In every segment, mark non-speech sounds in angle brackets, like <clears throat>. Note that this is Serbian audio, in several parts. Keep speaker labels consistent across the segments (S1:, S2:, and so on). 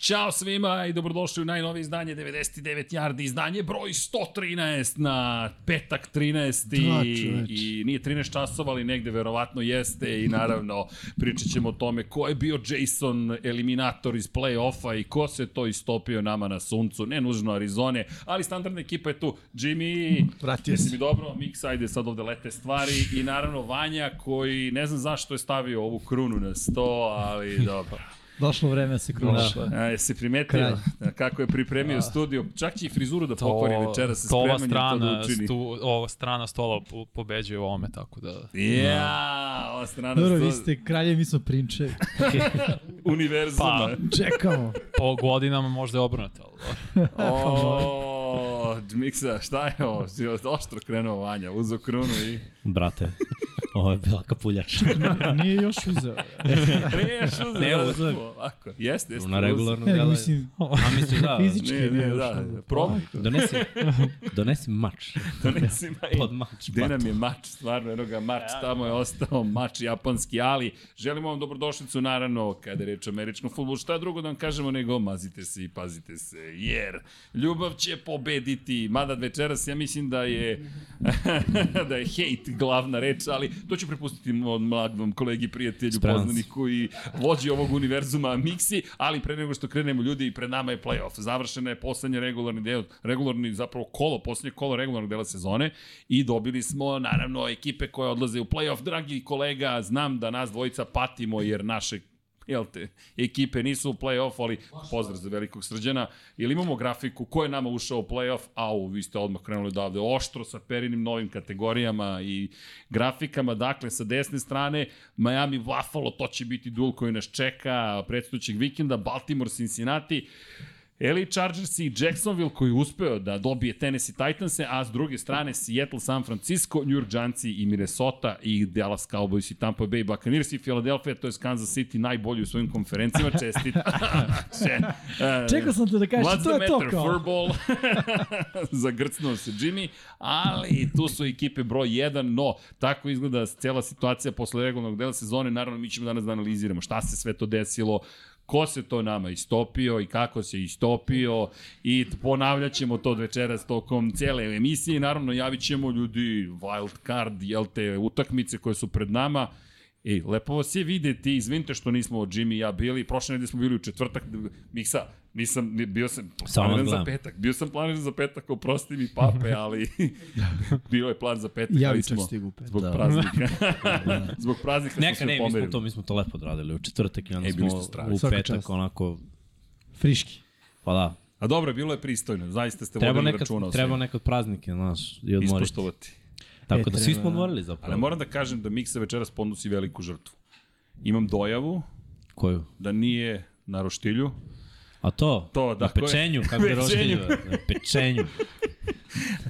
S1: Ćao svima i dobrodošli u najnovije izdanje 99 Yardi, izdanje broj 113 na petak 13.
S2: Da,
S1: i,
S2: čoveče.
S1: i nije 13 časova, ali negde verovatno jeste i
S2: <laughs>
S1: naravno pričat ćemo o tome ko je bio Jason eliminator iz play-offa i ko se to istopio nama na suncu, ne nužno Arizone, ali standardna ekipa je tu, Jimmy,
S2: Vratio
S1: jesi
S2: se.
S1: mi dobro, Mix, ajde sad ovde lete stvari i naravno Vanja koji ne znam zašto je stavio ovu krunu na sto, ali dobro.
S3: <laughs> Došlo vreme da se kruša.
S4: Pa.
S1: A, jesi primetio Kralj. kako je pripremio studio, čak će i frizuru da pokvari večera sa
S4: to ova
S1: spremanjem to da
S4: strana,
S1: učini.
S4: stu, ova strana stola po, pobeđuje u ovome, tako da...
S1: Ja, ova strana
S3: Dobro,
S1: sto-
S3: vi ste kralje, mi smo
S2: <laughs>
S3: prinče.
S4: Pa.
S3: <laughs>
S1: univerzuma.
S3: Čekamo.
S4: Po godinama možda je obrnuto, ali dobro.
S1: O, Miksa, šta je ovo? Si oštro krenuo Vanja, uzo krunu
S3: <laughs>
S1: i...
S5: Brate, <laughs> ovo je bila kapuljač.
S3: Nije još uzeo.
S1: Reš, uzo,
S5: Ne, uzo je.
S1: Ovako, jeste, jeste.
S5: <laughs> Na
S1: uzo.
S5: regularno
S3: Ne,
S5: delo.
S3: mislim,
S5: A mislim da.
S3: fizički
S1: Ne,
S3: nije,
S1: ne,
S3: još.
S1: da, probaj, <laughs>
S5: Donesi, donesi mač.
S1: donesi maj.
S4: Pa
S5: Pod mač.
S1: E, Gde
S5: brate.
S1: nam je mač, stvarno, eno ga mač, tamo je ostao mač japanski, ali želimo vam dobrodošlicu, naravno, kada je reč o američkom futbolu, šta drugo da vam kažemo nego mazite se i pazite se, jer ljubav će pobediti, mada večeras ja mislim da je, <laughs> da je hejt glavna reč, ali to ću prepustiti mom mladom kolegi, prijatelju,
S5: Spreman sam.
S1: poznaniku i vođi ovog univerzuma Miksi, ali pre nego što krenemo ljudi i pred nama je playoff. Završena je poslednje regularni deo, regularni zapravo kolo, poslednje kolo regularnog dela sezone i dobili smo naravno ekipe koje odlaze u playoff. Dragi kolega, znam da nas dvojica patimo jer naše jel te, ekipe nisu u play-off, ali pozdrav za velikog srđana. Ili imamo grafiku ko je nama ušao u play-off, au, vi ste odmah krenuli odavde oštro sa perinim novim kategorijama i grafikama. Dakle, sa desne strane Miami Buffalo, to će biti duel koji nas čeka predstojućeg vikenda, Baltimore Cincinnati. LA Chargers i Jacksonville koji je uspeo da dobije Tennessee Titanse, a s druge strane Seattle, San Francisco, New York Giants i Minnesota i Dallas Cowboys i Tampa Bay Buccaneers i Philadelphia, to je Kansas City najbolji u svojim konferencijama,
S3: <laughs>
S1: čestit. Še, e,
S3: Čekao sam te da kažeš,
S1: What's
S3: to
S1: the
S3: je to
S1: matter,
S3: kao.
S1: furball? <laughs> Zagrcnuo se Jimmy, ali tu su ekipe broj 1, no tako izgleda cela situacija posle regularnog dela sezone. Naravno, mi ćemo danas da analiziramo šta se sve to desilo, ko se to nama istopio i kako se istopio i ponavljat ćemo to večeras tokom cele emisije i naravno javit ćemo ljudi wild card, jel te, utakmice koje su pred nama. Ej, lepo vas je videti, izvinite što nismo Jimmy i ja bili, prošle nedelje smo bili u četvrtak, Miksa, nisam, bio sam
S5: Samo
S1: planiran za
S5: gledam.
S1: petak, bio sam planiran za petak, oprosti mi pape,
S2: <laughs>
S1: ali bio je plan za petak,
S2: Ja
S1: ali
S2: bi čak
S1: smo
S2: stigu u petak. Da.
S1: zbog
S5: Da.
S1: praznika,
S2: <laughs>
S1: zbog praznika smo
S5: Neka
S1: se
S5: ne, mi smo,
S1: pomerili.
S5: to, mi smo to lepo odradili u četvrtak i onda
S1: E, bili ste
S5: smo
S1: strašni.
S5: u
S2: Svaka
S5: petak
S2: čast.
S5: onako,
S3: Friški.
S5: pa da,
S1: A dobro, bilo je pristojno, zaista ste
S5: treba
S1: vodili
S5: nekad,
S1: računa o
S5: treba
S1: svemu.
S5: nekad praznike, znaš, i odmoriti.
S1: ispoštovati.
S5: Tako
S3: E,
S5: da svi
S3: treba,
S5: smo
S3: da.
S5: odmorili
S1: Ali
S5: zapravo.
S1: moram da kažem da Miksa večeras ponosi veliku žrtvu. Imam dojavu
S5: Koju?
S1: da nije na roštilju,
S5: A to?
S1: To, da,
S5: Na pečenju,
S1: koje-
S5: kako je roštilj,
S1: <laughs> Pečenju.
S5: brate, na
S1: <laughs>
S5: pečenju.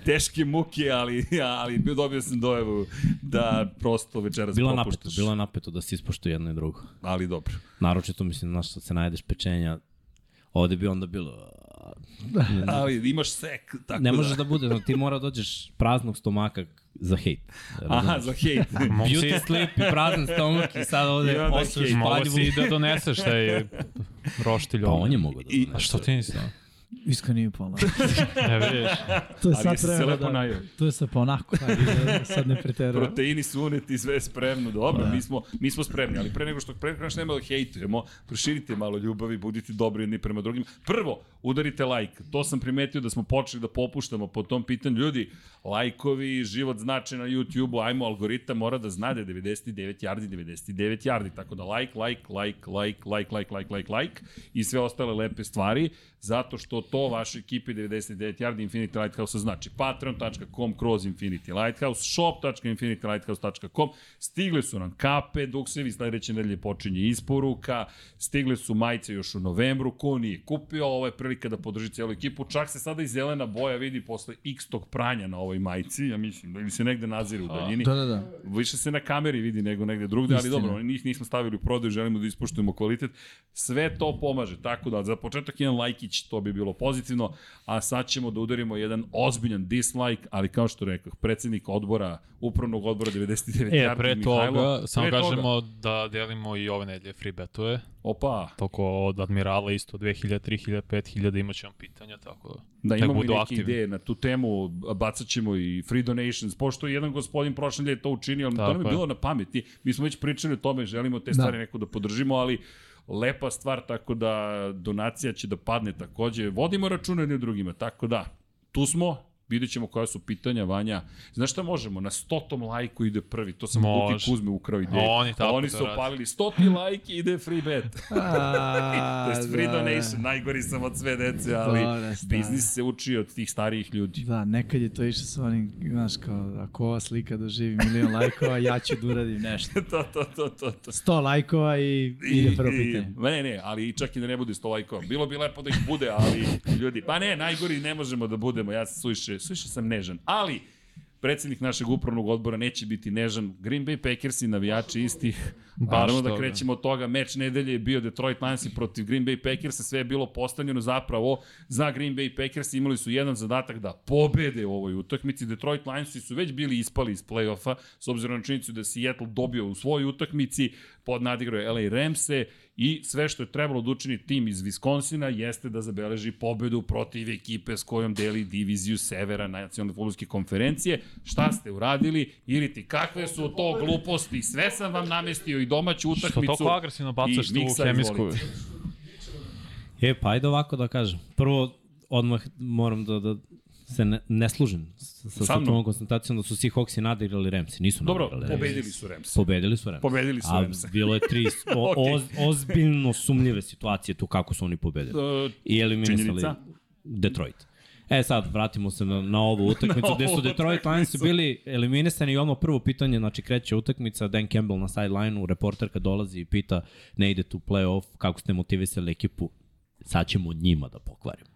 S1: teške muke, ali, ali dobio sam dojavu da prosto večeras
S5: Bilo je napeto,
S1: propuštaš.
S5: bilo je napeto da se ispoštuje jedno i drugo.
S1: Ali dobro.
S5: Naročito, mislim, znaš, sad se najedeš pečenja, ovde bi onda bilo,
S1: Ali imaš sek, tako
S5: ne
S1: da...
S5: možeš da bude, znači, ti mora dođeš praznog stomaka za hejt.
S1: Aha, za hejt.
S5: <laughs> Beauty sleep i prazan stomak i
S1: <laughs>
S5: sad
S1: I
S5: ovde
S1: onda
S5: osveš
S1: hejt.
S4: Mogu
S5: paljivu.
S4: si i da doneseš da je roštilj
S5: Pa
S4: ovome.
S5: on je mogao da
S1: I-
S5: donese.
S4: A što ti nisi? dao?
S3: Iskao nije
S1: <laughs>
S3: pola.
S4: Ne vidiš.
S3: <laughs> To je
S1: Ali
S3: sad
S1: jesi se
S3: treba
S1: lepo
S3: da...
S1: najeo.
S3: To je sad pa onako, ajde, da sad ne preterujem.
S1: Proteini su uneti, sve je spremno, dobro, mi smo, mi smo spremni, ali pre nego što pre nego što nema da hejtujemo, proširite malo ljubavi, budite dobri jedni prema drugim. Prvo, udarite like, to sam primetio da smo počeli da popuštamo po tom pitanju, ljudi, lajkovi, život znači na YouTube-u, ajmo, algoritam mora da zna da je 99 yardi, 99 yardi, tako da like, like, like, like, like, like, like, like, like i sve ostale lepe stvari, zato što to vašoj ekipi 99 yardi Infinity Lighthouse znači patreon.com kroz Infinity Lighthouse, shop.infinitylighthouse.com, stigle su nam kape, dok se vi sledeće nedelje počinje isporuka, stigle su majice još u novembru, ko nije kupio, ovo je prilika da podrži celu ekipu, čak se sada i zelena boja vidi posle x tog pranja na ovoj majici, ja mislim, da im se negde nazire u daljini.
S2: Da, da, da.
S1: Više se na kameri vidi nego negde drugde, ali dobro, oni njih nismo stavili u prodaju, želimo da ispoštujemo kvalitet. Sve to pomaže, tako da za početak jedan lajkić, to bi bilo pozitivno, a sad ćemo da udarimo jedan ozbiljan dislike, ali kao što rekao, predsednik odbora, upravnog odbora 99
S4: E,
S1: Jardim
S4: pre
S1: Mihajlo.
S4: toga, samo
S1: Pre toga.
S4: kažemo da delimo i ove nedelje free betove.
S1: Opa,
S4: Toko od Admirala isto 2000, 3000, 5000 imat ćemo pitanja, tako da.
S1: Da
S4: nek
S1: imamo i
S4: budu
S1: neke
S4: aktivni.
S1: ideje na tu temu, bacat ćemo i free donations, pošto je jedan gospodin prošle lje to učinio, ali to
S4: Tako
S1: nam je
S4: je.
S1: bilo na pameti. Mi smo već pričali o tome, želimo te
S3: Da.
S1: stvari neko da podržimo, ali lepa stvar, tako da donacija će da padne takođe. Vodimo računa jedni o drugima, tako da, tu smo, vidjet ćemo koja su pitanja, Vanja. Znaš šta možemo? Na stotom lajku ide prvi, to sam
S4: Može.
S1: Duki Kuzme ukrao ideju.
S4: A oni tako
S1: Oni
S4: to
S1: su
S4: rade.
S1: opalili stoti lajk i ide free bet.
S3: <laughs>
S1: <laughs>
S3: A, da.
S1: to je free donation, najgori sam od sve dece, ali
S3: Dobra stvar.
S1: biznis se uči od tih starijih ljudi.
S3: Da, nekad je to išlo sa onim, znaš, kao, ako ova slika doživi milion lajkova, ja ću da uradim nešto.
S1: <laughs> to, to, to, to, to.
S3: 100 lajkova i, I ide prvo
S1: i-
S3: pitanje.
S1: Ma ne, ne, ali čak i da ne bude 100 lajkova. Bilo bi lepo da ih bude, ali ljudi, pa ne, najgori ne možemo da budemo. Ja sam suviše, suviše sam nežan. Ali, predsednik našeg upravnog odbora neće biti nežan. Green Bay Packers i navijači istih. Naravno da
S4: toga.
S1: krećemo od toga. Meč nedelje je bio Detroit Lions protiv Green Bay Packersa. Sve je bilo postavljeno zapravo za Green Bay Packers. Imali su jedan zadatak da pobede u ovoj utakmici. Detroit Lions su već bili ispali iz play-offa s obzirom na činjenicu da Seattle dobio u svojoj utakmici. Pod nadigrao je LA Ramse i sve što je trebalo da učini tim iz Viskonsina jeste da zabeleži pobedu protiv ekipe s kojom deli diviziju severa nacionalne futbolske konferencije. Šta ste uradili? Iriti, kakve su to gluposti? Sve sam vam namestio i domaću
S4: Što
S1: utakmicu.
S4: toliko agresivno bacaš
S1: i
S4: tu
S1: miksa,
S4: hemijsku?
S1: izvolite.
S5: E, pa ajde ovako da kažem. Prvo, odmah moram da, da se ne, ne služim sa, sa,
S1: Sa
S5: sa
S1: mnom?
S5: tvojom konstatacijom da su Seahawksi nadigrali Remsi. Nisu
S1: Dobro,
S5: nadigrali Ramsi.
S1: pobedili su Rams.
S5: Pobedili su Remsi.
S1: Pobedili su
S5: A
S1: Ramse.
S5: bilo je tri
S1: <laughs>
S5: o,
S1: Okej.
S5: oz, ozbiljno sumnjive situacije tu kako su oni pobedili.
S1: E,
S5: I eliminisali
S1: činjenica.
S5: Detroit. E sad, vratimo se na, na ovu utakmicu,
S1: <laughs> Na
S5: gde
S1: ovu
S5: su Detroit Lions su bili eliminisani i ono prvo pitanje, znači kreće utakmica, Dan Campbell na sideline-u, reporterka dolazi i pita, ne ide tu playoff, kako ste motivisali ekipu, sad ćemo njima da pokvarimo.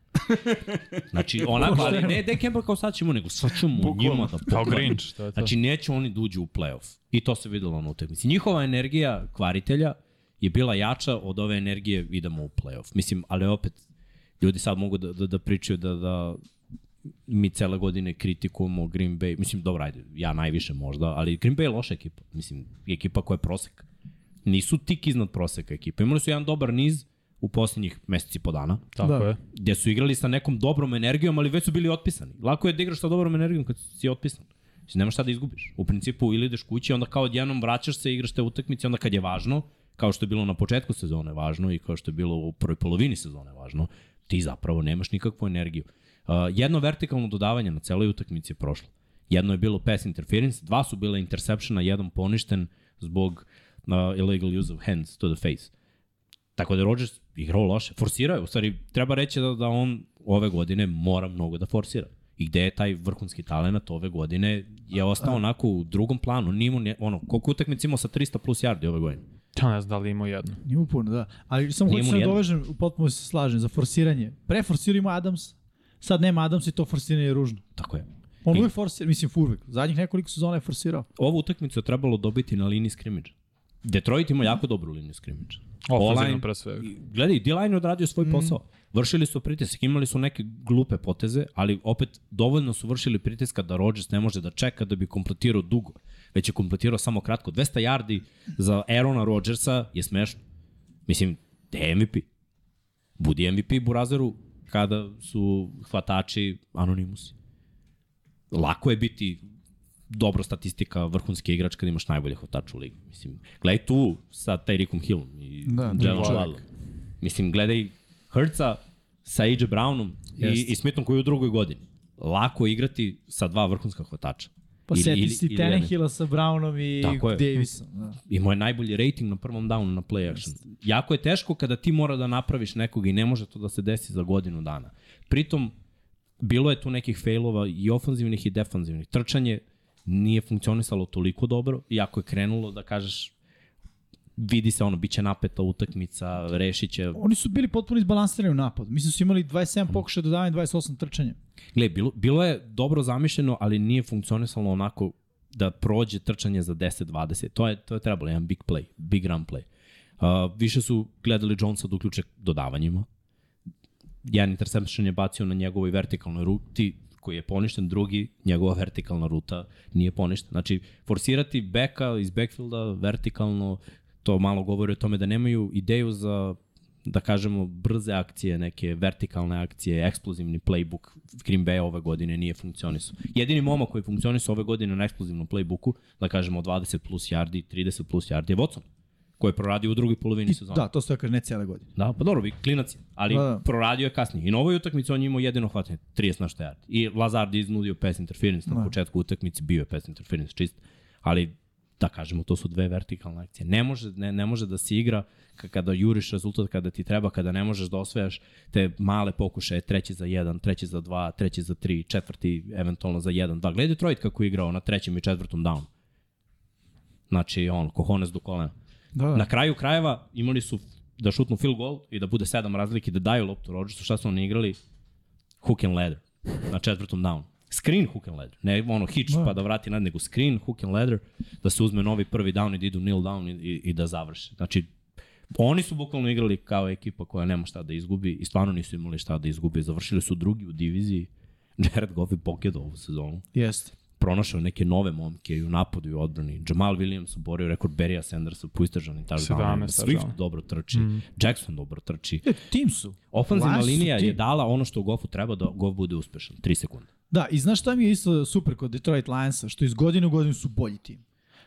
S5: Znači, onako, ali ne Dan Campbell kao sad ćemo, nego sad ćemo njima da
S4: Kao
S5: pokvarimo.
S4: Grinch, to je to.
S5: Znači, neće oni da uđu u playoff. I to se videlo na utakmici. Njihova energija kvaritelja je bila jača od ove energije idemo u playoff. Mislim, ali opet, ljudi sad mogu da, da, da pričaju da, da mi cele godine kritikujemo Green Bay. Mislim, dobro, ajde, ja najviše možda, ali Green Bay je loša ekipa. Mislim, ekipa koja je prosek. Nisu tik iznad proseka ekipa. Imali su jedan dobar niz u poslednjih meseci po dana
S4: Tako
S3: Da.
S4: je.
S5: gde su igrali sa nekom dobrom energijom, ali već su bili otpisani. Lako je da igraš sa dobrom energijom kad si otpisan. Znači, nemaš šta da izgubiš. U principu, ili ideš kući, onda kao odjednom vraćaš se, igraš te utakmice, onda kad je važno, kao što je bilo na početku sezone važno i kao što je bilo u prvoj polovini sezone važno, ti zapravo nemaš nikakvu energiju. Uh, jedno vertikalno dodavanje na celoj utakmici je prošlo. Jedno je bilo pass interference, dva su bile interceptiona, jedan poništen zbog uh, illegal use of hands to the face. Tako da je Rodgers igrao loše. Forsirao je, u stvari treba reći da, da on ove godine mora mnogo da forsira. I gde je taj vrhunski talent ove godine je ostao onako u drugom planu. Nimo, ne, ono, koliko utakmica imao sa 300 plus yardi ove godine?
S4: Ja ne znam da li imao jednu.
S3: Nije mu puno, da. Ali samo
S5: Nije
S3: hoću
S5: mu
S3: se
S5: nijedno.
S3: dovežem, potpuno se slažem za forsiranje. Pre forsirao ima Adams, sad nema Adams i to forsiranje je ružno.
S5: Tako je.
S3: On
S5: I-
S3: uvijek forsira, mislim uvijek, zadnjih nekoliko sezona je forsirao.
S5: Ovu utakmicu je trebalo dobiti na liniji skrimidža. Detroit ima jako dobru liniju skrimidža.
S4: Ofenzivno
S5: O-line-
S4: pre svega.
S5: I, Gledaj, D-line je odradio svoj posao. Vršili su pritisak, imali su neke glupe poteze, ali opet dovoljno su vršili pritiska da Rodgers ne može da čeka da bi kompletirao dugo. Već je kompletirao samo kratko. 200 yardi za Aarona Rodgersa je smešno. Mislim, te je MVP. Budi MVP Burazeru kada su hvatači anonimusi. Lako je biti dobro statistika vrhunski igrač kada imaš najbolje hvatača u ligi. Mislim, gledaj tu sa Tyreekom Hillom i
S3: Da,
S5: da,
S3: drugi
S5: Jalen
S3: čovek.
S5: Waddle. Mislim, gledaj Hurtsa sa AJ Brownom i,
S4: Jeste.
S5: i Smithom koji je u drugoj godini. Lako je igrati sa dva vrhunska hvatača.
S3: Pa
S5: Ili-
S3: seti
S5: ili-
S3: si
S5: ili jedan.
S3: Tenehila sa Brownom i
S5: Tako je.
S3: Davisom. Da.
S5: imao je najbolji rating na prvom downu na play action. Jako je teško kada ti mora da napraviš nekog i ne može to da se desi za godinu dana. Pritom, bilo je tu nekih failova i ofanzivnih i defanzivnih. Trčanje nije funkcionisalo toliko dobro, iako je krenulo da kažeš vidi se ono, bit će napeta utakmica, rešit će...
S3: Oni su bili potpuno izbalansirani u napadu. Mislim su imali
S5: Mm.
S3: 27 pokušaja dodavanja, 28 trčanja.
S5: Gle, bilo, bilo je dobro zamišljeno, ali nije funkcionisalo onako da prođe trčanje za 10-20. To je, to je trebalo, jedan big play, big run play. Uh, više su gledali Jonesa da uključe dodavanjima. jedan interception je bacio na njegovoj vertikalnoj ruti koji je poništen, drugi, njegova vertikalna ruta nije poništena. Znači, forsirati beka iz backfielda vertikalno, to malo govori o tome da nemaju ideju za da kažemo, brze akcije, neke vertikalne akcije, eksplozivni playbook Green Bay ove godine nije funkcionisao. Jedini momak koji je funkcionisao ove godine na eksplozivnom playbooku, da kažemo 20 plus yardi, 30 plus yardi je Watson, koji je proradio u drugoj polovini sezone.
S3: Da, to stoje kaže ne cijele godine.
S5: Da, pa dobro, vi- klinac je, ali
S3: Da,
S5: da,
S3: da.
S5: proradio je kasnije. I na ovoj utakmici on je imao jedino hvatanje, 30 na šta yardi. I Lazard je iznudio pass interference na
S3: Da.
S5: početku utakmice, bio je pass interference čist, ali da kažemo, to su dve vertikalne akcije. Ne može, ne, ne može da se igra ka- kada juriš rezultat, kada ti treba, kada ne možeš da osvajaš te male pokušaje, treći za jedan, treći za dva, treći za tri, četvrti, eventualno za jedan, dva. Gledaj Detroit kako je igrao na trećem i četvrtom downu. Znači, on, kohones do kolena.
S3: Da, da.
S5: Na kraju krajeva imali su da šutnu field goal i da bude sedam razlike da daju loptu Rodgersu, šta su oni igrali? Hook and ladder na četvrtom downu. Screen hook and ladder, ne ono hitch
S3: Da.
S5: pa da vrati nad, nego screen hook and ladder da se uzme novi prvi down i da idu nil down i, i, i da završe. Znači, oni su bukvalno igrali kao ekipa koja nema šta da izgubi i stvarno nisu imali šta da izgubi. Završili su drugi u diviziji. <laughs> Jared Goff je pokjedao ovu sezonu
S3: Jeste.
S5: pronašao neke nove momke i u napadu i u odbrani. Jamal Williams oborio rekord Berija Sandersa po istražanim
S4: 17
S5: touchdownima. da, Swift
S4: touchdown.
S5: dobro trči, Jackson dobro trči.
S3: E, tim su.
S5: Ofanzivna
S3: Vlasi su
S5: linija je
S3: tim.
S5: dala ono što Goffu treba da Goff bude uspešan. 3 sekunde.
S3: Da, i znaš šta mi je isto super kod Detroit Lionsa, što iz godine u godinu su bolji tim.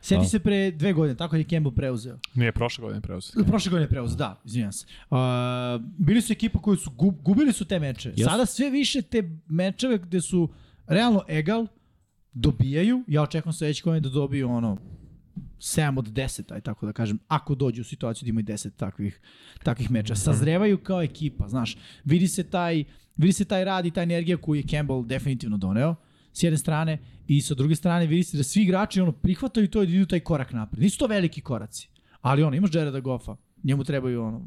S3: Sjeti
S5: Da.
S3: se pre dve godine, tako je Campbell preuzeo.
S4: Nije prošle godine preuzeti.
S3: Ili Prošle godine preuzeo, da, izvinjam se. Uh, bili su ekipa koji su, gub, gubili su te meče.
S5: Jesu.
S3: Sada sve više te mečeve gde su realno egal, dobijaju. Ja očekujem sledeći godine da dobiju ono 7 od 10, aj tako da kažem, ako dođu u situaciju da imaju 10 takvih, takvih
S5: Mhm.
S3: meča. Sazrevaju kao ekipa, znaš. Vidi se taj, vidi se taj rad i ta energija koju je Campbell definitivno doneo s jedne strane i sa druge strane vidi se da svi igrači ono prihvataju to i da idu taj korak napred. Nisu to veliki koraci, ali ono, imaš Jareda Goffa, njemu trebaju ono,
S5: 3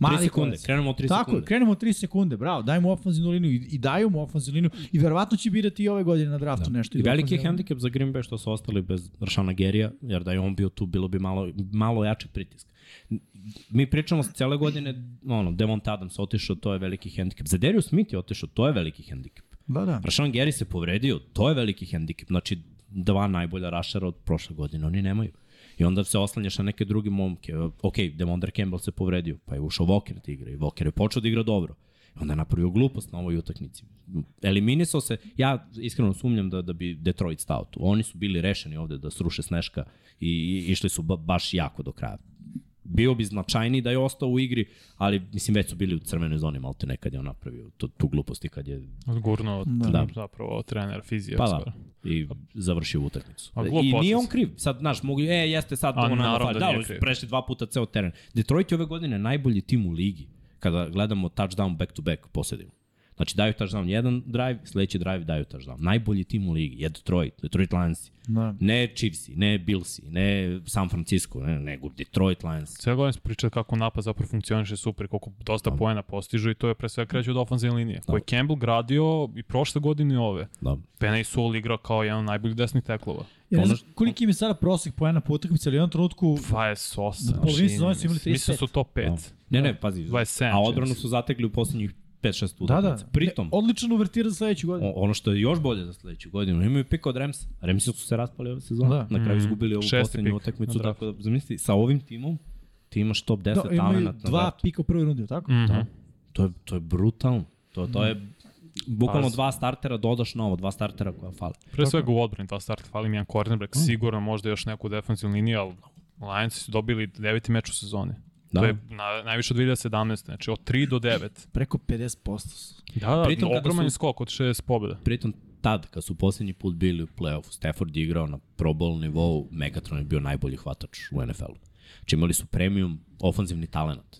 S3: mali
S5: sekunde,
S3: koraci.
S5: krenemo od 3
S3: Tako je,
S5: sekunde.
S3: krenemo od 3 sekunde, bravo, daj mu ofenzivnu liniju i, i daju mu ofenzivnu liniju i verovatno će birati i ove godine na draftu
S5: Da.
S3: nešto.
S5: I
S3: iz
S5: veliki je
S3: ofenzivne-
S5: hendikep za Green Bay što su ostali bez Rašana Gerija, jer da je on bio tu, bilo bi malo, malo jači pritisk. Mi pričamo s cele godine, ono, Devont Adams otišao, to je veliki hendikep. Za Darius Smith je otišao, to je veliki hendikep.
S3: Da, da.
S5: Rashan Gary se povredio, to je veliki hendikep. Znači, dva najbolja rašara od prošle godine, oni nemaju. I onda se oslanjaš na neke druge momke. Ok, Demondre Campbell se povredio, pa je ušao Walker da igra i Walker je počeo da igra dobro. I onda je napravio glupost na ovoj utakmici. Eliminisao se, ja iskreno sumnjam da, da bi Detroit stao tu. Oni su bili rešeni ovde da sruše Sneška i, i išli su ba, baš jako do kraja bio bi značajniji da je ostao u igri, ali mislim već su bili u crvenoj zoni, malte nekad je on napravio tu, tu glupost i kad je
S4: Odgurno od
S5: Da.
S4: da. zapravo trener fizije.
S5: Pa da, i završio utakmicu.
S4: A glup
S5: I nije
S4: potez.
S5: on kriv. Sad, znaš, mogu, e, jeste sad
S4: A,
S5: ono nama
S4: naravno
S5: fali.
S4: da
S5: Da,
S4: nije
S5: ali su
S4: kriv.
S5: prešli dva puta ceo teren. Detroit je ove godine najbolji tim u ligi kada gledamo touchdown back to back posjedimo. Znači daju touchdown jedan drive, sledeći drive daju touchdown. Najbolji tim u ligi je Detroit, Detroit Lions.
S3: Da.
S5: Ne Chiefs, ne Bills, ne San Francisco, ne, nego Detroit Lions.
S4: Sve godine smo pričali kako napad zapravo funkcioniše super, koliko dosta poena postižu i to je pre svega kreće od ofenzivne linije, koje je Campbell gradio i prošle godine i ove.
S5: Da.
S4: Penny Sewell igra kao jedan od najboljih desnih teklova.
S3: Ja ne znam koliki im je sada prosek poena po utakmici, ali u jednom trenutku
S4: 28.
S3: Da. Polovinu sezone su
S4: čini mi
S3: imali
S4: se. Mislim da su to
S5: Da.
S4: 5.
S5: Ne, ne, pazi.
S4: 27
S5: A odbranu
S4: čini se.
S5: su zatekli u poslednjih 5-6
S3: Da,
S5: utakmica.
S3: da.
S5: Pritom,
S3: Ne, Odličan uvertira za sledeću godinu.
S5: O- ono što je još bolje za sledeću godinu, imaju pik od Remsa. Remsi su se raspali ove sezone,
S3: Da.
S5: da. na kraju
S4: Mhm.
S5: izgubili ovu
S4: Šesti
S5: poslednju
S4: pik
S5: utakmicu,
S4: na draftu.
S5: tako da zamisli, sa ovim timom ti imaš top 10
S3: Da,
S5: da,
S3: imaju
S5: talenat na
S3: dva
S5: draftu.
S3: pika u prvoj rundi, jel tako?
S4: Mhm.
S5: Da. To je, to je brutalno. To, to je bukvalno
S4: Pazi.
S5: dva startera dodaš novo, dva startera koja fale.
S4: Pre svega u odbrani dva starta, fali mi jedan cornerback, sigurno možda još neku defensivnu liniju, ali Lionsi su dobili deveti meč u sezoni. Da.
S5: Da.
S4: To je na, najviše od 2017. Znači od 3 do 9.
S3: Preko 50% su.
S4: Da, da,
S5: Pritom kada
S4: ogroman
S5: su-
S4: je skok od 6 pobjeda.
S5: Pritom tad, kad su posljednji put bili u play-offu, Stafford je igrao na Pro Bowl nivou, Megatron je bio najbolji hvatač u NFL-u. Znači imali su premium ofanzivni talent.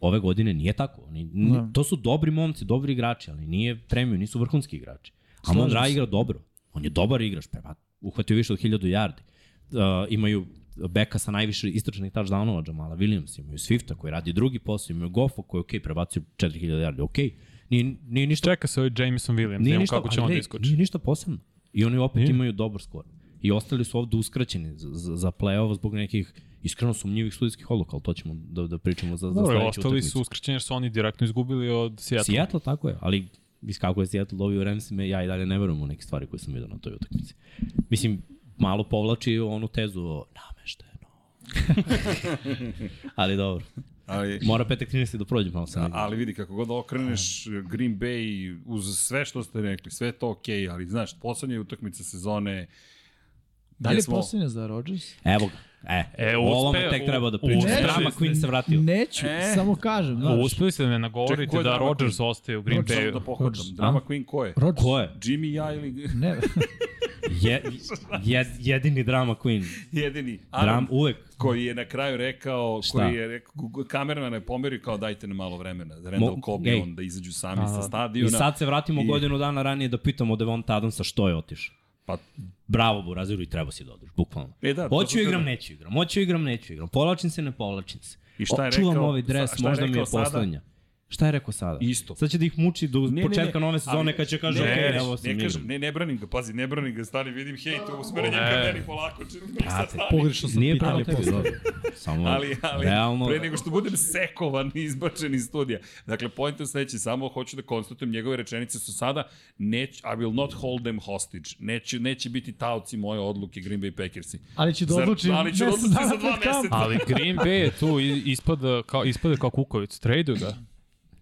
S5: Ove godine nije tako. Oni, n-
S3: Da.
S5: To su dobri momci, dobri igrači, ali nije premium, nisu vrhunski igrači. A
S3: Slažem
S5: Monra
S3: se.
S5: igra dobro. On je dobar igrač, prema, uhvatio više od 1000 jardi. Uh, imaju beka sa najviše istračnih touchdownova, Jamala Williams, imaju Swifta koji radi drugi posao, imaju Goffa koji je okej, okay, prebacio 4000 jardi, okej. Nije, nije ništa
S4: Čeka se ovaj Jameson Williams, nije
S5: nije
S4: nemo
S5: ništa,
S4: kako će
S5: ali
S4: on da
S5: gledaj,
S4: iskoči.
S5: Nije ništa posebno. I oni opet nije. imaju dobar skor. i ostali su ovde uskraćeni za, za, za play-off zbog nekih iskreno sumnjivih studijskih odluka, ali to ćemo da, da pričamo za, za
S4: Dobro,
S5: sledeću
S4: ostali
S5: utakmicu.
S4: su uskrćeni jer su oni direktno izgubili od Seattle.
S5: Seattle, tako je, ali iz kako je Seattle dobio Ramsime, ja i dalje ne verujem u neke stvari koje sam vidio na toj utakmici. Mislim, malo povlači onu tezu o namešteno. <laughs> ali dobro,
S1: Ali,
S5: mora petak 13. da prođe malo sa negdje.
S1: ali vidi, kako god okreneš Green Bay uz sve što ste rekli, sve je to okej, okay, ali znaš, poslednje utakmice sezone,
S3: Da li je
S1: Jesmo.
S3: posljednja za Rodgers?
S5: Evo ga. E,
S4: E,
S5: o ovome
S4: uspe-
S5: tek treba da
S4: u-
S5: pričamo.
S3: uspeli
S5: Drama
S4: ste.
S5: Queen se vratio.
S3: Neću,
S1: E.
S3: samo kažem.
S4: O,
S3: Znaš,
S4: Uspeli ste da me
S1: Čekaj, ko
S4: nagovorite
S1: je
S4: da
S1: Drama
S4: Rodgers
S1: Queen?
S4: ostaje u Green
S1: samo da
S4: <laughs> Bayu.
S1: pohvatam. Drama Queen ko je?
S3: Rodgers.
S5: Ko je?
S1: Jimmy, ja ili
S3: Ne,
S5: Je,
S1: znači?
S5: jed, jedini Drama Queen.
S1: <laughs> jedini?
S5: Dram,
S1: Adam,
S5: uvek.
S1: koji je na kraju rekao,
S5: Šta?
S1: koji je rekao, kamerman je pomerio kao dajte nam malo vremena, da Randall
S5: Mo-
S1: Cobb
S5: ej.
S1: i on da izađu sami
S4: Aha.
S1: sa
S5: I
S1: stadiona.
S5: sad se vratimo
S1: I-
S5: godinu dana ranije da pitamo Devonta Adamsa što je otišao.
S1: Pa,
S5: Bravo, Buraziru, i treba si da odeš, bukvalno.
S1: e da, to
S5: Hoću
S1: sam
S5: igram,
S1: teo-
S5: neću igram. Hoću igram, neću igram. Povlačim se, ne povlačim se.
S1: I šta je
S5: Čuvam
S1: rekao-
S5: ovaj dres,
S1: šta- šta je
S5: možda mi je
S1: rekao sada?
S5: poslednja. Šta je rekao sada?
S1: Isto.
S5: Sad će da ih muči do
S1: Ne,
S5: ne,
S1: ne, ne,
S5: početka ne, ne. nove sezone
S1: ali-
S5: kad će kažu,
S1: ne,
S5: ne,
S1: ne,
S5: evo sam
S1: ne, kažem,
S5: igram.
S1: ne, ne branim ga, pazi, ne branim ga, stari, vidim hejt usmerenjem ka
S4: E.
S1: meni polako, čim mi <laughs> sad
S5: Brate,
S1: stani.
S3: pogrešno sam
S5: Nije
S3: pitao.
S5: pravo tebi. dobro.
S1: <laughs>
S5: Samo,
S1: Ali, ali,
S5: realno,
S1: pre nego što budem sekovan i izbačen iz studija. Dakle, point je sledeći, samo hoću da konstatujem, njegove rečenice su sada, neć, I will not hold them hostage, neće, neće biti taoci moje odluke Green Bay Packersi.
S3: Ali će da
S1: Zar-
S3: odlučim.
S1: ali će da
S3: mesec
S1: odlučim za
S3: dana
S1: dva
S3: pred kamp.
S1: meseca.
S4: Ali Green Bay je tu i- ispada kao, ispada kao kukovic. Traduju ga.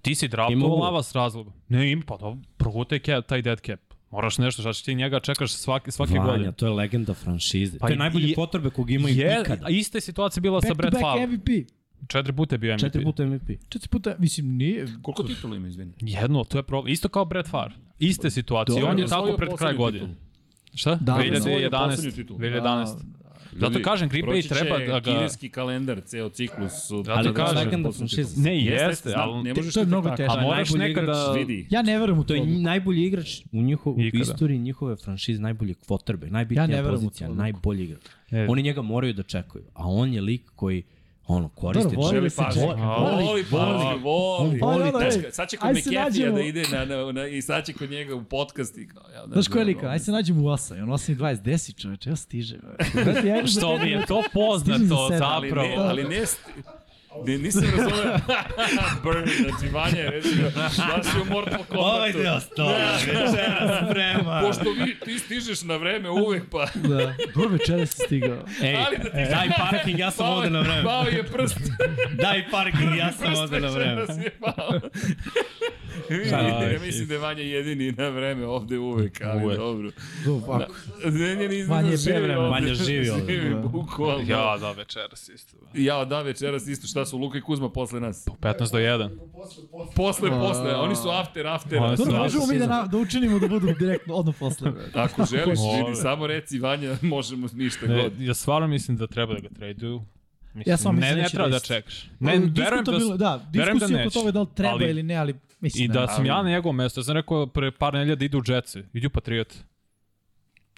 S4: Ti si
S5: Ima
S4: draftovao
S5: ugovor.
S4: lava s razlogom. Ne, im, pa da, progutaj cap, taj dead cap. Moraš nešto, šta će ti njega čekaš svake, svake
S5: Vanja,
S4: godine.
S5: to je legenda franšize.
S4: Pa
S5: to je
S4: i-
S5: najbolji
S4: i-
S5: potrebe kog ima
S4: Je,
S5: ikada.
S4: a ista je situacija bila sa
S3: Back to
S4: Brett
S3: back
S4: Favre.
S3: MVP.
S4: Četiri puta je bio MVP.
S5: Četiri puta MVP.
S3: Četiri puta, mislim, nije.
S1: Koliko titula ima, izvini?
S4: Jedno, to je problem. Isto kao Brett Favre. Iste situacije.
S3: Dobro.
S4: on je
S1: Osvojio
S4: tako pred kraj
S1: poslednju
S4: godine. Šta?
S3: Da,
S1: osvojio
S4: 2011.
S1: poslednju titulu.
S4: 2011.
S1: Ljudi,
S4: Zato kažem, Green Bay
S1: proći će
S4: treba da ga-
S1: Kineski kalendar, ceo ciklus. od-
S4: Zato
S5: Ali
S1: Poslednju
S5: kažem,
S1: titulu.
S5: legenda franšize.
S4: Ne,
S1: Jeste, jeste,
S4: jeste,
S1: znam,
S4: ali
S1: ne možeš
S3: to je
S1: tek
S3: mnogo
S1: tako.
S3: teško.
S4: A moraš
S5: najbolji
S4: nekada...
S5: igrač.
S1: Vidi,
S3: Ja ne verujem u to.
S5: To je
S3: odluku.
S5: najbolji igrač u njihovoj
S4: Ikada.
S5: istoriji njihove franšize, najbolji kvotrbe,
S3: Ja ne
S5: najbitnija ja
S3: verujem u
S5: pozicija,
S3: tu odluku.
S5: najbolji igrač.
S4: E.
S5: Oni njega moraju da čekaju, a on je lik koji ono, koristi
S3: Dobro, voli
S1: Želi
S3: da se
S1: pažnju.
S3: čeka.
S4: Voli,
S1: Voli, voli, voli.
S3: Pa,
S1: voli.
S3: dobro,
S1: Znaš,
S3: ej,
S1: ka- sad će kod
S3: ajde se
S1: Mekefija
S3: nađemo.
S1: da ide na, na, na, i sad će kod njega u podcast i kao... Ja, ne
S3: Znaš ko je
S1: znam,
S3: lika?
S1: ono.
S3: Ajde se nađem u 8. On 8 i 20, 10 čoveče, ja stižem. Brate,
S5: <laughs>
S3: ja idem za
S4: Što
S3: sedam
S4: mi je
S3: minuta.
S4: to
S3: Stižem za
S4: poznato
S3: sedam,
S1: Ali
S4: zapravo.
S1: ne, ali ne... st- Ne, nisam razumeo. Burn, znači Vanja je rečio, da si u Mortal Kombatu.
S4: Ovaj
S5: stola večera sprema.
S1: <laughs> Pošto vi, ti stižeš na vreme uvek, pa...
S3: Da, dobro večera si stigao.
S5: Ej, e,
S1: Ali da ti
S5: daj parking, ja sam
S1: pao
S5: ovde
S1: je-
S5: na vreme.
S1: Pao je prst.
S5: Daj parking, ja sam
S1: Prst
S5: ovde na vreme.
S1: večeras je pao.
S5: Šta
S1: Vidi, ja
S5: hoćeš?
S1: mislim da je Vanja jedini na vreme ovde uvek, ali
S4: Uvek.
S1: dobro.
S3: Do, ovako.
S1: Ne, ne, ne,
S3: Vanja je
S1: Vanja živi
S3: prevremeno.
S1: ovde.
S5: Vanja živi ovde.
S1: Živi,
S3: Da.
S1: bukvalno. Ja.
S4: Ja, da, večeras isto.
S1: ja, da, večeras isto šta su Luka i Kuzma posle nas.
S4: 15 do 1.
S1: Posle, posle, oni su after, after.
S4: Oni su
S1: Sve-
S3: Dobro,
S4: Sram
S3: možemo
S4: se Da.
S3: mi da, na, da učinimo da budu direktno odno
S4: <laughs>
S3: posle. brate.
S1: Ako želiš,
S4: Može.
S1: vidi, samo reci Vanja, <laughs> možemo ništa
S4: Ne,
S1: god.
S4: ja stvarno mislim da treba da ga traduju. Mislim,
S3: Ja samo
S4: ne,
S3: mislim da
S4: ne
S3: će
S4: treba da
S3: desiti.
S4: čekaš. Ne, verujem da,
S3: Diskutabilno,
S4: s-
S3: da,
S4: verujem da
S3: diskusija oko
S4: neće.
S3: toga da li treba
S4: Ali-
S3: ili ne, ali mislim
S4: I da sam
S1: Ali-
S4: ja na njegovom mestu, ja sam rekao pre par nedelja da idu u Jetsi, idu u Patriot.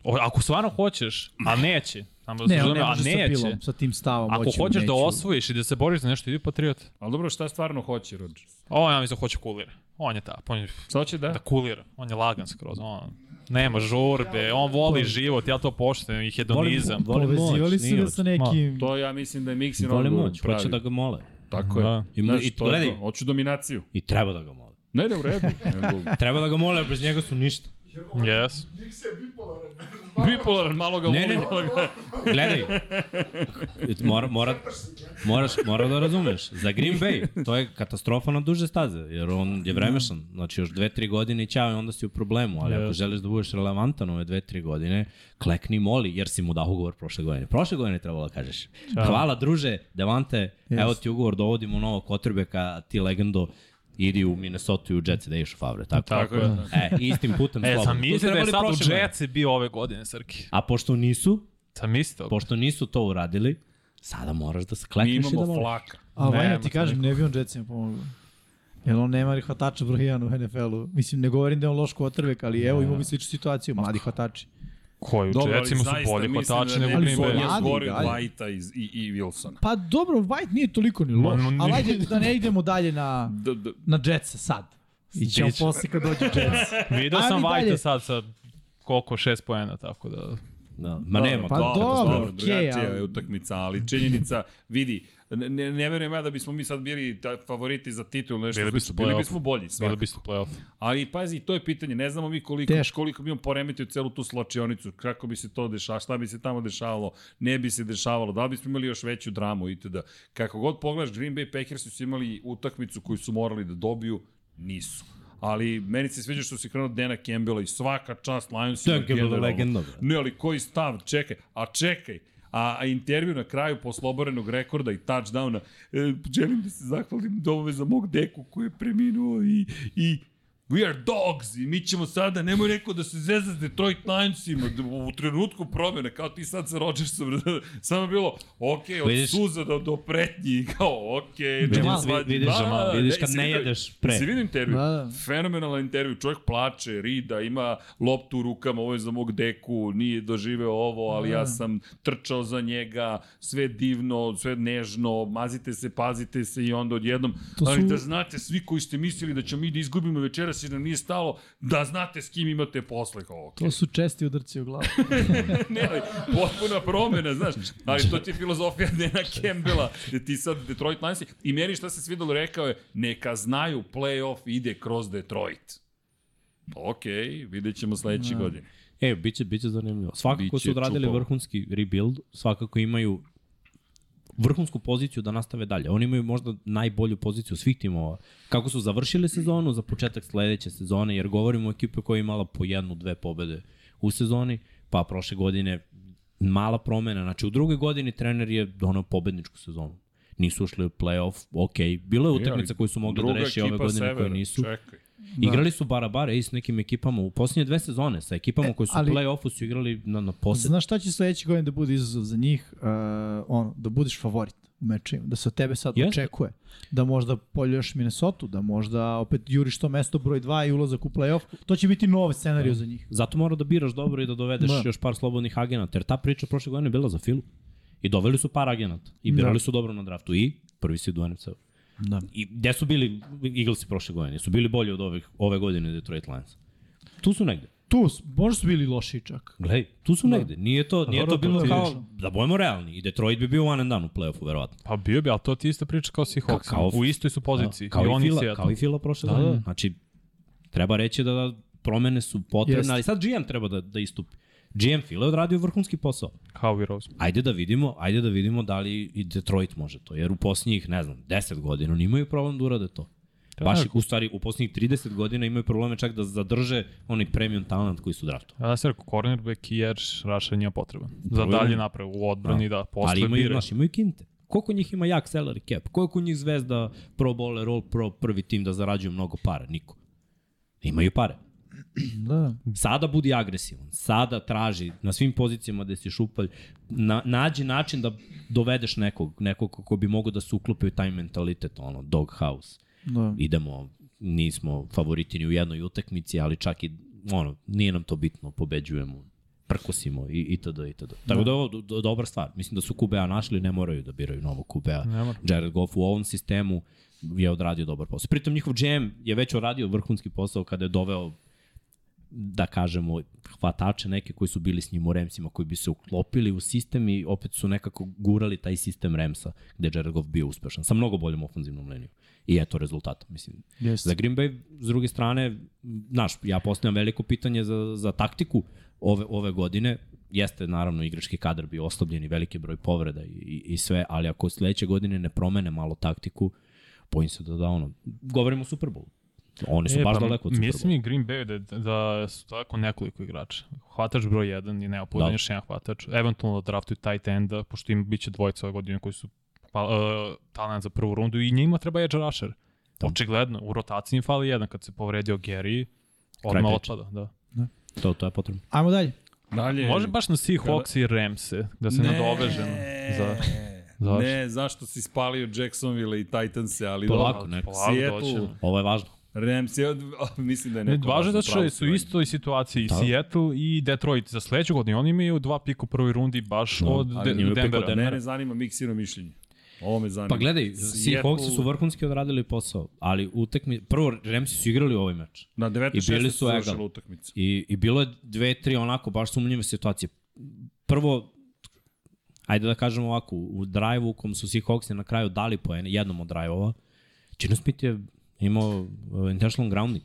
S4: O, ako stvarno hoćeš, a neće, samo da se
S3: Ne, on
S4: razume,
S3: ne
S4: a
S3: može sa
S4: neće,
S3: pilom, sa tim stavom.
S4: ako
S3: hoću,
S4: hoćeš
S3: neću.
S4: da osvojiš i da se boriš za nešto, idu u Patriot.
S1: Ali dobro, šta stvarno hoće, Rodger?
S4: O, ja mislim da hoće kulira. On je tap, on je
S1: Šta hoće da?
S4: da kulira, on je lagan skroz, on nema žurbe, on voli život, ja to poštujem, i hedonizam.
S5: Voli moć,
S3: Povezivali su
S5: nije
S3: ga sa nekim...
S1: To ja mislim da je Mixin
S5: Vole
S1: odgovor
S5: moć,
S1: pravi.
S5: hoće da ga mole.
S1: Tako je.
S4: Da.
S5: I-
S1: Znaš,
S5: i-
S1: to je
S5: gledaj.
S1: to. Hoću dominaciju.
S5: I treba da ga mole.
S1: Ne, ne, u redu. Nego,
S5: Treba da ga mole, bez njega su ništa.
S4: Yes.
S1: Bipolaran, malo ga
S5: Ne,
S1: volim.
S5: ne. Gledaj, mora, mora, moraš, mora da razumeš. Za Green Bay, to je katastrofa na duže staze, jer on je vremešan. Znači, još dve, tri godine i ćao i onda si u problemu. Ali ako
S4: Jeste.
S5: želiš da budeš relevantan ove dve, tri godine, klekni moli, jer si mu dao ugovor prošle godine. Prošle godine je trebalo da kažeš. Hvala, druže, Devante, evo ti ugovor, dovodimo novog kotrbeka, ti legendo, idi u Minnesota i u Jetsi da ideš u Favre. Tako,
S1: Tako je.
S5: E, istim putem
S4: E,
S5: slobodno.
S4: sam
S5: To
S4: mislio da je
S5: trebali
S4: sad
S5: prošle
S4: u
S5: godine.
S4: Jetsi bio ove godine, Srki.
S5: A pošto nisu,
S4: Sam mislio.
S5: pošto nisu to uradili, sada moraš da se
S1: Mi
S5: klekneš i da
S1: imamo
S5: voliš.
S1: flaka.
S3: A
S4: Ne,
S3: Vanja
S4: ma
S3: ti
S4: to
S3: kažem, ne bi on Jetsima pomogao. Jer on nema ni hvatača broj 1 u NFL-u. Mislim, ne govorim da je on loš kotrvek, ali evo imamo mi sličnu situaciju, mladi hvatači.
S4: Koji u Jetsi mu su bolji kotači
S5: da
S4: nego u Green
S3: Ali
S4: Bay.
S3: Mladi,
S1: Zgori od
S3: dalje.
S1: Whitea i, i, i Wilsona.
S3: Pa dobro, White nije toliko ni loš,
S4: Ma, no,
S3: ali
S4: ni-
S3: ajde da ne idemo dalje na,
S1: Da, da,
S3: na Jetsa sad. I ćemo
S4: Stići. <laughs>
S3: posle kad dođu Jetsa.
S4: Video
S3: Ali
S4: sam
S3: dalje.
S4: Vajta sad sa koliko, šest poena, tako da...
S5: Da. Ma nema,
S3: pa
S5: kao-
S3: dobro,
S1: dobro,
S3: okej,
S1: drugačija
S3: ali-
S1: je utakmica, ali činjenica, vidi, ne, ne ne verujem ja da bismo mi sad bili ta, favoriti za titul, nešto
S4: Bili
S1: bili,
S4: biste
S1: bismo, bili
S4: play-off.
S1: bismo bolji,
S4: Bili
S1: svakako.
S4: biste play-off.
S1: Ali pazi, to je pitanje, ne znamo mi koliko,
S3: Teško.
S1: koliko bi on poremetio celu tu slačionicu, kako bi se to dešavalo, šta bi se tamo dešavalo, ne bi se dešavalo, da li bismo imali još veću dramu itd. Kako god pogledaš, Green Bay Packers su imali utakmicu koju su morali da dobiju, nisu. Ali meni se sviđa što si krenuo od Dana Campbella i svaka čast Lions
S5: To je Campbell legenda, bre.
S1: Ne, ali koji stav, čekaj, a čekaj, a, a intervju na kraju posle oborenog rekorda i touchdowna, e, želim da se zahvalim domove za mog deku koji je preminuo i, i We are dogs i mi ćemo sada, nemoj rekao da se zezda s Detroit Lionsima da u trenutku promjene, kao ti sad sa <laughs> Rodgersom, samo je bilo, ok, od
S5: Vidiš-
S1: suza do, do pretnji, <laughs> kao ok, Da, nema
S5: vi-
S1: svadnje.
S5: vidiš, Jamal, vidiš kad
S1: jesi
S5: ne
S1: vidio-
S5: jedeš pre.
S1: jesi vidio intervju?
S3: Da, da.
S1: Fenomenalan intervju, čovjek plače, rida, ima loptu u rukama, ovo je za mog deku, nije doživeo ovo, ali
S3: Da.
S1: ja sam trčao za njega, sve divno, sve nežno, mazite se, pazite se i onda odjednom,
S3: To su-
S1: ali da znate, svi koji ste mislili da ćemo mi da izgubimo večeras jer nam nije stalo, da znate s kim imate posle, kao okej.
S3: To su česti udarci u glavu.
S1: Ne, ali potpuna promena, znaš. Ali to ti je filozofija <laughs> Dena Campbella, gde ti sad Detroit Lions. I meni šta se svidalo rekao je, neka znaju playoff ide kroz Detroit. Ok, vidjet ćemo sledeće
S4: Da.
S1: godine.
S5: E, biće, biće zanimljivo. Svakako
S1: Biće
S5: su odradili
S1: čupavo.
S5: vrhunski rebuild, svakako imaju vrhunsku poziciju da nastave dalje. Oni imaju možda najbolju poziciju svih timova. Kako su završili sezonu za početak sledeće sezone, jer govorimo o ekipi koja je imala po jednu, dve pobede u sezoni, pa prošle godine mala promena. Znači, u drugoj godini trener je donao pobedničku sezonu. Nisu ušli u play-off, ok. Bilo je utakmica koju su mogli da
S1: E, Druga
S5: reši ove
S1: ekipa
S5: godine koje
S1: severa,
S5: nisu.
S1: Čekaj.
S5: Da. Igrali su bara-bara i s nekim ekipama u posljednje dve sezone, sa ekipama e,
S3: E,
S5: koje su ali,
S3: ali-
S5: u play-offu su igrali na, na posljednje.
S3: Znaš šta će sledeće godine da bude izazov za njih? Uh, ono, da budeš favorit u mečima, da se od tebe sad
S5: Jeste.
S3: očekuje. Da možda poljuješ Minnesota, da možda opet juriš to mesto broj 2 i ulazak u play-off. To će biti novi scenariju za njih.
S5: Zato mora da biraš dobro i da dovedeš da.
S3: Da.
S5: još par slobodnih agenata, jer ta priča prošle godine je bila za Filu. I doveli su par agenata. I birali
S3: Da.
S5: da. su dobro na draftu. I prvi si u NFC.
S3: Da.
S5: I gde su bili Eaglesi prošle godine? Su bili bolji od ove, ove godine Detroit Lions. Tu su negde.
S3: Tu, s- možda su bili loši čak.
S5: Glej, tu su negde. Nije to, nije to
S3: dobro,
S5: bilo
S3: to ti
S5: kao,
S3: ideš.
S5: da bojemo realni. I Detroit bi bio one and done u play-offu, verovatno.
S4: Pa bio bi, ali to ti je ista priča kao svi
S5: Ka- kao- da,
S4: Hawks. U istoj su poziciji.
S5: Kao,
S4: I
S5: kao, i
S4: oni
S5: Fila,
S4: Seattle.
S5: kao i Fila prošle
S4: Da,
S5: godine.
S4: da.
S5: Znači, treba reći da, da promene su potrebne,
S3: Jeste.
S5: ali sad GM treba da, da istupi. GM Fila je odradio vrhunski posao.
S4: Kao i Rose.
S5: Ajde da vidimo, ajde da vidimo da li i Detroit može to, jer u posljednjih, ne znam, 10 godina oni imaju problem da urade to.
S4: Pa
S5: Baš,
S4: da.
S5: u stvari, u posljednjih 30 godina imaju probleme čak da zadrže onaj premium talent koji su draftovali.
S4: Ja sam rekao, cornerback i edge rusher njima potreban. Za
S5: Upravo.
S4: dalje napravu u odbrani, da, posle
S5: Ali imaju,
S4: biraju.
S5: znaš, imaju kinte. Koliko njih ima jak salary cap? Koliko njih zvezda pro bowler, all pro, prvi tim da zarađuju mnogo para? Niko. Imaju pare.
S3: Da.
S5: Sada budi agresivan, sada traži na svim pozicijama da si šupalj, na, nađi način da dovedeš nekog, nekog ko bi mogao da se uklopi u taj mentalitet, ono, dog house.
S3: da.
S5: Idemo, nismo favoriti ni u jednoj utakmici, ali čak i, ono, nije nam to bitno, pobeđujemo, prkosimo i, i td. i td. Tako da je ovo do, do, dobra stvar. Mislim da su Kubea našli, ne moraju da biraju novog Kubea.
S4: Ne mora.
S5: Jared Goff u ovom sistemu je odradio dobar posao. Pritom njihov GM je već odradio vrhunski posao kada je doveo da kažemo, hvatače neke koji su bili s njim u Remsima, koji bi se uklopili u sistem i opet su nekako gurali taj sistem Remsa, gde je Jared Goff bio uspešan, sa mnogo boljom ofenzivnom linijom. I eto rezultata, mislim.
S3: Jeste.
S5: Za Green Bay, s druge strane, znaš, ja postavljam veliko pitanje za, za taktiku ove, ove godine. Jeste, naravno, igrački kadar bio oslabljen i veliki broj povreda i, i, i sve, ali ako sledeće godine ne promene malo taktiku, bojim se da da ono, govorimo o Super Bowlu. Oni su e, baš pa, daleko od Super
S4: Mislim
S5: Bowla.
S4: i Green Bay da, da su tako nekoliko igrača. Hvatač broj 1 je neophodan
S5: Da.
S4: da. još jedan hvatač. Eventualno da draftuju tight enda, pošto im biće dvojica ove godine koji su pa, uh, talent za prvu rundu i njima treba edge rusher.
S5: Da.
S4: Očigledno, u rotaciji im fali jedan kad se povredio Gary, odmah
S5: priče.
S4: otpada. Da.
S5: To, to je potrebno.
S3: Ajmo dalje.
S1: Dalje.
S4: Može baš na Seahawks i Ramse, da se nadovežemo. Za, Zašto?
S1: Ne, zašto si spalio Jacksonville i Titanse, ali
S5: Polako,
S1: dobro.
S5: ne.
S4: Polako
S1: Seattle.
S4: doćemo.
S5: Ovo je važno.
S1: Rams <laughs> je, mislim da je
S4: Ne,
S1: neko...
S4: važno je zato što
S1: pravo
S4: su
S1: si,
S4: u istoj situaciji da. Seattle i Detroit za sledeću godinu. Oni imaju dva pika u prvoj rundi baš
S5: Da,
S4: od
S5: ali
S4: De
S5: imaju pik od
S4: Denvera.
S5: Denvera.
S1: Mene zanima miksino mišljenje. Ovo me zanima.
S5: Pa gledaj,
S1: Seattle-
S5: Seahawksi su vrhunski odradili posao, ali utakmi... Prvo, Remsi su igrali ovaj meč.
S1: Na 19.
S5: I bili su
S1: završila
S5: egal.
S1: utakmica.
S5: I, I bilo je dve, tri onako baš sumnjive situacije. prvo, ajde da kažem ovako, u drive-u u kom su Seahawks na kraju dali poene, jednom od drive-ova, Gino Smith je imao uh, intentional grounding.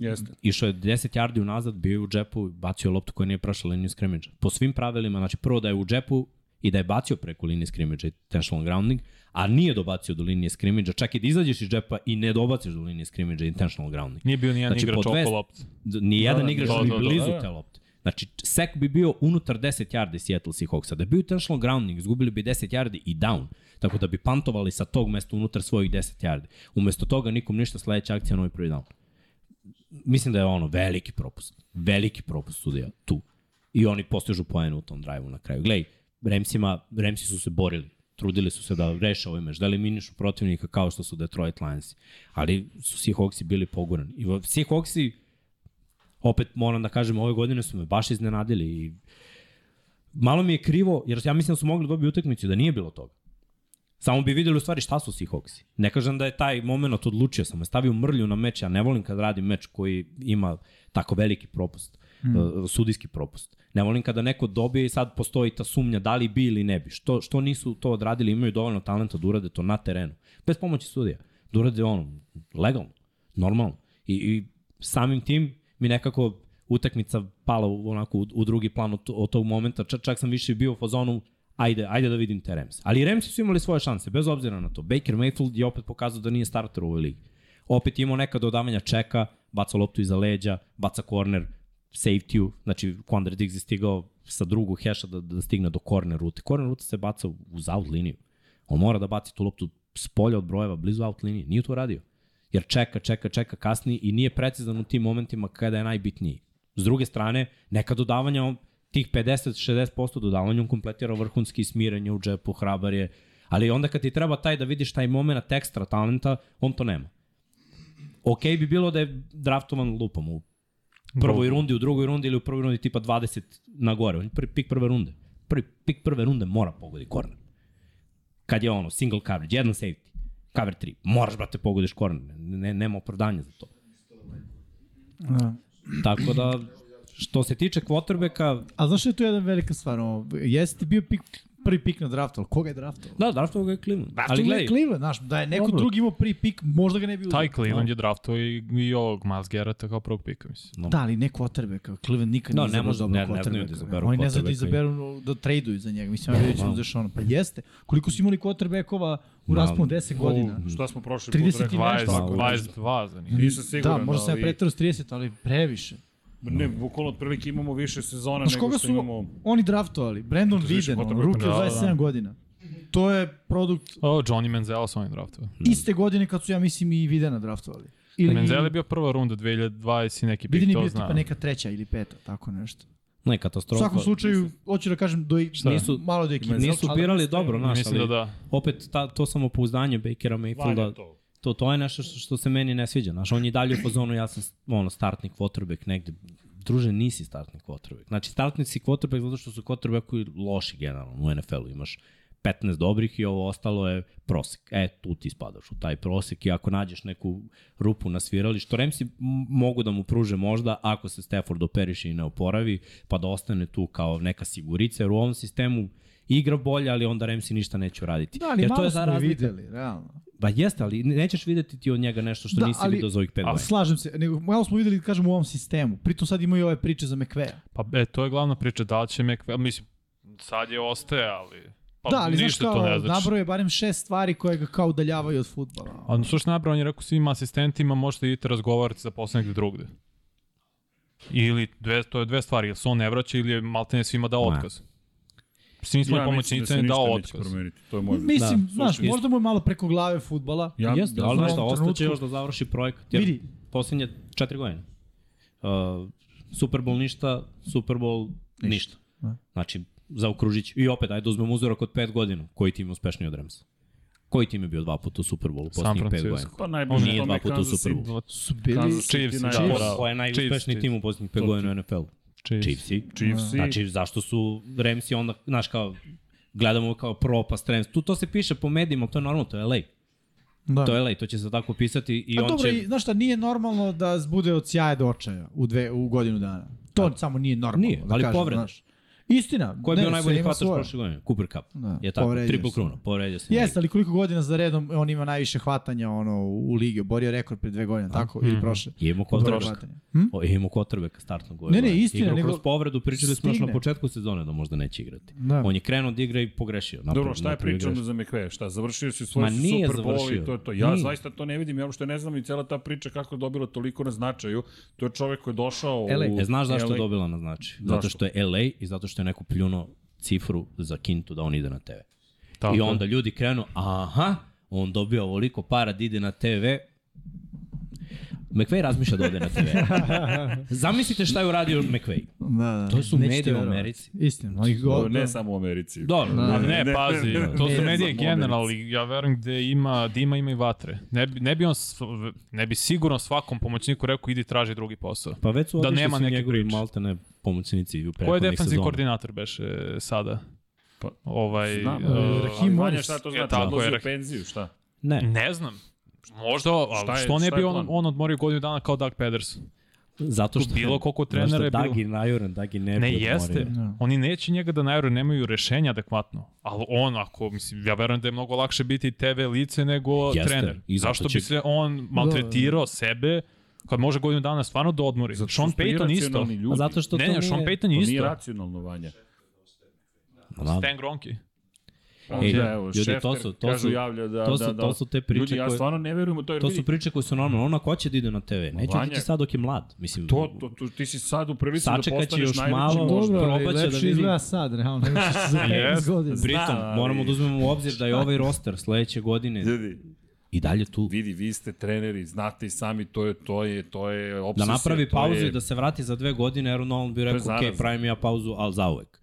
S1: Jeste.
S5: Išao je 10 yardi unazad, bio je u džepu, bacio je loptu koja nije prošla liniju skrimidža. Po svim pravilima, znači prvo da je u džepu i da je bacio preko linije skrimidža intentional grounding, a nije dobacio do linije skrimidža, čak i da izađeš iz džepa i ne dobaciš do linije skrimidža intentional grounding.
S4: Nije bio nijedan
S5: Znači,
S4: znači, igrač
S5: po dve-
S4: oko lopte.
S5: D- Ni jedan igrač
S1: da,
S5: da, bi
S1: da, da,
S5: blizu
S1: da, da.
S5: te lopte. Znači, sek bi bio unutar 10 yardi Seattle Seahawksa. Da je bio intentional grounding, izgubili bi 10 yardi i down. Tako da bi pantovali sa tog mesta unutar svojih 10 yardi. Umesto toga nikom ništa sledeća akcija novi prvi down. Mislim da je ono veliki propust. Veliki propust studija tu. I oni postižu poen u tom drive-u na kraju. Glej, Remsima, Remsi su se borili. Trudili su se da reše ovaj meč, da eliminišu protivnika kao što su Detroit Lions. Ali su Seahawksi bili pogurani. I Seahawksi opet moram da kažem, ove godine su me baš iznenadili i malo mi je krivo, jer ja mislim da su mogli dobiti utakmicu, da nije bilo toga. Samo bi videli u stvari šta su Seahawksi. Ne kažem da je taj moment odlučio sam, stavio mrlju na meč, ja ne volim kad radim meč koji ima tako veliki propust, mm. sudijski propust. Ne volim kada neko dobije i sad postoji ta sumnja da li bi ili ne bi. Što, što nisu to odradili, imaju dovoljno talenta da urade to na terenu. Bez pomoći sudija. Da urade ono, legalno, normalno. I, i samim tim mi nekako utakmica pala u, onako u, u drugi plan od, od tog momenta. Čak, čak sam više bio u fazonu ajde, ajde da vidim te Rams. Ali Ramsi su imali svoje šanse, bez obzira na to. Baker Mayfield je opet pokazao da nije starter u ovoj ligi. Opet je imao neka dodavanja čeka, baca loptu iza leđa, baca corner, safety-u, znači Quandre Diggs je stigao sa drugog heša da, da stigne do corner rute. Corner rute se baca u- uz out liniju. On mora da baci tu loptu s polja od brojeva, blizu out linije. Nije to radio. Jer čeka, čeka, čeka kasni i nije precizan u tim momentima kada je najbitniji. S druge strane, neka dodavanja on- tih 50-60% dodavanja on kompletira vrhunski smiranje u džepu, hrabar je. Ali onda kad ti treba taj da vidiš taj moment ekstra talenta, on to nema. Ok bi bilo da je draftovan lupom u prvoj rundi, u drugoj rundi ili u prvoj rundi tipa 20 na gore. On je prvi pik prve runde. Prvi pik prve runde mora pogodi korner. Kad je ono, single coverage, jedan safety, cover 3. Moraš, brate, pogodiš korner. Ne, nema opravdanja za to.
S3: Da.
S5: Tako da, što se tiče quarterbacka,
S3: A znaš što je tu jedna velika stvar? Ono, jesi ti bio pik, prvi pik na draftu, ali koga je draftovao?
S5: da, draftovo ga je Cleveland. Ali
S3: Ali gledaj,
S5: gledaj,
S3: Cleveland, znaš, da je neko
S4: Dobro.
S3: drugi imao prvi pik, možda ga ne bi uzeo.
S4: Taj Cleveland je drafto i, i ovog Miles Garretta kao prvog pika, mislim.
S3: Da, ali ne quarterbacka. Cleveland nikad
S5: No,
S3: nije izabrao
S5: ne može-
S3: dobro
S5: ne- ne znaju da izaberu
S3: Oni ne znaju da
S5: quarterbacka i-
S3: izaberu, da traduju za njega. Mislim, ja
S5: da.
S3: vidjet ćemo zašto ono. Pa jeste. Koliko su imali quarterbackova u
S5: Ma,
S3: rasponu 10 godina?
S1: O, šta smo prošli
S3: 30
S1: put
S3: i
S1: rekli?
S3: nešto.
S4: 20,
S3: Tako,
S4: 22 za njih.
S1: Nisam siguran.
S3: Da, možda sam ja
S1: ali-
S3: pretrao s 30, ali previše.
S1: Ne, bukvalno otprilike imamo više sezona
S3: Znaš
S1: nego
S3: koga
S1: što
S3: su
S1: imamo...
S3: oni draftovali? Brandon
S1: više
S3: Viden, on,
S1: quarterbacka,
S3: ruke
S1: da,
S3: od
S1: da,
S3: 27
S1: da.
S3: godina. To je produkt
S4: O, Johnny Manziel sa ovim draftom.
S5: Da.
S3: iste godine kad su, ja mislim, i Videna draftovali. Ili,
S4: Menzel je bio prva runda 2020 i neki
S3: Viden
S4: pik,
S3: je
S4: to
S3: bio
S4: zna.
S3: tipa neka treća ili peta, tako nešto.
S5: ne,
S3: U
S5: katastrofa.
S3: svakom slučaju, hoću da kažem, do, nisu,
S5: Nisu-
S3: malo do ekipe.
S5: Nisu birali dobro, znaš,
S4: Mislim
S5: ali
S4: da da.
S5: opet ta, to samopouzdanje Bakera Mayfielda,
S1: Valja to.
S5: to, to je nešto što, što se meni ne sviđa. Znaš, on je i dalje u fazonu, ja sam ono, startni quarterback negde. Druže, nisi startni quarterback. Znači, startni si quarterback zato što su quarterbackovi loši generalno u NFL-u. Imaš 15 dobrih i ovo ostalo je prosek. E, tu ti spadaš u taj prosek i ako nađeš neku rupu na sviralištu, Remsi m- mogu da mu pruže možda ako se Stafford operiše i ne oporavi, pa da ostane tu kao neka sigurica, jer u ovom sistemu igra bolje, ali onda Remsi ništa neće uraditi.
S3: Da, ali
S5: jer
S3: malo smo i
S5: razlika-
S3: videli, realno.
S5: Ba Pa jeste, ali nećeš videti ti od njega nešto što
S3: Da,
S5: da, nisi
S3: ali-
S5: vidio za ovih pet
S3: A,
S5: godina.
S3: slažem se, nego malo smo videli, kažem, u ovom sistemu. Pritom sad imaju ove priče za McVeja.
S4: Pa e, to je glavna priča, da li će McVay, mislim, sad je ostaje, ali... Pa,
S3: da, ali znaš
S4: ništa to
S3: kao,
S4: ne znači.
S3: nabrao je barem šest stvari koje ga kao udaljavaju od futbala.
S4: A no, slušaj, nabrao, on je rekao svim asistentima možete idete razgovarati za posle negde drugde. Ili, dve, to je dve stvari, ili se on ne vraća ili je maltene svima dao
S5: Ne.
S4: otkaz. Svim
S1: da
S4: svojim pomoćnicima je dao otkaz.
S1: promeniti, to je moj...
S3: Mislim,
S5: Da,
S3: znaš,
S5: slušaj,
S3: možda mu je malo preko glave futbala.
S1: Ja-
S5: Jeste,
S1: da,
S5: ali
S3: u
S5: nešto,
S3: ovom
S5: ostaće
S3: trenutku-
S5: još da završi projekat. Jer
S3: Vidi.
S5: Poslednje četiri godine. Uh, Super Bowl ništa, Super Bowl ništa. ništa.
S3: Da.
S5: Znači, zaokružit ću. I opet, ajde da uzmem uzorak od pet godina. Koji tim je uspešniji od Ramsa? Koji tim je bio dva puta u Super Bowl u
S4: San
S5: poslednjih pet
S4: Francisco.
S5: godina?
S1: Pa najbolje
S5: Nije dva puta u Super Bowlu.
S3: Su bili...
S1: Kansas
S4: Chiefs i
S1: City
S4: Chiefs.
S1: najbolje.
S5: Ko je
S4: Chiefs,
S5: najuspešniji
S4: da. Chiefs.
S5: tim u poslednjih pet godina u NFL-u?
S4: Chiefs.
S5: Chiefsi.
S1: Chiefs i...
S5: Znači, zašto su Remsi onda, znaš, kao, gledamo kao propast Remsi. Tu to se piše po medijima, to je normalno, to je LA.
S3: Da.
S5: To je LA, to će se tako pisati i
S3: A
S5: on
S3: Pa dobro,
S5: će...
S3: i, znaš šta, nije normalno da bude od sjaja do očaja u, dve, u godinu dana. To samo nije normalno.
S5: Nije,
S3: da
S5: ali
S3: kažem,
S5: povrede.
S3: Znaš. Istina.
S5: Ko je bio
S3: ne, sve
S5: najbolji
S3: ima
S5: hvatač
S3: svoje.
S5: prošle godine? Cooper Cup.
S3: Da,
S5: je tako,
S3: povredio
S5: triple
S3: se.
S5: kruna, povredio se.
S3: Jes, ali koliko godina za redom on ima najviše hvatanja ono, u ligi, oborio je rekord pre dve godine,
S5: Mhm.
S3: tako, ili prošle.
S5: Je imao
S3: Broja
S5: kotrbeka.
S3: hvatanja. Hm?
S5: O, je imao kotrbeka startnog ove
S3: Ne, ne,
S5: godine.
S3: istina,
S5: Igrao
S3: nego-
S5: kroz povredu, pričali smo još na
S3: Stigne.
S5: početku sezone da možda neće igrati.
S3: Da.
S5: On je krenuo da igra i pogrešio. Napravo,
S1: Dobro, šta je pričano za McVeigh? Šta, završio si svoj
S5: Ma, nije
S1: Super Bowl
S5: završio.
S1: i to je to. Ja
S5: Nije.
S1: zaista to ne vidim, ja uopšte ne znam i cela ta priča kako je dobila toliko na značaju. To je čovek koji je došao
S3: LA.
S1: u...
S5: E, znaš zašto
S1: LA.
S5: je dobila na znači?
S1: Zašto?
S5: Zato što je LA i zato što je neko pljuno cifru za Kintu da on ide na TV.
S4: Tako.
S5: I onda ljudi krenu, aha, on dobio ovoliko para da ide na TV. McVay razmišlja da ode na TV. Zamislite šta je uradio McVay.
S3: Da, da.
S5: To su
S3: Nećete
S5: mediji u
S3: verovati.
S5: Americi.
S3: Istina. Oni
S1: Dobro,
S3: go,
S1: ne
S3: ne,
S1: samo u Americi.
S5: Dobro,
S4: Ma
S5: da,
S4: ne, pazi, to
S1: Ne,
S4: su medije
S1: znam,
S4: generalno, i ja verujem gde ima dima, ima i vatre. Ne bi, ne bi, on, sv- ne bi sigurno svakom pomoćniku rekao idi traži drugi posao.
S5: pa već su
S4: Da
S5: otišli
S4: nema
S5: svi
S4: neke
S5: njegovi
S4: priče.
S5: maltene pomoćnici u
S4: Ko je
S5: prethodnih
S4: defensivni
S5: sezona.
S4: koordinator beše sada?
S1: Pa,
S4: ovaj,
S1: Znam,
S4: e,
S1: ali
S3: Raheem
S1: Vanja,
S3: Morris.
S1: šta to
S4: E,
S1: znači?
S4: tako je,
S1: Odlazio u
S4: Raheem.
S1: penziju, šta?
S5: Ne,
S4: ne znam. Možda,
S1: Šta
S4: ali
S1: je-
S4: što ne
S1: šta
S4: bi
S1: je
S4: on,
S1: plan?
S4: on odmorio godinu dana kao Doug Pederson?
S5: zato što...
S4: Bilo koliko
S5: Znaš
S4: trenera je
S5: šta,
S4: bilo.
S5: Dagi najuran, Dagi ne bi
S4: Ne,
S5: odmorio.
S4: jeste.
S3: Da.
S4: Oni neće njega da najore nemaju rešenja adekvatno. Ali on, ako, mislim, ja verujem da je mnogo lakše biti TV lice nego
S5: Jeste.
S4: trener.
S5: I zato
S4: Zašto
S5: će-
S4: bi se on maltretirao sebe kad može godinu dana stvarno da odmori?
S1: Zato što
S4: Sean
S1: su to
S4: Payton isto.
S1: iracionalni ljudi.
S5: A zato što
S4: ne,
S5: to
S4: ne, Sean
S5: nije-
S4: Payton je
S1: To Pa nije
S4: isto.
S1: racionalno, Vanja.
S5: E, Ma da.
S4: Stan Gronki.
S5: Ej,
S1: Onda, evo,
S5: da, ljudi,
S1: Šefter,
S5: to su- to
S1: kažu,
S5: su-
S1: javlja da,
S5: to su-
S1: da, da,
S5: to su te priče
S1: Ljudi, ja
S5: koje-
S1: stvarno ne verujem u to, jer
S5: To
S1: vidi,
S5: su priče koje su normalno, ono ko će da ide na TV, neće
S1: Vanja-
S5: otići sad dok je mlad. Mislim,
S1: To, to, to, ti si sad u prilici da
S5: Sačekat će
S1: postaneš
S5: još
S1: najveći
S5: malo.
S1: možda.
S5: Dobro,
S3: Dobro,
S5: probat će da
S3: lepše
S5: vidi.
S3: izgleda sad, realno, nego što se za 15
S4: Jeste.
S3: godina.
S5: Pritom,
S1: Znam, ali-
S5: moramo da uzmemo u obzir da je ovaj roster sledeće godine
S1: Ljudi,
S5: i dalje tu.
S1: vidi, vi ste treneri, znate i sami, to je, to je, to je
S5: Da
S1: obsesija.
S5: napravi
S1: to
S5: pauzu
S1: je,
S5: i da se vrati za dve godine, jer on bi rekao,
S1: zarazno.
S5: ok, pravim ja pauzu, ali zauvek.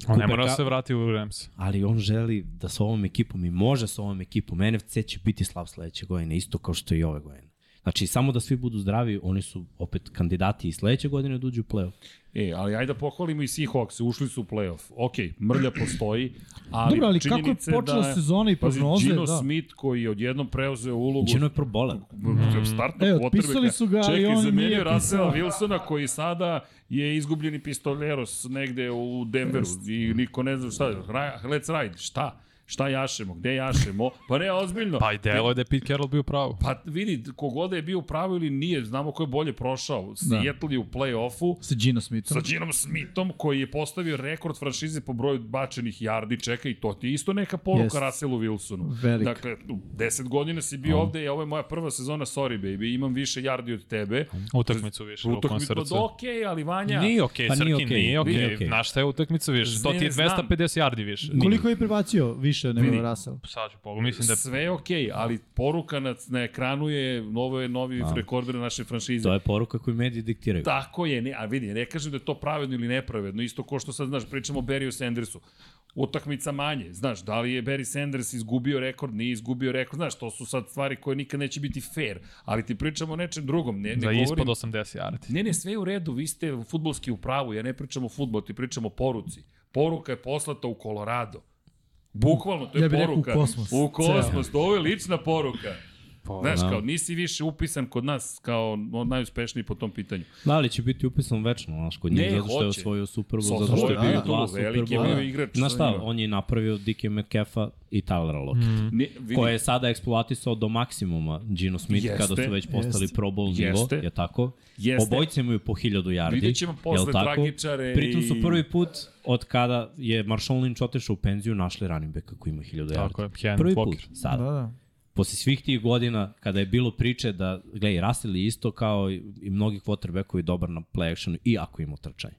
S4: On ne
S5: Cooper
S4: mora da
S5: Cup-
S4: se vrati u Rams.
S5: Ali on želi da sa ovom ekipom i može sa ovom ekipom. NFC će biti slav sledeće godine, isto kao što i ove godine. Znači, samo da svi budu zdravi, oni su opet kandidati i sledeće godine da uđu u play-off.
S1: E, ali ajde da pohvalimo i Seahawks, ušli su u play-off. Ok, mrlja postoji, ali
S3: Dobro, ali kako je
S1: činjenica
S3: počela
S1: da,
S3: sezona i
S1: Pazi,
S3: prognoze,
S1: Gino
S3: da.
S1: Smith koji je odjednom preuzeo ulogu
S5: Gino je probolan.
S1: Mm. Startno
S3: E, otpisali su ga, ali on nije
S1: zamenio Rasela
S3: pisao.
S1: Wilsona koji sada je izgubljeni pistoljeros negde u Denveru i niko ne zna šta je. Ra- Let's ride, šta? Šta jašemo? Gde jašemo? Pa ne, ozbiljno.
S4: Pa i delo je da je Pete Carroll bio pravo.
S1: Pa vidi, kogoda je bio u pravu ili nije, znamo ko je bolje
S4: Da.
S1: prošao. Seattle je u play-offu
S3: Sa Gino Smithom.
S1: sa Ginom Smithom koji je postavio rekord franšize po broju bačenih yardi, čeka i to ti je isto neka poruka
S3: Jest.
S1: yes. Russellu Wilsonu.
S3: Velika.
S1: Dakle, 10 godina si bio ovde i ovo je moja prva sezona, sorry baby, imam više yardi od tebe.
S4: Utakmicu više.
S1: Utok mi to
S4: Utakmicu
S1: okej, okay, ali Vanja...
S4: Nije okej,
S5: Pa
S4: okay,
S5: nije
S4: Srki,
S5: okej,
S4: nije okej.
S5: nije
S4: Okay.
S5: okej.
S4: Znaš šta je utakmica više? To
S1: Ne,
S4: ti je
S1: znam.
S4: 250 yardi više.
S3: Koliko je prebacio više nego
S1: Vidi.
S3: Russell?
S4: Sad ću pogledati, mislim da je
S1: Sve je okej, okay, ali poruka na, na ekranu je novo je novi
S5: Da.
S1: rekorder naše franšize.
S5: To je poruka koju mediji diktiraju.
S1: Tako je, ne, a vidi, ne kažem da je to pravedno ili nepravedno, isto ko što sad, znaš, pričamo o Barryu Sandersu. Utakmica manje, znaš, da li je Barry Sanders izgubio rekord, nije izgubio rekord, znaš, to su sad stvari koje nikad neće biti fair, ali ti pričamo o nečem drugom, ne, ne
S4: za
S1: govorim...
S4: da ispod 80 yardi.
S1: Ne, ne, sve je u redu, vi ste futbolski u pravu, ja ne pričam o futbolu, ti pričam o poruci. Poruka je poslata u Kolorado. Bukvalno, to je
S3: Ja bih rekao u
S1: poruka.
S3: kosmos.
S1: U kosmos, ovo je lična poruka.
S4: Pa,
S1: Znaš,
S4: da.
S1: kao, nisi više upisan kod nas kao on najuspešniji po tom pitanju.
S5: Da li će biti upisan večno, znaš, kod
S1: Ne,
S5: njih, zato što je
S1: hoće.
S5: osvojio Super
S1: Sa
S5: Bowl, zato što je
S3: osvojio
S5: bio
S3: je
S5: dva
S1: tu,
S5: Super
S1: veliki je bio
S5: Bowl.
S1: igrač,
S5: Znaš
S1: sa
S5: šta,
S1: njima.
S5: on je napravio Dickie Metcalfa i Tylera Locke, mm.
S1: Ne, vidi,
S5: koje je sada eksploatisao do maksimuma Gino Smith
S1: Jeste,
S5: jeste, kada su već postali
S3: jeste.
S5: jeste, Pro Bowl nivo,
S1: Jeste.
S5: je tako?
S1: Jeste.
S5: Obojice imaju po hiljadu yardi.
S1: Vidjet ćemo posle
S5: jel tako?
S1: tragičare
S5: Pritom su
S1: i-
S5: prvi put od kada je Marshawn Lynch otišao u penziju našli running backa koji ima hiljadu yardi.
S4: Tako je, Ken
S5: prvi
S4: Walker.
S5: put, sada
S3: Da, da.
S5: posle svih tih godina kada je bilo priče da, gledaj, Russell je isto kao i, i mnogi quarterbackovi dobar na play actionu, i ako ima trčanje.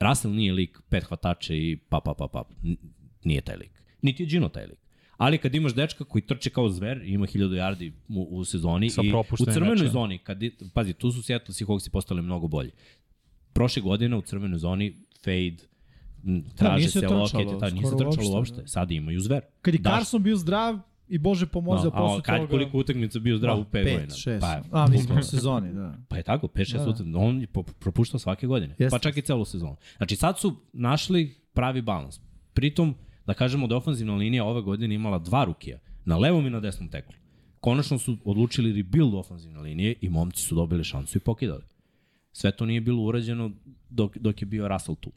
S5: Russell nije lik pet hvatača i pa, pa, pa, pa. N- Nije taj lik. Niti je Gino taj lik. Ali kad imaš dečka koji trče kao zver, ima 1000 yardi u, u sezoni
S4: Sa
S5: i u
S4: propuštenim
S5: crvenoj
S4: mečem.
S5: zoni, kad, je- pazi, tu su Seattle Seahawks postali mnogo bolji. Prošle godine u crvenoj zoni fade, m, traže
S3: Da, nije se
S5: se
S3: trčalo,
S5: lokete, ta, nije se
S3: skoro
S5: trčalo
S3: uopšte,
S5: uopšte.
S3: da.
S5: Sad imaju zver.
S3: Kad je
S5: Daš
S3: Carson bio zdrav i Bože pomozao
S5: a
S3: posle
S5: kad
S3: toga...
S5: koliko utakmica bio zdrav u 5 godina?
S3: 5, 6.
S5: Pa,
S3: A, mislim, u sezoni, da.
S5: pa je tako, 5-6
S3: Da.
S5: da. utakmica. On je po- propuštao svake godine.
S3: Jeste.
S5: Pa čak i celu sezonu. Znači sad su našli pravi balans. Pritom, da kažemo da je ofanzivna linija ove godine imala dva rukija. Na levom i na desnom teklu. Konačno su odlučili rebuild ofanzivne linije i momci su dobili šansu i pokidali. Sve to nije bilo urađeno dok, dok je bio Russell tu.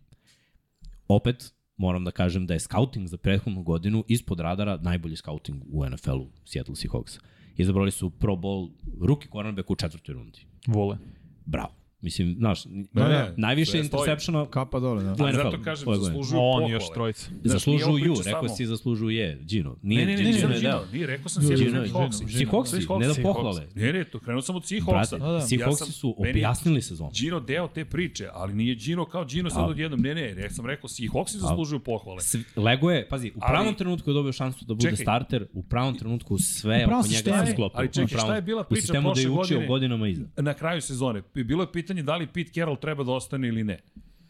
S5: opet moram da kažem da je scouting za prethodnu godinu ispod radara najbolji scouting u NFL-u Seattle Seahawks. Izabrali su Pro Bowl rookie cornerback u četvrtoj rundi.
S4: Vole.
S5: Bravo. Mislim, znaš,
S1: Da, da.
S5: najviše
S1: Sve stoji.
S5: interceptiona
S3: Kapa dole, da.
S5: u
S1: Ali
S5: NFL-u.
S1: zato kažem,
S5: ove godine.
S1: zaslužuju
S4: On i
S1: pohvale.
S4: još trojica.
S1: Znaš,
S5: Zaslužuju
S1: nije ovo
S5: ju,
S1: priča
S5: rekao
S1: samo-
S5: si zaslužuje, Gino.
S1: Ne,
S5: Nije,
S1: ne, ne,
S5: Gino,
S1: nisam
S5: ne,
S1: Gino,
S5: da.
S1: nije, rekao sam Seattle
S5: Gino,
S1: Seahawks.
S5: Gino. Seahawks, ne da pohvale.
S1: Ne, ne, to krenuo sam od Seahawksa.
S5: Brate,
S3: da.
S1: Ja
S5: Seahawksi
S1: sam-
S5: su
S1: meni je-
S5: objasnili sezon.
S1: Gino deo te priče, ali nije Gino kao Gino sad
S5: A-
S1: odjednom. Ne, ne, ja sam rekao, Seahawksi zaslužuju pohvale.
S5: Svi- Lego je, pazi, u
S1: Ali-
S5: pravom trenutku je dobio šansu da bude
S1: Čekaj.
S5: starter, u pravom trenutku sve
S3: U pravom
S5: oko njega
S3: sistemu.
S5: se sklopilo.
S1: Ali čekaj,
S5: U pravom-
S1: šta je bila
S5: U
S1: priča
S5: sistemu da je
S1: prošle
S5: učio
S1: godine?
S5: godinama iza.
S1: Na kraju sezone, bilo je pitanje da li Pete Carroll treba da ostane ili ne.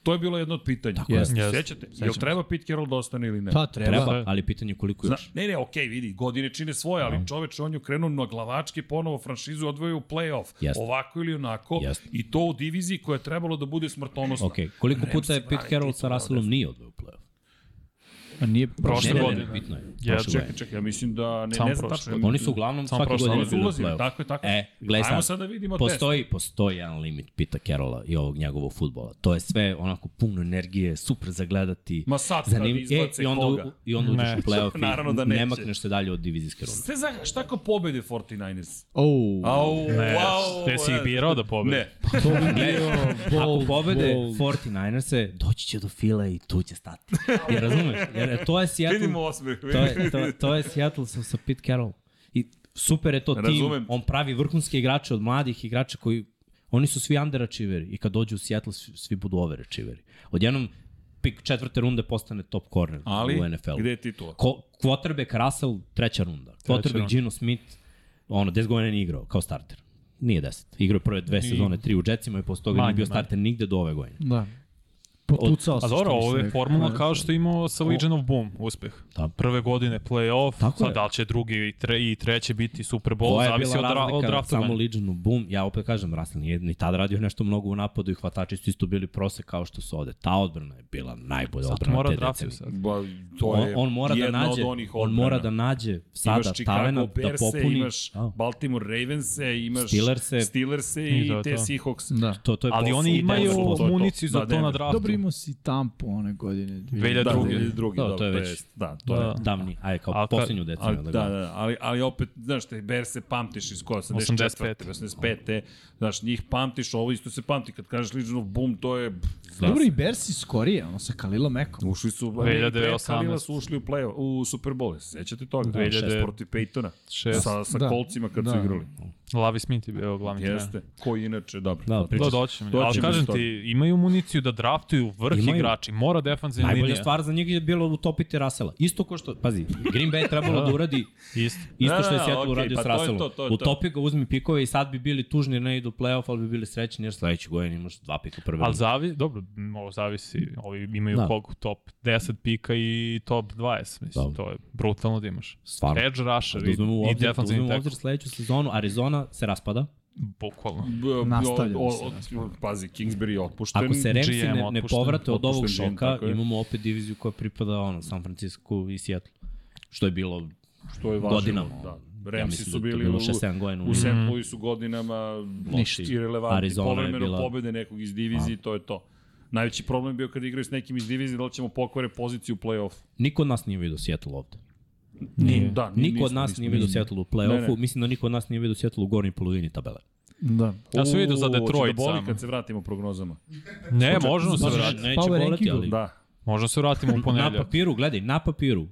S1: To je bilo jedno od pitanja. Tako
S4: je.
S1: Jeste,
S4: Jeste.
S1: Sećate? Jel
S4: Sećam se.
S1: treba Pete Carroll da ostane ili ne? da.
S3: Pa treba.
S5: Treba,
S4: Treba.
S5: ali pitanje je koliko
S1: Zna,
S5: još.
S1: ne, ne, okej, vidi, godine čine svoje, ali čoveče, on je krenuo na glavački ponovo franšizu, odvojio u play-off,
S5: Jeste.
S1: ovako ili onako,
S5: Jeste.
S1: i to u diviziji koja je trebalo da bude smrtonosna.
S5: Ok, koliko
S1: Ne,
S5: puta je
S1: mislim,
S5: Pete
S1: ali
S5: Carroll
S1: ti
S5: sa
S1: to
S5: Russellom nije odveo u play-off?
S3: A nije
S4: Prošle
S5: Ne, ne, ne,
S4: godine.
S5: ne, bitno je.
S4: Ja,
S5: Prošle
S1: Čekaj,
S5: godine.
S1: čekaj, ja mislim da ne,
S4: Samo
S1: ne znam
S4: prošle
S1: tačno. da-
S4: godine.
S5: Oni su uglavnom
S4: Samo
S5: svake
S4: prošle
S5: godine
S1: Oni su
S5: bili u
S1: ulazili,
S5: play-off.
S1: tako je, tako je.
S5: E, gledaj
S1: Ajmo
S5: sad.
S1: sad da vidimo test.
S5: Postoji, postoji jedan limit Pita Carola i ovog njegovog futbola. To je sve onako puno energije, super za gledati.
S1: Ma sad kad
S5: Zanim... E,
S1: izbace
S5: i onda,
S1: koga.
S5: u- i onda uđeš
S4: Ne.
S1: <laughs>
S5: u play-off i
S1: Naravno da neće.
S5: ne makneš se dalje od divizijske runde.
S1: Sve za, šta ako pobede 49ers?
S3: Oh,
S1: Au,
S4: Ne,
S1: wow.
S4: te si ih birao da pobedi.
S1: Ne,
S5: Pa
S3: to <laughs> bi bio
S5: Ako
S3: bold,
S5: pobede
S3: bold.
S5: 49erse, doći će do fila i tu će stati. <laughs> Jer razumeš? Jer to je Seattle...
S1: vidimo osmeh.
S5: To je, to, to je Seattle sa, sa Pete Carroll. I super je to
S1: Razumem.
S5: tim. On pravi vrhunske igrače od mladih igrača koji... Oni su svi underachieveri i kad dođu u Seattle svi, svi budu overachieveri. Odjednom pik četvrte runde postane top corner
S1: Ali,
S5: u NFL-u.
S1: gde je titula?
S5: Ko, quarterback Russell, treća runda. Quarterback
S4: runda.
S5: Gino Smith, ono, 10 godina nije igrao kao starter. Nije 10. Igrao je prve dve sezone, tri u Jetsima i posle toga
S4: Manje,
S5: nije bio
S4: manje.
S5: starter nigde do ove godine.
S3: Da. Potucao
S4: A
S3: se.
S4: dobro,
S3: što bi se
S4: ovo je
S3: reklo.
S4: formula kao što je imao sa Legion of Boom uspeh.
S5: Da.
S4: Prve godine play-off,
S5: Tako
S4: sad
S5: je.
S4: da li će drugi i, tre, i treći biti Super
S5: Koja
S4: Bowl,
S5: je
S4: zavisi
S5: bila
S4: od, ra, od
S5: razlika, samo
S4: draftovanja.
S5: Legionu, boom, ja opet kažem, Russell nije ni tad radio nešto mnogo u napadu i hvatači su isto bili prose kao što su ovde. Ta odbrana je bila najbolja
S4: Zato
S5: odbrana
S4: Pa mora da
S5: te
S4: draftio
S5: decenije.
S4: sad.
S1: Ba, to
S5: On,
S1: je
S5: on mora da
S1: jedna
S5: nađe,
S1: od onih
S5: on
S1: odbrana.
S5: mora da nađe sada
S1: imaš Chicago
S5: talenat da
S1: Bears-e,
S5: popuni.
S1: imaš
S5: A,
S1: Baltimore Ravens-e, imaš
S5: Steelers-e.
S1: Steelers-e i,
S4: I to je
S1: te
S4: to.
S1: Seahawks.
S3: Da.
S5: to, to je
S4: Ali
S5: posao
S4: oni
S5: u
S4: imaju
S5: Denveru.
S1: to, to.
S4: municiju
S1: Da,
S4: za to
S1: Denver.
S4: na
S1: Dobro,
S4: draftu.
S3: Dobro imao si tampu one godine.
S4: Velja
S1: Da,
S4: drugi.
S1: drugi, drugi,
S5: Da,
S1: da,
S5: to je već-
S1: da, to
S4: Da.
S1: je.
S5: davni, ajde kao
S4: A kad-
S5: poslednju
S1: Ali,
S5: deceniju.
S1: da,
S5: Da,
S1: da,
S5: gledam.
S1: ali, ali opet, znaš, te Berse pamtiš iz koja? 84.
S4: 85.
S1: 85. Znaš, njih pamtiš, ovo isto se pamti. Kad kažeš Legion of Boom, to je...
S5: Da.
S1: Da.
S3: Dobro i Bersi skorije, ono sa Kalilom Mekom.
S1: Ušli su,
S4: 2018.
S1: Kalila su ušli u play u Super Bowl, sećate
S5: Da.
S1: toga?
S4: 2000
S1: protiv Peytona,
S4: Šest.
S1: sa, sa
S3: Da.
S1: kolcima kad
S3: Da.
S1: su igrali.
S4: Lavi Smith je bio glavni trener.
S1: Jeste, koji inače, dobro.
S5: Da, priča
S4: Da, doći
S1: Doći
S4: Ali
S1: ćemo
S4: kažem
S1: iz toga.
S4: ti, imaju municiju da draftuju vrh
S5: Imaju.
S4: igrači, mora defanzivna
S5: Najbolja
S4: linija.
S5: da stvar za njega je bilo utopiti Rasela. Isto ko što, pazi, Green Bay je
S1: <laughs>
S5: trebalo da uradi
S4: Isto.
S5: isto
S1: Da,
S5: što je
S1: da,
S5: Seattle
S1: okej,
S5: uradio
S1: pa
S5: s
S1: to je
S5: Russellom.
S1: to, to je to.
S5: Utopi ga, uzmi pikove i sad bi bili tužni jer ne idu u play-off, ali bi bili srećni jer sledeće godine imaš dva pika prve.
S4: Ali
S5: runde.
S4: zavi, dobro, m, ovo zavisi, ovi imaju
S5: Da.
S4: da. koliko top 10 pika i top 20, mislim,
S5: Da.
S4: to je brutalno da imaš.
S5: Stvarno.
S4: Edge rusher
S5: Da
S4: i,
S5: uzmemo u
S4: i
S5: obzir, da
S4: defensivni
S5: uzmemo u
S4: tackle,
S5: obzir sledeću sezonu, Arizona se raspada.
S4: bukvalno.
S1: B- b-
S3: Nastavlja
S1: o-
S3: se,
S1: o- o- Pazi, Kingsbury je otpušten.
S5: Ako se Remsi
S4: GM
S5: ne, ne
S4: otpušten,
S5: povrate od ovog
S1: otpušten GM,
S5: šoka,
S1: tako je.
S5: imamo opet diviziju koja pripada ono, San Francisco i Seattle. Što je bilo
S1: što je važno.
S5: godinama.
S1: Da.
S5: ja
S1: Remsi
S5: mislim
S1: su
S5: da je to
S1: bili
S5: bilo
S1: u,
S5: 6-7 godina.
S1: u St.
S3: Mhm.
S1: Louisu godinama
S5: Ništa.
S1: irelevantni.
S5: Arizona je
S1: Povremeno
S5: bila-
S1: pobede nekog iz divizije, i to je to. Najveći problem je bio kad igraju s nekim iz divizije, da li ćemo pokvare poziciju u play-off.
S5: Niko od nas nije vidio Seattle ovde.
S1: Nije. Da, ni-
S5: Niko od
S1: nismo,
S5: nas
S1: nismo,
S5: nije vidio
S1: nismo.
S5: Seattle u
S1: Ne, ne.
S5: play-offu. Mislim da niko od nas nije vidio Seattle u gornjoj polovini tabele.
S3: Da.
S4: Ja sam vidio za
S1: U, hoće
S4: Detroit
S1: Da boli
S4: samo.
S1: kad se vratimo prognozama.
S4: Ne, možemo se vratiti.
S5: Neće
S3: znači, Power
S5: voleti,
S3: rankingu,
S5: ali...
S1: Da.
S4: Možemo se vratimo u
S5: Znači, Na
S4: ponedeljak.
S5: papiru, gledaj, na papiru.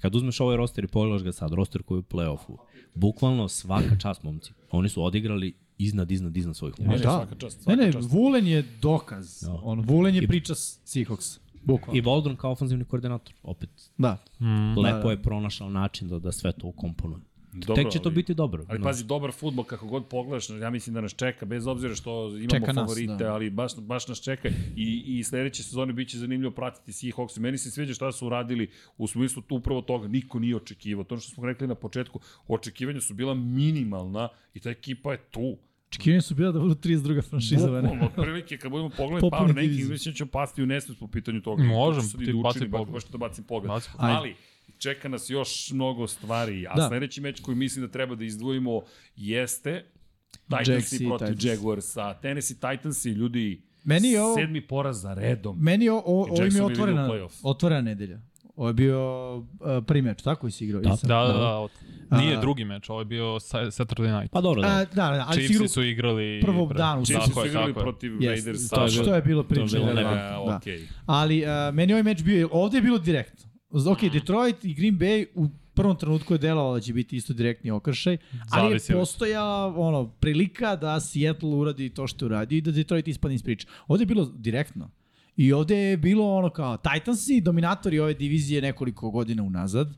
S5: Kad uzmeš ovaj roster i pogledaš ga sad, roster koji je u play-offu, bukvalno svaka čast momci. Oni su odigrali iznad, iznad, iznad svojih
S1: Ne,
S5: momci.
S1: ne,
S3: Da.
S1: svaka čast,
S3: Ne,
S1: svaka
S3: ne,
S1: čast.
S3: Vulen je dokaz.
S5: Da.
S3: On, Vulen je priča s Seahawks. Bukvalno.
S5: I Baldwin kao ofanzivni koordinator, opet.
S3: Da.
S1: Mm.
S5: Lepo je pronašao način da, da sve to ukomponuje.
S1: Dobro,
S5: Tek će to
S1: ali-
S5: biti dobro.
S1: Ali
S5: no.
S1: pazi, dobar fudbal kako god pogledaš, ja mislim da nas čeka, bez obzira što imamo
S3: Čeka nas,
S1: favorite,
S3: da.
S1: ali baš, baš nas čeka i, i sledeće sezone bit će zanimljivo pratiti Seahawks. Meni se sviđa šta su uradili u smislu tu upravo toga, niko nije očekivao. To ono što smo rekli na početku, očekivanja su bila minimalna i ta ekipa je tu.
S3: Očekivanje su bila da budu 32 franšiza. ne?
S1: Bukvalno, otprilike, kad budemo pogledali
S3: Popune
S1: power ranking,
S3: divizije.
S1: mislim da ćemo pasti u nesmes po pitanju toga.
S4: Možem,
S1: To su
S4: ti
S1: ljudi
S4: baci
S1: učili,
S4: pogled.
S1: Baš da bacim pogled.
S4: Baci
S3: pogled.
S1: Ali, čeka nas još mnogo stvari, a
S3: Da.
S1: da. sledeći meč koji mislim da treba da izdvojimo jeste Titansi
S3: Jags i
S1: protiv
S3: Titans.
S1: Jaguarsa. Tennessee Titansi, ljudi,
S3: Meni je ovo-
S1: sedmi poraz za redom.
S3: Meni o, o, ovo mi je
S1: Jacksonville ide u
S3: otvorena,
S1: playoff.
S3: otvorena nedelja. Ovo je bio uh, prvi meč, tako si igrao? Da,
S4: Da, da, da. Od... Nije
S3: A-
S4: drugi meč, ovo je bio Sa- Saturday night.
S5: Pa dobro, da.
S3: A, da, da, ali si igrao
S4: Chiefs su igrali...
S3: prvom danu.
S1: Chiefs
S4: Tako
S1: su
S4: je,
S1: igrali
S4: tako je.
S1: protiv
S3: Jeste,
S1: Raiders.
S5: to je bilo-
S3: što je bilo
S5: to
S3: priča.
S5: je bilo
S3: Da,
S1: Da,
S3: da.
S1: okej.
S3: Ali uh, meni ovaj meč bio, ovde je bilo direktno. Z- Ok, Detroit i Green Bay u prvom trenutku je delovalo da će biti isto direktni okršaj, ali je
S4: Zavisi od-
S3: postojala ono, prilika da Seattle uradi to što uradi i da Detroit ispadne iz priče. Ovde je bilo direktno. I ovde je bilo ono kao Titansi, dominatori ove divizije nekoliko godina unazad,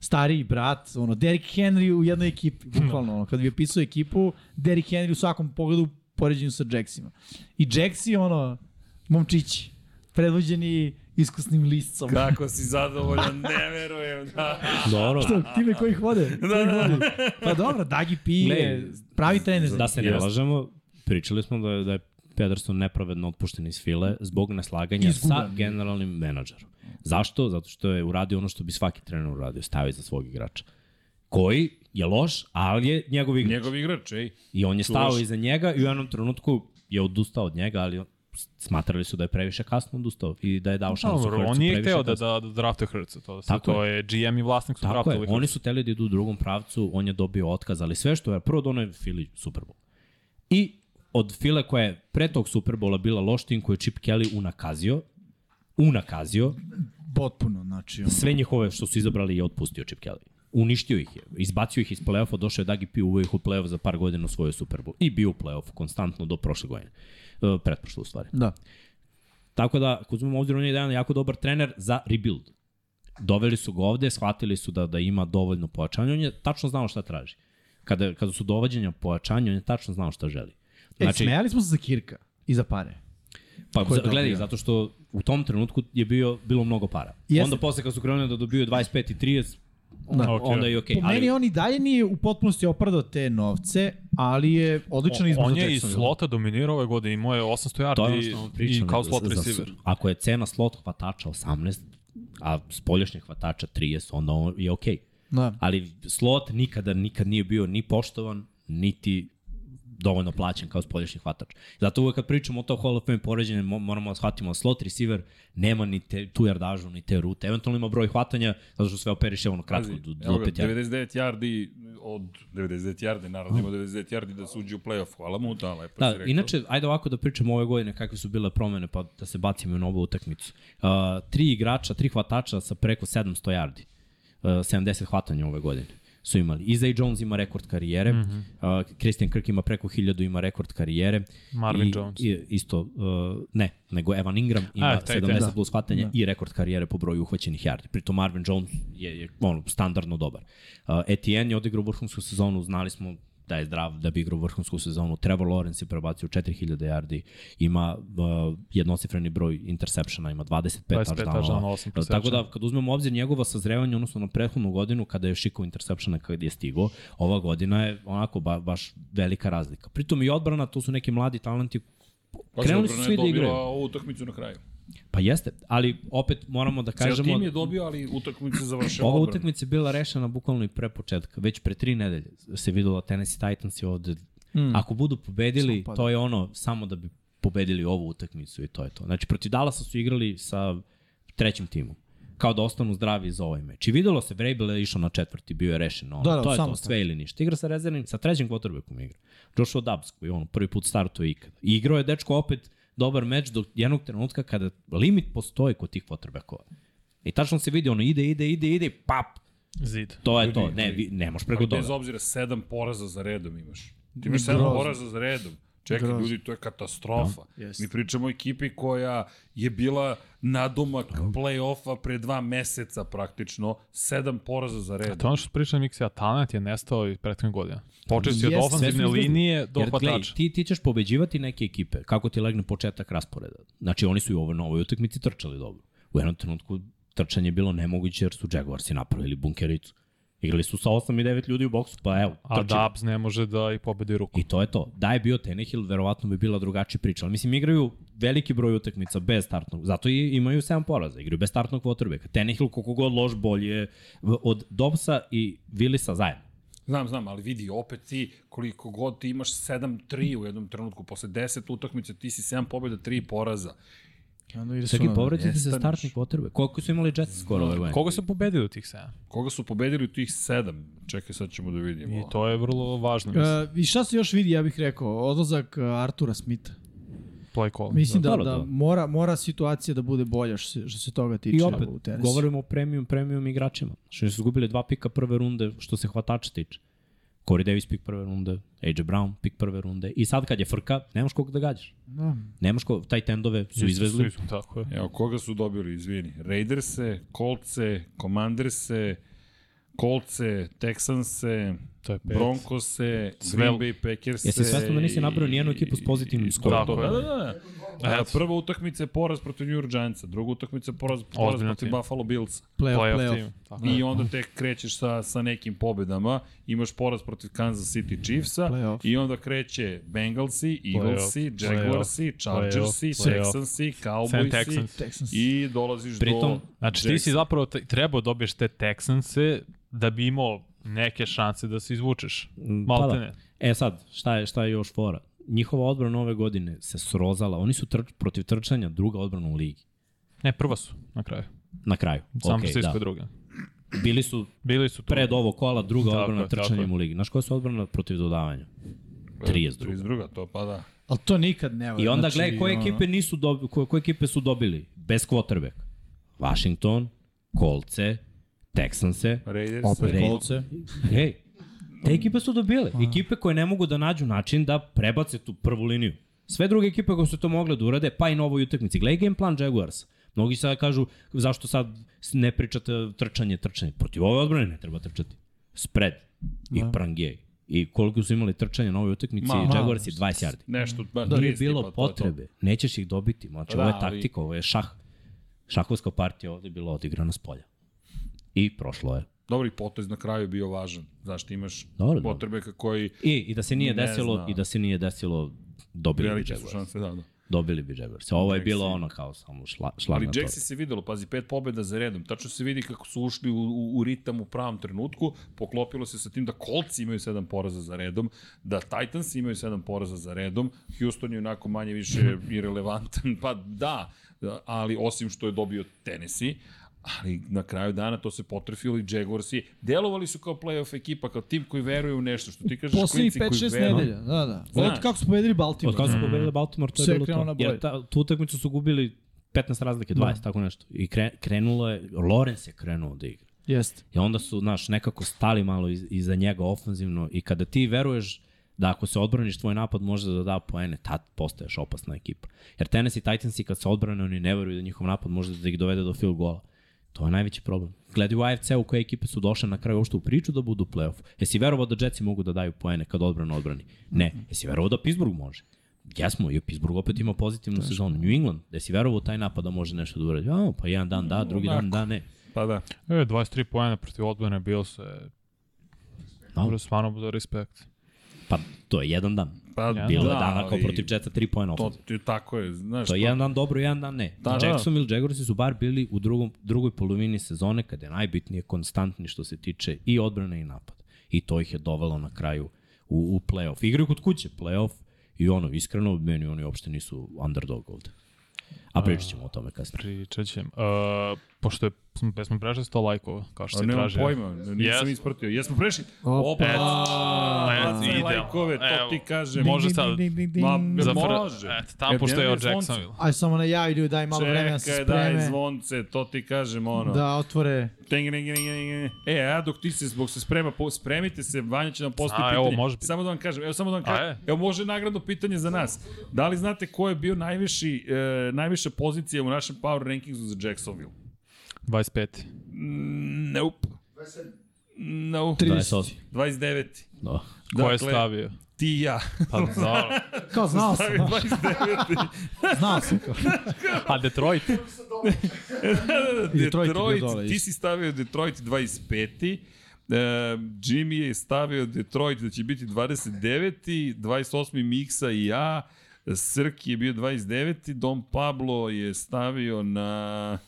S3: stariji brat, ono, Derrick Henry u jednoj <laughs> ekipi, bukvalno, ono, kad bi opisao ekipu, Derrick Henry u svakom pogledu u poređenju sa Jacksima. I Jacksi, ono, momčići, predvođeni iskusnim listcom.
S1: Kako si zadovoljan, ne verujem.
S3: <laughs>
S1: Da.
S5: Dobro.
S3: Što, time koji ih vode? Da, da. Pa dobro, Dagi Pi je pravi trener.
S5: Da se ne
S1: Jeste.
S5: lažemo, pričali smo da je, da je Pederson nepravedno otpušten iz file zbog neslaganja sa
S3: Izgubljen.
S5: generalnim menadžerom. Zašto? Zato što je uradio ono što bi svaki trener uradio, stavi za svog igrača. Koji je loš, ali je njegov igrač.
S1: Njegov igrač, ej.
S5: I on je stao
S1: loš.
S5: iza njega i u jednom trenutku je odustao od njega, ali on- smatrali su da je previše kasno odustao i da je dao šansu
S4: Dobro,
S5: Hurtsu
S4: on nije
S5: previše
S4: hteo da, da,
S5: kasno.
S4: da drafte Hrca, to, se,
S5: Tako
S4: to je. GM i vlasnik su
S5: Tako je,
S4: draftali
S5: oni su teli da idu u drugom pravcu, on je dobio otkaz, ali sve što je, prvo donao je Philly Super Bowl. I od File koja je pre tog Super Bowla bila loš tim koju je Chip Kelly unakazio, unakazio,
S3: Potpuno, znači, ono,
S5: sve njihove što su izabrali je otpustio Chip Kelly. Uništio ih je, izbacio ih iz play-offa, došao je Dagi P, uveo ih u play-off za par godina u svoju Super Bowl. I bio u play-offu konstantno do prošle godine. E, pretprošle u stvari.
S3: da.
S5: Tako da, ako uzmemo obzir, on je jedan jako dobar trener za rebuild. Doveli su ga ovde, shvatili su da, da ima dovoljno pojačanja, on je tačno znao šta traži. Kada, kada su dovođenja pojačanja, on je tačno znao šta želi.
S3: Znači, e, smejali smo se za Kirka i za pare.
S5: pa
S3: ko je
S5: za- gledaj,
S3: dobio?
S5: zato što u tom trenutku je bio, bilo mnogo para.
S3: Jeste.
S5: Jeste. Onda posle kad su krenuli da dobiju 25 i 30,
S3: Da.
S5: da. onda je okej.
S3: Okay, po meni on i dalje nije u potpunosti opradao te novce, ali je odličan izbor
S4: On
S3: za
S4: je iz
S3: Jacksonville.
S4: slota dominirao ove godine, imao je 800
S5: To je
S4: yardi
S5: ono
S4: i,
S5: što vam
S4: i
S5: pričam.
S4: kao
S5: za-
S4: slot
S5: za- za-
S4: receiver.
S5: Ako je cena slot hvatača 18, a spoljašnjeg hvatača 30, onda on je okej.
S3: Da.
S5: ali slot nikada nikad nije bio ni poštovan, niti dovoljno plaćen kao spolješnji hvatač. Zato uvek kad pričamo o to Hall of Fame poređenje, mo- moramo da shvatimo da slot receiver nema ni te, tu jardažu, ni te rute. Eventualno ima broj hvatanja, zato što sve operiše ono kratko,
S1: Pazi,
S5: do,
S1: evo
S5: do
S1: ga,
S5: pet jardi.
S1: 99 yardi od 99 yardi, naravno ima 99 yardi da suđi u play-off. Hvala mu, da, lepo
S5: Hm. Da,
S1: si rekao.
S5: inače, ajde ovako da pričamo ove godine kakve su bile promene, pa da se bacimo i na ovu utakmicu. Uh, tri igrača, tri hvatača sa preko 700 yardi. Uh, 70 hvatanja ove godine su imali. Izay Jones ima rekord karijere, mm
S4: Mhm.
S5: -hmm. uh, Christian Kirk ima preko 1000, ima rekord karijere.
S4: Marvin
S5: I,
S4: Jones.
S5: I, isto, uh, ne, nego Evan Ingram ima
S4: A,
S5: A,
S4: taj, taj,
S5: 70
S4: da.
S5: plus hvatanja i rekord karijere po broju uhvaćenih yardi. Pritom Marvin Jones je, je ono, standardno dobar. Uh, Etienne je odigrao vrhunsku sezonu, znali smo da je zdrav, da bi igrao vrhunsku sezonu. Trevor Lawrence je prebacio 4000 yardi, ima uh, jednocifreni broj intersepšena, ima 25,
S4: 25 touchdownova,
S5: touchdownova.
S4: osam
S5: Uh, Tako da,
S4: presečena.
S5: kad uzmemo u obzir njegova sazrevanja, odnosno na prethodnu godinu, kada je šikao intersepšena, kada je stigao, ova godina je onako ba, baš velika razlika. Pritom i odbrana, to su neki mladi talenti
S1: Pazi,
S5: Krenuli su
S1: odbrana je
S5: svi da
S1: dobila
S5: igraju.
S1: Ovu utakmicu na kraju.
S5: Pa jeste, ali opet moramo da
S1: Kažemo,
S5: kažemo...
S1: Cijel tim je dobio, ali utakmicu završila
S5: Ova
S1: odbrana.
S5: utakmica je bila rešena bukvalno i pre početka. Već pre tri nedelje se videlo Tennessee Titans i ovde. Mm. Ako budu pobedili,
S3: Samo pada.
S5: to je ono samo da bi pobedili ovu utakmicu i to je to. Znači, protiv Dallasa su igrali sa trećim timom kao da ostanu zdravi za ovaj meč. I videlo se, Vrabel je išao na četvrti, bio je rešen. Ono,
S3: Da, da,
S5: to je
S3: samo
S5: to,
S3: tako.
S5: sve ili ništa. Igra sa rezervnim, sa trećim quarterbackom igra. Joshua Dubs, koji ono, prvi put startuje ikada. I igrao je dečko opet dobar meč do jednog trenutka kada limit postoji kod tih quarterbackova. I tačno se vidi, ono, ide, ide, ide, ide, i pap,
S4: Zid.
S5: To je to, ne, vi, ne možeš preko
S1: Ali Dakle, bez
S5: toga.
S1: obzira, sedam poraza za redom imaš. Ti imaš sedam
S3: Grozno.
S1: poraza za redom. Čekaj,
S3: Grozno.
S1: ljudi, to je katastrofa.
S5: Da.
S3: Jeste.
S1: Mi pričamo o ekipi koja je bila nadomak play-offa pre dva meseca praktično. Sedam poraza za redom.
S4: To je ono što pričam Miksija, talent je nestao i prethodnih godina. Počeo si od
S3: Jeste,
S5: sve su
S4: ofanzivne
S5: izgubili.
S4: linije do
S5: da- Jer, gledaj,
S4: hvatača.
S5: ti, ti ćeš pobeđivati neke ekipe, kako ti legne početak rasporeda. Znači, oni su i u ovoj novoj utakmici trčali dobro. U jednom trenutku trčanje je bilo nemoguće jer su Jaguarsi napravili bunkericu. Igrali su sa 8 i 9 ljudi u boksu, pa evo,
S4: A
S5: trči.
S4: Dubs ne može da i pobedi ruku.
S5: I to je to. Da je bio Tenehill, verovatno bi bila drugačija priča. Ali mislim, igraju veliki broj utakmica bez startnog. Zato i imaju 7 poraza. Igraju bez startnog quarterbacka. Tenehill, koliko god loš bolje od Dobsa i Willisa zajedno.
S1: Znam, znam, ali vidi opet ti koliko god ti imaš 7-3 u jednom trenutku, posle 10 utakmica ti si 7 pobjeda, 3 poraza.
S3: I onda ide
S5: Čekaj,
S3: sunovreme.
S5: povraćate se
S1: Nestaneš.
S5: startnih potrebe. Koliko su imali Jets skoro ove godine?
S4: Koga su pobedili u tih 7?
S1: Koga su pobedili u tih 7? Čekaj, sad ćemo da vidimo.
S4: I to je vrlo važno, mislim,
S3: E, I šta se još vidi, ja bih rekao, odlazak e, Artura Smitha.
S4: play call.
S3: Mislim da,
S5: Dobro,
S3: da
S5: dobro.
S3: mora, mora situacija da bude bolja što se, što se toga tiče
S5: I opet,
S3: u tenisu.
S5: govorimo o premium, premium igračima. Što su izgubili dva pika prve runde, što se hvatača tiče. Corey Davis pik prve runde, AJ Brown pik prve runde. I sad kad je frka, nemaš koga da gađaš.
S3: Da.
S5: Nemaš koga, taj tendove Da. su izvezli.
S4: Su, tako je.
S1: Evo, koga su dobili, izvini? Raiderse, Coltse, Commanderse, Coltse, Texanse,
S4: To je pet.
S1: Broncose,
S4: Sve-
S1: Green Bay Packerse.
S5: Jesi svestan da nisi nabrao
S1: i-
S5: nijednu ekipu s pozitivnim
S1: i-
S5: skorom?
S1: To,
S4: Tako
S1: da,
S4: je.
S1: da, da. A,
S4: Eto.
S1: prva utakmica je poraz protiv New York Giantsa, druga utakmica je poraz, poraz
S4: Ozbiljno
S1: protiv
S4: ti je.
S1: Buffalo Billsa.
S3: Playoff,
S4: Playoff,
S3: playoff.
S4: tim. Tako je.
S1: I onda tek krećeš sa, sa nekim pobedama, imaš poraz protiv Kansas City Chiefsa
S3: Playoff.
S1: i onda kreće Bengalsi, Eaglesi, Jaguarsi, Chargersi,
S4: playoff.
S1: Texansi,
S4: Sam
S1: Cowboysi
S4: Texans.
S3: Texans.
S1: i dolaziš do
S5: Pritom,
S4: Znači, ti si zapravo t- trebao da dobiješ te Texanse da bi imao neke šanse da se izvučeš. Malte
S5: Pa
S4: ne.
S5: E sad, šta je, šta je još fora? Njihova odbrana ove godine se srozala. Oni su trč, protiv trčanja druga odbrana u ligi.
S4: Ne, prva su na kraju.
S5: Na kraju.
S4: San
S5: Ok,
S4: Francisco je druga.
S5: da. Bili su
S4: Bili su tu.
S5: pred ovo kola druga
S4: Tako je,
S5: odbrana
S4: tako
S5: trčanjem
S4: je. E,
S5: u ligi. Znaš koja su odbrana protiv dodavanja? 32.
S1: 32. to pa da.
S3: Ali to nikad ne valja.
S5: I onda
S3: znači,
S5: gledaj koje
S3: ono,
S5: ekipe nisu dobili, koje, koje ekipe su dobili bez quarterback. Washington, Kolce, Texanse.
S1: Raiders,
S3: Opet
S5: Red.
S3: kolce.
S5: Ej, te ekipe su dobile.
S1: Pa.
S5: Ekipe koje ne mogu da nađu način da prebace tu prvu liniju. Sve druge ekipe koje su to mogle da urade, pa i na ovoj utakmici. Gledaj game plan Jaguars. Mnogi sad kažu zašto sad ne pričate trčanje, trčanje. Protiv ove odbrane ne treba trčati. Spread i da. prangej. I koliko su imali trčanja na ovoj utakmici,
S1: Ma,
S5: Jaguars je 20 yardi.
S1: nešto, ba,
S5: Da li je
S1: 30, pa
S5: bilo
S1: to je to.
S5: potrebe? Nećeš ih dobiti. Znači,
S1: Da,
S5: ovo je
S1: ali-
S5: taktika, ovo je šah. Šahovska partija ovde je bila odigrana s polja. I prošlo je.
S1: Dobri potez na kraju je bio važan. Znaš, ti imaš
S5: Dobro, dobro.
S1: potrebe koji
S5: I, i da se nije
S1: Ne
S5: desilo,
S1: znam.
S5: i da se nije desilo, dobili bi
S1: velike su
S5: Jaguars.
S1: šanse, da, da.
S5: Dobili bi Jaguars. Ovo je
S1: Jaxi.
S5: bilo ono kao samo šla, šlag
S1: Ali
S5: na to.
S1: Jaxi se videlo, pazi, pet pobjeda za redom. Tačno se vidi kako su ušli u, u, u ritam u pravom trenutku. Poklopilo se sa tim da Colts imaju sedam poraza za redom, da Titans imaju sedam poraza za redom. Houston je onako manje
S5: <laughs>
S1: više irelevantan. Pa da, ali osim što je dobio Tennessee, ali na kraju dana to se potrefilo i Jaguarsi delovali su kao playoff ekipa, kao tim koji veruje u nešto, što ti kažeš
S3: Poslednjih
S1: klinci koji
S3: 5-6
S1: veruju.
S3: nedelja, da, da.
S1: Znaš.
S3: Od kako su pobedili Baltimore.
S5: Od kada su pobedili Baltimore, to
S3: Sve
S5: je bilo
S3: krenulo na
S5: to.
S3: bolje.
S5: Mhm. Jer ta, tu utakmicu su gubili 15 razlike, 20, tako nešto. I kre, krenulo je, Lorenz je krenuo da igra.
S3: Jeste.
S5: I onda su, znaš, nekako stali malo iz, iza njega ofanzivno i kada ti veruješ da ako se odbraniš tvoj napad može da da poene, tad postaješ opasna ekipa. Jer Tennessee Titans i kad se odbrane oni ne veruju da njihov napad može da ih dovede do field gola. To je najveći problem. Gledaj u AFC u koje ekipe su došle na kraju uopšte u priču da budu u play-offu. Jesi verovao da Jetsi mogu da daju poene kad odbrana odbrani? Ne. Jesi verovao da Pittsburgh može? Jesmo, i Pittsburgh opet ima pozitivnu sezonu. New England, da si verovao u taj napad da može nešto da uradi? A, pa jedan dan da, drugi dan da, ne.
S1: Pa da.
S4: E, 23 pojena protiv odbrane, bilo se... Dobro, stvarno bude respekt.
S5: Pa to je jedan dan.
S1: Pa,
S5: Bilo
S1: da,
S5: je dana kao
S1: ali
S5: protiv Jetsa 3 poena
S1: To,
S5: ofenzivno.
S1: ti- tako je, znaš,
S5: To je
S1: to-
S5: jedan dan dobro, jedan dan ne.
S1: Da,
S5: Da,
S1: da.
S5: Jacksonville Jaguarsi su bar bili u drugom, drugoj polovini sezone kada je najbitnije konstantni što se tiče i odbrane i napad. I to ih je dovelo na kraju u, u play-off. Igraju kod kuće play-off i ono, iskreno, meni oni uopšte nisu underdog ovde. A pričat ćemo o tome kasnije. Da
S4: Pričat ćem. Uh, pošto je, smo, smo prešli 100 lajkova, kao što
S1: A
S4: se
S1: nemam
S4: traži.
S1: pojma, nisam
S4: Jes.
S1: ispratio. Jesmo prešli?
S3: Opa.
S1: Opa,
S4: Eto,
S1: bacaj
S4: idemo.
S1: lajkove, to
S4: Evo.
S1: ti kažem.
S4: Može sad.
S1: Ma,
S4: Za fr...
S1: može.
S4: Eto, tamo
S1: Jer
S4: pošto je
S1: Denver
S4: od
S1: zvonce.
S4: Jacksonville.
S3: Aj samo najavi ljudi, daj malo vremena da se
S1: Čekaj, daj
S3: spreme.
S1: zvonce, to ti kažem, ono. Da.
S3: Da otvore.
S1: E, a dok ti se zbog se sprema, po, spremite se, Vanja će nam postoji
S4: A,
S1: pitanje.
S4: evo, može biti.
S1: Samo da vam kažem, evo samo da vam
S4: A,
S1: kažem,
S4: e.
S1: evo može nagradno pitanje za nas. Da li znate ko je bio najviši, e, najviša pozicija u našem power rankingsu za Jacksonville?
S4: 25.
S1: Mm, Nope. Nope.
S5: 28.
S1: 29.
S5: Da.
S4: Ko
S1: Dakle-
S4: je stavio?
S1: Ti i
S3: <laughs>
S1: ja. <laughs>
S4: Pa, dobro.
S3: Kao znao sam,
S1: Stavi
S3: znaš,
S1: 29.
S3: znao sam. kao.
S1: Pa
S4: A Detroit?
S3: I Detroit je bio
S1: Detroit,
S3: dole,
S1: ti
S3: isto.
S1: si stavio Detroit 25. Uh, Jimmy je stavio Detroit da će biti 29. 28. Miksa i ja. Srki je bio 29. Dom Pablo je stavio na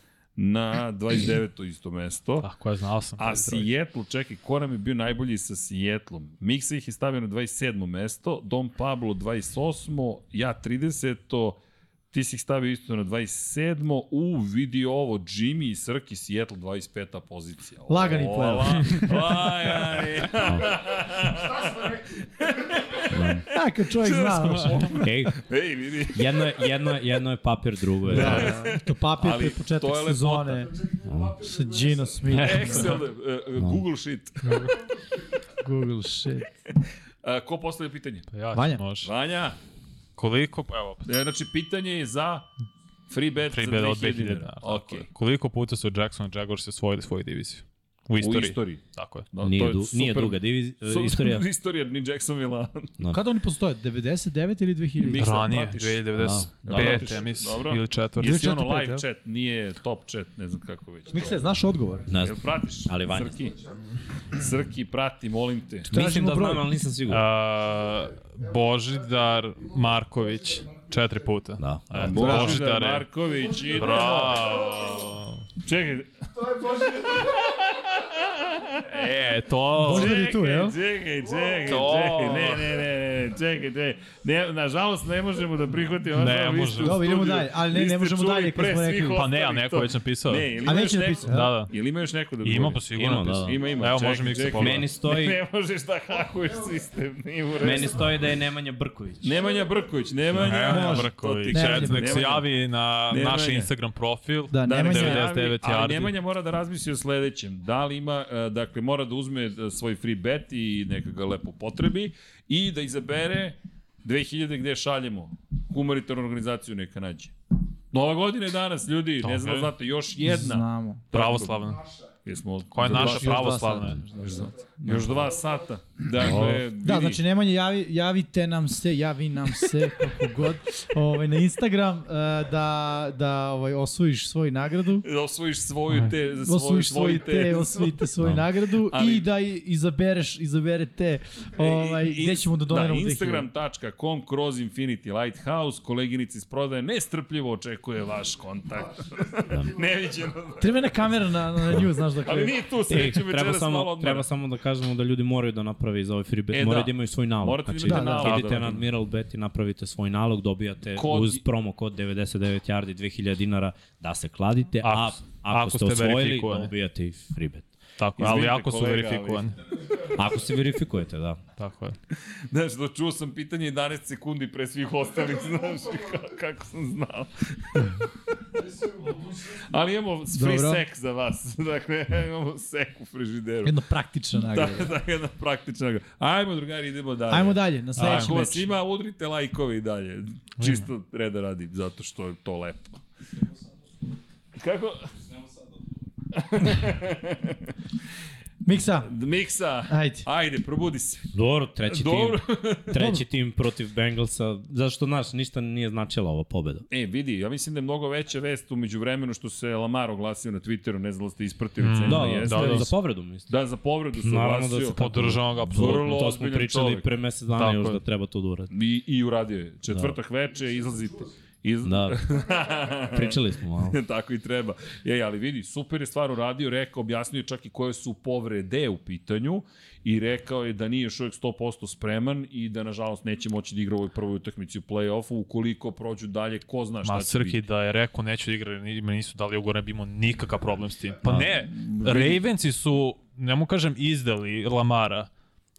S1: na 29. isto mesto.
S4: Tako Pa, je, znao sam.
S1: A Seattle, čekaj, ko nam je bio najbolji sa Seattlom? Miksa ih je stavio na 27. mesto, Don Pablo 28. Ja 30. Ti si ih stavio isto na 27. U, vidi ovo, Jimmy i Srki, Seattle 25. pozicija.
S3: Lagani
S1: Ola, Aj, aj.
S4: <laughs>
S3: Da, kad čovjek zna,
S5: Ej,
S1: Ej, vidi.
S5: jedno je, jedno, je- jedno je papir, drugo je. Da.
S3: to papir
S1: Ali
S3: pred početak
S1: to je lepota.
S3: sezone sa Gino Smithom,
S1: Excel, e, e, Google Sheet.
S3: Google shit.
S1: A, E, ko postavlja pitanje?
S4: Ja,
S3: Vanja.
S4: Može.
S1: Vanja,
S4: Koliko, evo, opet,
S1: e, znači pitanje je za free bet
S4: free
S1: za
S4: bet od
S1: 2000
S4: 2000.
S1: dinara.
S4: Da,
S1: Ok.
S4: tako je. Koliko puta su Jackson Jaguars osvojili svoju diviziju? U
S1: U
S4: istoriji.
S1: istoriji.
S4: Tako je.
S1: Da, to
S5: Nije,
S1: je
S5: du,
S1: <laughs>
S5: nije
S1: super-
S5: duga diviz,
S1: Su-
S5: istorija.
S1: istorija ni
S5: <laughs>
S1: Jacksonville-a.
S3: Kada oni postoje? 99 ili 2000?
S1: Mi- Mislim,
S4: Ranije,
S1: pratiš. Da,
S4: 2095,
S1: pratiš.
S4: ja mislim,
S1: Dobro.
S4: ili četvrti.
S1: Ili si ono
S3: četvrti, peti,
S1: live
S3: jel?
S1: chat, nije top chat, ne znam kako već.
S3: Mikse, znaš odgovor?
S5: Ne
S1: Jel
S5: znam.
S1: pratiš?
S5: Ali Vanja.
S1: Srki, Srki, prati, molim te.
S5: Mislim
S3: Tražimo
S5: da
S3: broj.
S5: znam, ali nisam siguran.
S4: A, Božidar Marković, četiri puta.
S5: Da.
S4: E,
S1: Božidar
S4: Božidar je...
S1: da Marković, idemo.
S4: Bravo!
S1: Čekaj,
S4: E, to...
S3: Božidar-
S1: čekaj,
S3: je tu, jel?
S1: čekaj, čekaj,
S4: To.
S1: čekaj, ne, ne, ne, ne, čekaj, čekaj. Ne, nažalost, ne možemo da prihvatimo. ono,
S4: Ne
S1: vi ste u
S4: možemo.
S3: Dobro, idemo
S1: studiju.
S3: dalje, ali ne,
S1: Vi
S3: ne
S1: ste
S3: možemo
S1: čuli
S3: dalje, kad
S1: pre
S3: smo
S1: svih
S3: rekli.
S4: Pa ne, a
S1: ostalih
S4: neko
S1: to.
S4: je već napisao.
S1: Ne, ili
S3: A
S1: imaš
S3: neće
S1: neko,
S3: napisati,
S4: Da, da.
S1: ili imaš neko da
S4: Ima
S1: odgovori?
S4: pa sigurno.
S5: Ima, da, da.
S4: napisao.
S1: Ima, ima.
S4: Evo,
S1: Čekaj,
S4: može mi se
S1: čekaj.
S4: pogledati.
S5: Meni stoji,
S1: Ne možeš da hakuješ sistem, nije u redu.
S5: meni stoji da je Nemanja Brković.
S1: Nemanja Brković, Nemanja.
S4: Evo,
S1: Može,
S4: Brković,
S1: to ti
S3: Ne,
S1: kažem,
S4: čet- nek se
S1: Nemanja.
S4: javi na
S1: Nemanja.
S4: naš Instagram profil.
S1: Da,
S3: Da, Nemanja.
S1: nek se javi,
S4: 99
S1: ali
S4: yardi.
S1: Nemanja mora da razmisli o sledećem. Da li ima, e, dakle, mora da uzme e, svoj free bet i neka ga lepo potrebi i da izabere 2000 gde šaljemo. Humanitarnu organizaciju neka nađe. Nova godina je danas, ljudi, ne znam da
S4: Dobro.
S1: znate, još jedna.
S3: Znamo.
S4: Pravoslavna.
S1: Jesmo,
S4: Koja je
S1: za dva-
S4: naša pravoslavna?
S1: Još dva, još dva sata. Dakle, vidi.
S3: Da, znači Nemanja, javi, javite nam se, javi nam
S1: <laughs>
S3: se, kako god, ovaj, na Instagram, eh, da, da ovaj, osvojiš svoju nagradu.
S1: Da osvojiš svoju te, svoju,
S3: Da
S1: Da.
S3: Osvojiš svoju te, osvojite svoju nagradu
S1: Ali- E,
S3: i da i- izabereš, izaberete ovaj,
S1: I- i-
S3: gde ćemo da doniramo
S1: Da,
S3: 2000.
S1: instagram.com kroz Infinity Lighthouse, koleginici iz prodaje, nestrpljivo očekuje vaš kontakt.
S3: Da.
S1: Neviđeno.
S3: Treba jedna kamera na, na nju, znaš da
S1: Ali
S3: kada.
S1: nije tu
S5: Ej,
S1: sreću
S5: treba,
S1: večeras malo
S5: samo,
S1: odmora.
S5: treba samo da kažemo da ljudi moraju da naprave za ovaj free bet,
S1: E,
S5: moraju
S1: da.
S5: da. imaju svoj nalog.
S1: Morate da
S5: znači,
S1: imate
S3: da,
S1: nalog.
S5: idete na Admiral Bet i napravite svoj nalog, dobijate
S1: Kod-
S5: kod... uz promo kod 99 yardi 2000 dinara da se kladite, a
S4: Ako-
S5: ako,
S4: ako
S5: ste
S4: ste
S5: osvojili,
S4: verifikovani.
S5: dobijate i free bet.
S4: Tako, je, ali
S1: Izvinite,
S4: jako su
S1: kolega, ali-
S4: verifikovani.
S5: Ako se verifikujete, da.
S4: Tako je.
S1: Znaš, da čuo sam pitanje 11 sekundi pre svih ostalih, <laughs> znaš, ka- kako sam znao. Ali imamo free
S3: Dobro.
S1: sek za vas. <laughs> Dakle, imamo sek u frižideru.
S3: Jedna praktična
S1: Da,
S3: nagrada.
S1: da, jedna praktična. gra. Ajmo, drugari, idemo
S4: da.
S1: dalje.
S3: Ajmo dalje, na sledeći
S1: Ako vas
S3: meč.
S1: ima, udrite lajkove i dalje. Čisto reda radi, zato što je to lepo. Kako?
S3: Miksa,
S1: Miksa,
S3: Ajde.
S1: ajde probudi se.
S5: Dobro,
S1: <laughs>
S5: treći
S1: Dobro.
S5: tim. Treći tim protiv Bengalsa. Zašto, znaš, ništa nije značila ova pobeda.
S1: E, vidi, ja mislim da je mnogo veća vest umeđu vremenu što se Lamar oglasio na Twitteru, ne znam da ste ispratili mm,
S5: Da, da,
S1: jeste.
S5: da,
S4: da.
S5: da, za povredu, mislim.
S1: da, za povredu se
S5: Naravno da
S1: oglasio.
S5: se tako-
S4: Podržavam ga, apsolutno.
S1: Vrlo
S5: to smo
S1: ozbiljan
S5: pričali
S1: čovjek.
S5: pre mesec dana
S4: Tako
S5: još
S4: je.
S5: da treba to da uradi.
S1: I, I uradio je. Četvrtak veče, izlazite. Iz...
S5: Da,
S4: <laughs>
S5: pričali smo malo.
S1: <laughs> Tako i treba. Ej, ali vidi, super je stvar uradio, rekao, objasnio je čak i koje su povrede u pitanju i rekao je da nije još uvijek 100% spreman i da nažalost neće moći da igra u ovoj prvoj utakmici u play-offu ukoliko prođu dalje, ko zna šta
S4: Ma
S1: će
S4: Srki
S1: biti.
S4: da je rekao neću da igra, ni- me nisu dali ugovor, ne bi imao nikakav problem s tim.
S5: Da.
S4: Pa ne, Ravensi su, ne mu kažem, izdali Lamara,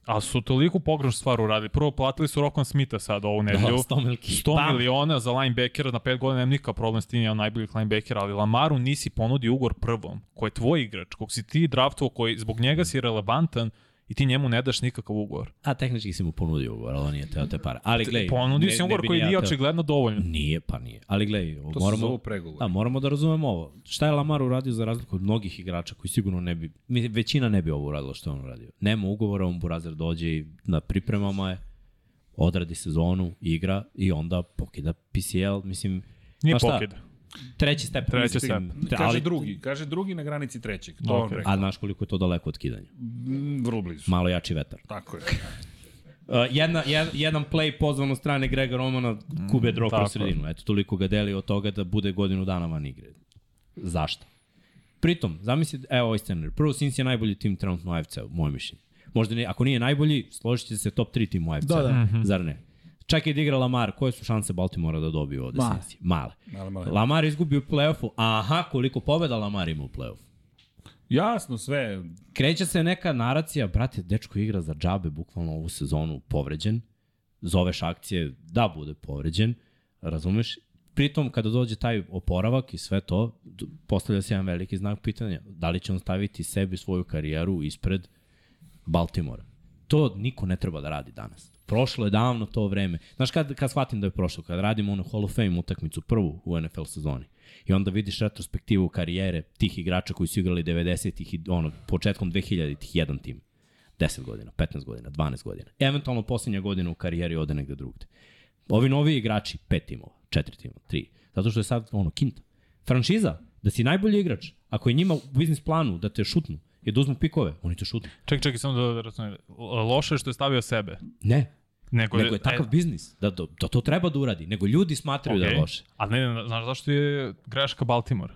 S4: a su toliko pogrešnu stvar uradili. Prvo platili su Rokon Smitha sad ovu nedelju.
S5: Da, 100 milki.
S4: 100
S5: Bam.
S4: miliona za linebackera na 5 godina, nemam nikakav problem s tim, ja najboljih linebackera, ali Lamaru nisi ponudio ugovor prvom, koji je tvoj igrač, kog si ti draftovao, koji zbog njega si relevantan i ti njemu ne daš nikakav ugovor.
S5: A tehnički si mu ponudio ugovor, ali on nije teo te pare. Ali gledaj,
S4: Ponudio si ugovor
S5: bi ni
S4: koji
S5: ja
S4: nije
S5: teo.
S4: očigledno dovoljno.
S5: Nije, pa nije. Ali gledaj, ovo,
S1: To se zove
S5: moramo,
S1: pregovor.
S5: da, moramo da razumemo ovo. Šta je Lamar uradio za razliku od mnogih igrača koji sigurno ne bi, mislim, većina ne bi ovo uradila što je on uradio. Nema ugovora, on Burazer dođe i na pripremama je, odradi sezonu, igra i onda pokida PCL, mislim...
S4: Nije
S5: znaš Pa šta,
S4: pokid.
S5: Treći step.
S4: Treći
S5: tre-
S1: Kaže
S5: ali-
S1: drugi, kaže drugi na granici trećeg. To okay. on
S4: Ok.
S1: rekao.
S5: A znaš koliko je to daleko od kidanja.
S1: Mm, Vrlo blizu.
S5: Malo jači vetar.
S1: Tako je.
S5: Uh, jedna, jed, jedan play pozvan od strane Grega Romana kube drop
S4: Mm, tako
S5: u sredinu. Eto, toliko ga deli od toga da bude godinu dana van igre. Zašto? Pritom, zamisli, evo ovaj scenar. Prvo, Sins je najbolji tim trenutno u AFC-u, moje mišljenje. Možda ne, ako nije najbolji, složit će se top 3 tim u AFC-u.
S3: Da, da.
S4: Mhm.
S5: Zar ne? Čak i da igra Lamar, koje su šanse Baltimora da dobiju ovde
S3: Male.
S5: Sinsi? Male.
S1: Male, male.
S5: Lamar izgubi u play-offu. Aha, koliko pobeda Lamar ima u play-offu.
S1: Jasno, sve.
S5: Kreće se neka naracija, brate, dečko igra za džabe, bukvalno ovu sezonu povređen. Zoveš akcije da bude povređen, razumeš? Pritom, kada dođe taj oporavak i sve to, d- postavlja se jedan veliki znak pitanja. Da li će on staviti sebi svoju karijeru ispred Baltimora? To niko ne treba da radi danas. Prošlo je davno to vreme. Znaš kad, kad shvatim da je prošlo? Kad radimo onu Hall of Fame utakmicu prvu u NFL sezoni i onda vidiš retrospektivu karijere tih igrača koji su igrali 90-ih i ono, početkom 2000-ih jedan tim. 10 godina, 15 godina, 12 godina. Eventualno posljednja godina u karijeri ode negde drugde. Ovi novi igrači, pet timova, četiri tima, tri. Zato što je sad ono kinta. Franšiza, da si najbolji igrač, ako je njima u biznis planu da te šutnu i da uzmu pikove, oni te šutnu.
S4: Ček, ček, samo da, da razumijem. Loše je što je stavio sebe.
S5: Ne,
S4: Nego, e,
S5: nego je takav biznis, da, da, da to treba da uradi, nego ljudi smatraju okay. da je loše.
S4: A ne, ne, znaš zašto je greška Baltimore?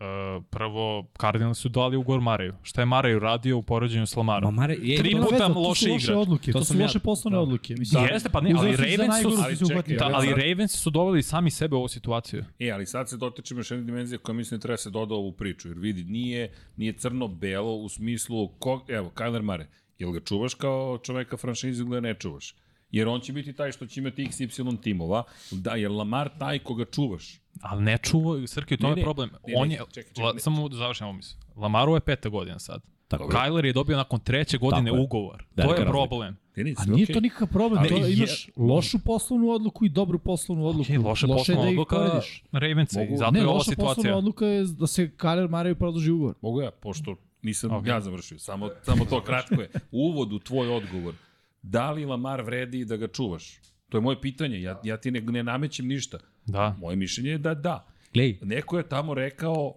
S4: Uh, prvo, Cardinals su dali ugovor Mareju. Šta je Mareju radio u poređenju s
S5: Ma,
S4: Lamarom?
S5: Mare, je,
S4: Tri
S5: to-
S3: veza,
S4: puta loše
S3: To su
S4: igrač.
S3: loše odluke,
S5: To
S3: to,
S5: sam
S3: su
S5: ja.
S3: loše poslovne
S4: Da.
S3: odluke.
S4: Da. Jeste, pa ne,
S3: uzeli
S4: ali
S3: su za
S4: Ravens su...
S3: najgoru
S1: ali
S3: se
S1: čekaj,
S3: uhvatili.
S4: Da,
S1: Ravens-
S4: ali Ravens su doveli sami sebe u ovu situaciju.
S1: E, ali sad se dotičemo još jedne dimenzije koja mislim da treba se doda u ovu priču, jer vidi, nije, nije crno-belo u smislu, ko, evo, Kyler Mare, jel ga čuvaš kao čoveka franšize ili ga ne čuvaš? Jer on će biti taj što će imati XY timova, da, jer Lamar taj koga čuvaš.
S4: Ali ne čuva, Srki, u tome
S1: Ne, ne,
S4: je problem.
S1: ne,
S4: On
S1: ne,
S4: je,
S1: čekaj, čekaj,
S4: la,
S1: ne.
S4: samo da završim ovu misl. Lamaru je peta godina sad.
S5: Tako je.
S4: Kyler je dobio nakon treće godine
S5: Tako je.
S4: ugovor.
S5: Velika
S4: to je
S5: razlika.
S4: problem.
S1: Ti nisi,
S3: A nije
S1: okej.
S3: to nikakav problem,
S4: Ali
S3: to
S4: je-
S3: imaš lošu poslovnu odluku i dobru poslovnu odluku.
S4: Je, loše
S3: je
S4: poslovna
S3: da ih
S4: odluka
S3: porediš.
S4: Ravens i
S1: Mogu-
S4: zato
S3: ne,
S4: je ova
S3: loša poslovna
S4: situacija.
S3: odluka je da se Kaler Mareju produži ugovor.
S1: Mogu ja, pošto nisam
S4: Ok.
S1: okay. ja završio, samo, samo to kratko je. U uvodu tvoj odgovor, da li Lamar vredi da ga čuvaš? To je moje pitanje, ja, ja ti ne, ne namećem ništa.
S4: Da.
S1: Moje mišljenje je da da.
S5: Glej,
S1: Neko je tamo rekao,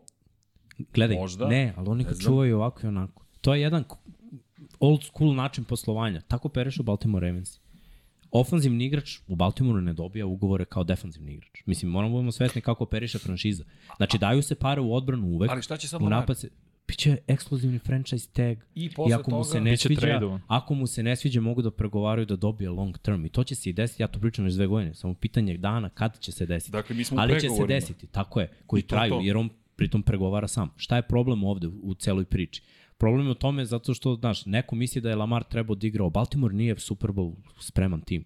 S5: Gledaj,
S1: Možda,
S5: ne, ali oni
S1: ne
S5: ga
S1: znam.
S5: čuvaju ovako i onako. To je jedan k- old school način poslovanja. Tako pereš u Baltimore Ravens. Ofanzivni igrač u Baltimoreu ne dobija ugovore kao defanzivni igrač. Mislim, moramo da budemo svesni kako periše franšiza. Znači, daju se pare u odbranu uvek.
S1: ali šta će sad
S5: u
S1: Lamar?
S5: napad se... Biće ekskluzivni franchise tag.
S1: I posle
S5: I ako mu se
S1: toga-
S5: ne
S4: Biće
S5: sviđa,
S4: tradeovan.
S5: ako mu se ne sviđa, mogu da pregovaraju da dobije long term. I to će se i desiti, ja to pričam već dve godine. Samo pitanje je dana kada će se desiti.
S1: Dakle, mi smo u
S5: Ali će se
S1: pregovorima.
S5: desiti, tako je, koji
S1: I to,
S5: traju,
S1: to.
S5: jer on pritom pregovara sam. Šta je problem ovde u- u celoj priči? Problem je u tome zato što, znaš, neko misli da je Lamar trebao da igrao. Baltimore nije Super Bowl spreman tim,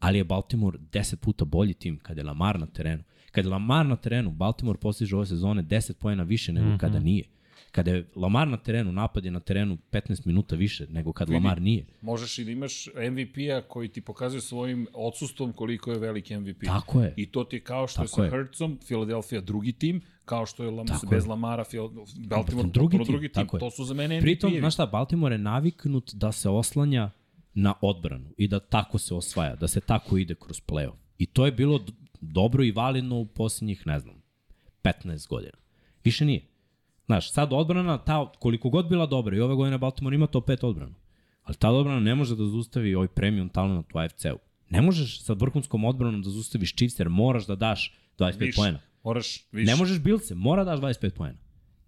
S5: ali je Baltimore 10 puta bolji tim kada je Lamar na terenu. Kada je Lamar na terenu, Baltimore postiže ove sezone 10 pojena više nego mm -hmm. kada nije. Kada je Lamar na terenu, napad je na terenu 15 minuta više nego kad Lamar nije.
S1: možeš i da imaš MVP-a koji ti pokazuje svojim odsustvom koliko je veliki MVP.
S5: Tako je.
S1: I to ti je kao što
S5: Tako
S1: je
S5: je.
S1: sa Hurtsom, Philadelphia drugi tim, kao što je Lam
S5: Tako
S1: bez
S5: je.
S1: Lamara, Phil- Baltimore drugi
S5: drugi tim,
S1: tim. drugi tim.
S5: tako je.
S1: To su za mene MVP-evi.
S5: Pritom, znaš šta, Baltimore je naviknut da se oslanja na odbranu i da tako se osvaja, da se tako ide kroz play-off. I to je bilo d- dobro i validno u posljednjih, ne znam, 15 godina. Više nije. Znaš, sad odbrana, ta, koliko god bila dobra, i ove godine Baltimore ima to pet odbranu, ali ta odbrana ne može da zustavi ovaj premium talent u AFC-u. Ne možeš sa vrhunskom odbranom da zustaviš Chiefs jer moraš da daš 25
S1: Više.
S5: poena.
S1: Moraš više.
S5: Više. Ne možeš Bilce, mora daš 25 poena.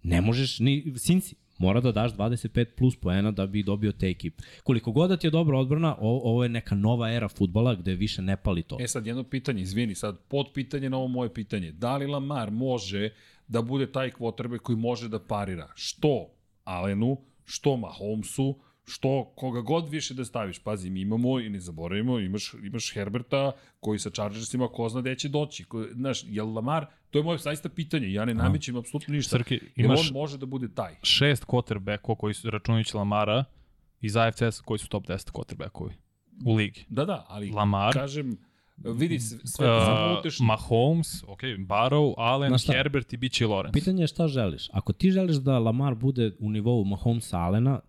S5: Ne možeš ni Sinci, mora da daš 25 plus poena da bi dobio te ekipe. Koliko god da ti je dobra odbrana, ovo, ovo je neka nova era futbala gde više ne pali to.
S1: E sad jedno pitanje, izvini, sad pod pitanje na ovo moje pitanje. Da li Lamar može da bude taj kvotrbe koji može da parira? Što Alenu, što Mahomesu, što koga god više da staviš. Pazi, mi imamo i ne zaboravimo, imaš, imaš Herberta koji sa Chargersima ko zna gde će doći. Ko, znaš, je Lamar, to je moje zaista pitanje, ja ne namećem apsolutno ništa.
S4: Srki,
S1: Jel
S4: imaš-
S1: on može da bude taj?
S4: šest quarterbackova koji su računajući Lamara iz AFCS koji su top 10 quarterbackovi u ligi.
S1: Da, da, ali
S4: Lamar.
S1: kažem, vidi sve, sve uh, samo
S4: Uh,
S1: uteš.
S4: Mahomes, ok, Barrow, Allen,
S5: Znaš šta?
S4: Herbert i Bići Lawrence.
S5: Pitanje je šta želiš. Ako ti želiš da Lamar bude u nivou Mahomesa Alena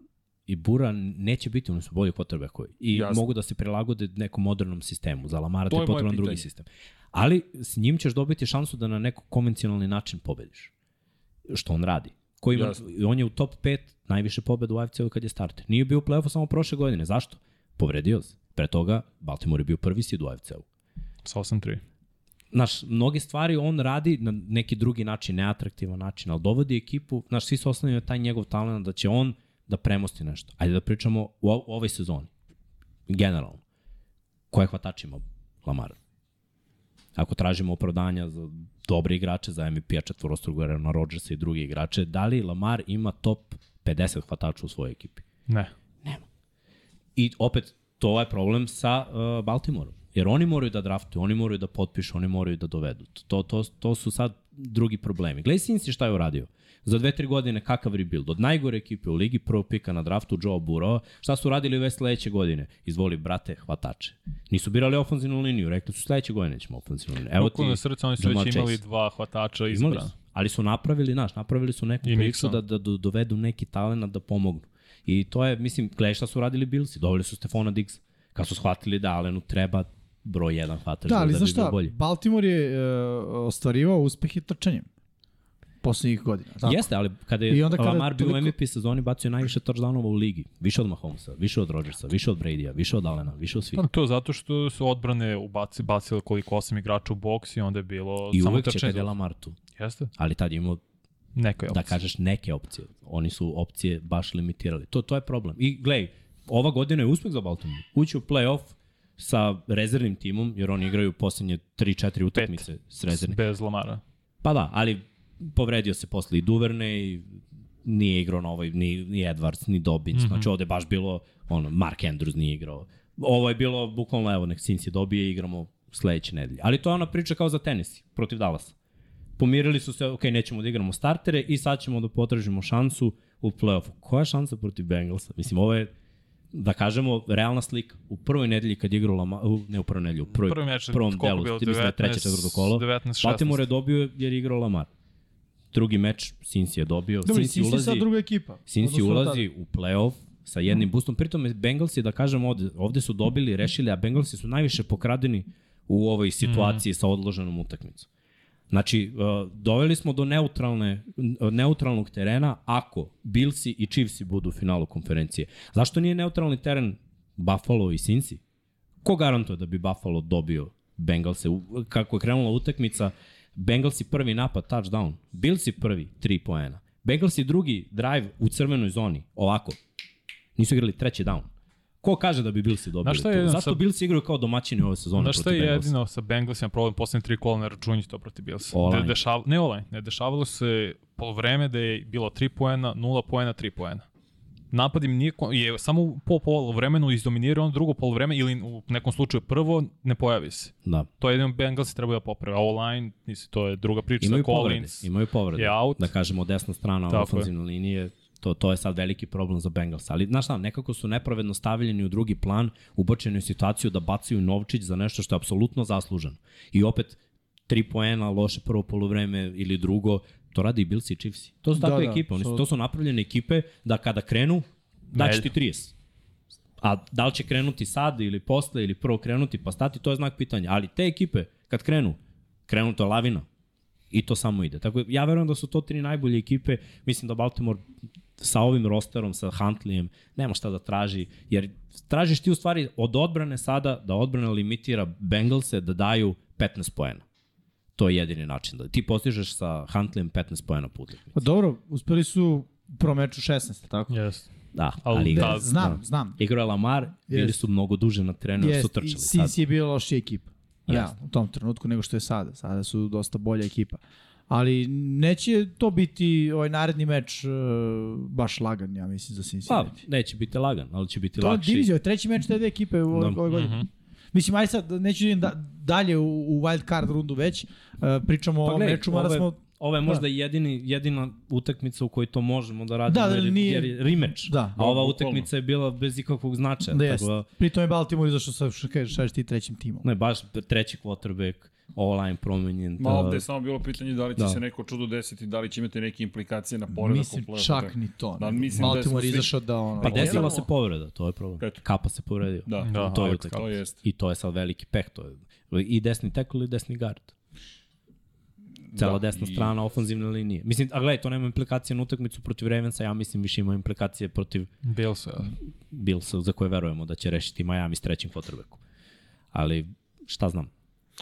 S5: i Bura neće biti, oni su bolji quarterbackovi i Jasne.
S1: Jasno.
S5: mogu da se prilagode nekom modernom sistemu. Za Lamara
S1: To
S5: ti je
S1: je moje
S5: potreban
S1: pitanje.
S5: drugi sistem. Ali s njim ćeš dobiti šansu da na neko konvencionalni način pobediš. Što on radi. Koji ima,
S1: Jasno.
S5: on je u top 5 najviše pobeda u AFC-u kad je starter. Nije bio u play-offu samo prošle godine. Zašto? Povredio se. Pre toga Baltimore je bio prvi sid u AFC-u.
S4: Sa 8-3.
S5: Znaš, mnoge stvari on radi na neki drugi način, neatraktivan način, ali dovodi ekipu, znaš, svi se osnovaju na taj njegov talent da će on da premosti nešto. Ajde da pričamo u o- ovoj sezoni, generalno. Koje hvatač ima Lamar? Ako tražimo opravdanja za dobre igrače, za MVP-a četvorostrog Arena Rodgersa i druge igrače, da li Lamar ima top 50 hvatača u svojoj ekipi?
S4: Ne.
S5: I opet, to je problem sa uh, Baltimoreom. Jer oni moraju da draftuju, oni moraju da potpišu, oni moraju da dovedu. To, to, to su sad drugi problemi. Gledaj Sinsi šta je uradio. Za dve, tri godine kakav rebuild. Od najgore ekipe u ligi, prvog pika na draftu, Joe Burrow. Šta su radili već sledeće godine? Izvoli, brate, hvatače. Nisu birali ofenzivnu liniju, rekli su sledeće godine ćemo ofenzivnu liniju. Evo ti,
S4: Ruku na srce, oni su
S5: Jamar
S4: već
S5: Chase.
S4: imali dva hvatača
S5: Imali
S4: izbrana.
S5: su, ali su napravili, znaš, napravili su neku
S4: I
S5: priču
S4: Mixon.
S5: da, da do- dovedu neki talent da pomognu. I to je, mislim, gledaj šta su radili Billsi, doveli su Stefona Diggs, kad su shvatili da Alenu treba broj jedan hvatač
S3: Da,
S5: da,
S3: ali
S5: da
S3: znaš
S5: bi bio
S3: šta,
S5: bolji.
S3: Baltimore je uh, ostvarivao uspehe trčanjem poslednjih godina. Tako?
S5: Jeste, ali kada
S3: I
S5: je
S3: onda kada
S5: Lamar bio u
S3: toliko-
S5: MVP sezoni, bacio je najviše touchdownova u ligi. Više od Mahomesa, više od Rodgersa, više od Bradya, više od Alena, više od svih.
S4: Pa to je zato što su odbrane ubaci, bacile koliko osam igrača u boks i onda je bilo
S5: I
S4: samo
S5: uvek će
S4: trčanje.
S5: kada je
S4: za-
S5: Lamar tu.
S4: Jeste?
S5: Ali tad je imao
S4: Neko je
S5: da
S4: opcija.
S5: kažeš neke opcije. Oni su opcije baš limitirali. To, to je problem. I glej, ova godina je uspeh za Baltimore. Ući u play-off sa rezervnim timom, jer oni igraju poslednje 3-4 utakmice s rezervnim.
S4: Bez Lamara.
S5: Pa da, ali povredio se posle i Duverne i nije igrao na ovoj, ni, ni Edwards, ni Dobbins. Mm
S4: Mhm.
S5: -hmm. Znači ovde je baš bilo, ono, Mark Andrews nije igrao. Ovo je bilo, bukvalno, evo, nek Cincy dobije i igramo sledeće nedelje. Ali to je ona priča kao za tenis, protiv Dallasa. Pomirili su se, ok, nećemo da igramo startere i sad ćemo da potražimo šansu u play-offu. Koja je šansa protiv Bengalsa? Mislim, ovo je, da kažemo, realna slika. U prvoj nedelji kad je igrao Lama, u- ne u prvoj nedelji, u prvoj,
S4: Prvi meč je
S5: prvom
S4: koliko
S5: delu,
S4: bilo?
S5: mislim da je treće,
S4: 19,
S5: četvrto kolo.
S4: 19, 16.
S5: Baltimore je dobio jer je igrao Lamar. Drugi meč Cincy je dobio.
S3: Dobro,
S5: Cincy,
S3: Sinsi je sad
S5: Pa ulazi,
S3: druga ekipa.
S5: Cincy
S3: Odnosno na tada.
S5: ulazi u play-off sa jednim boostom. Pritom je Bengalsi, da kažem, ovde, ovde su dobili, rešili, a Bengalsi su najviše pokradeni u ovoj situaciji mm. sa odloženom utakmicom. Znači, uh, doveli smo do neutralne, neutralnog terena ako Billsi i Chiefsi budu u finalu konferencije. Zašto nije neutralni teren Buffalo i Cincy? Ko garantuje da bi Buffalo dobio Bengalse? U- Kako je krenula utakmica, Bengalsi prvi napad, touchdown. Billsi prvi, tri poena. Bengalsi drugi drive u crvenoj zoni, ovako. Nisu igrali treći down. Ko kaže da bi Billsi dobili
S4: Znaš šta je
S5: to?
S4: jedan
S5: Zato
S4: sad-
S5: Billsi igraju kao domaćini ove sezone
S4: Znaš šta
S5: protiv
S4: je
S5: Bengalsa.
S4: jedino sa Bengalsima problem, poslednje tri kola ne računje to protiv Bilsa.
S5: Online.
S4: Ne, dešava, ne online, ne dešavalo se polovreme da je bilo 3 poena, 0 poena, 3 poena. Napad im nije, kon- je samo po polovremenu izdominirao on drugo polovreme ili u nekom slučaju prvo ne pojavi se.
S5: Da.
S4: To je jedino Bengalsi trebaju da poprave. A online, nisi, to je druga priča.
S5: Imaju povrede.
S4: Collins,
S5: Imaju povrede.
S4: je out.
S5: Da kažemo, desna strana
S4: Tako je.
S5: ofenzivne linije, to, to je sad veliki problem za Bengals. Ali, znaš šta, nekako su nepravedno stavljeni u drugi plan, ubočeni u situaciju da bacaju novčić za nešto što je apsolutno zasluženo. I opet, tri poena, loše prvo polovreme ili drugo, to radi i Bills i Chiefs. To su
S3: Da,
S5: takve
S3: da,
S5: da, ekipe, oni su,
S3: apsolutno.
S5: to su napravljene ekipe da kada krenu, daće ti
S4: Melj.
S5: 30. A da li će krenuti sad ili posle ili prvo krenuti pa stati, to je znak pitanja. Ali te ekipe, kad krenu, krenu to je lavina. I to samo ide. Tako, ja verujem da su to tri najbolje ekipe. Mislim da Baltimore sa ovim rosterom, sa Huntleyem, nema šta da traži. Jer tražiš ti u stvari od odbrane sada da odbrana limitira Bengalse da daju 15 poena. To je jedini način. Da ti postižeš sa Huntleyem 15 poena po utakmici.
S3: Pa dobro, uspeli su u prvom meču 16, tako?
S4: Yes.
S5: Da,
S4: Ali
S5: ali
S4: da,
S5: da,
S3: Da, znam, znam.
S5: igrao je Lamar, bili
S3: Jest.
S5: su mnogo duže na terenu, yes, su
S3: Jeste, i
S5: trčali. sad.
S3: Sinsi je bila lošija ekipa. Ja, u tom trenutku nego što je sada. Sada su dosta bolja ekipa. Ali neće to biti ovaj naredni meč uh, baš lagan, ja mislim, za
S5: Pa,
S3: Cincinnati.
S5: neće biti lagan, ali će biti
S3: to je
S5: Pa, lakši.
S3: divizija, ovo je treći meč te dve ekipe u ovoj,
S5: Da.
S3: ovoj godini. Mislim, aj sad, neću da idem da, dalje u, u wild card rundu već. Uh, pričamo pa, o
S5: gledaj,
S3: meču, mada
S5: ovo je-
S3: smo...
S5: Ovo je možda da. jedini, jedina utakmica u kojoj to možemo da radimo,
S3: Da, da,
S5: jer,
S3: nije-
S5: jer je rematch.
S3: Da.
S5: A ova
S1: Bukvalno.
S5: utakmica je bila bez ikakvog značaja.
S3: Da
S5: tako
S3: jest. Pritom je Baltimore izašao sa, što kažeš, šaš ti trećim timom.
S5: Ne, baš treći quarterback, online promenjen.
S1: Ma
S5: da-
S1: ovde je samo bilo pitanje da li će
S5: Da.
S1: da. se neko čudo desiti, da li će imati neke implikacije na poredak
S3: mislim,
S1: u play-offu.
S3: čak ni to.
S1: Da,
S3: ne.
S1: mislim da
S3: Baltimore
S1: smo svi-
S3: izašao da ono...
S5: Pa desila
S1: generalno-
S5: se povreda, to je problem.
S1: Eto.
S5: Kapa se povredio.
S1: Da,
S4: Da,
S1: da
S5: to je
S1: Alex,
S5: utakmica.
S1: to jest.
S5: I to je sad veliki peh. To je, I desni tackle i desni guard. Cela da,
S1: Da,
S5: desna
S1: i-
S5: strana ofenzivne linije. Mislim, a gledaj, to nema implikacije na utakmicu protiv Ravensa, ja mislim više ima implikacije protiv
S4: Bilsa.
S5: Billsa za koje verujemo da će rešiti Miami s trećim quarterbackom. Ali šta znam.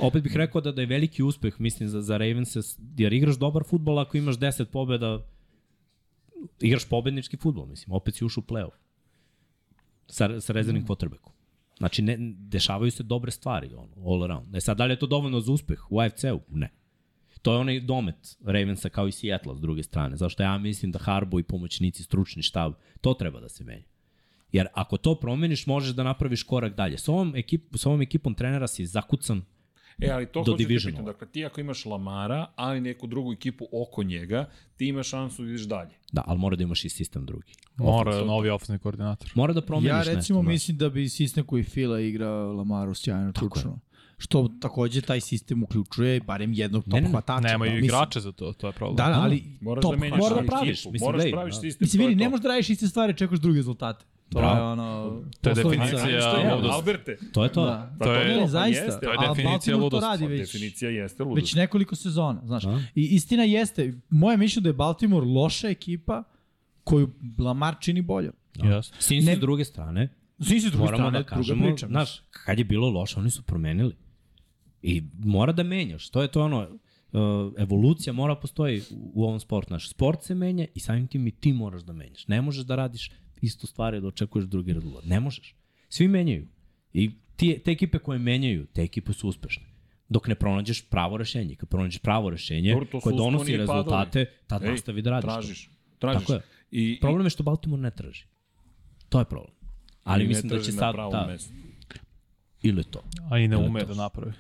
S5: Opet bih rekao da, da je veliki uspeh, mislim, za, za Ravens, jer igraš dobar futbol ako imaš 10 pobjeda, igraš pobednički futbol, mislim, opet si ušu u play-off sa, sa rezervnim quarterbackom. Znači, ne, dešavaju se dobre stvari, ono, all around. E sad, da li je to dovoljno za uspeh u AFC-u? Ne. To je onaj domet Ravensa kao i Seattle s druge strane. Zašto ja mislim da Harbo i pomoćnici, stručni štab, to treba da se menja. Jer ako to promeniš, možeš da napraviš korak dalje. S ovom, ekip, s ovom ekipom trenera si zakucan.
S1: E, ali to
S5: do
S1: hoću ti
S5: Divisiona.
S1: pitam. Dakle, ti ako imaš Lamara, ali neku drugu ekipu oko njega, ti imaš šansu da ideš dalje.
S5: Da, ali mora da imaš i sistem drugi.
S4: Mora novi ofensivni koordinator.
S5: Mora da promeniš
S3: Ja
S5: nešto.
S3: recimo
S5: da.
S3: mislim da bi sistem koji Fila igra Lamaru sjajno tučno. Što takođe taj sistem uključuje barem jednog top
S5: Ne, ne,
S3: hvatača.
S4: Nemaju
S3: Mislim,
S4: igrače za to, to je problem.
S3: Da, da, ali
S1: Moraš
S3: top
S1: da menjaš
S5: mora da
S1: ekipu,
S5: praviš, mislim,
S1: moraš
S5: gledaj,
S1: praviš
S5: da.
S1: sistem.
S3: Mislim,
S1: to je
S3: vidi,
S1: to.
S3: ne možeš da radiš iste stvari, čekaš druge rezultate. To
S5: Bravo.
S3: je ono...
S4: To je
S3: poslovica.
S1: Ajde,
S4: definicija.
S1: što je,
S4: ludosti.
S1: Alberte.
S5: To je to.
S3: Da.
S1: Pa
S4: To je-
S1: to
S3: Ne, zaista.
S1: jeste,
S3: To je
S4: je definicija
S3: Baltimore to
S4: ludosti.
S3: radi već.
S1: Definicija jeste ludost.
S3: Već nekoliko sezona, znaš.
S5: A?
S3: I istina jeste, moje mišljenje da je Baltimore loša ekipa koju Lamar čini bolje.
S4: Yes.
S5: Sin
S3: Ne-
S5: s druge strane,
S3: Svi su s druge
S5: moramo
S3: strane,
S5: da
S3: druga
S5: kažemo,
S3: priča.
S5: znaš, kad je bilo loše, oni su promenili. I mora da menjaš, to je to ono, uh, evolucija mora postoji u- u ovom sportu. Naš sport se menja i samim tim i ti moraš da menjaš. Ne možeš da radiš istu stvar i da očekuješ drugi rezultat. Ne možeš. Svi menjaju. I ti, te ekipe koje menjaju, te ekipe su uspešne. Dok ne pronađeš pravo rešenje. I Kad pronađeš pravo rešenje
S1: Dobro, to su
S5: koje donosi
S1: usponi i padovi.
S5: rezultate, tad
S1: Ej,
S5: nastavi da radiš. to.
S1: Tražiš. Tražiš.
S5: Tako je.
S1: I, i,
S5: Problem je što Baltimore ne traži. To je problem. Ali
S1: i ne
S5: mislim da
S1: traži
S5: će
S1: na
S5: sad
S1: pravom
S5: ta,
S1: mestu.
S5: ili to.
S4: A i ne
S5: To je
S4: ume
S5: to.
S4: da napravi.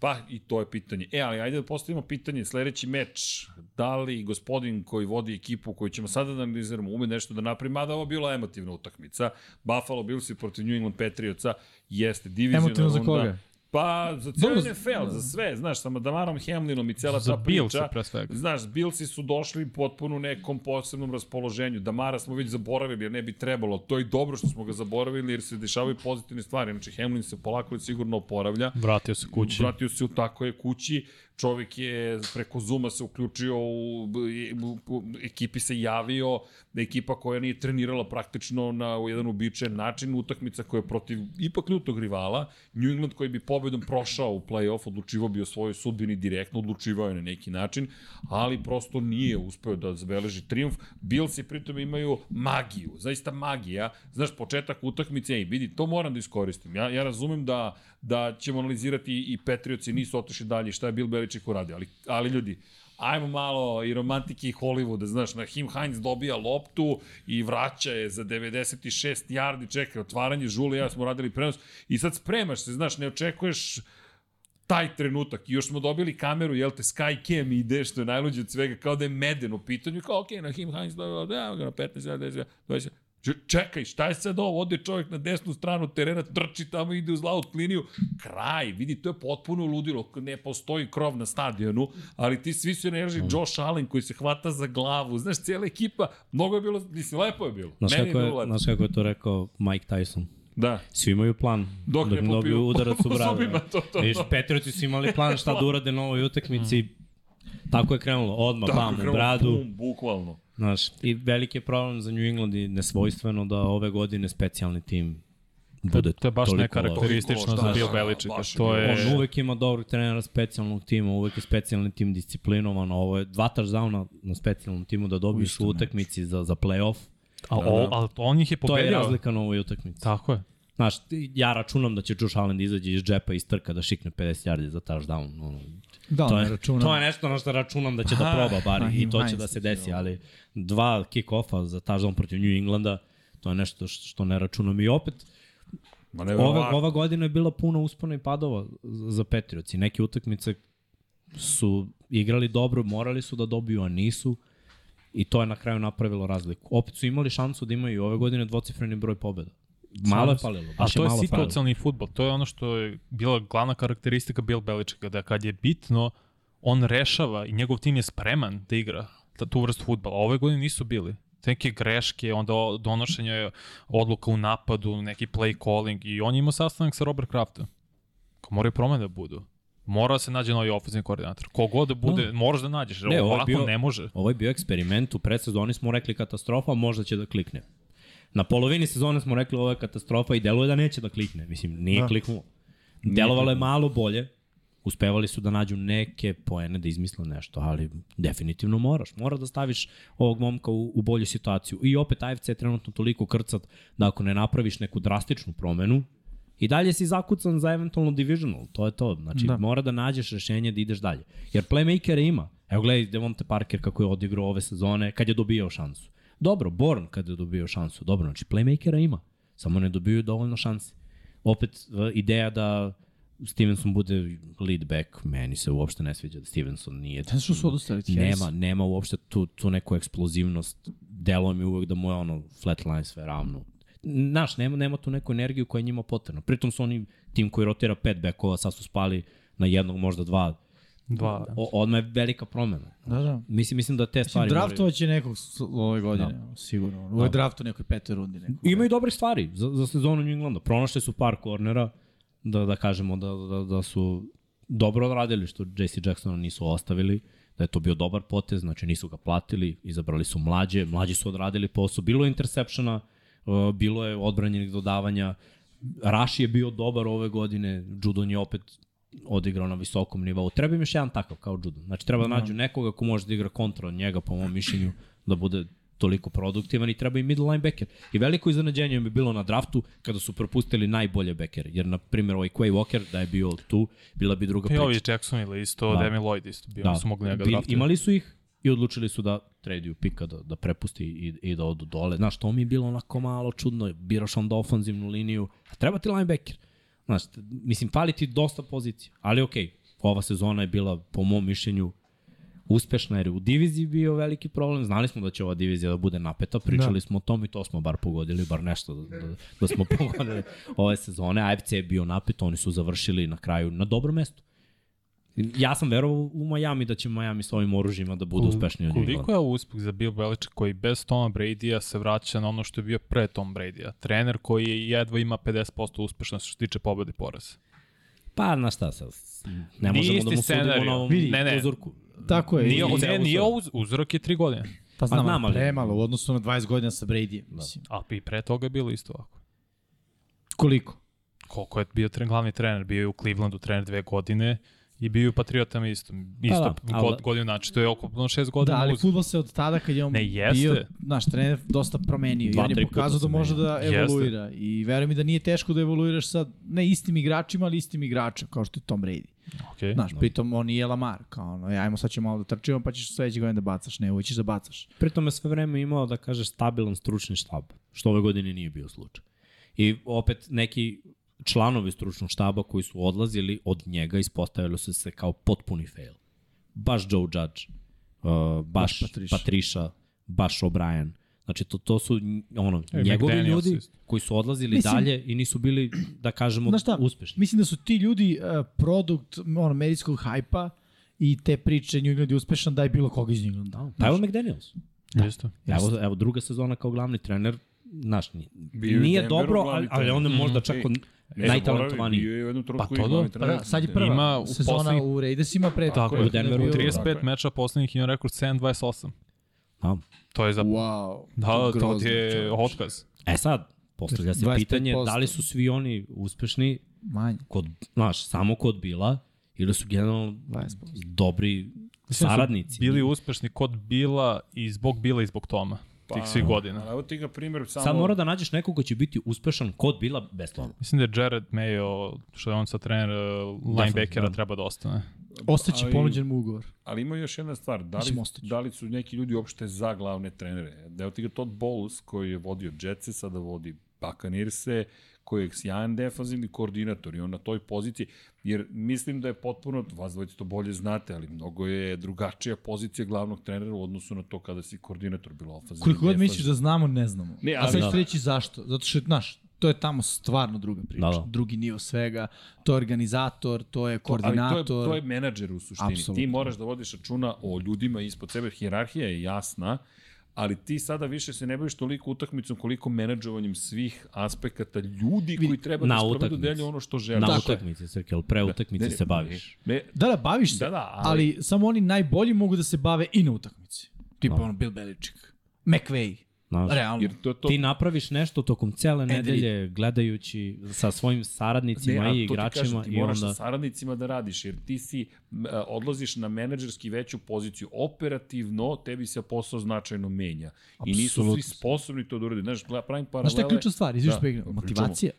S1: Pa i to je pitanje. E, ali ajde da postavimo pitanje, sledeći meč, da li gospodin koji vodi ekipu koju ćemo sada da analiziramo ume nešto da napravi, mada ovo je bila emotivna utakmica. Buffalo Bills i protiv New England Patriotsa jeste divizijona
S3: Emotivno za
S1: runda.
S3: koga?
S1: Pa za cijeli
S3: Dobro, da.
S1: NFL, za sve, znaš, sa Damarom Hamlinom i cela
S4: Za
S1: ta priča.
S4: Billse pre svega.
S1: Znaš, Bilsi su došli potpuno u nekom posebnom raspoloženju. Damara smo već zaboravili, jer ne bi trebalo. To je dobro što smo ga zaboravili, jer se dešavaju pozitivne stvari. Znači, Hamlin se polako ali sigurno oporavlja.
S4: Vratio se kući.
S1: Vratio se u tako je kući, čovjek je preko Zuma se uključio u, u, u ekipi se javio, da ekipa koja nije trenirala praktično na jedan uobičajen način, utakmica koja je protiv ipak ljutog rivala, New England koji bi pobedom prošao u play-off, odlučivao bi o svojoj sudbini direktno, odlučivao je na neki način, ali prosto nije uspeo da zabeleži triumf. Bills i pritom imaju magiju, zaista magija. Znaš, početak utakmice, ej, vidi, to moram da iskoristim. Ja, ja razumem da, da ćemo analizirati i Patriots i nisu otišli dalje, šta je Bill Belichick uradio, ali, ali ljudi, ajmo malo i romantike i Hollywooda, znaš, na Him Hines dobija loptu i vraća je za 96 yardi, čekaj, otvaranje žule, ja smo radili prenos i sad spremaš se, znaš, ne očekuješ taj trenutak i još smo dobili kameru, jel te, Skycam ide, što je najluđe od svega, kao da je Meden u pitanju, kao, okej, na Him Hines, da, da, da, evo ga na 15, 20, 20, Č- čekaj, šta je sad ovo? Ode čovjek na desnu stranu terena, trči tamo, ide uz laut liniju. Kraj, vidi, to je potpuno ludilo. Ne postoji krov na stadionu, ali ti svi su enerži
S5: Mm.
S1: Josh Allen koji se hvata za glavu. Znaš, cijela ekipa, mnogo je bilo, mislim, lepo je bilo.
S5: Znaš
S1: Meni je
S5: kako, je,
S1: bilo lepo.
S5: znaš kako je to rekao Mike Tyson?
S1: Da.
S5: Svi imaju plan.
S1: Dok ne
S5: ne dobiju
S1: popiju
S5: udarac
S1: <laughs>
S5: u
S1: po
S5: bradu.
S1: zubima, to, to, to.
S5: Viš, Petrovići su imali plan šta da urade na ovoj utakmici. Tako je krenulo, odmah,
S1: Tako je
S5: bam, u
S1: krenulo,
S5: bradu.
S1: Bum, bukvalno.
S5: Znaš, i veliki je problem za New England i nesvojstveno da ove godine specijalni tim bude
S4: To je baš
S5: toliko
S4: nekarakteristično
S1: loš.
S4: za
S1: Da,
S4: Bill
S1: da,
S4: Belichicka.
S1: baš je
S4: To
S1: bilo
S5: On
S4: je...
S5: uvek ima dobrog trenera specijalnog tima, uvek je specijalni tim disciplinovan, ovo je dva touchdowna na specijalnom timu da dobiješ u utakmici za, za play-off.
S4: A, o, ali on ih je
S5: Da, To je
S4: pobedio.
S5: razlika na ovoj utakmici.
S4: Tako je.
S5: Znaš, ti- ja računam da će Josh Allen da izađe iz džepa i strka da šikne 50 yardi za touchdown. Ono,
S3: Da,
S5: to,
S3: ne
S5: je,
S3: računam.
S5: to je nešto na što računam da će
S4: Pa,
S5: da proba
S3: ah,
S5: bar i to će
S3: Heinz
S5: da se desi, ali dva kick-offa za touchdown protiv New Englanda, to je nešto š- što ne računam. I opet,
S1: Ma ne,
S5: ova, ova godina je bila puno uspona i padova za za Patriots i neke utakmice su igrali dobro, morali su da dobiju, a nisu. I to je na kraju napravilo razliku. Opet su imali šansu da imaju i ove godine dvocifreni broj pobjeda. Malo je palilo.
S4: A
S5: baš
S4: to je
S5: malo falilo.
S4: situacijalni futbol. To je ono što je bila glavna karakteristika Bill Belichicka, da kad je bitno, on rešava i njegov tim je spreman da igra ta- tu vrstu futbala. Ove godine nisu bili. Te neke greške, onda o- donošenje odluka u napadu, neki play calling i on je imao sastanak sa Robert Kraftom. Ko moraju promene da budu. Mora da se nađe novi ofenzivni koordinator. Kogod da bude, no. moraš da nađeš.
S5: Ne,
S4: Ne,
S5: ovo je
S4: ovako
S5: bio-
S4: ne može.
S5: Ovo je bio eksperiment u predsezoni, smo rekli katastrofa, možda će da klikne. Na polovini sezone smo rekli ovo je katastrofa i deluje da neće da klikne. Mislim, nije da. kliknuo. Delovalo je malo bolje, uspevali su da nađu neke poene da izmisle nešto, ali definitivno moraš. Mora da staviš ovog momka u, u bolju situaciju. I opet AFC je trenutno toliko krcat da ako ne napraviš neku drastičnu promenu, I dalje si zakucan za eventualno divisional, to je to. Znači, da. mora da nađeš rešenje da ideš dalje. Jer playmakera ima. Evo gledaj Devonte Parker kako je odigrao ove sezone, kad je dobio šansu. Dobro, Born kada je dobio šansu, dobro, znači playmakera ima. Samo ne dobiju dovoljno šansi. Opet, e, ideja da Stevenson bude lead back, meni se uopšte ne sviđa da Stevenson nije
S3: Znaš što su odustali? od Harrisa?
S5: nema, nema uopšte tu, tu neku eksplozivnost. Delo mi uvek da mu je ono flatline sve ravno. Znaš, nema, nema tu neku energiju koja je njima potrebna. Pritom su oni tim koji rotira pet bekova, sad su spali na jednog, možda dva.
S4: Dva.
S5: O, odmah je velika promena.
S3: Da, da.
S5: Mislim, mislim da te stvari... moraju-
S3: Draftovaće nekog s- ove godine, da. sigurno. Ovo je draftu u nekoj petoj rundi. Nekog.
S5: Imaju dobre stvari za, za sezonu New Englanda. Pronašli su par kornera, da, da kažemo da, da, da su dobro odradili što JC Jacksona nisu ostavili, da je to bio dobar potez, znači nisu ga platili, izabrali su mlađe, mlađi su odradili posao, bilo je intersepšena, e, bilo je odbranjenih dodavanja, Raši je bio dobar ove godine, Judon je opet odigrao na visokom nivou. Treba im još jedan takav kao Judon. Znači treba da nađu nekoga ko može da igra kontra od njega, po mom mišljenju, da bude toliko produktivan i treba i middle linebacker. I veliko iznenađenje mi je bilo na draftu kada su propustili najbolje bekere. Jer, na primjer, ovaj Quay Walker, da je bio tu, bila bi druga
S4: I
S5: priča.
S4: ovi Jackson ili isto,
S5: Da.
S4: da. Demi Lloyd isto bio, da. su mogli njega
S5: Bil-
S4: draftati.
S5: Imali su ih i odlučili su da traduju pika, da, da prepusti i, i da odu dole. Znaš, to mi je bilo onako malo čudno. Biraš onda ofanzivnu liniju, a treba ti linebacker. Znaš, t- mislim, fali ti dosta pozicija. Ali okej, ova sezona je bila, po mom mišljenju, uspešna jer je u diviziji bio veliki problem. Znali smo da će ova divizija da bude napeta, pričali da. smo o tom i to smo bar pogodili, bar nešto da, da, da smo <laughs> pogodili ove sezone. AFC je bio napet, oni su završili na kraju na dobro mesto. Ja sam verovao u Miami da će Miami s ovim oružjima da bude uspešniji od England.
S4: Koliko je ovo uspeh za Bill Belichick koji bez Toma Brady-a se vraća na ono što je bio pre Tom Brady-a? Trener koji je jedva ima 50% uspešnost što se tiče pobede i poraza.
S5: Pa, na šta sad? Ne
S4: Nije
S5: možemo da
S4: isti
S5: mu sudimo
S4: scenario.
S5: na ovom
S4: Vidi, ne, ne.
S5: uzorku.
S3: Tako je.
S4: Nije,
S3: i-
S5: ovo-
S4: ne, nije
S5: uzorak.
S4: ovo uz- uzorak je tri godine.
S3: pa znam,
S5: znam,
S3: znam
S5: ali-
S3: ali... Premalo, u odnosu na 20 godina sa Brady.
S5: Da.
S3: Mislim.
S4: A i pre toga je bilo isto ovako.
S3: Koliko?
S4: Koliko je bio tre, glavni trener? Bio je u Clevelandu trener dve godine i bio je u Patriotama isto. Isto
S5: da, ali-
S4: god, godinu, znači to je oko no, šest
S3: Da,
S4: godina.
S3: ali
S4: uz-
S3: futbol se od tada kad je on
S4: Ne, jeste.
S3: bio naš trener dosta promenio
S5: Dva,
S3: i on
S5: tri
S3: je
S5: puta
S3: pokazao
S5: se
S3: da može
S5: menja.
S3: da
S4: Jeste.
S3: evoluira. I verujem mi da nije teško da evoluiraš sad ne istim igračima, ali istim igračem, kao što je Tom Brady.
S4: Okej.
S3: Znaš, pritom on nije Lamar, kao ono, "E, ajmo sad ćemo malo da trčimo, pa ćeš sledeće godine da bacaš, ne, uvećeš da bacaš.
S5: Pritom je sve vreme imao, da kažeš, stabilan stručni štab, što ove godine nije bio slučaj. I opet neki članovi stručnog štaba koji su odlazili od njega ispostavili su se kao potpuni fail. Baš Joe Judge, uh, baš,
S3: Baš
S5: baš
S3: Patricia.
S5: Patriša, baš O'Brien. Znači, to, to su nj- ono,
S4: E,
S5: njegovi
S4: McDaniels
S5: ljudi
S4: isto.
S5: koji su odlazili
S3: Mislim-
S5: dalje i nisu bili, da kažemo,
S3: Znaš šta,
S5: uspešni.
S3: Mislim da su ti ljudi uh, produkt ono, medijskog hajpa i te priče New England je uspešan, daj bilo koga iz New Englanda.
S5: Pa evo McDaniels.
S4: Isto.
S5: Evo, evo druga sezona kao glavni trener, znaš, nije,
S1: Bio je
S5: nije
S1: Denveru
S5: dobro,
S1: glavni
S5: ali, ali
S1: trener.
S5: on je možda čak
S1: Ej,
S5: on
S1: E,
S5: najtalentovaniji.
S1: zaboravio je, Bio je u jednom
S4: Pa
S1: trutku
S4: to
S1: i glavni
S4: da,
S1: trener.
S4: da,
S3: Sad je prva
S4: Ima u
S3: sezona
S4: poslednjih-
S3: u Dakle, Raidersima, pre
S4: Tako je.
S5: U Denveru.
S3: bio-
S4: 35 meča poslednjih ima rekord 7-28.
S5: Da.
S4: To je za...
S1: Wow.
S4: Da, to ti
S1: grozno,
S4: je
S1: čoveče.
S4: otkaz.
S5: E sad, postavlja se
S3: 25%.
S5: pitanje da li su svi oni uspešni
S3: Manje.
S5: kod, znaš, samo kod Bila ili su generalno
S3: 20%.
S5: dobri
S4: Mislim da su
S5: saradnici.
S4: Bili uspešni kod Bila i zbog Bila i zbog Toma. Pa, tih svih godina.
S1: Ali evo ti ga primjer samo...
S5: Sad mora da nađeš nekog ko će biti uspešan kod Bila bez toga.
S4: Mislim da je Jared Mayo, što je on sad trener uh, linebackera, treba da ostane.
S3: Ostaće
S1: Ali-
S3: ponuđen mu ugovor.
S1: Ali ima još jedna stvar, da li,
S3: Mislim, ostaću.
S1: da li su neki ljudi uopšte za glavne trenere? Da je otiga Todd Bowles koji je vodio Jetsa, sada vodi Buccaneerse, koji je sjajan defanzivni koordinator i on na toj poziciji, jer mislim da je potpuno, vas dvojice to bolje znate, ali mnogo je drugačija pozicija glavnog trenera u odnosu na to kada si koordinator bilo ofanzivni.
S3: Koliko god
S1: defanzivni.
S3: misliš da znamo, ne znamo.
S1: Ne,
S3: Ne, ali,
S1: ali-
S3: A sad ću
S1: Da.
S3: ti reći zašto. Zato što, znaš, to je tamo stvarno druga priča.
S5: Da, da.
S3: Drugi nivo svega. To je organizator, to je koordinator.
S1: Ali to je, to je menadžer u suštini.
S3: Apsolutno.
S1: Ti moraš da vodiš računa o ljudima ispod sebe. Hjerarhija je jasna, ali ti sada više se ne baviš toliko utakmicom koliko menadžovanjem svih aspekata ljudi koji treba
S5: na
S1: da sprovedu
S5: utakmici.
S1: delju ono što žele.
S5: Na
S1: Tako je.
S5: utakmici, Srke, ali pre utakmice
S1: Ne, ne,
S5: se baviš.
S1: Ne,
S3: Da, da, baviš se,
S1: Da, da, ali-
S3: ali... ali samo oni najbolji mogu da se bave i na utakmici. Tipa
S5: Da.
S3: ono Bill Belichick, McVay,
S5: Znaš,
S3: Realno.
S1: Jer to, to,
S5: ti napraviš nešto tokom cele
S3: vidi.
S5: nedelje gledajući sa svojim saradnicima
S1: a
S5: i
S1: to ti
S5: igračima
S1: kažem, ti
S5: i
S1: moraš sa
S5: onda...
S1: saradnicima da radiš, jer ti si, m, a, odlaziš na menadžerski veću poziciju operativno, tebi se posao značajno menja. I nisu svi
S5: Apsolutno.
S1: sposobni to da urade. Znaš, gleda, pravim paralele.
S3: Znaš šta je ključna stvar? Izviš
S1: Da,
S3: da,
S1: o čemu?
S3: motivacija.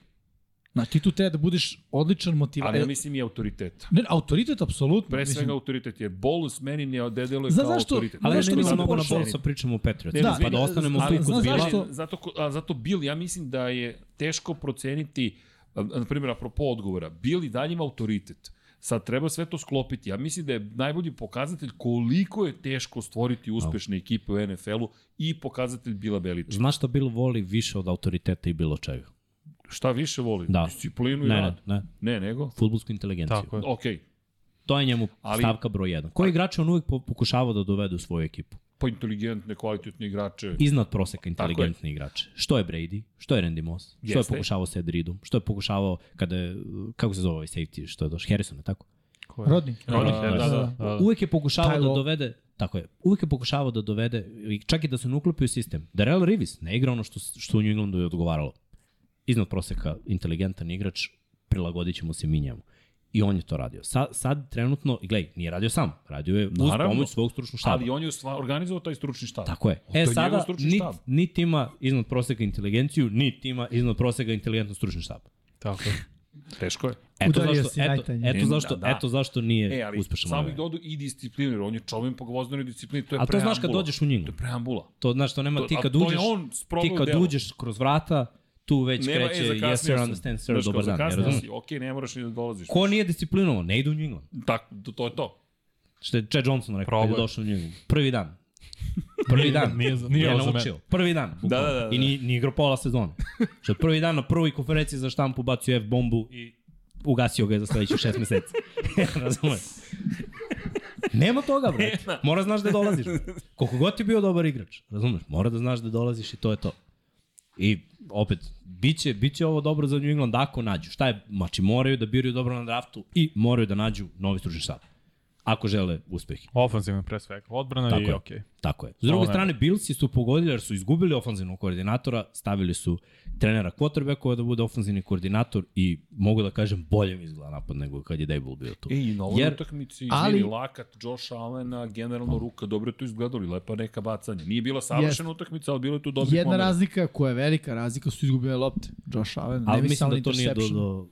S3: Znači ti tu treba da budeš odličan
S1: Ali ja
S3: motivacija.
S1: mislim i autoriteta.
S3: Ne, autoritet apsolutno.
S1: Pre
S3: mislim.
S1: svega autoritet, jer bolus meni ne odedeluje
S3: Znaš
S1: kao
S3: zašto-
S1: autoritet.
S3: Znaš
S5: Ali ja
S3: što
S5: ne
S3: mislim
S5: mislim mnogo na
S3: Porsche?
S5: bolsa pričamo o Patriots,
S1: Ne,
S5: da, pa
S1: izvini,
S5: da ostanemo
S3: ali
S5: tu kod
S3: znaš
S5: Bila.
S3: zašto?
S1: Ali, zato, ko- a, zato Bill, ja mislim da je teško proceniti, a, na primjer, apropo odgovora, Bill i dalje ima autoritet. Sad treba sve to sklopiti. Ja mislim da je najbolji pokazatelj koliko je teško stvoriti uspešne ekipe u NFL-u i pokazatelj Bila Beliča.
S5: Znaš šta Bill voli više od autoriteta i bilo čega?
S1: Šta više voli?
S5: Da.
S1: Disciplinu i
S5: Ne, ne,
S1: rad.
S5: ne.
S1: Ne, nego?
S5: Futbolsku inteligenciju.
S4: Tako je.
S1: Ok.
S5: To je njemu
S1: Ali-
S5: stavka broj 1. Koji igrač on uvijek po- pokušava da dovede u svoju ekipu?
S1: Pa inteligentne, kvalitetne igrače.
S5: Iznad proseka inteligentni igrače. Što je Brady, što je Randy Moss, što
S1: Jeste.
S5: je pokušavao Sed Reedom, što je pokušavao kada je, kako se zove ovaj safety, što je došao, Harrison, je tako?
S3: Rodni.
S1: Rodni,
S4: da,
S1: da,
S4: da, da.
S5: Uvijek je pokušavao
S3: Taj
S5: da
S3: lo-
S5: dovede, tako je, uvijek je pokušavao da dovede, i čak i da se ne uklopi u sistem. Darrell Rivis ne igra ono što, što u New Englandu je odgovaralo. Iznad proseka, inteligentan igrač, prilagodit ćemo se mi njemu. I on je to radio. Sa, sad trenutno, gledaj, nije radio sam, radio je uz
S1: Naravno.
S5: pomoć svog stručnog štaba.
S1: Ali on je sva, organizovao taj stručni štab.
S5: Tako je.
S1: je
S5: E,
S1: njegov
S5: sada,
S1: stručni
S5: nit,
S1: štab.
S5: nit ima iznad proseka inteligenciju, nit ima iznad proseka inteligentan stručni štab.
S4: Tako je.
S1: Teško je.
S5: Eto
S3: Udario
S5: zašto,
S3: si
S5: eto,
S3: najtanje.
S5: eto, zašto,
S1: Da, da.
S5: eto zašto nije
S1: E,
S5: e,
S1: ali
S5: uspešan.
S1: samo
S5: ovaj.
S1: bih dodu i disciplinu, jer on je čovjek po gvozdanoj disciplini, to je
S5: A to
S1: preambula.
S5: znaš kad dođeš u
S1: To
S5: njingu.
S1: je preambula.
S5: To znaš, to nema,
S1: To-
S5: ti
S1: a
S5: kad
S1: to je
S5: uđeš,
S1: on
S5: ti
S1: problem u
S5: kad
S1: delu.
S5: uđeš kroz vrata, tu već
S1: Nema,
S5: kreće
S1: e, zakasnio
S5: yes sir,
S1: sam.
S5: understand sir,
S1: Znaš,
S5: dobar
S1: kao
S5: dan, ne
S1: zakasnio
S5: razumem.
S1: si, Okej, ne moraš ni da dolaziš.
S5: Ko nije disciplinovan, ne ide u New England.
S1: Tak, to, to je to.
S5: Što je Chad Johnson rekao kad je
S4: Probaj.
S5: došao u New England. Prvi
S1: <laughs>
S5: dan. Prvi dan.
S4: Nije- nije
S5: je
S4: ovo za
S5: naučio. Prvi dan. bukvalno.
S1: da, da, da.
S5: I ni, ni igrao pola Znači, sezona. Što je prvi dan na prvoj konferenciji za štampu bacio F-bombu i ugasio ga je za sledećih šest meseci. <laughs> Razumem. Nema toga, brate. Mora znaš da dolaziš. Koliko god ti bio dobar igrač, razumeš, mora da znaš da dolaziš i to je to. I opet, biće, biće ovo dobro za New England ako nađu. Šta je? Mači moraju da biraju dobro na draftu i moraju da nađu novi stručni štab. Ako žele uspeh.
S4: Ofanzivno pre svega. Odbrana
S5: Tako
S4: i
S5: je.
S4: okej.
S5: Tako je. Ovaj- S druge
S4: Ovo ne.
S5: strane, Billsi su pogodili jer su izgubili ofanzivnog koordinatora, stavili su trenera quarterbackova da bude ofanzivni koordinator i mogu da kažem bolje mi izgleda napad nego kad je Dable bio tu.
S1: E, i na ovoj
S5: Jer- Pa.
S1: Jer, utakmici,
S3: ali-
S1: ali... lakat Josh Allena, generalno ruka, dobro je to izgledalo i lepa neka bacanja. Nije bila savršena utakmica, ali bilo je tu dobrih
S3: Jedna
S1: momenta.
S3: razlika koja je velika razlika su izgubile lopte. Josh Allen,
S5: Ali
S3: ne mislim
S5: mislim da to nije do, do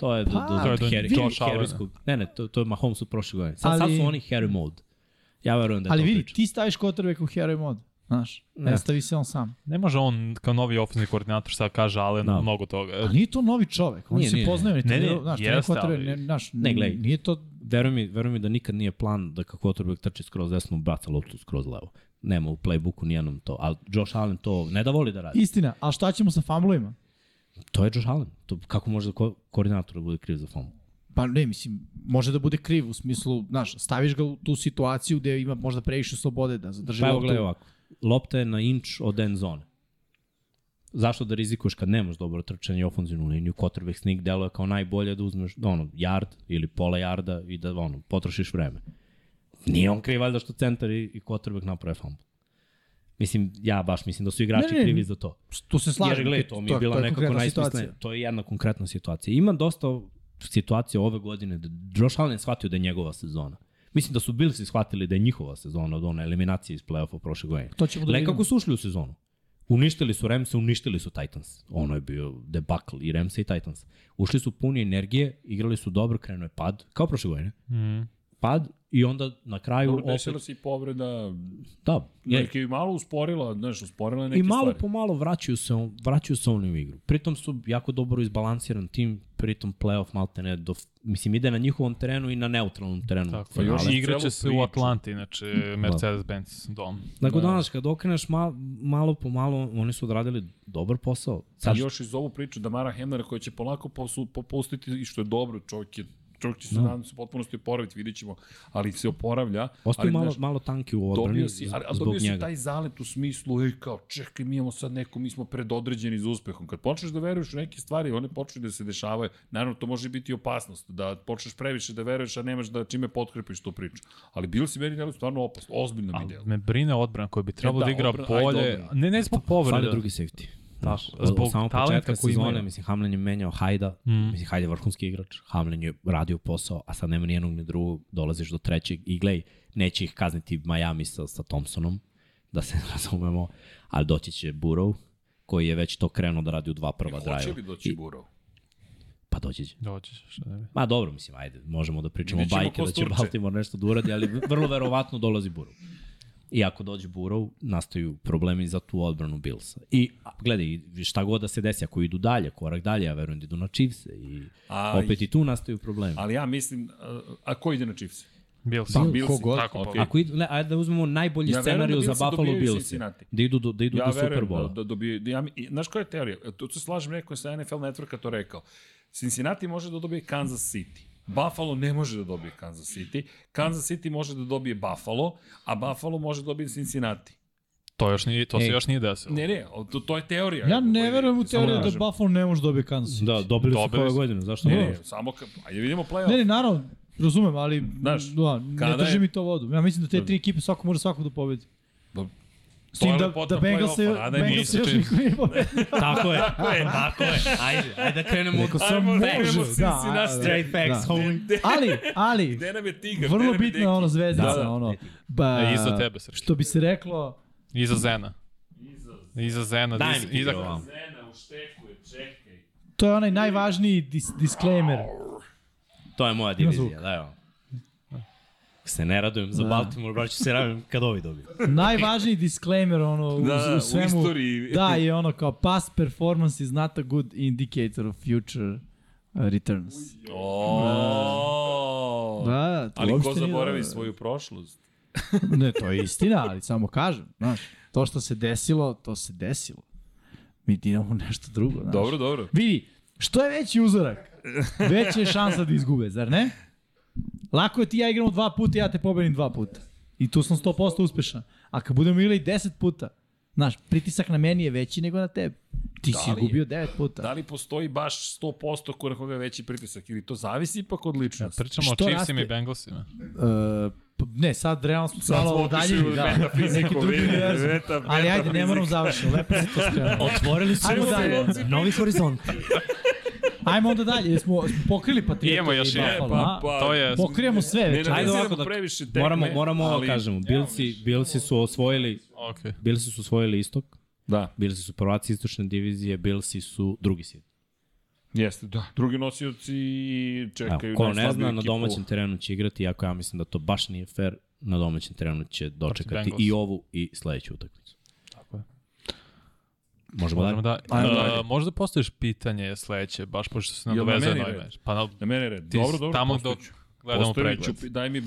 S5: To je do, do,
S3: Pa,
S5: do,
S4: To
S5: do
S4: je do
S5: Harry,
S4: Josh Allena.
S5: Harryskog. Ne, ne, to, to je Mahomes u prošle godine. Sad, sad
S3: Ali-
S5: su oni Harry mode. Ja verujem da je
S3: Ali
S5: to
S3: vidi,
S5: priča.
S3: ti staviš quarterback u heroj mod. Znaš, ne
S4: Ne.
S3: stavi se on sam.
S4: Ne može on kao novi ofenzivni koordinator sad kaže Allen
S5: Da.
S4: no. mnogo toga.
S3: A nije to novi čovek, oni
S5: Nije,
S3: se
S5: nije,
S3: poznaju, ne,
S4: ne,
S3: ne,
S4: ne,
S3: znaš, to
S4: jeste,
S3: je quarterback,
S4: ali-
S3: ne, znaš,
S5: Ne, gledaj.
S3: nije to
S5: Veruj mi, veruj mi da nikad nije plan da kako quarterback trči skroz desno, baca loptu skroz levo. Nema u playbooku nijednom to, ali Josh Allen to ne da voli da radi.
S3: istina, a šta ćemo sa fumblovima?
S5: To je Josh Allen. To, kako može da ko, koordinator da bude kriv za fumble?
S3: Pa ne, mislim, može da bude kriv u smislu, znaš, staviš ga u tu situaciju gde ima možda previše slobode da zadrži
S5: Pa evo
S3: loptu.
S5: gledaj ovako. Lopta je na inč od end zone. Zašto da rizikuješ kad nemaš dobro trčanje i ofenzivnu liniju? Quarterback sneak deluje kao najbolje da uzmeš ono, yard ili pola yarda i da ono, potrošiš vreme. Nije on kriv valjda što centar i, i quarterback naprave fumble. Mislim, ja baš mislim da su igrači
S3: Ne, ne,
S5: krivi za to.
S3: Tu se slažem.
S5: Jer gledaj, to mi je
S3: je-
S5: bila
S3: je
S5: nekako
S3: konkretna
S5: najsmislenija.
S3: situacija.
S5: To je jedna konkretna situacija. Ima dosta situacija ove godine da Josh Allen je shvatio da je njegova sezona. Mislim da su Billsi shvatili da je njihova sezona od one eliminacije iz play-offa prošle godine.
S3: To ćemo da
S5: Gledaj
S3: vidimo.
S5: kako su ušli u sezonu. Uništili su Ramse, uništili su Titans. Ono je bio debakl i Ramse i Titans. Ušli su puni energije, igrali su dobro, krenuo je pad, kao prošle godine.
S4: Mm.
S5: Pad i onda na kraju
S1: Dobro, desila
S5: opet...
S1: se i povreda,
S5: Da, je,
S1: neke i malo usporila, znaš, usporila je neke
S5: I malo
S1: stvari.
S5: po malo vraćaju se, on- vraćaju se oni u igru. Pritom su jako dobro izbalansiran tim, pritom playoff malte ne, do, mislim ide na njihovom terenu i na neutralnom terenu.
S4: Tako
S1: Pa
S5: je.
S1: još
S4: još
S1: i
S4: igraće
S1: celu
S4: se u
S1: priču. Da.
S4: Atlanti, znači Mercedes-Benz dom.
S5: Dakle, danas kad okreneš ma, malo po malo, oni su odradili dobar posao.
S1: Sad...
S5: Sad,
S1: I još iz ovu priču Damara Hemlera koja će polako posu, popustiti i što je dobro, čovjek je Čovjek će se
S5: Da.
S1: no. nadam se u potpunosti oporaviti, vidjet ćemo, ali se oporavlja.
S5: Ostaju
S1: ali,
S5: malo,
S1: znaš,
S5: malo tanki u odbrani
S1: Dobio si,
S5: z-
S1: ali, ali
S5: zbog
S1: dobio si
S5: njega.
S1: taj zalet u smislu, ej kao, čekaj, mi imamo sad neko, mi smo predodređeni za uspehom. Kad počneš da veruješ u neke stvari, one počne da se dešavaju. Naravno, to može biti i opasnost, da počneš previše da veruješ, a nemaš da čime potkrepiš tu priču. Ali bilo si meni delo stvarno opasno, ozbiljno mi
S4: Ali
S1: delo.
S4: me brine odbrana koja bi trebalo
S1: E, da,
S4: da, igra
S1: odbrana- ajde,
S4: bolje.
S1: odbrana.
S4: Ne, ne zbog povreda.
S5: Fale drugi safety. Znaš,
S4: Tako, zbog
S5: od samog
S4: talenta
S5: početka
S4: koji
S5: sezone,
S4: imaju.
S5: mislim, Hamlen je menjao Hajda, mm. mislim, Hajda je vrhunski igrač, Hamlen je radio posao, a sad nema ni jednog ni drugog, dolaziš do trećeg i glej, neće ih kazniti Miami sa, sa Thompsonom, da se <laughs> razumemo, ali doći će Burrow, koji je već to krenuo da radi u dva prva drive.
S1: Hoće li doći Burov?
S5: Pa doći će.
S4: Dođeš, Da, šta ne bi.
S5: Ma dobro, mislim, ajde, možemo da pričamo
S1: Vidjet ćemo
S5: bajke
S1: ko
S5: da će
S1: sturče.
S5: Baltimore nešto da uradi, ali vrlo verovatno dolazi Burov. I ako dođe Burov, nastaju problemi za tu odbranu Bilsa. I a, gledaj, i šta god da se desi, ako idu dalje, korak dalje, ja verujem da idu na Chiefs i
S1: A,
S5: opet i tu nastaju problemi.
S1: Ali ja mislim, a, a ko ide na Chiefs?
S4: Bills.
S1: Pa,
S4: Pa,
S1: Bills.
S4: Bills.
S1: kogod.
S4: Tako,
S1: Ok.
S4: okay.
S5: Ako idu, ne, ajde da uzmemo najbolji
S1: Ja
S5: ja
S1: verujem da
S5: scenariju za
S1: Bills
S5: Buffalo
S1: dobijaju
S5: Bills.
S1: Cincinnati.
S5: Da idu do, da idu ja do Super Bowl.
S1: da, da dobije, da, ja, mi- i, znaš koja je teorija? E, Tu se slažem, neko je sa NFL Networka to rekao. Cincinnati može da dobije Kansas City. Buffalo ne može da dobije Kansas City. Kansas City može da dobije Buffalo, a Buffalo može da dobije Cincinnati.
S4: To, još nije, to se
S5: Ej.
S4: još nije desilo.
S1: Ne, ne, o, to, to je teorija.
S3: Ja ne
S1: Evo,
S3: verujem u
S1: samo
S3: teoriju da
S1: kažem.
S3: Buffalo ne može dobiti Kansas City.
S5: Da, dobili su
S4: Dobili
S5: koju
S4: su.
S5: godinu, zašto
S1: Ne,
S5: ne?
S1: ne, samo ka, ajde vidimo play-off.
S3: Ne, ne, naravno, razumem, ali
S1: Znaš,
S3: Znaš, da, ne
S1: kada
S3: drži
S1: je-
S3: mi to vodu. Ja mislim da te tri ekipe svako može svakog da pobedi.
S1: Dobro.
S3: S
S1: To je
S3: tim da,
S1: lepota
S3: da Bengals je,
S1: Pa, play-offa, a da je
S3: Bengals
S1: nisu
S3: još
S1: čim.
S3: niko nije pobedio.
S5: Tako je, tako je, tako je. Ajde, ajde da krenemo od
S1: Ajmo,
S3: Samo
S1: ne, evo,
S3: može, da.
S1: Cincinnati.
S3: ali-
S5: straight facts,
S3: Da.
S5: homie.
S3: Ali, ali,
S1: Gde nam je tigar? gde
S3: vrlo
S1: nam je
S3: bitna
S1: deki?
S3: je ono zvezdica,
S1: Da, da.
S3: ono. Ba,
S4: E, iza tebe, Srki.
S3: Što bi se reklo,
S4: Iza Zena. Iza Zena.
S5: Daj
S4: Iza,
S5: mi ti
S4: iza,
S5: ovo.
S1: Zena u šteku je, čekaj.
S3: to je onaj najvažniji dis disclaimer.
S5: To je moja divizija, da evo. Se ne radujem za Baltimore, baš ću se radujem kad ovi dobiju.
S3: Najvažniji disclaimer ono
S1: Da, da,
S3: u,
S1: u
S3: u svemu.
S1: istoriji.
S3: Da, i ono kao past performance is not a good indicator of future uh, returns.
S1: O,
S3: Da, da, to
S1: Ali ko
S3: uopšte nije
S1: zaboravi
S3: dobro.
S1: svoju prošlost?
S3: <laughs> Ne, to je istina, ali samo kažem, znaš, to što se desilo, to se desilo. Mi ti imamo nešto drugo, znaš.
S1: Dobro, dobro.
S3: Vidi, što je veći uzorak, veća je šansa da izgube, zar ne? Lako je ti i ja igramo dva puta, ja te pobedim dva puta. I tu sam 100% uspešan. A kad budemo igrali 10 puta, znaš, pritisak na meni je veći nego na tebi. Ti si
S1: Da li je?
S3: gubio 9 puta.
S1: Da li postoji baš 100% ko na koga je veći pritisak ili to zavisi ipak od ličnosti?
S4: pričamo o
S3: Što
S4: Chiefsima
S3: raste?
S4: i Bengalsima.
S3: E, p- ne, sad realno smo sad
S1: Sad smo
S3: malo
S1: otišli
S3: udaljeni,
S1: u
S3: da.
S1: metafiziku,
S3: Neki drugi
S1: vidi,
S3: univerzum.
S1: meta-
S3: Ali ajde, ne moram
S1: metafizik.
S3: završeno, lepo se to skrenuo.
S5: <laughs> Otvorili su
S3: Ajmo dalje.
S5: novi horizont.
S3: Ajmo onda dalje, jesmo smo pokrili Patriota
S4: Idemo još
S3: i
S4: jedan,
S3: Buffalo,
S1: pa- pa-
S3: pa, pa,
S4: To je...
S3: Pokrijemo sve već.
S1: ne,
S5: Ajde
S1: ne,
S5: ovako da
S1: previše tekme,
S5: moramo moramo ovo
S1: ali-
S5: kažemo. Bilsi Bilsi su osvojili
S4: Okay.
S5: Bilsi su osvojili istok.
S1: Da,
S5: Bilsi su prvaci istočne divizije, Bilsi su drugi sit.
S1: jeste, da. Drugi nosioci čekaju
S5: Evo, ko ne
S1: najslabiju
S5: zna, na
S1: ekipu.
S5: domaćem terenu će igrati, iako ja mislim da to baš nije fair, na domaćem terenu će dočekati
S4: Bengals.
S5: i ovu i sledeću utakmicu. Tako je. Možemo
S4: Možemo
S5: dalje?
S4: da,
S1: Ajmo
S4: a,
S1: dalje.
S4: možda postaviš pitanje sledeće, baš pošto se
S1: Jel na
S4: nadovezuje
S1: meni
S4: na ovaj
S1: red?
S4: meč. Pa na,
S1: Na mene je red.
S4: ti
S1: Dobro, dobro.
S4: tamo dok
S1: postojiću.
S4: gledamo
S1: Postojiću,
S4: pregled.
S1: pi- Daj mi,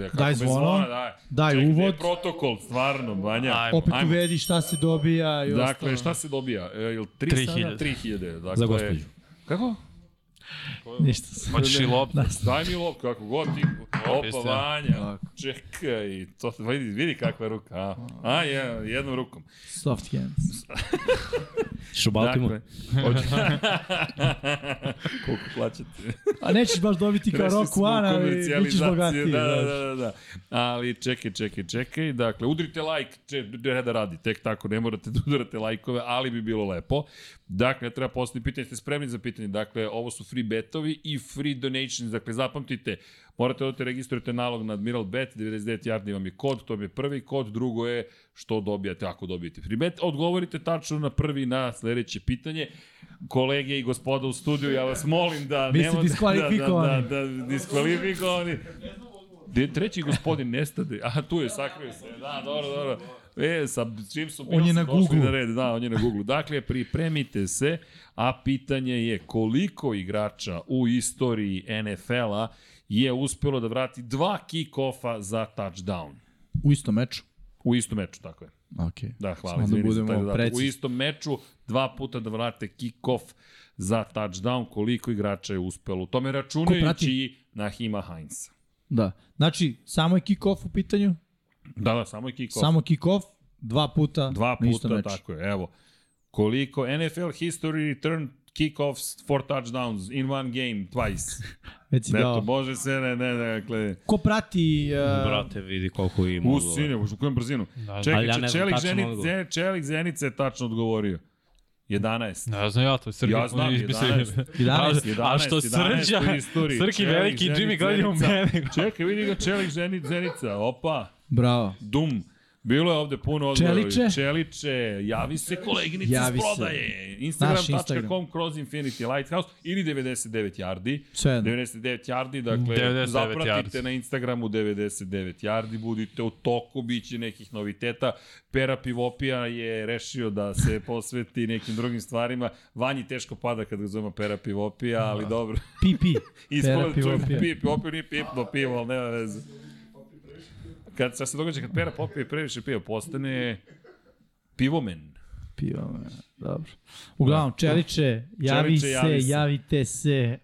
S1: kako
S3: Daj
S1: bez
S3: zvono,
S1: zvona, daj.
S3: daj
S1: Čekaj, gde je
S3: uvod.
S1: protokol, stvarno, banja.
S4: Ajmo.
S3: Opet uvedi šta se dobija i
S1: Dakle,
S3: ostalo.
S1: šta se dobija? E, jel 3
S4: Tri
S1: 3000.
S4: hiljade.
S1: 3000, dakle.
S5: Za gospođu.
S1: Kako?
S3: Ništa se. Da,
S4: Hoćeš Pa i loptu?
S1: Daj mi loptu, kako god ti. Opa,
S4: Kristijan.
S1: Vanja. Čekaj, to, vidi, vidi kakva je ruka. A, a je, jednom rukom.
S3: Soft hands.
S5: Ćeš u Baltimore?
S1: Dakle,
S3: <laughs>
S1: Koliko plaćate?
S3: A nećeš baš dobiti kao
S1: Prešli
S3: Rock
S1: smo u
S3: One, ali bit ćeš
S1: komercijalizaciju,
S3: bogatiji.
S1: Da, da,
S3: znaš.
S1: da, da. Ali čekaj, čekaj, čekaj. Dakle, udrite like, če, ne da radi, tek tako, ne morate da udarate lajkove, ali bi bilo lepo. Dakle, treba postaviti pitanje, ste spremni za pitanje. Dakle, ovo su free betovi i free donations. Dakle, zapamtite, morate da odete registrujete nalog na Admiral Bet, 99 yardi vam je kod, to vam je prvi kod, drugo je što dobijate ako dobijete free bet. Odgovorite tačno na prvi, na sledeće pitanje. Kolege i gospoda u studiju, ja vas molim da...
S3: Vi ste
S1: nemojte-
S3: diskvalifikovani.
S1: Da, da, da, da, diskvalifikovani. Gde je treći gospodin nestade? Aha, tu je, sakrio se. Da, dobro, dobro. E, sa čim su
S3: On je
S1: Bills
S3: na
S1: došli
S3: Googlu.
S1: Na red. Da, on je na Google. Dakle, pripremite se, a pitanje je koliko igrača u istoriji NFL-a je uspelo da vrati dva kick-offa za touchdown
S3: U istom meču.
S1: U istom meču, tako je.
S3: Okej.
S1: Da, hvala.
S3: Samo da
S1: izvini za
S3: budemo
S1: taj dodatak. U
S3: precizni.
S1: istom meču dva puta da vrate kick-off za touchdown, koliko igrača je uspelo u tome računajući
S3: prati?
S1: i Nahima Heinza.
S3: Da. Znači, samo je kick-off u pitanju,
S1: Da, da, samo je kick-off.
S3: samo kick-off, dva puta
S1: Dva
S3: na istom
S1: puta,
S3: meču.
S1: tako je, evo. Koliko NFL history return kickoffs for touchdowns in one game, twice.
S5: <laughs>
S3: Već si
S5: Da.
S1: Eto,
S3: dao.
S1: bože se, ne, ne, ne, dakle,
S3: Ko prati... Uh,
S5: Brate, vidi koliko ima.
S1: u
S5: odgovora.
S1: sine, u kojem brzinu.
S4: Da,
S1: Čekaj,
S5: ali ja
S1: ja
S5: ne znam
S1: Čelik,
S5: tačan
S1: Zenica,
S5: odgovor.
S1: Čelik Zenica je tačno odgovorio. 11.
S4: Ne znam ja to, Srki
S1: Ja znam,
S5: <laughs>
S1: 11. 11,
S4: a, a što
S1: 11
S4: srđa,
S1: u istoriji.
S4: Srki
S1: Čelik,
S4: veliki
S1: Zenica,
S4: Jimmy gleda u
S1: Zenica.
S4: mene.
S1: Čekaj, vidi ga Čelik ženi, Zenica, opa,
S3: Bravo.
S1: dum. Bilo je ovde puno odgovora.
S3: Čeliče?
S1: Čeliče, javi se koleginici javi
S3: Javi
S1: iz
S3: se.
S1: prodaje. Instagram.com
S3: Instagram.
S1: kroz Infinity Lighthouse ili 99 yardi.
S3: Sve jedno.
S1: 99 yardi, dakle,
S4: 99
S1: zapratite
S4: yardi.
S1: na Instagramu 99 yardi, budite u toku, bit će nekih noviteta. Pera Pivopija je rešio da se posveti nekim drugim stvarima. Vanji teško pada kad ga zovemo Pera Pivopija,
S3: Da.
S1: ali dobro.
S3: PP.
S1: Ispod
S3: Pera
S1: čovjek
S3: Pivopija.
S1: pije, popio nije pipno pivo, ali nema veze. Kad šta se događa kad Pera popije previše piva, postane pivomen.
S3: Pio, me, dobro. Uglavnom, Čeliče, javi
S1: Čeliče, javi
S3: se,
S1: se.
S3: javite se.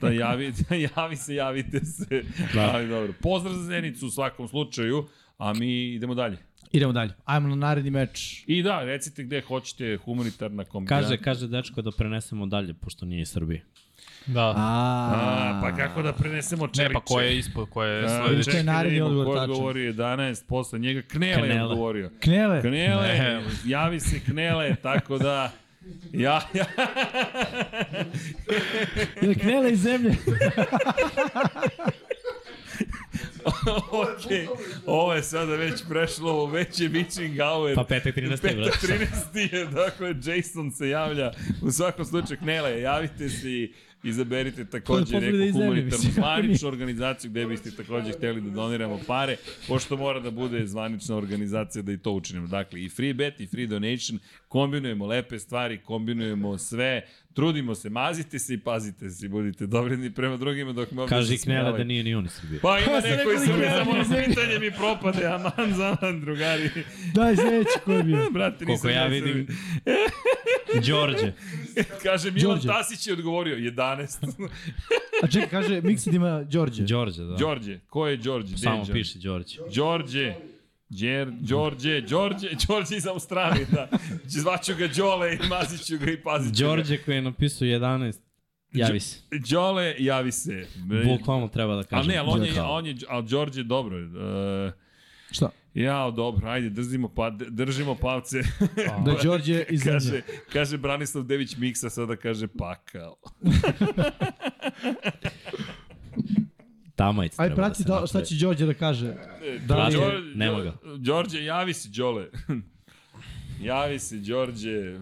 S1: Da javi, <laughs> da javi se, javite se. Da. Ali dobro. Pozdrav za Zenicu u svakom slučaju, a mi idemo dalje.
S3: Idemo dalje. Ajmo na naredni meč.
S1: I da, recite gde hoćete humanitarna kombinacija.
S5: Kaže, kaže dečko da prenesemo dalje, pošto nije iz Srbije.
S4: <laughs> Da.
S1: A,
S3: A,
S1: pa kako da prenesemo čeliče?
S4: Ne, pa ko je ispod, ko je
S1: A,
S4: sledeći?
S3: Čeliče je naredni
S1: vidimo
S3: odgovor
S1: ko je
S3: tačan.
S1: odgovorio 11, posle njega Knele, je
S5: Knele.
S1: odgovorio.
S3: Knele.
S1: Knele,
S4: Ne.
S1: javi se Knele, tako da... Ja, ja,
S3: Jel Knele iz zemlje?
S1: ok, ovo je sada već prešlo u veće bitching hour.
S5: Pa petak 13. je, brate.
S1: 13. je, dakle, Jason se javlja. U svakom slučaju, Knele, javite se i izaberite
S3: To je
S1: takođe
S3: povreda iz
S1: neku
S3: zemlje,
S1: humanitarnu
S3: mislim.
S1: zvaničnu organizaciju gde biste takođe hteli da doniramo pare, pošto mora da bude zvanična organizacija da i to učinimo. Dakle, i free bet i free donation, kombinujemo lepe stvari, kombinujemo sve, trudimo se, mazite se i pazite se i budite dobrini prema drugima dok me ovdje
S5: Kaže i Knele
S1: ismejavaju.
S5: da nije ni on iz Srbije.
S1: ovaj. Pa ima
S3: Pa ste
S1: neko iz
S3: rekli
S1: Srbije,
S3: Knele
S1: samo
S3: iz zemlje.
S1: pitanje mi propade, aman za aman,
S5: <laughs>
S1: drugari.
S3: Daj, sledeći ko je bio.
S1: Brate, nisam
S5: Koliko ja
S1: iz Srbije.
S5: vidim, <laughs> Đorđe.
S1: <laughs> Kaže, Milan
S3: Đorđe.
S1: Tasić je odgovorio 11.
S3: A čekaj, kaže, Mixed ima Đorđe.
S5: Đorđe, <laughs> da.
S1: Đorđe, ko je Đorđe? Gde je
S5: Samo
S1: Đorđe?
S5: piše Đorđe.
S1: Đorđe, Đer, Đorđe, Đorđe, Đorđe iz Australije, da. Zvaću ga Đole i maziću ga i pazit ću
S5: Đorđe koji je napisao 11, javi se.
S1: ga. Đole, javi se.
S5: Bukvalno treba da
S1: A
S5: kažem.
S1: ne, ali on je,
S5: Đorđe.
S1: on je, ali Đorđe dobro. Uh,
S3: Šta?
S1: jao, dobro, ajde, držimo, pa, držimo pavce. <laughs>
S4: Pa,
S3: Da je Đorđe iz zemlje.
S1: kaže, kaže Branislav Dević Miksa, sada kaže pakao.
S5: Tamajc treba
S3: Aj, prati,
S5: se
S3: da,
S5: napravi.
S3: šta će Đorđe da kaže? Da li
S5: Đorđe,
S3: je?
S1: Đor-
S5: nema ga.
S1: Đorđe, javi se, Đole. <laughs> javi se, Đorđe. <laughs>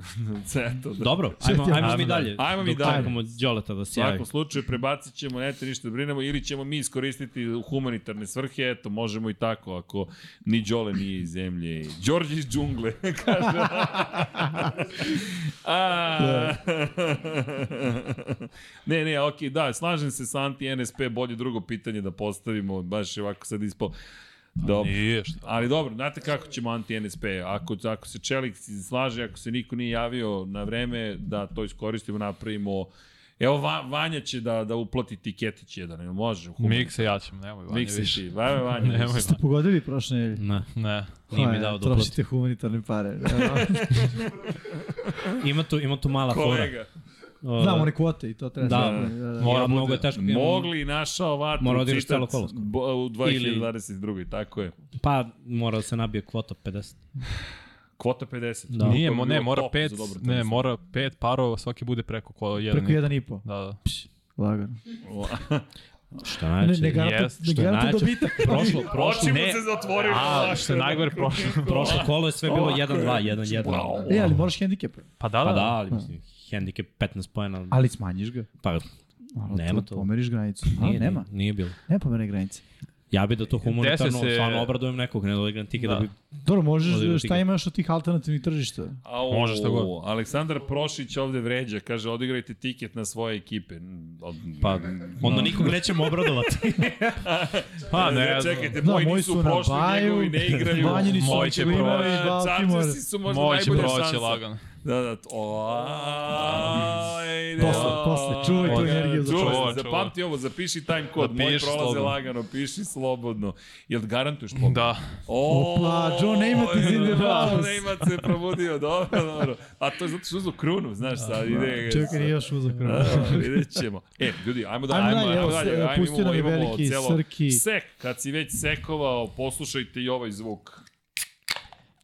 S1: Eto, da.
S5: Dobro, ajmo,
S3: Ajmo
S5: ajmo mi
S4: dalje.
S5: dalje.
S1: Ajmo mi
S5: Dok
S1: dalje.
S5: čekamo Đoleta da
S1: U
S5: se javi.
S1: svakom slučaju prebacit ćemo, neto ništa da brinemo, ili ćemo mi iskoristiti u humanitarne svrhe, eto, možemo i tako, ako ni Đole nije iz zemlje. i Đorđe iz džungle, <laughs>
S5: <laughs>
S1: kaže.
S5: Da.
S1: A, ne, ne, okej, da, slažem se sa anti-NSP, bolje drugo pitanje da postavimo, baš je ovako sad ispao. Dobro.
S4: Nije šta.
S1: Ali dobro, znate kako ćemo anti-NSP. Ako, ako se Čelik slaže, ako se niko nije javio na vreme, da to iskoristimo, napravimo... Evo, Va, Vanja će da, da uplati tiketić jedan, jel može?
S4: Mikse ja ćemo, nemoj Vanja
S1: Mik se
S4: više.
S1: ti. Vanja, Vanja.
S4: Nemoj
S1: Nemoj.
S4: Vanja.
S3: Pogodili prošle nedelje?
S5: Ne,
S4: Ne.
S5: nije
S3: Pa,
S5: mi dao
S3: ja,
S5: da uplati.
S3: Trošite humanitarne pare.
S5: Ima tu, ima tu mala fora.
S1: Kolega,
S5: Uh,
S3: Znamo one kvote i to treba.
S5: Da,
S3: da, da, da.
S5: mora, mnogo je teško.
S1: mogli naša ovata
S5: Mora odigraš celo kolosko.
S1: u 2022. Tako je.
S5: Pa mora da se nabije kvota 50.
S1: Kvota 50.
S5: Da.
S1: To bi
S4: Nije, mo, ne,
S1: bilo
S4: mora
S1: top
S4: pet,
S1: za dobro
S4: ne,
S1: tenis.
S4: mora pet parova, svaki bude preko ko jedan.
S3: Preko jedan i po.
S4: Da, da.
S3: Lagano.
S5: Šta znači?
S3: Ne, ne
S5: najveće?
S3: garantuje
S4: jest,
S3: ne
S5: što je
S3: garantuje
S5: najjače. <laughs>
S3: dobitak.
S5: Znači, Prošlo,
S1: Oči
S5: prošlo,
S1: mu
S5: ne.
S1: se zatvorili.
S4: A, što je najgore
S1: <laughs>
S4: prošlo.
S5: Prošlo kolo je sve bilo 1-2, 1-1.
S1: Wow.
S3: E, ali moraš hendikep.
S4: Pa da,
S5: Pa
S4: da.
S5: da, ali mislim, hendikep 15 pojena.
S3: Ali smanjiš ga.
S5: Pa,
S3: Malo
S5: Nema
S3: tu
S5: to.
S3: Pomeriš granicu. A,
S5: nije,
S3: nema.
S5: Nije, nije bilo.
S3: Nema pomerne granice.
S5: Ja bi da to humanitarno
S4: Dese
S5: se...
S4: se-
S5: stvarno obradujem nekog, ne da igram tiket da.
S4: Da.
S5: da bi...
S3: Dobro,
S5: Može
S3: možeš,
S5: da
S3: šta
S5: igra.
S3: imaš od tih alternativnih tržišta?
S1: Au,
S4: Može šta god.
S1: Aleksandar Prošić ovde vređa, kaže odigrajte tiket na svoje ekipe. Mm, Od,
S4: Pa,
S5: Onda nikog nećemo obradovati.
S4: pa ne,
S1: čekajte,
S3: Da,
S1: moji
S3: moji
S1: nisu
S3: su na
S1: prošli,
S3: baju,
S1: njegovi ne
S3: <laughs>
S1: igraju.
S3: Vanjini su
S4: Moji će
S3: Klimovi,
S4: proći.
S3: Baltimore.
S1: Chargersi su možda
S4: moći
S1: najbolja šansa.
S4: proći lagano.
S1: Da, da. t- Oj,
S3: Posle,
S1: oj.
S3: posle, čuvaj tu
S1: Oj,
S3: energiju za
S1: čuvaj,
S4: čuvaj. Čuvaj,
S1: Zapamti ovo, zapiši time kod,
S4: Napiši
S1: moji prolaze
S4: slobodno.
S1: lagano, piši slobodno. Jel garantuješ pobjedu?
S4: Da.
S1: O,
S3: Opa, Joe Namath is in the
S1: da,
S3: house.
S1: Namath se probudio, dobro, dobro. A to je zato što uzu krunu, znaš sad, ide...
S3: Čekaj, nije
S1: <laughs>
S3: još uzak. <laughs>
S1: Da, da, vidjet ćemo. E, ljudi, ajmo da...
S3: Ajmo dalje, evo, se-
S1: ajmo,
S3: pustio nam je veliki Srki.
S1: Sek, kad si već sekovao, poslušajte i ovaj zvuk.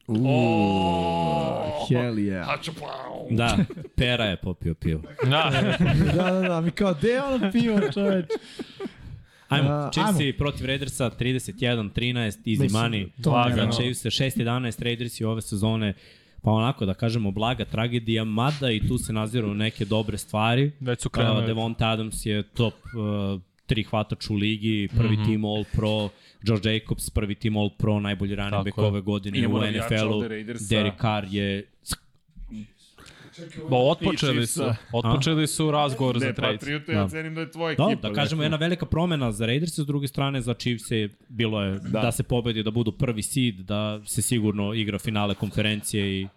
S1: O,
S3: Hell yeah.
S1: hačapau.
S5: da, Pera je popio pivo.
S4: Da,
S3: da, da, da, mi kao, gde je ono pivo, čoveč?
S5: Ajmo,
S3: A,
S5: Chiefs i protiv Raidersa 31-13, easy
S3: Mislim,
S5: money.
S3: to
S5: Blaga,
S4: nema.
S5: Chiefs se 6-11, Raidersi ove sezone, pa onako da kažemo blaga tragedija, mada i tu se naziru neke dobre stvari.
S4: već
S3: Da,
S4: su
S5: Uh,
S4: krenuli.
S5: Devonta Adams je top uh, tri hvatač u ligi, prvi mm
S4: Mhm.
S5: -hmm. tim All Pro, George Jacobs prvi tim All Pro, najbolji running
S4: Tako
S5: back
S4: je.
S5: ove godine
S1: Imamo
S5: u
S1: navijača
S5: NFL-u.
S1: ovde Raidersa.
S5: Derek Carr je
S4: Ba, Da, otpočeli su,
S1: Chiefsa.
S4: otpočeli su razgovor za
S1: Ne, pa
S4: trade.
S1: Patriote, ja cenim da je tvoja
S5: Da,
S1: ekipa.
S5: da kažemo jedna velika promena za Raiders, s druge strane za Chiefs je bilo je da. da se pobedi, da budu prvi seed, da se sigurno igra finale konferencije i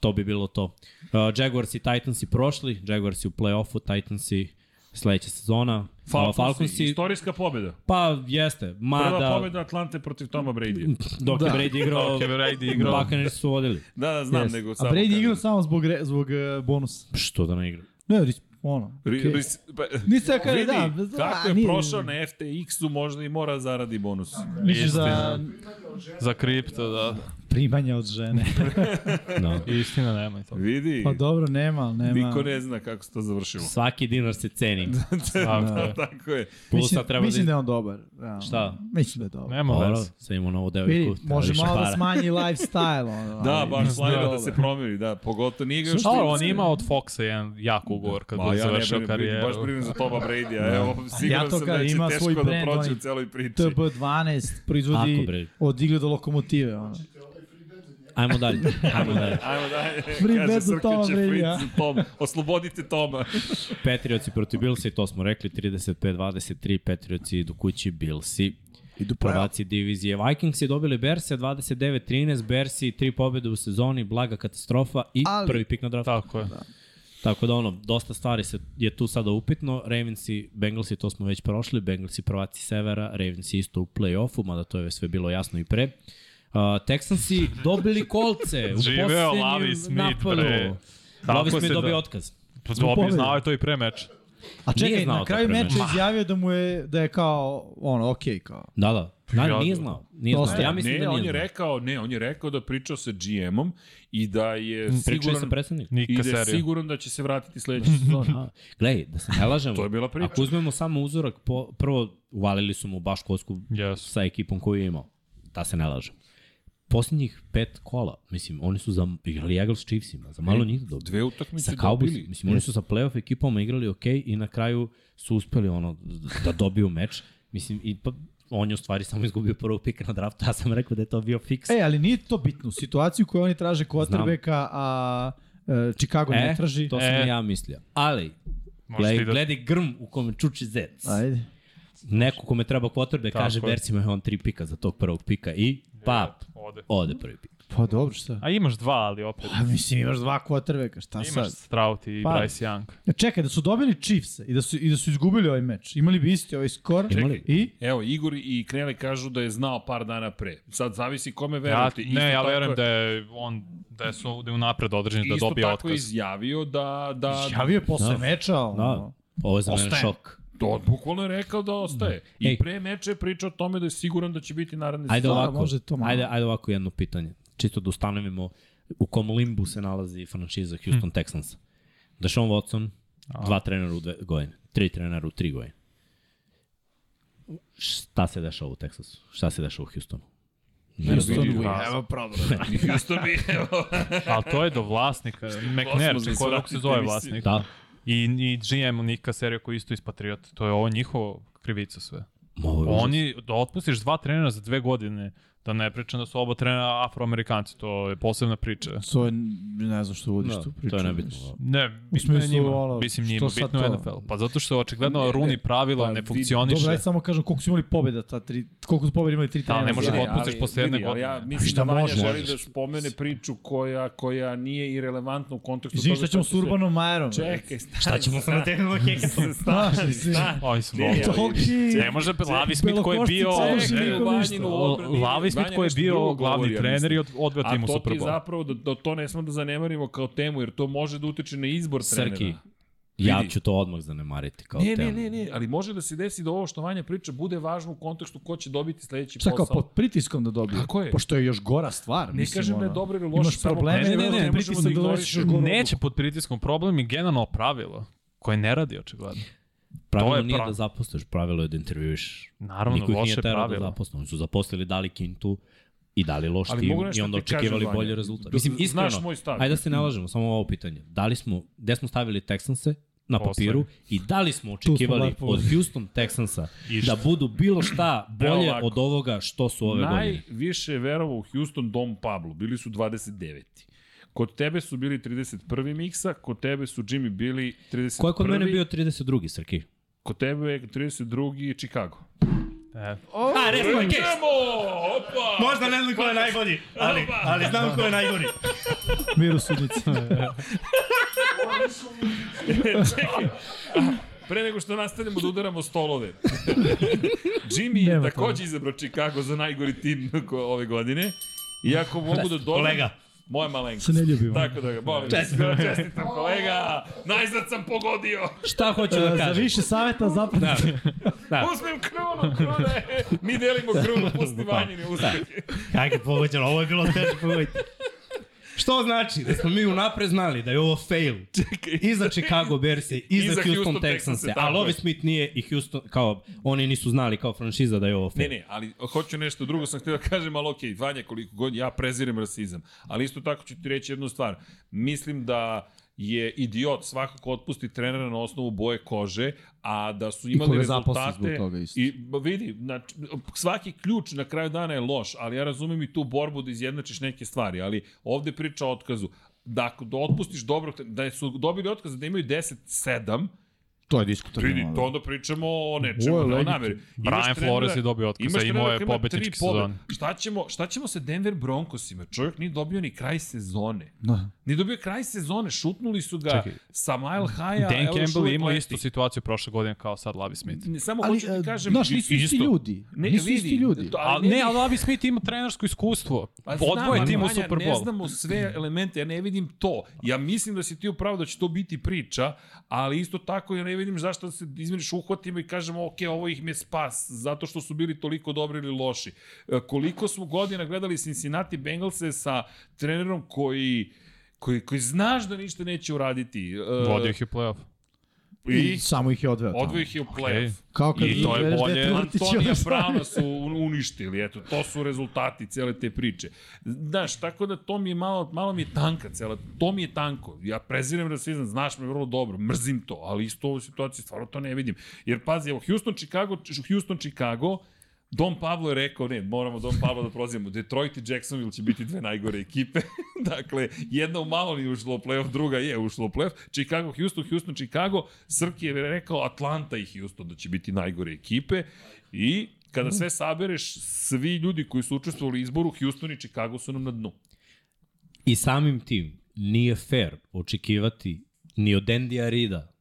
S5: to bi bilo to. Uh, Jaguars i Titans i prošli, Jaguars i u play-offu, Titans i sledeća sezona.
S1: Falconsi,
S5: Uh, Falconsi-
S1: istorijska pobjeda.
S5: pa jeste,
S1: Prva da.
S5: mada
S1: pobjeda Atlante protiv Toma Brady.
S5: dok
S3: Da.
S5: je Brady igrao,
S4: Dok je Brady igrao.
S5: Buccaneers su vodili.
S1: Da, da, <laughs> znam,
S5: Yes.
S1: nego
S3: A
S1: samo...
S3: Brady
S1: kažem.
S3: igrao samo zbog, re, zbog uh, bonusa.
S5: Što da ne igra?
S3: Ne, ris- ono.
S1: Ri,
S3: okej.
S1: ri, pa,
S3: Nisam ja kada,
S1: vidi,
S3: da. bez-
S1: kako
S3: a,
S1: je
S3: nije-
S1: prošao na FTX-u, možda i mora zaradi bonus.
S3: Misliš za
S4: Istina. Za kripto, da.
S3: primanja od žene.
S5: Da.
S4: Istina, nema i to.
S1: Vidi,
S3: Pa dobro, nema, ali nema.
S1: niko ne zna kako se to
S5: <laughs>
S1: završilo. Da,
S5: Svaki dinar se ceni.
S1: <laughs>
S4: Tako je.
S1: Tako je.
S5: Plus
S3: Da. Mislim,
S5: sad treba
S3: mislim da
S5: da...
S3: je on dobar. realno.
S5: Šta?
S3: Mislim da je dobar.
S4: Nema
S5: Dobro,
S4: veze.
S5: sve ima novu
S3: Vidi,
S5: devojku. treba
S3: može
S5: više
S3: malo da
S5: para. <laughs>
S3: smanji lifestyle. Ono,
S1: Da,
S3: ali-
S1: baš planira da
S3: dobar.
S1: se promeni, da, pogotovo nije ga još...
S4: Ali on ima od Foxa jedan jak ugovor kad
S1: Ma,
S4: bude
S1: ja ne
S4: završio
S1: brinem, brinem,
S4: karijeru.
S1: baš brinem za Toma Brady-a, evo, siguran
S3: to
S1: sam da
S3: kažem,
S1: će
S3: ima svoj
S1: teško da
S3: brand,
S1: prođe u
S3: onaj
S1: celoj priči.
S3: TB12
S5: Ako,
S3: proizvodi
S5: bre.
S3: od igle do lokomotive. Ono.
S5: Ajmo
S3: <laughs>
S5: dalje, ajmo dalje.
S1: Ajmo dalje,
S3: Free
S1: kaže
S3: bet za Toma
S1: Srkaće, free
S3: Brady-a.
S1: bet za Toma, oslobodite Toma.
S5: Patriots i protiv Billsa i to smo rekli 35-23 Patriots idu kući Billsi idu prvaci divizije Vikings je dobili Berse 29-13 Bersi tri pobjede u sezoni blaga katastrofa i
S3: Ali-
S5: Ali, prvi pik na draftu
S4: Tako je.
S5: tako da ono dosta stvari se je tu sada upitno Ravens i Bengals i to smo već prošli Bengals i prvaci severa Ravens isto u play-offu mada to je sve bilo jasno i pre uh, Texansi dobili kolce u
S4: Živeo Lavi
S5: posljednjem
S4: Smith,
S5: napadu
S4: bre. Tako
S5: Lavi Smith
S4: se
S5: dobio
S4: da-
S5: otkaz
S4: Pa Dobio,
S3: pobjede.
S4: znao je to i pre meča.
S3: A
S5: Nije
S3: čekaj,
S5: znao
S3: na
S5: to
S3: kraju
S5: pre mene.
S3: meča izjavio da mu je, da je kao, ono, okej, okay, kao.
S5: Da, da. Da,
S4: Ja-
S5: nije znao. Nije
S3: Dosta.
S5: znao. Ja mislim
S1: ne,
S5: da
S1: on
S5: nije
S1: je
S5: znao.
S1: rekao, ne, on je rekao da je pričao sa GM-om i da je
S5: Pričao je
S1: siguran
S5: sa predsednikom.
S1: i
S4: Nika
S1: da je
S4: serio.
S1: siguran da će se vratiti sledeće sezone.
S5: A, Gledaj, da se ne lažemo.
S1: To je bila priča.
S5: Ako uzmemo samo uzorak, po, prvo uvalili su mu baš kocku
S4: Yes.
S5: sa ekipom koju je imao. Da se ne lažemo. Posljednjih pet kola, mislim, oni su za, igrali Eagles Chiefsima, za malo njih dobili.
S1: Dve utakmice
S5: Sa
S1: dobili.
S5: Cowboys, mislim, oni su sa playoff ekipama igrali ok i na kraju su uspeli ono, da dobiju meč. Mislim, i pa, on je u stvari samo izgubio prvog pika na draftu, ja sam rekao da je to bio fiks.
S3: E, ali nije to bitno. U situaciji u kojoj oni traže quarterbacka, a e, Chicago e, ne traži.
S5: To sam
S4: E.
S5: e. ja mislio. Ali,
S4: Možeš
S5: gledaj,
S4: ti da-
S5: da... gledaj grm u kome čuči zec.
S3: Ajde.
S5: Neko kome treba quarterback
S4: Tako
S5: kaže
S4: je.
S5: Bercima je on tri pika za tog prvog pika i pap,
S4: Ode.
S5: ode prvi pik.
S3: Pa dobro, šta?
S4: A imaš dva, ali opet.
S3: A mislim, imaš dva quarterbacka, šta
S4: Imaš
S3: sad?
S4: Stroud i
S3: Pa.
S4: Bryce Young.
S3: Čekaj, da su dobili Chiefs i da su, i da su izgubili ovaj meč. Imali bi isti ovaj skor.
S5: Imali?
S3: I?
S1: Evo, Igor i Knele kažu da je znao par dana pre. Sad zavisi kome
S4: Ja,
S1: verujete. Isto
S4: ne, ja
S1: tako
S4: verujem
S1: je-
S4: da je on da je su da je unapred određen da
S1: Isto
S4: dobije
S1: tako je
S4: otkaz.
S1: izjavio da,
S4: <laughs>
S1: da,
S3: Javio je posle
S5: Da.
S3: meča. Ono.
S5: Da, ovo je za mene
S3: Ostaje.
S5: šok.
S1: to bukvalno je rekao da ostaje. I
S5: Ej.
S1: pre meča je pričao o tome da je siguran da će biti naredne
S5: Ajde
S1: sezone.
S3: Stvarno,
S5: ovako,
S3: može to malo.
S5: ajde, ajde ovako jedno pitanje. Čisto da ustanovimo u kom limbu se nalazi
S1: Hm.
S5: franšiza Houston Texansa. Deshaun Watson, dva trenera u dve godine, tri trenera u tri godine. Šta se dešava u Texasu? Šta se dešava u Houstonu? Ne
S3: Houston
S5: razumijem.
S1: Vidi,
S3: Wins.
S1: Evo problem. <laughs> Houston
S4: <laughs>
S1: bi, evo.
S4: Ali to je do
S1: <laughs>
S4: vlasnika, McNair,
S1: za
S4: kako tako se
S1: svaki
S4: zove
S1: tenis.
S4: vlasnik.
S5: Da,
S4: I, i GM Nika serio koji je isto iz Patriota. To je ovo njihovo krivica sve.
S5: Ma, ovo je užas.
S4: Oni, da otpustiš dva trenera za dve godine, da ne pričam da su oba trenera afroamerikanci, to je posebna priča.
S3: <laughs> To je, ne znam što vodiš
S5: Da,
S3: tu priču.
S5: To je nebitno.
S4: Ne, bitno je
S3: smislu,
S4: njima,
S3: ono,
S4: mislim
S3: što
S4: njima,
S3: sad
S4: bitno je
S3: to?
S4: NFL. Pa zato što očigledno
S1: Ne, ne,
S4: Runi pravila
S1: pa
S4: ne
S1: vidi-
S4: funkcioniše.
S3: Dobro, ajde samo kažem koliko su imali pobjeda ta tri, koliko su pobjeda imali tri
S4: Da,
S3: trenera.
S4: ne može
S3: za
S4: da
S3: redom.
S4: otpustiš
S1: ali
S4: posle jedne
S1: vidi, ali Ja
S4: godine.
S1: mislim
S3: Šta
S1: da Vanja
S3: možeš?
S1: želi da spomene priču koja, koja nije irelevantna u kontekstu
S3: Izvini šta ćemo s
S1: će se-
S3: Urbanom Majerom?
S1: Čekaj, stani,
S5: Šta ćemo sa
S1: stani,
S5: na tehnolog hekatonu?
S1: Stani, stani.
S3: e,
S4: Oni
S3: <laughs>
S4: su
S1: Ne,
S4: bolni.
S1: ali-
S4: Ne može, Lavi Smith koji je bio...
S3: Belokostica,
S4: Ne,
S1: Čekaj,
S3: nikom
S1: Vanjinu odbrani.
S4: Lavi Smith
S1: Vanja
S4: koji je
S1: nešto drugo
S4: bio
S1: govori,
S4: glavni
S1: ja
S4: trener i
S1: mislim.
S4: od, odveo tim
S1: A
S4: u
S1: to
S4: Super
S1: ti
S4: Bowl.
S1: zapravo, da, da to ne smemo da zanemarimo kao temu, jer to može da utiče na izbor trenera.
S5: Srki, ja
S1: Vidi.
S5: ću to odmah zanemariti kao
S1: Ne, ne,
S5: temu.
S1: ne, ne, ali može da se desi da ovo što Vanja priča bude važno u kontekstu ko će dobiti sledeći
S3: Šta
S1: posao.
S3: kao pod pritiskom da dobije?
S1: Tako je.
S3: Pošto je još gora stvar.
S1: Ne
S3: mislim,
S1: kažem da je
S3: ono,
S1: dobro ili
S3: Imaš
S1: loše, samo
S3: probleme,
S4: Ne, ne, ne,
S1: možemo
S3: pritisak
S1: da
S3: da doneseš
S1: ignorišemo.
S3: još goru odluku.
S4: Neće pod pritiskom problem i generalno pravilo koje ne radi očigledno.
S5: Pravilo
S4: je
S5: nije
S4: pra-
S5: da zaposliš, pravilo je da intervjuješ.
S4: Naravno,
S5: Niko ih
S4: loše
S5: nije terao da
S4: pravilo.
S5: zaposle. Oni su zaposlili, dali kintu i dali loš
S1: Ali mogu
S5: tim
S1: nešto
S5: i onda
S1: ti kažem,
S5: očekivali
S1: Vanja?
S5: bolji rezultat.
S1: Da-
S5: Mislim,
S1: znaš
S5: iskreno,
S1: moj stav.
S5: ajde da se nalažemo, samo ovo pitanje. Da li smo, gde smo stavili Texanse na
S4: Poslednji.
S5: papiru i da li smo očekivali
S3: lepo.
S5: od Houston Texansa
S4: Išta.
S5: da budu bilo šta bolje
S1: ovako.
S5: od ovoga što su ove godine?
S1: Najviše je verovao u Houston Dom Pablo, bili su 29. Kod tebe su bili 31. miksa, kod tebe su Jimmy bili 31.
S5: Ko je kod mene bio 32. Srki?
S1: Kod tebe je 32. Chicago.
S4: E,
S5: A, resmo je keks!
S1: Opa!
S5: Možda ne znam ko je najbolji, ali, ali znam ko je najgori.
S1: da-
S3: Mir u
S1: <laughs>
S3: sudnici.
S1: Pre nego što nastavimo da udaramo
S3: <laughs>
S1: stolove. Jimmy je
S3: Nema
S1: takođe izabrao Chicago za najgori tim ko- ove godine. Iako mogu da dodam...
S5: Kolega.
S1: Moja malenkost.
S3: Se ne ljubimo.
S1: Tako da ga molim. Čestitam. Čestitam kolega. Najzad sam pogodio.
S5: Šta hoću
S3: <laughs>
S5: da
S3: Za
S5: kažem?
S3: više saveta zapratite.
S5: Da.
S1: Uzmem krunu, krune. Mi delimo krunu, pusti
S3: Da.
S1: vanjine uspehe.
S5: Ajde, pogođeno, ovo je bilo teško pogoditi. Što znači da smo mi unapred znali da je ovo fail. I za Chicago Bears i, i za Houston, Texans.
S1: tako
S5: A Lovie
S1: je.
S5: Smith nije i Houston, kao, oni nisu znali kao franšiza da je ovo
S1: Ne,
S5: fail.
S1: ne, ali hoću nešto drugo sam htio da kažem, ali okej, Vanja, koliko god, ja prezirem rasizam. Ali isto tako ću ti reći jednu stvar. Mislim da je idiot svako ko otpusti trenera na osnovu boje kože, a da su imali
S3: koga zaposli
S1: rezultate...
S3: zbog toga isto.
S1: I ba, vidi, znači, svaki ključ na kraju dana je loš, ali ja razumem i tu borbu da izjednačiš neke stvari, ali ovde priča o otkazu. Da ako da otpustiš dobro, da su dobili otkaz, da imaju 10-7,
S3: To je diskutabilno.
S1: Vidi, to onda pričamo o nečemu,
S3: Ovo
S1: o,
S3: je
S1: o
S3: legitim.
S1: nameri. Imaš
S4: Brian
S1: trenera-
S4: Flores je dobio otkaz,
S1: imaš
S4: a imao
S1: trenera
S4: je
S1: koji ima
S4: pobednički
S1: tri pobede.
S4: sezon.
S1: Šta ćemo, šta ćemo sa Denver Broncosima? Čovjek nije dobio ni kraj sezone.
S3: Da.
S1: Nije dobio kraj sezone, šutnuli su ga
S4: Čekaj.
S1: sa mile high-a. evo
S4: Dan
S1: još
S4: Campbell je
S1: uvek
S4: imao
S1: leti.
S4: istu situaciju prošle godine kao sad Lavi Smith.
S1: Ne, Samo
S3: Ali,
S1: hoću da ti
S3: e,
S1: kažem...
S3: znaš, nisu isti
S4: isto.
S3: ljudi.
S1: Ne,
S3: Nisu
S1: vidi,
S3: isti ljudi.
S1: to-
S4: A,
S1: ali
S4: ne, ali Lavi Smith ima trenersko iskustvo.
S1: Pa znam,
S4: Odvoje
S1: ali
S4: tim u
S1: Vanja,
S4: Super
S1: Ne
S4: Bowl.
S1: znamo sve elemente, ja ne vidim to. Ja mislim da si ti upravo da će to biti priča, ali isto tako ja ne vidim zašto se izmeniš uhvatimo i kažemo ok, ovo ih je spas, zato što su bili toliko dobri ili loši. E, Koliko smo godina gledali Cincinnati Bengalse sa trenerom koji koji, koji znaš da ništa neće uraditi. E,
S4: Vodio ih je playoff.
S1: I
S3: I samo ih je odveo. tamo.
S1: odvojih je u playoff.
S4: Ej,
S3: Kao kad
S4: I to je
S3: izvedeš
S4: bolje.
S3: dete u vrtić i
S1: Antonija
S3: onda-
S1: Brauna su uništili, eto, to su rezultati cele te priče. Znaš, tako da to mi je malo, malo mi je tanka cela, to mi je tanko. Ja prezirem rasizam, znaš me vrlo dobro, mrzim to, ali isto u ovoj situaciji stvarno to ne vidim. Jer pazi, evo, Houston, Chicago, Houston, Chicago, Don Pablo je rekao, ne, moramo Don Pablo da prozivamo, Detroit i Jacksonville će biti dve najgore ekipe. <laughs> dakle, jedna u malo nije ušla u playoff, druga je ušla u playoff. Chicago, Houston, Houston, Chicago. Srki je rekao Atlanta i Houston da će biti najgore ekipe. I kada sve sabereš, svi ljudi koji su učestvovali u izboru, Houston i Chicago su nam na dnu.
S5: I samim tim nije fair očekivati ni od Andy Rida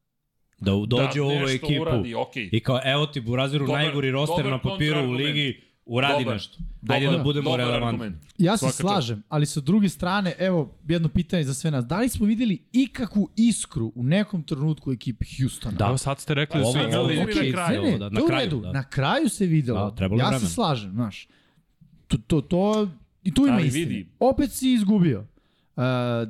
S5: da u- dođe
S1: da,
S5: u ovu
S1: nešto
S5: ekipu
S1: Uradi, okay.
S5: i kao evo ti Buraziru
S1: Dobar-
S5: najgori roster
S1: dobar
S5: na papiru u
S1: kontraargument.
S5: ligi, uradi
S1: Dobar.
S5: nešto. Ajde da budemo relevantni.
S3: <laughs> Ja se
S1: Svaka čast.
S3: slažem, ali sa druge strane, evo, jedno pitanje za sve nas. Da li smo videli ikakvu iskru u nekom trenutku u ekipi Houstona?
S4: Da. Evo sad ste rekli da su
S1: Ovo-
S4: igrali...
S1: ovo- na kraju,
S3: Ne, ne, da,
S5: da, na
S3: to je u
S5: kraju,
S3: redu.
S5: da.
S3: Na kraju se videlo.
S5: Da, trebalo je
S3: ja
S5: vremena.
S3: se slažem, znaš. To, to, to, I tu ima
S1: Ali
S3: istine.
S1: vidi.
S3: Opet si izgubio. Uh,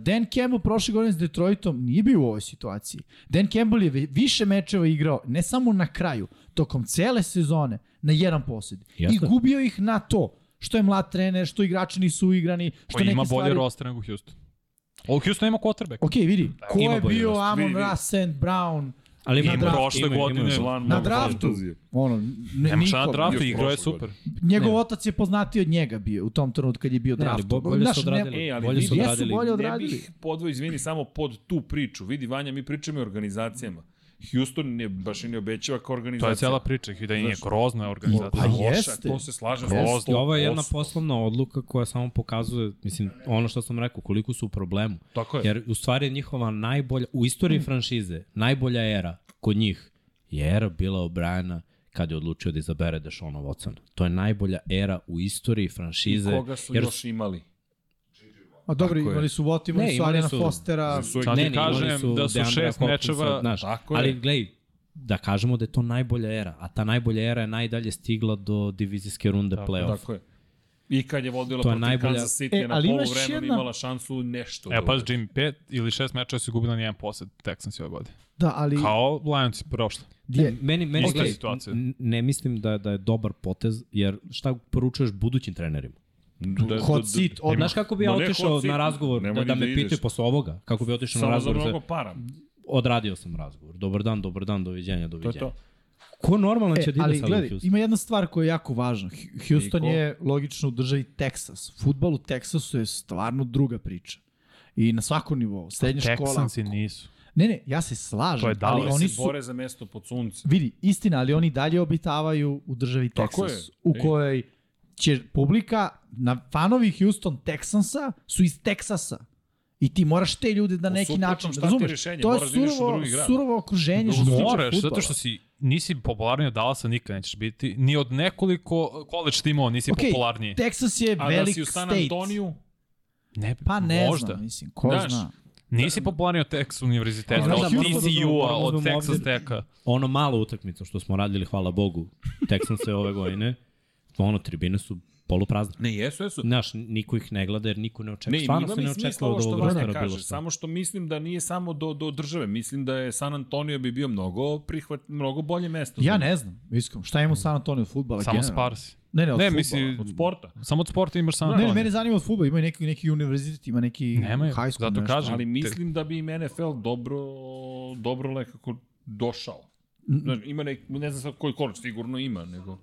S3: Dan Campbell prošle godine s Detroitom nije bio u ovoj situaciji. Dan Campbell je vi- više mečeva igrao, ne samo na kraju, tokom cele sezone, na jedan posjed. I
S5: Jeste.
S3: gubio ih na to što je mlad trener, što igrači nisu igrani, što
S4: Koji
S3: neke
S4: ima bolje
S3: stvari...
S4: roster nego Houston. O, Houston ima quarterback.
S3: Ok, vidi, ko
S5: Ima
S3: je
S5: bolji
S3: bio
S5: roster.
S3: Amon
S1: Vidi, vidi.
S3: Ra, St. Brown,
S5: Ali ima
S4: Im
S3: draftu,
S4: prošle
S5: ima, ima.
S4: godine...
S3: Na draftu. Ono, ne,
S4: Nema šta da na
S3: niko.
S4: draftu,
S1: Još
S4: igrao je
S1: prošle
S4: super.
S3: Njegov
S5: Ne.
S3: otac je poznatiji od njega bio u tom trenutku kad je bio
S5: Ne, ali
S3: draft.
S5: bo- bolje su odradili.
S1: E, ali
S5: Bolje su
S1: vidi,
S3: Jesu
S5: odradili.
S3: bolje
S1: Ne
S3: odradili.
S1: bih podvoj, izvini, samo pod tu priču. Vidi, Vanja, mi pričamo i o organizacijama. Houston ne, baš i ne obećava kao
S4: To
S1: organizacija.
S4: je cela priča, da je
S1: Znaš.
S4: grozna
S1: Pa
S4: organizacija.
S3: Pa
S1: loša,
S3: jeste.
S1: to se slažem.
S3: Jeste.
S1: Jeste.
S5: I ovo je jedna poslovna odluka koja samo pokazuje, mislim, ono što sam rekao, koliko su u problemu.
S1: Tako je.
S5: Jer u stvari je njihova najbolja, u istoriji franšize, najbolja era kod njih je era bila O'Briena kad je odlučio da izabere Dešona Watsona. To je najbolja era u istoriji franšize.
S1: Koga su
S5: jer
S1: još imali?
S3: A dobro,
S1: Tako je.
S3: imali su Vot, imali
S5: Ne,
S3: su
S5: imali
S3: Arjana
S5: su-
S3: Fostera.
S1: Su
S4: Sad ti
S5: imali
S4: kažem
S5: su
S4: da su
S5: Deandra
S4: šest
S5: Hopkinsa,
S4: mečeva-
S5: Znaš,
S1: Tako
S5: ali
S1: je.
S5: glej, da kažemo da je to najbolja era, a ta najbolja era je najdalje stigla do divizijske runde
S4: Tako,
S5: play-offa.
S1: Tako je. I kad je vodila
S5: To je
S1: protiv
S5: najbolja-
S1: Kansas City
S3: E,
S1: e, na
S3: ali
S1: polu
S3: imaš
S1: vremenu
S3: jedna-
S1: imala šansu nešto.
S4: E,
S1: da
S4: pa
S1: uradi.
S4: Jim, pet ili šest mečeva su gubili na jedan posled Texans ove godine.
S3: Da, ali...
S4: Kao Lions prošle.
S3: Je,
S5: Meni, meni
S4: Ista
S5: gledaj,
S4: situacija.
S5: n- ne mislim da, da je dobar potez, jer šta poručuješ budućim trenerima?
S1: Da- da-
S3: hot
S1: da-
S3: seat, od,
S5: Znaš kako bi ja
S1: Ma ne,
S5: otišao
S1: hot seat,
S5: na razgovor, da,
S1: nemoj
S5: da
S1: ni
S5: me
S1: da
S5: pitaju
S1: ideš.
S5: posle ovoga, kako bi otišao na
S1: Samo za
S5: razgovor?
S1: mnogo
S5: da, Za,
S1: para.
S5: odradio sam razgovor, dobar dan, dobar dan, doviđenja,
S1: To je
S5: doviđenja.
S1: to.
S5: Ko normalno će
S3: E,
S5: da ide
S3: ali
S5: sad u
S3: gledaj,
S5: Houston?
S3: ima jedna stvar koja je jako važna. Hu- Houston
S1: Niko?
S3: je logično u državi Texas. Futbal u Texasu je stvarno druga priča. I na svakom nivou. Srednja škola.
S4: Texansi nisu.
S3: Ne, ne, ja se slažem,
S4: To je
S3: ali
S4: Dallas.
S3: oni
S1: Oni da se
S3: su...
S1: bore za mesto pod suncem.
S3: Vidi, istina, ali oni dalje obitavaju u državi
S1: Tako
S3: Texas,
S1: je.
S3: u
S1: Ej.
S3: kojoj će publika, na fanovi Houston Texansa su iz Texasa. I ti moraš te ljude da
S1: U
S3: neki
S1: suprotnom,
S3: način,
S1: šta ti je
S3: razumeš,
S1: rešenje?
S3: to je
S1: Moraš da ideš u
S3: surovo,
S1: drugi grad.
S3: surovo okruženje što se tiče
S4: Moraš, zato
S3: fudbala.
S4: što si, nisi popularniji od Dallasa, nikad nećeš biti. Ni od nekoliko college timova nisi
S3: Okej,
S4: popularniji.
S3: Texas je
S1: A da
S3: velik
S1: si u San
S3: state.
S1: Antoniju,
S4: Ne,
S3: Pa ne
S4: možda.
S3: znam, mislim, ko
S1: Znaš,
S3: zna.
S4: Nisi popularniji od Texas univerziteta,
S3: Znaš
S4: od
S3: da moramo
S5: da uzmemo-
S4: TCU-a,
S5: moramo
S4: od
S5: da uzmemo
S4: Texas
S5: obzir-
S4: Tech-a.
S5: Ono malo utakmicu što smo radili, hvala Bogu, Texanse ove godine, ono, tribine su poluprazne.
S1: Ne, jesu, jesu.
S5: Znaš, niko ih ne gleda jer niko ne očekuje.
S1: Ne,
S5: Stvarno
S1: ima
S5: se
S1: mi
S5: ne
S1: smisla
S5: očekuje
S1: ovo
S5: od
S1: što
S5: ovog
S1: Vanja
S5: rostera bilo
S1: kaže,
S5: šta.
S1: samo što mislim da nije samo do, do države, mislim da je San Antonio bi bio mnogo prihvat, mnogo bolje mesto.
S3: Ja ne znam, iskreno, šta ima u San Antonio od futbala?
S4: Samo
S3: Pa generalno?
S4: Sparsi.
S3: Ne, ne, od
S4: Ne,
S3: fudbala.
S4: misli,
S1: Od sporta.
S4: samo od sporta imaš San
S3: Ne, ne, mene
S4: Antonio.
S3: zanima od futbala, ima i neki, neki univerzitet, ima neki
S4: Nemaju,
S3: high school,
S4: zato
S3: nešto.
S4: kažem.
S1: Ali mislim da bi im NFL dobro, dobro lekako došao. Znači, ima nek, ne znam sad koji kolač, sigurno ima, nego...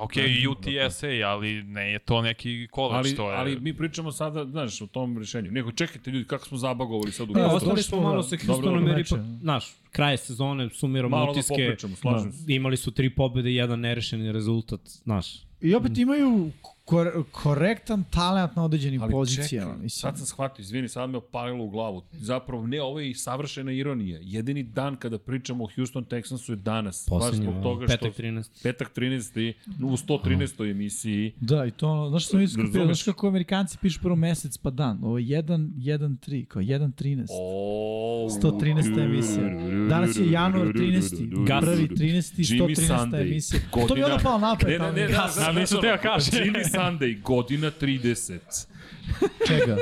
S4: Ok, UTSA, ali ne je to neki
S1: Da, Ali,
S4: college, to je...
S1: ali mi pričamo sada, znaš, o tom rešenju. Nego čekajte ljudi, kako smo zabagovali sad u
S5: Ne,
S3: Dobro,
S5: ostali smo
S3: dobro.
S5: malo sa
S1: Dobro,
S5: Houstonom,
S1: dobro.
S5: jer
S3: Znači,
S5: ipak, znaš, kraj sezone, sumiramo
S1: Malo da
S5: utiske.
S1: popričamo, slažem se.
S5: Imali su tri pobjede, jedan nerešeni rezultat, znaš.
S3: I opet imaju kor korektan talent na određenim
S1: Ali
S3: pozicijama.
S1: čekaj,
S3: mislim.
S1: sad sam shvatio, izvini, sad me opalilo u glavu. Zapravo, ne, ovo je i savršena ironija. Jedini dan kada pričamo o Houston Texansu je danas.
S5: Poslednji,
S1: baš zbog
S5: ono,
S1: toga što...
S5: petak 13.
S1: Petak 13. u 113. emisiji.
S3: Da, i to ono, znaš što mi iskupio,
S1: Razumeš?
S3: znaš kako Amerikanci pišu prvo mesec pa dan, ovo je 1, 1, 3, kao 1, 13.
S1: O,
S3: 113. emisija. Danas je januar 13.
S1: Gas.
S3: Prvi 13.
S1: Jimmy
S3: 113.
S1: Sunday.
S3: emisija.
S1: Godina.
S3: To mi je ono palo napred.
S1: Ne, ne, ne, da,
S3: Gas.
S1: znaš,
S4: Ali nisam
S1: ono,
S4: teo kažem.
S1: Jimmy Sunday, godina 30.
S3: Čega?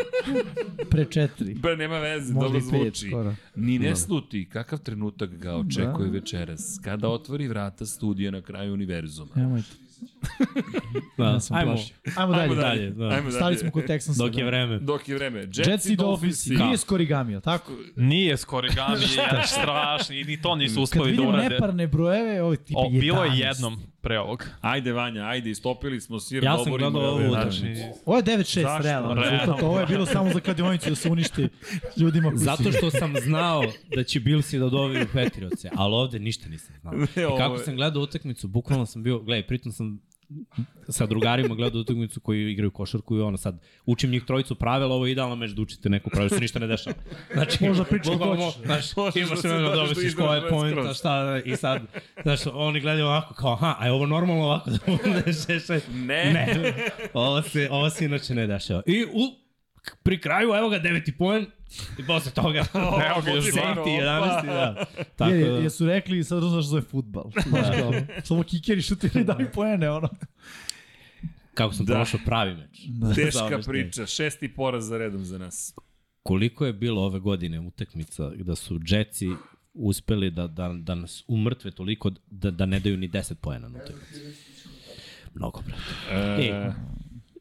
S3: Pre 4.
S1: Bre, nema veze,
S3: Možda
S1: dobro
S3: i pet
S1: zvuči.
S3: skoro. Da.
S1: Ni ne sluti kakav trenutak ga očekuje večeras, kada otvori vrata studija na kraju univerzuma.
S3: Nemojte.
S5: Da,
S3: Ja sam
S5: ajmo,
S3: plašio. Ajmo dalje.
S5: Ajmo dalje, da.
S1: Ajmo dalje.
S3: Stali smo kod Texansa.
S5: dok je
S3: da.
S5: vreme.
S1: Dok je vreme.
S3: Jets i Dolphins.
S1: da.
S3: Nije s Korigami, jel tako?
S4: Nije s korigami,
S1: <laughs>
S4: jedan strašni, i ni to nisu
S3: Kad
S4: uspeli da
S3: vidim
S4: urade.
S3: neparne brojeve, ovo je tipa
S4: O,
S3: 11.
S4: bilo je jednom pre ovog.
S1: Ajde, Vanja, ajde, istopili smo sir
S5: Ja sam
S1: doborimo
S5: gledao
S1: ga,
S5: ovu
S1: bre.
S5: utakmicu.
S4: Znači,
S3: Ovo je 9-6,
S1: Zašto?
S3: realno.
S4: Realno.
S3: rezultat. Ovo je bilo samo za kladionicu da se uništi ljudima koji su
S5: Zato što sam znao da će Billsi da dobiju Patriotse, ali ovde ništa nisam znao.
S1: Ne,
S5: I
S1: ovo
S5: kako
S1: je-
S5: sam gledao utakmicu, bukvalno sam bio, gledaj, pritom sam sa drugarima gledao utakmicu koji igraju košarku i ono sad učim njih trojicu pravila, ovo je idealno meč da učite neko pravilo, što ništa ne dešava. Znači,
S3: Možda pričamo
S5: bukvalno,
S3: ko ćeš.
S5: Znaš,
S1: Možeš da
S5: imaš
S1: se
S5: se da
S1: dođeš
S5: dobaciš
S1: do
S5: koja je
S1: izražaja
S5: pojenta,
S1: skroz.
S5: šta i sad, znaš, oni gledaju ovako kao, aha, a je ovo normalno ovako <laughs> da bude šešaj?
S1: Ne.
S5: Ne. Ovo se, ovo se inače ne dešava. I u, pri kraju, evo ga, deveti poen, i posle toga,
S4: Evo ga još dva.
S5: safety, 11, da. Tako
S3: Tako, Da. je,
S5: da,
S3: jesu rekli, sad znaš za futbal. Znaš kao, samo kikeri šutiri da mi poene, ono.
S5: kako sam
S1: Da.
S5: prošao pravi meč.
S3: Da.
S5: Za
S1: Teška
S5: ono što je.
S1: priča, šesti poraz za redom za nas.
S5: Koliko je bilo ove godine utakmica da su Jetsi uspeli da, da, da nas umrtve toliko da, da ne daju ni 10 poena na utakmici. Mnogo, brate. E,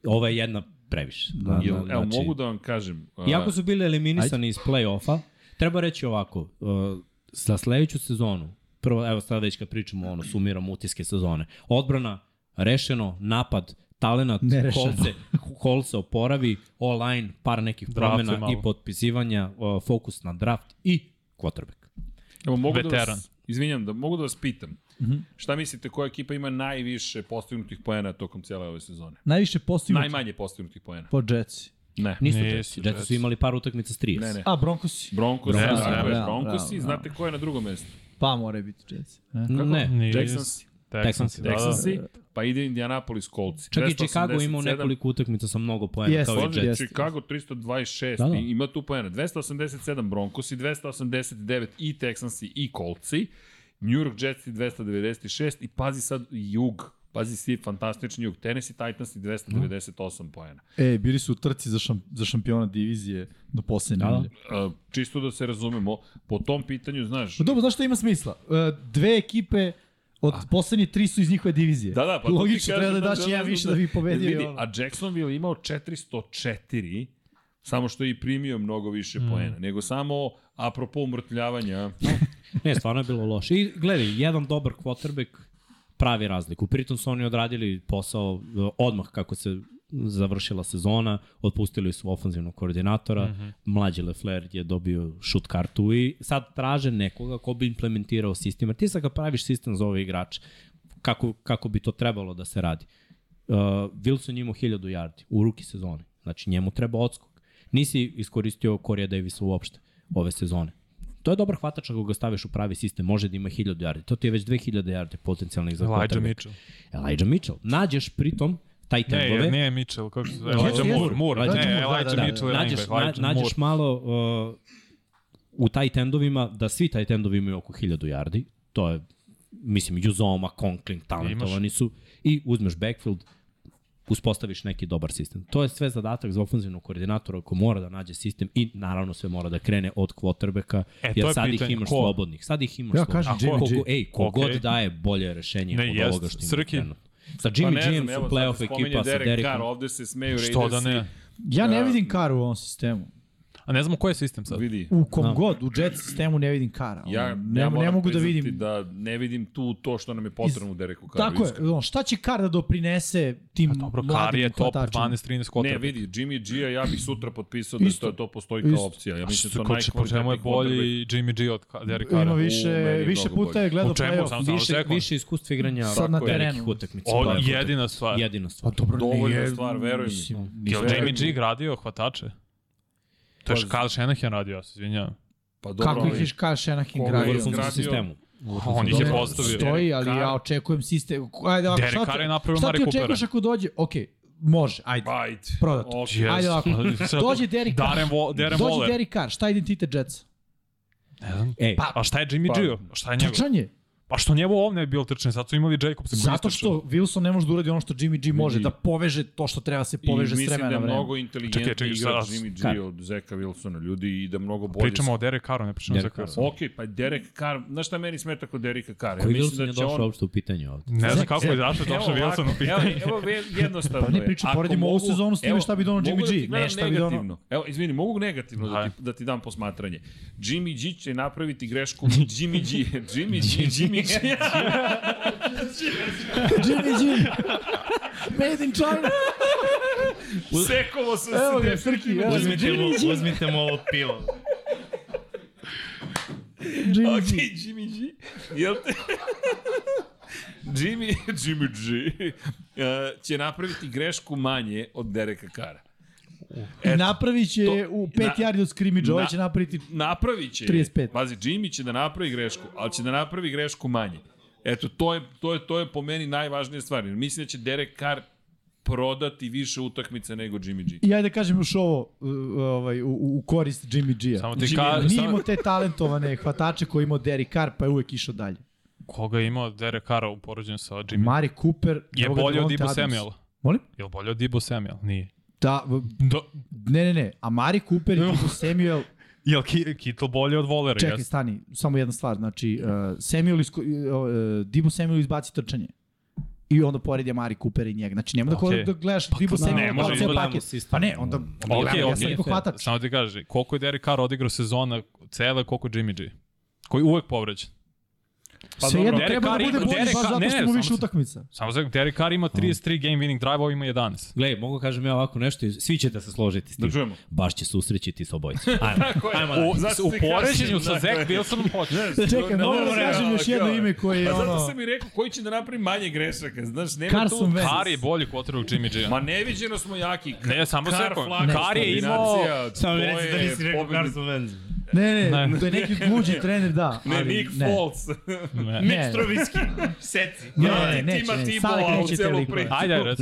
S5: ova je jedna previše. Da,
S1: Jel, evo, mogu da vam kažem. a,
S5: Iako su bili eliminisani iz play-offa, treba reći ovako, uh, za sledeću sezonu, prvo, evo sad već kad pričamo, ono, sumiramo utiske sezone, odbrana, rešeno, napad, talenat,
S3: Nerešeno.
S5: kolce, kol se oporavi, online, par nekih
S4: Draft je
S5: promena
S4: malo.
S5: i potpisivanja, uh, fokus na draft i quarterback.
S1: Evo, mogu da
S4: Veteran.
S1: vas, izvinjam, da mogu da vas pitam. Šta mislite koja ekipa ima najviše postignutih poena tokom cijele ove sezone?
S3: Najviše postignut
S1: Najmanje postignutih poena.
S3: po Jetsi.
S1: Ne.
S5: Nisu
S4: Nisu
S5: Jetsi, Jetsi
S4: Jetsi.
S5: su imali par utakmica s 30.
S1: Ne, ne.
S3: A, Broncosi.
S1: Broncos,
S4: Broncos,
S1: tako je,
S3: bravo,
S1: Broncosi.
S3: bravo,
S1: Znate ko je na drugom mestu?
S3: Pa more biti Jetsi. Ne?
S5: ne.
S4: Nije.
S1: Jacksons.
S4: Texans, da, da.
S1: Texansi, pa ide Indianapolis Colts.
S5: Čak i Chicago imao
S1: 287.
S5: nekoliko utakmica sa mnogo poena
S3: Jeste.
S5: kao i
S1: Složi,
S5: Jets.
S3: Jets.
S1: Chicago 326,
S5: Da, da.
S1: i ima tu poena. 287 Broncosi, 289 i Texansi i Coltsi, New York Jetsi 296 i pazi sad jug, pazi si fantastični jug, Tennessee Titans i 298 poena.
S3: E, bili su u trci za, šam, za šampiona divizije do poslednje
S5: Da.
S3: nedelje.
S1: E, čisto da se razumemo, po tom pitanju, znaš,
S3: Pa dobro, znaš šta ima smisla? E, Dve ekipe od poslednje tri su iz njihove divizije.
S1: Da, da, pa to ti
S3: Logično,
S1: kažem,
S3: treba da
S1: da,
S3: daš
S1: da,
S3: jedan
S1: da,
S3: više
S1: da.
S3: da bi pobedio.
S1: vidi,
S3: i ono.
S1: a Jacksonville je imao 404, samo što je i primio mnogo više mm. poena, nego samo apropo umrtljavanja.
S5: Ne, stvarno je bilo loše. I gledaj, jedan dobar quarterback pravi razliku. Pritom su oni odradili posao e, odmah kako se završila sezona, otpustili su ofanzivnog koordinatora, mm -hmm. mlađi Lefler je dobio šut kartu i sad traže nekoga ko bi implementirao sistem, jer ti sad kad praviš sistem za ove igrače, kako, kako bi to trebalo da se radi. Uh, Wilson je imao 1000 yardi u ruki sezone, znači njemu treba odskok. Nisi iskoristio Corija Davisa uopšte ove sezone. To je dobar hvatač ako ga staviš u pravi sistem, može da ima 1000 yardi. To ti je već 2000 yardi potencijalnih za
S4: Elijah
S5: quarterback.
S4: Mitchell.
S5: Elijah Mitchell. Nađeš pritom taj
S4: Ne,
S5: tendove.
S4: jer nije Mitchell, kako se zove?
S5: Jesu,
S4: Elijah
S5: jesu.
S4: Moore, Moore,
S5: Elijah
S4: ne,
S3: Moore, da,
S4: Elijah
S3: da,
S4: Mitchell je
S5: nađeš,
S4: linebacker,
S5: na,
S4: Elijah Moore.
S5: nađeš malo uh, u taj tendovima da svi taj tendovi imaju oko 1000 yardi. To je, mislim, Juzoma, Conklin, talentovani su. I uzmeš backfield, uspostaviš neki dobar sistem. To je sve zadatak za ofenzivnog koordinatora koji mora da nađe sistem i naravno sve mora da krene od quarterbacka,
S4: E, to
S5: jer
S4: je
S5: sad ih
S4: pitanje,
S5: imaš
S4: ko?
S5: slobodnih. Sad ih imaš
S3: Ja
S5: slobodnih.
S3: kažem
S4: A
S3: Jimmy
S4: ko-
S3: G.
S5: Ko, ej, kogod
S4: Okej.
S5: daje bolje rešenje
S4: Ne,
S5: od
S4: jest.
S5: ovoga što ima
S4: Srki?
S5: trenutno. Sa Jimmy
S1: Pa ne znam,
S5: James
S1: evo, sad
S5: u
S1: se
S5: playoff
S1: spominje
S5: ekipa sa
S1: Derek
S5: Derekom.
S1: Carr, ovde se smeju Raidersi.
S4: Što da ne?
S1: Da.
S3: Ja ne vidim Kara u ovom sistemu.
S4: A ne znamo koji je sistem sad.
S1: Vidi.
S3: U kom god, u Jets sistemu ne vidim Kara. Ono,
S1: Da. Ja,
S3: Mm. ne,
S1: ja
S3: ne
S1: moram
S3: mogu da
S1: priznati
S3: vidim. Da
S1: Da ne vidim tu to što nam je potrebno u Dereku Carru.
S3: Tako
S1: iskreno.
S3: je, on, šta će Kara da doprinese tim A
S4: Dobro, Kari je
S3: mladim
S4: top
S3: hvatačima?
S4: 12-13 kotrbek.
S1: Ne, vidi, Jimmy G-a ja bih sutra potpisao da
S3: Isto.
S1: to, to postoji kao
S3: Isto.
S1: opcija. Ja
S4: Ja
S1: mislim da je to
S4: ko Pa će, po čemu je
S1: najkvalitetniji quarterback.
S4: bolji Jimmy G od Ka- Derek Carra?
S3: Ima
S1: U, meni
S3: više,
S1: je
S3: više
S1: mnogo
S3: puta
S1: bolje.
S3: je gledao
S4: U čemu?
S3: playoff.
S4: Samo-
S5: više,
S4: sekund.
S5: više iskustva igranja
S3: Sad na
S5: od
S3: terenu.
S5: nekih utakmica.
S4: O,
S5: Playoff
S4: jedina stvar.
S5: utakmica. jedina stvar.
S3: Dobro,
S1: Dovoljna
S3: nije-
S1: stvar, veruj mi.
S3: mislim,
S4: Jel
S1: Sve-
S4: Jimmy G gradio hvatače? To je Kyle Shanahan radio, ja se izvinjavam.
S1: Pa dobro,
S3: Kako ih
S1: ali,
S3: ješ Kara Šenahin
S1: Koga
S5: U
S1: je
S3: gradio?
S5: vrhunskom
S1: izgradio-
S5: sistemu.
S4: On ih je
S1: Dobro,
S4: postavio.
S3: Stoji, ali
S1: Derek Carr.
S3: ja očekujem sistem. Ajde, ovako,
S4: Derek
S3: šta,
S4: Carr je
S3: te,
S4: napravio
S3: šta
S4: Mari
S3: ti
S4: Coopera.
S3: očekuješ ako dođe? Okej, može, ajde.
S1: bajt.
S3: Prodato.
S1: Okay.
S4: Yes.
S3: Ajde
S4: <laughs>
S3: ovako. Dođe Derek Carr.
S4: Darren, Wo Darren
S3: Dođe
S4: Waller.
S3: Derek Carr, šta je identitet Jetsa?
S5: Ej,
S3: Pa,
S4: A šta je Jimmy
S1: Pa,
S4: G? A šta je njegov?
S3: Trčan je.
S4: Pa što njegov ovne je bio trčan, sad su imali Jacobsa. koji je
S3: Zato što Wilson ne može da uradi ono što Jimmy G može, da poveže to što treba se
S1: I
S3: poveže s
S1: mislim da
S3: vremena
S1: je
S3: na vreme.
S1: mnogo inteligentni
S4: Čekaj, čekaj, šta
S1: igrač
S4: raz-
S1: Jimmy G
S5: Kad?
S1: od Zeka Wilsona, ljudi, i da mnogo bolje...
S4: Pričamo o Derek Carru, ne pričamo o
S5: Derek
S4: Zach
S5: Carru.
S4: Wilsonu.
S1: Ok, pa Derek Carr, znaš šta meni smeta kod Derika Carr? Ja
S5: Koji
S1: mislim
S5: Wilson
S1: da
S5: je
S1: će
S5: došao
S1: on...
S5: uopšte u pitanje ovde?
S4: Ne znam kako je zašto je došao
S1: ovako,
S4: Wilson u pitanje.
S1: Evo, evo ve- jednostavno
S3: Pa ne pričaj,
S1: je.
S3: poredimo
S1: Ako
S3: ovu
S1: mogu-
S3: sezonu s time
S1: evo,
S3: šta bi donao
S1: mogu
S3: Jimmy
S1: da
S3: G,
S1: ti gledam
S3: ne šta bi donao-
S1: negativno. Evo, izvini, mogu negativno da ti, da ti dam posmatranje. Jimmy G će napraviti
S3: <laughs>
S1: grešku. Jimmy G, Jimmy G, Jimmy <laughs> G.
S3: Jimmy G! Made in China!
S1: Sekovo sam
S3: Evo
S1: se
S3: ga, Srki, evo ga,
S2: Uzmite mu, uzmite mu ovo pivo.
S3: Jimmy
S1: Ok,
S3: G.
S1: Jimmy G. Jel te... <laughs> Jimmy, Jimmy G uh, će napraviti grešku manje od Dereka Kara.
S3: I napravit će
S1: to-
S3: u 5
S1: na-
S3: yardi od scrimmage, ovaj
S1: na-
S3: će napraviti
S1: Napravit će. je.
S3: 35.
S1: Pazi, Jimmy će da napravi grešku, ali će da napravi grešku manje. Eto, to je, to je, to je po meni najvažnija stvar. jer Mislim da će Derek Carr prodati više utakmice nego Jimmy G.
S3: I ajde da kažem još ovo uh, ovaj, u, u u korist Jimmy G-a.
S4: Samo ti
S1: Jimmy
S4: ka,
S3: Nije
S4: samo,
S3: imao te talentovane hvatače koji je imao Derek Carr, pa je uvek išao dalje.
S4: koga je imao Derek Carra u poređenju sa Jimmy?
S3: Mari Cooper,
S4: je
S3: evo ga
S4: bolje od
S3: Davante
S4: Debo
S3: Adams.
S4: Samuela.
S3: Molim?
S4: Je li bolje od Debo Samuel? Nije.
S3: Da, v-
S4: Do,
S3: ne, ne, ne. A Mari Cooper i
S4: <laughs>
S3: Debo Samuel,
S4: je li Ki- Kittle bolje od Volera?
S3: čekaj,
S4: Jeste.
S3: stani, e, samo jedna stvar. Znači, uh, Samuel isko, uh, Debo Samuel izbaci trčanje. i onda pored je Mari Cooper i njega. Znači, nema da, okay.
S4: Okej.
S3: da gledaš pa, Dibu
S4: ne,
S3: Samuel,
S4: ne može, da
S3: kao
S4: ne
S3: ceo
S5: gledamo
S3: paket.
S5: sistem.
S3: Pa ne, onda, onda
S4: Okej,
S3: okay, gledamo, ja da
S4: okej,
S3: sam
S5: fair.
S3: hvatač.
S4: Samo ti kaže, koliko je Derek Carr odigrao sezona cela, koliko je Jimmy G? Koji je uvek povređen.
S3: Pa Sve jedno
S4: Derek
S3: treba da
S4: Carr
S3: bude
S4: ima-
S3: bolji,
S4: Derek
S3: baš
S4: Carr-
S3: zato
S4: ne,
S3: što
S4: ne,
S3: mu
S4: samo
S3: više
S4: se-
S3: utakmica.
S4: Samo znači, Derek Carr ima 33 game winning drive, a ovo ima 11.
S5: Gle, mogu kažem ja ovako nešto, iz- svi ćete se složiti s tim.
S1: Da čujemo.
S5: Baš će se usrećiti s obojicom. Ajmo. Ajmo
S1: O,
S5: dalje.
S1: znaš
S4: U
S1: ti
S4: poređenju
S1: kažem,
S4: sa
S1: dakle,
S4: Zach Wilsonom hoće.
S3: Čekaj,
S1: Ne
S3: moram da
S1: može,
S3: kažem
S1: ali
S3: još jedno
S1: kao-
S3: ime koje je
S1: Pa zato
S3: ono...
S1: sam i rekao koji će da napravi manje grešaka. Znaš, nema tu...
S3: Carson Wentz.
S4: Carr je bolji quarterback Jimmy G.
S1: Ma neviđeno smo jaki. Ka-
S4: Ne, samo se
S1: Carr,
S4: rekao,
S1: Flacco,
S4: Carr je imao-
S1: kombinacija,
S2: Samo mi
S1: to
S2: reci da
S1: je
S2: nisi rekao
S1: pobednik.
S2: Carson Wentz.
S3: Ne, ne,
S4: Ne.
S3: to je neki luđi trener, da.
S1: Ne,
S3: ali
S1: Nick Foles.
S3: Ne,
S2: Mitch Trubisky, seci.
S3: Ne,
S1: Protiv
S3: ne, neće,
S1: tima
S3: ne,
S1: Tiboa
S3: Salek
S1: u
S3: neće te
S1: celu
S3: likove.
S1: priču.
S4: Ajde, ajde, rec.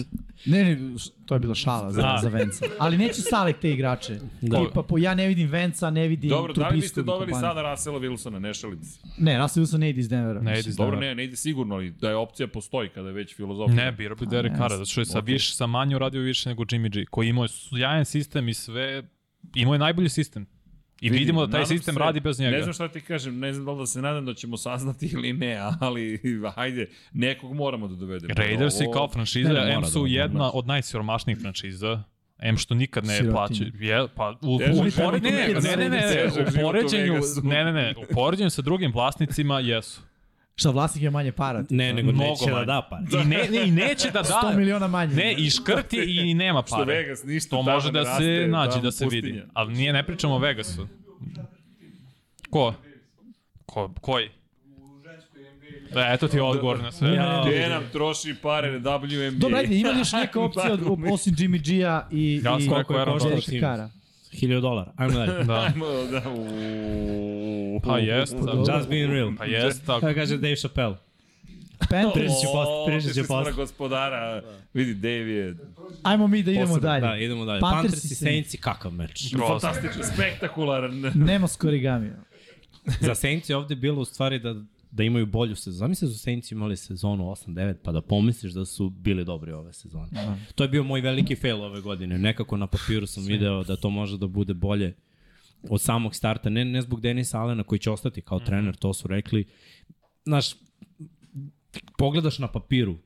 S3: Ne, ne, š- to je bila šala za,
S4: Da.
S3: za Venca. Ali neće Salek te igrače. Da. Pa, po, ja ne vidim Venca, ne vidim
S1: Dobro, da li biste
S3: Trubisku i
S1: doveli
S3: kompaniju.
S1: sada Rasela Wilsona, ne šalim se.
S3: Ne, Russell Wilson ne ide iz Denvera.
S4: Ne,
S3: mislim.
S4: ide iz
S1: Dobro,
S4: Denvera.
S1: ne, ne ide sigurno, ali da je opcija postoji kada je već filozofija.
S4: Ne, birao bi Derek Carr, zato što je sa, više, sa manje uradio više nego Jimmy G, koji imao je sjajan sistem i sve, imao je najbolji sistem. I
S1: Vidim,
S4: vidimo da taj
S1: nadam
S4: sistem
S1: se-
S4: radi bez njega.
S1: Ne znam šta ti kažem, ne znam da li da se nadam da ćemo saznati ili ne, ali <laughs> hajde, nekog moramo da dovedemo.
S4: Raiders i
S1: Ovo-
S4: kao franšiza,
S5: Ne, ne,
S4: M
S5: mora
S4: su
S5: da-
S4: jedna
S5: mora.
S4: od najsiromašnijih franšiza, M što nikad ne
S3: Sirotinja.
S4: plaćaju. Je, pa u, u,
S1: Težak
S4: u,
S1: život
S4: pored-
S1: u
S4: ne, ne,
S1: Vegasu.
S4: ne, ne, ne,
S1: Težak
S4: u
S1: život u
S4: poređenju,
S1: Vegasu.
S4: ne, ne, ne, u poređenju sa drugim vlasnicima jesu.
S3: Šta, vlasnik je manje para?
S5: Ne, nego
S4: Mnogo
S5: neće da
S4: manje.
S5: da pare.
S4: I, ne, ne, i neće da
S3: 100
S4: da.
S3: miliona manje.
S4: Ne, i škrt je i nema
S1: Što
S4: pare.
S1: Vegas, ništa
S4: To
S1: tamo
S4: može
S1: ne
S4: da se
S1: raste,
S4: nađe,
S1: tamo
S4: da se vidi.
S1: pustinja.
S4: Ali nije, ne pričamo o Vegasu. Ko? Ko, koji? E, eto ti odgovor na sve.
S3: Ja.
S1: Gde nam troši pare na WNBA?
S3: Dobro, ajde, ima li još neka opcija od, osim Jimmy G-a i,
S4: Ja
S3: i
S4: sam rekao Aaron
S5: košta?
S4: Rodgers.
S3: Derek Carra?
S5: 1000 dolara. Ajmo dalje.
S4: Da.
S1: <laughs> Ajmo da... Uuu.
S4: Pa jest.
S5: Just being real.
S4: Pa jest, tako.
S5: Kako kaže Dave Chappelle.
S3: Panthers.
S5: će posle,
S1: O,
S5: prišli će
S1: otišli smo
S5: posle.
S1: na gospodara,
S5: Da.
S1: vidi, Dave je
S3: Ajmo mi da idemo
S5: Posebno,
S3: dalje.
S5: Da, idemo dalje.
S3: Panthers
S5: Panthers
S3: i
S5: i Saints i kakav meč.
S1: fantastičan, spektakularan.
S3: Nema skorigamija.
S5: Za Saints je ovde bilo u stvari da da imaju bolju sezonu. Zamisli da su Saints imali sezonu 8-9, pa da pomisliš da su bili dobri ove sezone. To je bio moj veliki fail ove godine. Nekako na papiru sam video da to može da bude bolje od samog starta. Ne, ne zbog Denisa Alena koji će ostati
S4: Mhm.
S5: kao trener, to su rekli. Znaš, pogledaš na papiru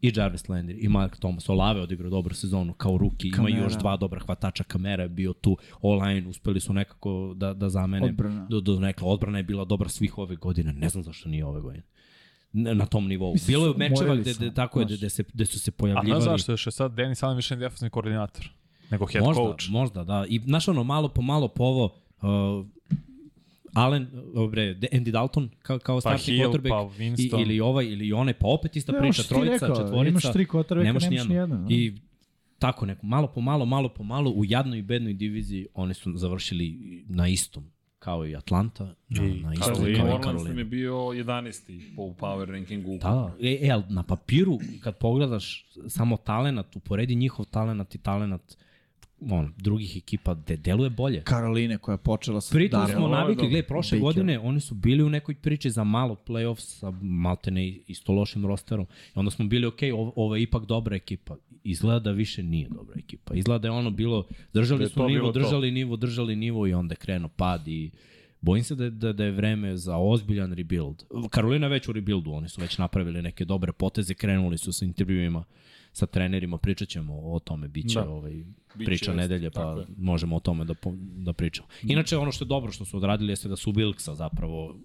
S5: i Jarvis Landry i Mark Thomas. Olave odigrao dobru sezonu kao ruki. Ima
S3: Kamara.
S5: još dva dobra hvatača. Kamera je bio tu. Online uspeli su nekako da, da zamene.
S3: Odbrana.
S5: Do, do nekla. Odbrana je bila dobra svih ove godine. Ne znam zašto nije ove godine. Na na tom nivou.
S3: Mislim,
S5: Bilo je mečeva
S3: morali
S5: gde,
S3: su,
S5: gde, tako je,
S3: znaš.
S5: gde, gde, se, gde su se
S4: A znaš
S5: pojavljivali.
S4: zašto? Što je sad Denis Allen više nije defensivni koordinator nego head
S5: možda,
S4: coach.
S5: Možda, da. I znaš ono, malo po malo po ovo, uh, Allen, uh, bre, De- Andy Dalton kao, kao startni
S4: Hill,
S5: quarterback.
S4: pa Winston.
S5: I, ili ovaj, ili onaj, pa opet ista
S3: Ne, ono
S5: priča,
S3: što ti
S5: trojica,
S3: rekao,
S5: četvorica.
S3: imaš tri quarterbacka,
S5: nemaš
S3: nemaš
S5: nijednu.
S3: nijednu, da.
S5: I tako neko, malo po malo, malo po malo, u jadnoj i bednoj diviziji oni su završili na istom, kao i Atlanta, na, na istom, kao i
S1: Orlando
S5: Carolina.
S1: nam je bio 11. po power rankingu.
S5: Da, da. E, e, ali na papiru, kad pogledaš samo talenat, uporedi njihov talenat i talenat on, drugih ekipa, de, deluje bolje.
S3: Karoline koja je počela sa
S5: Pritom
S3: Darrell-
S5: smo navikli,
S1: dobro.
S5: gledaj, prošle
S3: Baker.
S5: godine oni su bili u nekoj priči za malo play-off sa maltene isto lošim rosterom. I onda smo bili, ok, ovo, ovo je ipak dobra ekipa. Izgleda da više nije dobra ekipa. Izgleda da je ono bilo,
S1: Da
S5: držali
S1: je
S5: su
S1: to
S5: nivo,
S1: bilo to.
S5: držali nivo, držali nivo i onda je krenuo pad i Bojim se da, je- da, da je vreme za ozbiljan rebuild. Karolina je već u rebuildu, oni su već napravili neke dobre poteze, krenuli su sa intervjuima sa trenerima, pričat ćemo o tome, bit će da. ovaj,
S1: Biće
S5: priča
S1: vest,
S5: nedelje,
S1: tako
S5: pa
S1: je. Mm.
S5: možemo o tome da, po, da pričamo. Inače, ono što je dobro što su odradili jeste da su Wilksa zapravo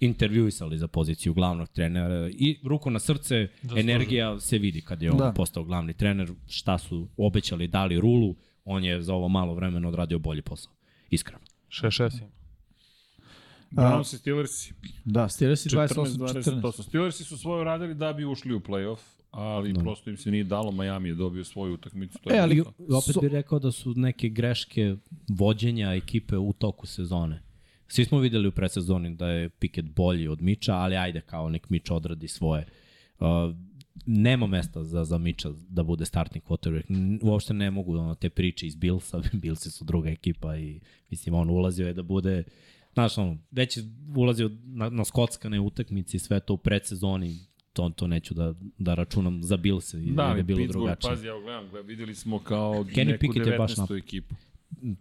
S5: intervjuisali za poziciju glavnog trenera i ruku na srce, da energija se vidi kad je on
S3: Da.
S5: da. postao glavni trener, šta su obećali, dali rulu, on je za ovo malo vremena odradio bolji posao. Iskreno.
S4: Še, še si.
S1: Browns i Steelers.
S3: Da, Steelers i
S1: 14-20. To
S3: 28-14.
S1: su Steelersi su svoje uradili da bi ušli u playoff, ali da. prosto im se nije dalo. Miami je dobio svoju utakmicu. To je
S3: E, ali-
S1: bilo to.
S5: I opet bih rekao da su neke greške vođenja ekipe u toku sezone. Svi smo videli u predsezoni da je Piket bolji od Miča, ali ajde kao nek Mič odradi svoje. Uh, nema mesta za, za Miča da bude startni quarterback. N- Uopšte ne mogu ono, te priče iz <laughs> Bilsa. Bilsi su druga ekipa i mislim on ulazio je da bude Znaš, ono, već je ulazio na, na skockane utakmice i sve to u predsezoni, to, to neću da, da računam za Bilse i
S1: Da,
S5: da, da je
S1: ali
S5: bilo
S1: Pittsburgh,
S5: drugačije.
S1: pazi, evo gledam, gledam, videli smo kao
S5: Kenny
S1: neku
S5: Pickett je baš
S1: 19. ekipu.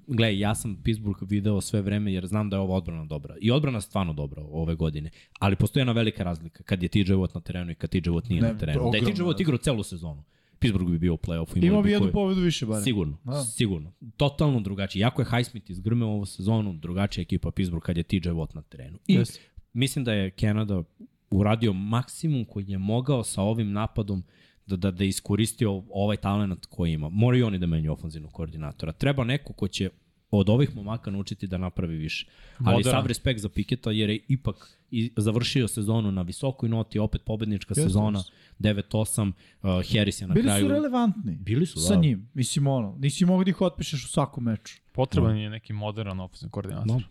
S5: Gle, ja sam Pittsburgh video sve vreme jer znam da je ova odbrana dobra. I odbrana je stvarno dobra ove godine. Ali postoji jedna velika razlika kad je TJ Watt na terenu i kad TJ Watt nije
S3: Ne,
S5: na terenu. Da je TJ
S3: ogromna
S5: Watt igrao celu sezonu. Pittsburgh bi bio u play-offu. imali
S3: Imao bi
S5: bi
S3: jednu
S5: koje-
S3: pobedu više barem.
S5: Sigurno,
S3: Da.
S5: sigurno. Totalno drugačije. Jako je Highsmith izgrmeo ovu sezonu, drugačija ekipa Pittsburgh kad je TJ Watt na terenu. I
S3: Jeste.
S5: mislim da je Canada uradio maksimum koji je mogao sa ovim napadom da, da, da iskoristi ov- ovaj talent koji ima. Moraju oni da menju ofenzivnog koordinatora. Treba neko ko će od ovih momaka naučiti da napravi više. Ali
S4: Moderan.
S5: sav respekt za Piketa jer je ipak i završio sezonu na visokoj noti, opet pobednička
S3: Jeste,
S5: sezona,
S3: jeste.
S5: 9-8, uh, Harris je na
S3: Bili
S5: kraju...
S3: su relevantni.
S5: Bili su,
S3: Sa
S5: da.
S3: njim. Mislim, ono, nisi mogao da ih otpišeš u svakom meču.
S4: Potreban je neki modern ofenzivni koordinator.
S5: No.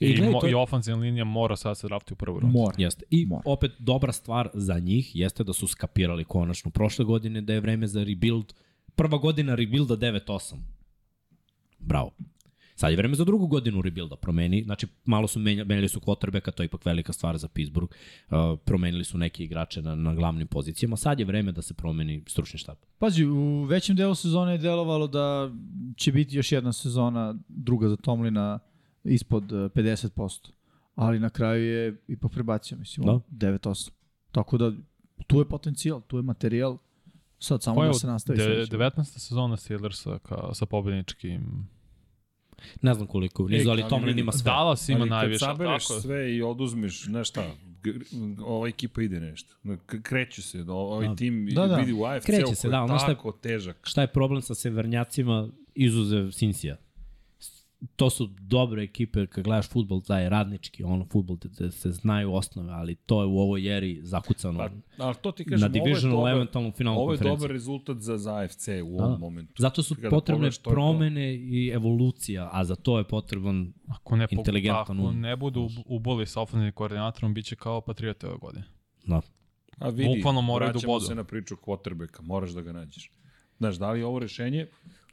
S4: I, I,
S5: gledaj,
S4: mo,
S5: to je-
S4: i ofenzivna linija mora sad se drafti u prvu rundu.
S3: Mora.
S5: Jeste. I
S3: Mora.
S5: opet dobra stvar za njih jeste da su skapirali konačno prošle godine da je vreme za rebuild. Prva godina rebuilda 9-8. Bravo. Sad je vreme za drugu godinu rebuilda promeni. Znači, malo su menjali, menjali su quarterbacka, to je ipak velika stvar za Pittsburgh. Uh, promenili su neke igrače na, na glavnim pozicijama. Sad je vreme da se promeni stručni štab.
S3: Pazi, u većem delu sezone je delovalo da će biti još jedna sezona, druga za Tomlina, ispod eh, 50%. Ali na kraju je ipak prebacio, mislim,
S5: Da.
S3: da. 9-8. Tako da, tu je potencijal, tu je materijal. Sad samo
S4: Koja
S3: da
S4: je
S3: se nastavi.
S4: de,
S3: sledeća.
S4: 19. sezona Steelersa ka, sa pobedničkim...
S5: Ne znam koliko nizu, ali
S1: ali
S5: Tomlin
S1: vidi,
S5: ima sve.
S4: Dallas ima
S1: Ali
S4: najviše.
S1: Kad sabereš
S4: tako je.
S1: sve i oduzmeš, znaš šta, gr- ova ekipa ide nešto. K- Kreću se, da ovaj
S5: Da.
S1: tim da,
S3: Da, da.
S1: da. vidi u AFC-u
S5: Kreće
S1: koji
S5: se,
S1: je
S5: da, ono šta je-
S1: tako težak.
S5: šta je problem sa severnjacima izuzev Sinsija? To su dobre ekipe, jer kad gledaš futbol, taj radnički, ono, futbol te, te se znaju osnove, ali to je u ovoj eri zakucano.
S1: Pa, ali to ti
S5: na
S1: kažem, ovo je
S5: divisional,
S1: dobar,
S5: eventualno u finalu
S1: ovo je
S5: konferencije.
S1: dobar rezultat za, za AFC u
S5: Da.
S1: ovom momentu.
S5: Zato su
S1: Kada
S5: potrebne
S1: pogledaš, to je to.
S5: promene i evolucija, a za to je potreban
S4: Ako ne, po,
S5: Inteligentan
S4: ako
S5: um.
S4: ne budu uboli sa ofenzivnim koordinatorom, bit će kao Patriote ove godine.
S5: da,
S1: A vidi,
S4: Bukvalno moraju da
S1: vraćamo
S4: ubodu.
S1: se na priču quarterbacka, moraš da ga nađeš. Znaš, da li je ovo rešenje?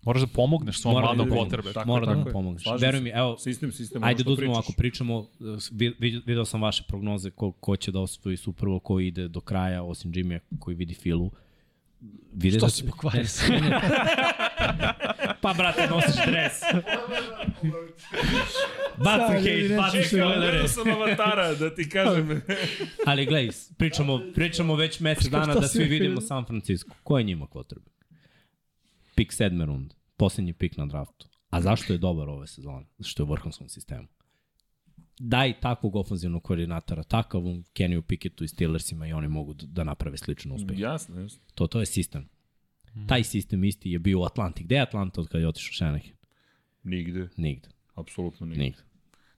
S4: Moraš da pomogneš svom
S5: Mora da
S4: mladom
S5: ide.
S4: quarterbacku.
S1: Tako,
S5: mora da mu
S1: tako je.
S5: pomogneš.
S1: Slažem
S5: Veruj
S1: se.
S5: mi, evo,
S1: Sistem, sistem, ono
S5: Ajde da
S1: što
S5: uzmemo,
S1: pričaš. <laughs>
S5: ako pričamo, eh, vi- vi- video sam vaše prognoze ko, ko će da osvoji Super Bowl, ko ide do kraja, osim Jimmy koji vidi Filu. Vide Što da... si pokvario pa, brate, nosiš dres. Bacim hejt, bacim
S1: Čekaj, ali
S5: hejt.
S1: gledao sam avatara, da ti
S5: <laughs>
S1: kažem.
S5: Ali gledaj, pričamo, pričamo već mesec dana
S3: šta
S5: da
S3: si
S5: svi
S3: vidio?
S5: vidimo San Francisco. Ko je njima quarterback? Pik sedme runde, posljednji pik na draftu. A zašto je dobar ove sezone? Zašto je u vrhunskom sistemu? Daj takvog ofenzivnog koordinatora, takav um, Kenny Picketu i Steelersima i oni mogu da- da naprave sličan uspeh.
S3: Mm.
S1: jasno, jasno.
S5: To, to je sistem. Taj sistem isti je bio u Atlanti. Gde je Atlanta od kada je otišao Shanahan?
S1: Nigde,
S5: Nigde.
S1: apsolutno nigde.
S5: Nigde.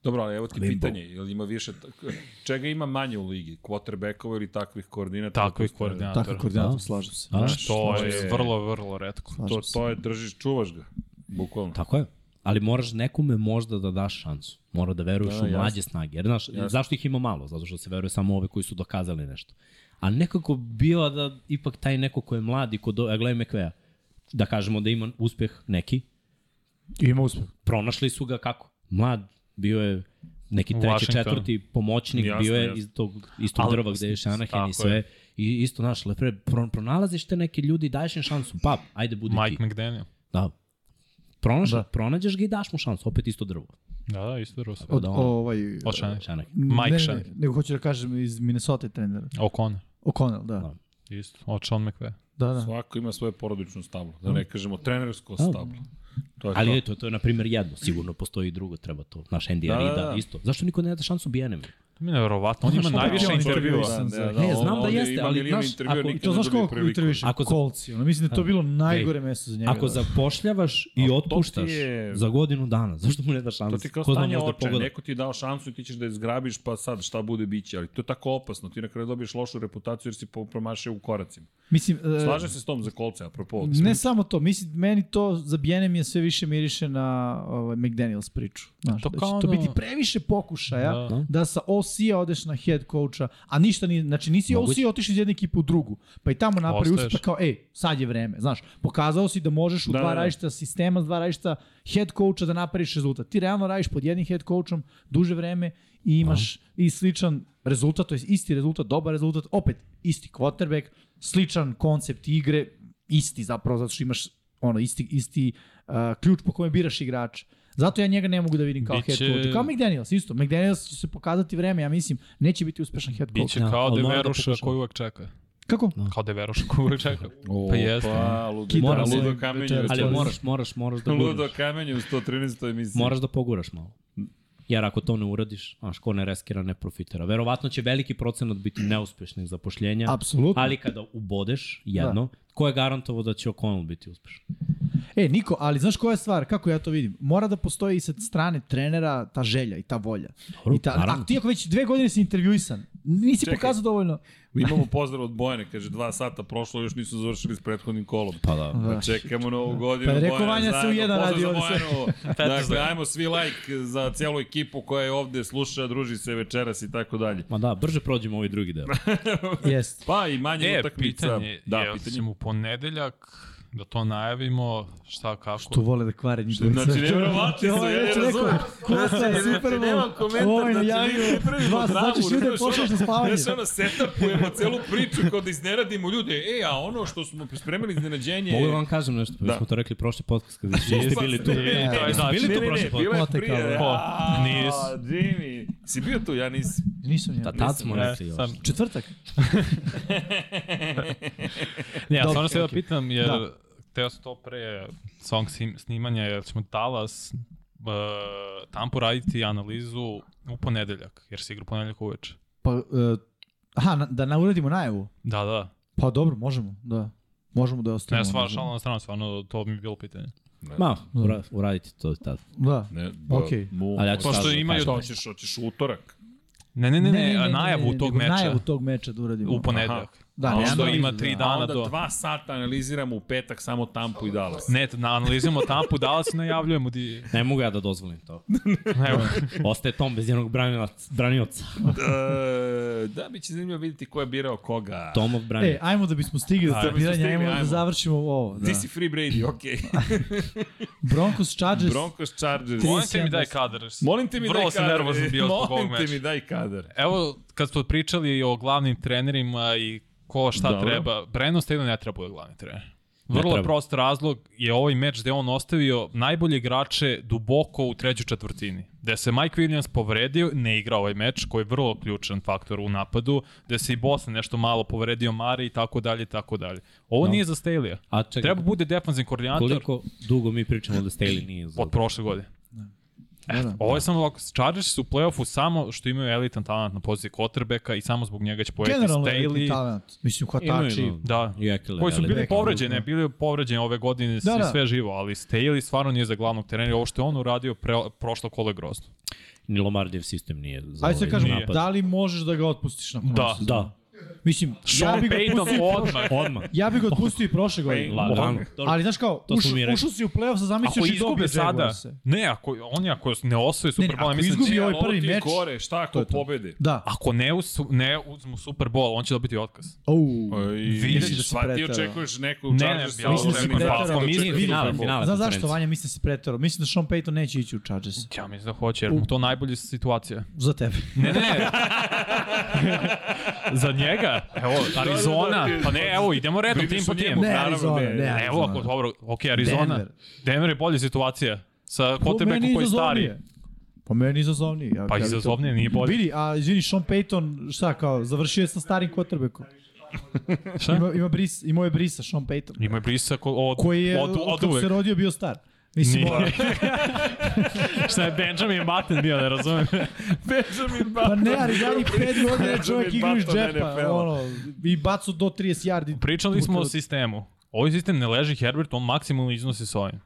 S1: Dobro, ali evo ti
S5: Limbo.
S1: pitanje, jel ima više, tak- čega ima manje u ligi, quarterbackova ili takvih koordinata?
S4: Takvih
S3: Tako je
S4: koordinatora.
S3: koordinator,
S5: Da.
S3: slažem se.
S5: Da.
S4: To
S1: Što
S4: je
S1: je-
S4: vrlo, vrlo redko.
S3: Slažem
S1: To,
S3: se.
S1: to je, držiš, čuvaš ga, bukvalno.
S5: Tako je. Ali moraš nekome možda da daš šansu. Mora da veruješ
S1: Da,
S5: da, u mlađe snage. Jer, znaš,
S1: Jasno.
S5: zašto ih ima malo? Zato što se veruje samo ove koji su dokazali nešto. A nekako biva da ipak taj neko ko je mlad i ko do... Ja gledaj McVeja. Da kažemo da ima uspeh neki.
S3: Ima uspeh.
S5: Pronašli su ga kako? Mlad bio je neki
S4: U
S5: treći,
S4: Washingtonu.
S5: četvrti pomoćnik,
S1: Jasno,
S5: bio je
S1: jasno.
S5: iz tog istog
S4: Ali-
S5: drva gde je Shanahan i
S4: tako
S5: sve.
S4: je.
S5: I isto, znaš, lepre, pro, pronalaziš te neke ljudi, daješ im šansu, pap, ajde budi ti.
S4: Mike McDaniel.
S5: Da. Pronaš,
S3: Da.
S5: da. Pronađeš ga i daš mu šansu, opet isto drvo.
S4: Da, da, isto drugo sve.
S3: Od,
S5: Da, ono.
S3: ovaj,
S4: Od Shanahan.
S5: Šanek.
S4: Mike
S3: ne, ne, ne,
S4: Shanahan.
S3: nego hoću da kažem iz Minnesota trenera.
S4: O'Connor.
S3: O'Connell, da.
S4: Isto. Od Sean McVay.
S3: Da, da.
S1: Svako ima svoje porodično stablo, da ne kažemo trenersko
S5: Da.
S1: stablo. To je
S5: Ali
S1: to.
S5: eto, to je na primjer jedno, sigurno postoji i drugo, treba to. Naš Andy
S1: Da,
S5: da,
S1: da,
S5: Rida,
S1: da.
S5: isto. Zašto niko ne da šansu Bijenemu?
S4: To mi je nevjerovatno. On ima
S3: Znaš,
S4: najviše
S3: on je
S4: intervjua.
S3: intervjuisan za-
S5: Ne, znam da jeste, ali, znaš, ako-
S3: I to znaš koliko intervjuiše?
S5: Ako
S3: Ako
S5: za-
S3: Kolci, ono, mislim da je to bilo najgore mesto za njega.
S1: da.
S5: Ako zapošljavaš i otpuštaš
S1: je-
S5: za godinu dana, zašto mu ne da
S1: To
S5: šansu?
S1: ti je kao
S5: Ko zna,
S1: stanje
S5: možda
S1: oče,
S5: pogoda.
S1: neko ti je dao šansu i ti ćeš da je zgrabiš, pa sad šta bude biće, ali to je tako opasno, ti na kraju dobiješ lošu reputaciju jer si po- promašio u koracima.
S3: Mislim, e,
S1: Slažem se s tom za kolce, apropo. da
S3: Ne samo to, mislim, meni to za Bijenem je sve više miriše na ovaj, McDaniels priču. Znaš,
S4: To
S3: to, da će
S4: kao
S3: to
S4: ono-
S3: biti previše pokušaja da,
S4: Da.
S3: da sa OC-a odeš na head coacha, a ništa ni, znači nisi OC
S5: Moguće.
S3: otišao iz jedne ekipe u drugu, pa i tamo napravi
S4: Ostaješ.
S3: uspeh kao, ej, sad je vreme, znaš, pokazao si da možeš u
S1: Da,
S3: dva
S1: da, da.
S3: različita sistema, s dva različita head coacha da napraviš rezultat. Ti realno radiš pod jednim head coachom duže vreme i imaš i sličan rezultat, to je isti rezultat, dobar rezultat, opet isti quarterback, sličan koncept igre, isti zapravo, zato što imaš ono, isti, isti uh, ključ po kome biraš igrača. Zato ja njega ne mogu da vidim kao
S4: Biće-
S3: head coach. Kao McDaniels, isto. McDaniels će se pokazati vreme, ja mislim, neće biti uspešan head coach.
S4: Biće
S5: Da,
S4: kao
S5: ali mora da
S4: Deveruša
S5: pokuša.
S4: koji uvek čeka.
S3: Kako?
S4: Kao da Deveruša koji uvek čeka.
S1: <laughs> Opa,
S4: Pa jeste.
S1: ludo,
S3: Kidam
S1: da,
S5: se
S1: ludo kamenje.
S3: večeras.
S1: večeras.
S5: Ali moraš, moraš, moraš
S1: <laughs>
S5: da
S1: Ludo
S5: guraš.
S1: kamenje u 113. emisiji.
S5: Moraš da poguraš malo. Jer ako to ne uradiš, znaš, ko ne reskira, ne profitira. Verovatno će veliki procenat biti neuspešnih zapošljenja,
S3: Apsolutno.
S5: ali kada ubodeš
S1: Da.
S5: jedno, ko je garantovo da će O'Connell biti uspešan?
S3: E, Niko, ali znaš koja je stvar, kako ja to vidim? Mora da postoji i sa strane trenera ta želja i ta volja.
S5: Dobro,
S3: I ta,
S5: naravno.
S3: a ti ako već dve godine si intervjuisan, nisi
S1: Čekaj.
S3: pokazao dovoljno.
S1: Mi imamo pozdrav od Bojane, kaže dva sata prošlo, još nisu završili s prethodnim kolom.
S5: Pa da.
S1: Pa čekamo novu godinu.
S3: Pa je rekao
S1: Bojana,
S3: Vanja se u
S1: zajedno,
S3: jedan
S1: pozdrav
S3: radi
S1: za
S3: ovde sve.
S1: Bojanu. <laughs> dakle, ajmo svi like za cijelu ekipu koja je ovde, sluša, druži se večeras i tako dalje.
S5: Ma da, brže prođemo ovaj drugi deo.
S3: Jest.
S1: Pa i manje
S4: E,
S1: utakmica.
S4: pitanje,
S1: da,
S4: je,
S1: pitanje.
S4: pitanje. u ponedeljak, da to najavimo, šta, kako.
S3: Što vole da kvare njih.
S1: Znači,
S3: <laughs>
S1: nevjerovatno, ja ne razumem.
S3: Kosta je super
S1: Nemam Znači, komentar,
S3: Ovo je
S1: znači, mi
S3: najavio.
S1: pripremimo
S3: Dva
S1: dramu,
S3: znači ljude
S1: znaš,
S3: pošliš
S1: ono,
S3: na spavanje.
S1: Znaš, ono, setapujemo celu priču kao da izneradimo ljude. E, a ono što smo spremili iznenađenje...
S5: Mogu da vam kažem nešto, pa mi
S1: Da.
S5: smo to rekli prošli podcast kada ste bili tu.
S1: Ne, ne,
S4: to je
S5: Jeste
S4: znači.
S5: bili tu
S1: Da, ne, ne,
S5: prošli podcast?
S1: bila je
S3: Otekao,
S1: prije.
S3: da.
S1: A,
S4: Nis.
S1: Jimmy, si bio tu, ja nisam.
S3: Nisam ja.
S5: Da, tad smo
S4: E,
S5: rekli još.
S4: sam,
S3: Četvrtak.
S4: ne, ja
S3: Dobro,
S4: stvarno se da
S3: ok.
S4: pitam, jer
S3: Da.
S4: da. teo sam to pre song sim, snimanja, jer ćemo Talas uh, Tampu raditi analizu u ponedeljak, jer se igra u ponedeljak uveče.
S3: Pa, uh, aha, na, da na, uradimo najavu.
S4: Da, da.
S3: Pa dobro, možemo, da. Možemo da je ostavimo.
S4: Ne, stvarno,
S3: možda.
S4: šalno na stranu, stvarno, to mi je bilo pitanje.
S5: Ma, ura- uradite to tad.
S3: Da.
S1: <laughs> Ne,
S3: Okej.
S1: mu-
S5: Ali ja ću
S4: Pošto
S5: sad da
S4: imaju-
S5: kažem.
S1: Hoćeš, hoćeš utorak.
S4: Ne, ne, ne, ne, ne, ne najavu ne, ne, tog
S3: nego
S4: meča
S3: Najavu tog meča da uradimo.
S4: u ponedeljak.
S1: Aha.
S3: Da,
S1: A
S3: ne,
S1: onda
S3: analizu,
S4: ima tri
S3: da.
S4: dana.
S1: A onda
S4: do.
S1: dva sata analiziramo u petak samo Tampu i Dallas.
S4: Ne, na, analiziramo Tampu, Dallas i najavljujemo di...
S5: Ne mogu ja da dozvolim to.
S4: Evo.
S5: Ostaje Tom bez jednog branilac- branioca.
S1: E, da, bit će zanimljivo vidjeti ko je birao koga.
S5: Tomov
S3: E,
S5: branilac.
S3: ajmo da bismo stigli do
S1: Ajmo.
S3: tog pitanja, ajmo
S1: Stigli,
S3: da
S1: ajmo.
S3: završimo ovo. Da.
S1: Ti si Free Brady,
S3: <laughs>
S1: okej.
S3: Broncos Chargers.
S1: Broncos Chargers.
S4: Molim te mi daj kadar.
S1: Molim te mi
S4: Vrlo
S1: daj
S4: sam
S1: kadar.
S4: nervozan bio zbog ovog
S1: <laughs> Molim te
S4: meča.
S1: mi daj kadar.
S4: Evo, kad smo pričali o glavnim trenerima i ko šta
S1: Dobro.
S4: Dobro. treba, Brandon Staley ne treba da bude glavni trener.
S5: Ne
S4: Vrlo
S5: treba.
S4: prost razlog je ovaj meč gde je on ostavio najbolje igrače duboko u trećoj četvrtini. Gde se Mike Williams povredio, ne igra ovaj meč, koji je vrlo ključan faktor u napadu, gde se i Boston nešto malo povredio Mare i tako dalje i tako dalje. Ovo
S5: No.
S4: nije za Staley-a.
S5: A čekaj,
S4: Treba bude defanzivni koordinator
S5: koliko dugo mi pričamo da Staley nije za...
S4: od prošle godine. E,
S3: Da, da.
S4: Ovo je samo ovako, Chargers su u play-offu samo što imaju elitan talent na poziciji quarterbacka i samo zbog njega će pojeti
S3: Generalno je
S4: Staley.
S3: veliki talent. Mislim, hvatači.
S5: Imaju, da.
S4: Da.
S5: I Ekele,
S4: Koji su
S5: ali-
S4: bili
S3: Beckham,
S4: povređeni,
S3: da.
S4: bili povređeni ove godine
S3: Da,
S4: da,
S3: da.
S4: da. sve živo, ali Staley stvarno nije za glavnog trenera, ovo što je on uradio pre, prošlo kolo je grozno.
S5: Ni Lomardijev sistem nije za
S3: Ajde se
S5: ovaj
S3: kažemo,
S4: Nije.
S3: da li možeš da ga otpustiš nakon
S4: Da.
S3: ove sezone?
S5: Da,
S3: Mislim, ja
S4: Sean
S3: bi ga
S4: Payton
S3: pustio,
S4: odmah.
S5: odmah.
S3: ja bi ga otpustio i prošle godine.
S5: Lagano. Dobro.
S3: Ali znaš kao,
S5: To smo
S3: uš-
S5: mi rekli.
S3: ušao si u play-off sa
S4: Ako
S3: zamisliš i dobio
S4: izgube sada,
S3: Jaguars.
S4: ne, ako, oni ako ne osvoje
S3: Ne,
S4: Super
S3: ne,
S4: Bowl,
S3: ako
S4: ja mislim da
S3: izgubi
S4: će,
S3: ovaj
S1: Ovo
S3: prvi
S1: ti je
S3: meč.
S1: gore, šta
S3: To
S1: ako
S3: je to.
S1: pobede?
S3: Da.
S4: ako ne, usu, ne uzmu Super Bowl, on će dobiti otkaz.
S3: Au.
S1: Vidiš,
S3: Mislim da si
S1: sva ti
S3: preterao.
S1: očekuješ neku
S4: Ne,
S1: Chargers
S4: ne, ja
S1: sa
S4: mislim da si
S1: određenim
S4: preterao.
S1: zadatkom,
S4: Pa mislim,
S1: očekuješ
S5: finale,
S1: Super Bowl.
S5: finale.
S3: Znaš zašto,
S5: konferencije.
S3: Vanja, mislim da si pretarao. Mislim da Sean Payton neće ići u Chargers.
S4: Ja mislim da hoće, jer mu to najbolja situacija.
S3: Za tebe.
S4: Ne, ne. Za njega? Evo, Arizona.
S1: da, da.
S4: Pa ne, evo, idemo redom,
S1: Vidiš
S4: tim
S1: o
S4: po tim.
S1: njemu,
S3: Ne,
S1: naravno,
S3: Arizona, ne,
S1: ne.
S4: Evo,
S3: Arizona.
S4: ako dobro, ok, Arizona.
S3: Denver.
S4: Denver, je bolja situacija. Sa quarterbackom koji je stari.
S3: izazovnije. Po meni izazovniji. Ja,
S4: Pa
S3: ja bi to-
S4: izazovnije nije bolje.
S3: Vidi, a izvini, Sean Payton, šta kao, završio je sa starim quarterbackom.
S4: <laughs> Šta?
S3: Ima, ima bris, imao je brisa Sean Payton.
S4: Ima je brisak od,
S3: Koji je,
S4: od,
S3: od,
S4: od,
S3: kako
S4: uvek.
S3: se rodio, bio star. Mislim,
S4: Nije.
S3: ono,
S4: Šta je Benjamin Button bio, ne razumem.
S1: <laughs> Benjamin
S3: <laughs> pa
S1: Button.
S3: ne, ali zadnjih
S4: <laughs>
S3: pet godina je čovjek
S1: Benjamin
S3: igra iz
S1: Button
S3: džepa.
S1: NFL-a.
S3: Ono, I bacu do 30 yardi.
S4: Pričali smo o
S3: Puta-
S4: sistemu. Ovaj sistem ne leži Herbert, on maksimalno iznosi s ovim.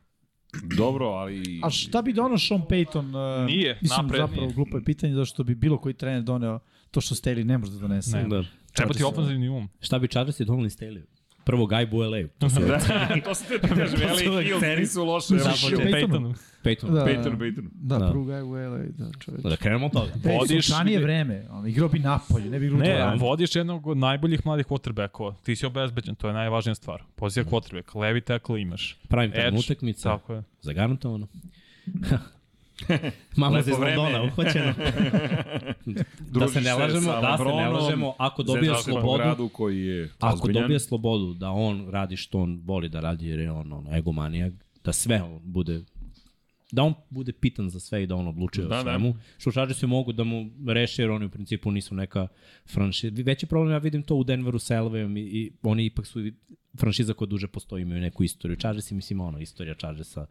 S1: Dobro, ali...
S3: <laughs> A šta bi donao Sean Payton? e,
S4: Nije,
S3: mislim,
S4: napred
S3: zapravo
S4: nije.
S3: glupo je pitanje zašto bi bilo koji trener doneo to što Staley ne može da donese.
S4: Ne.
S5: Da.
S4: Treba ti
S3: Chargers-
S4: ofenzivni um.
S5: Šta bi Chargers je donali Staley? Prvo Gajbu LA. To se
S1: Da, <laughs> to sam te da kažem,
S5: To su
S1: Eli
S5: uvek
S1: Hills
S5: seri.
S1: nisu loše. Eli
S3: Započeo.
S1: Hills.
S3: Paytonu.
S5: Peyton.
S3: Da.
S5: Da.
S1: Peyton, Peyton.
S3: Da,
S5: Da.
S3: pruga je u LA, da, čovjek.
S5: da krenemo od toga.
S3: Ej,
S4: Vodiš-
S3: sunčanije vreme, ono, igrao bi napolje, ne bi igrao u
S4: Ne,
S3: dvorani.
S4: vodiš jednog od najboljih mladih quarterbackova. Ti si obezbeđen, to je najvažnija stvar. Pozicija quarterback, levi tackle imaš.
S5: Pravim tamo
S4: Edge, Da.
S5: utakmica.
S4: Tako je.
S5: <laughs> Zagarantovano. Mama
S1: Lepo
S5: se iz Londona,
S1: vreme.
S5: uhvaćeno. da se
S1: Družiš
S5: ne lažemo,
S1: sa
S5: da se ne
S1: LeBronom,
S5: lažemo, ako dobije
S1: Zezaš se po
S5: slobodu,
S1: gradu koji je
S5: ako
S1: ozbiljan.
S5: dobije slobodu da on radi što on voli da radi jer je on ono, egomanijak, da sve on bude da on bude pitan za sve i da on odlučuje da,
S1: Da,
S5: o
S1: da.
S5: svemu. Da. Šušaži se mogu da mu reše jer oni u principu nisu neka franšiza. Veći problem ja vidim to u Denveru sa Elvejom i, i oni ipak su i franšiza koja duže postoji imaju neku istoriju. Čaže si mislim ono, istorija Čažesa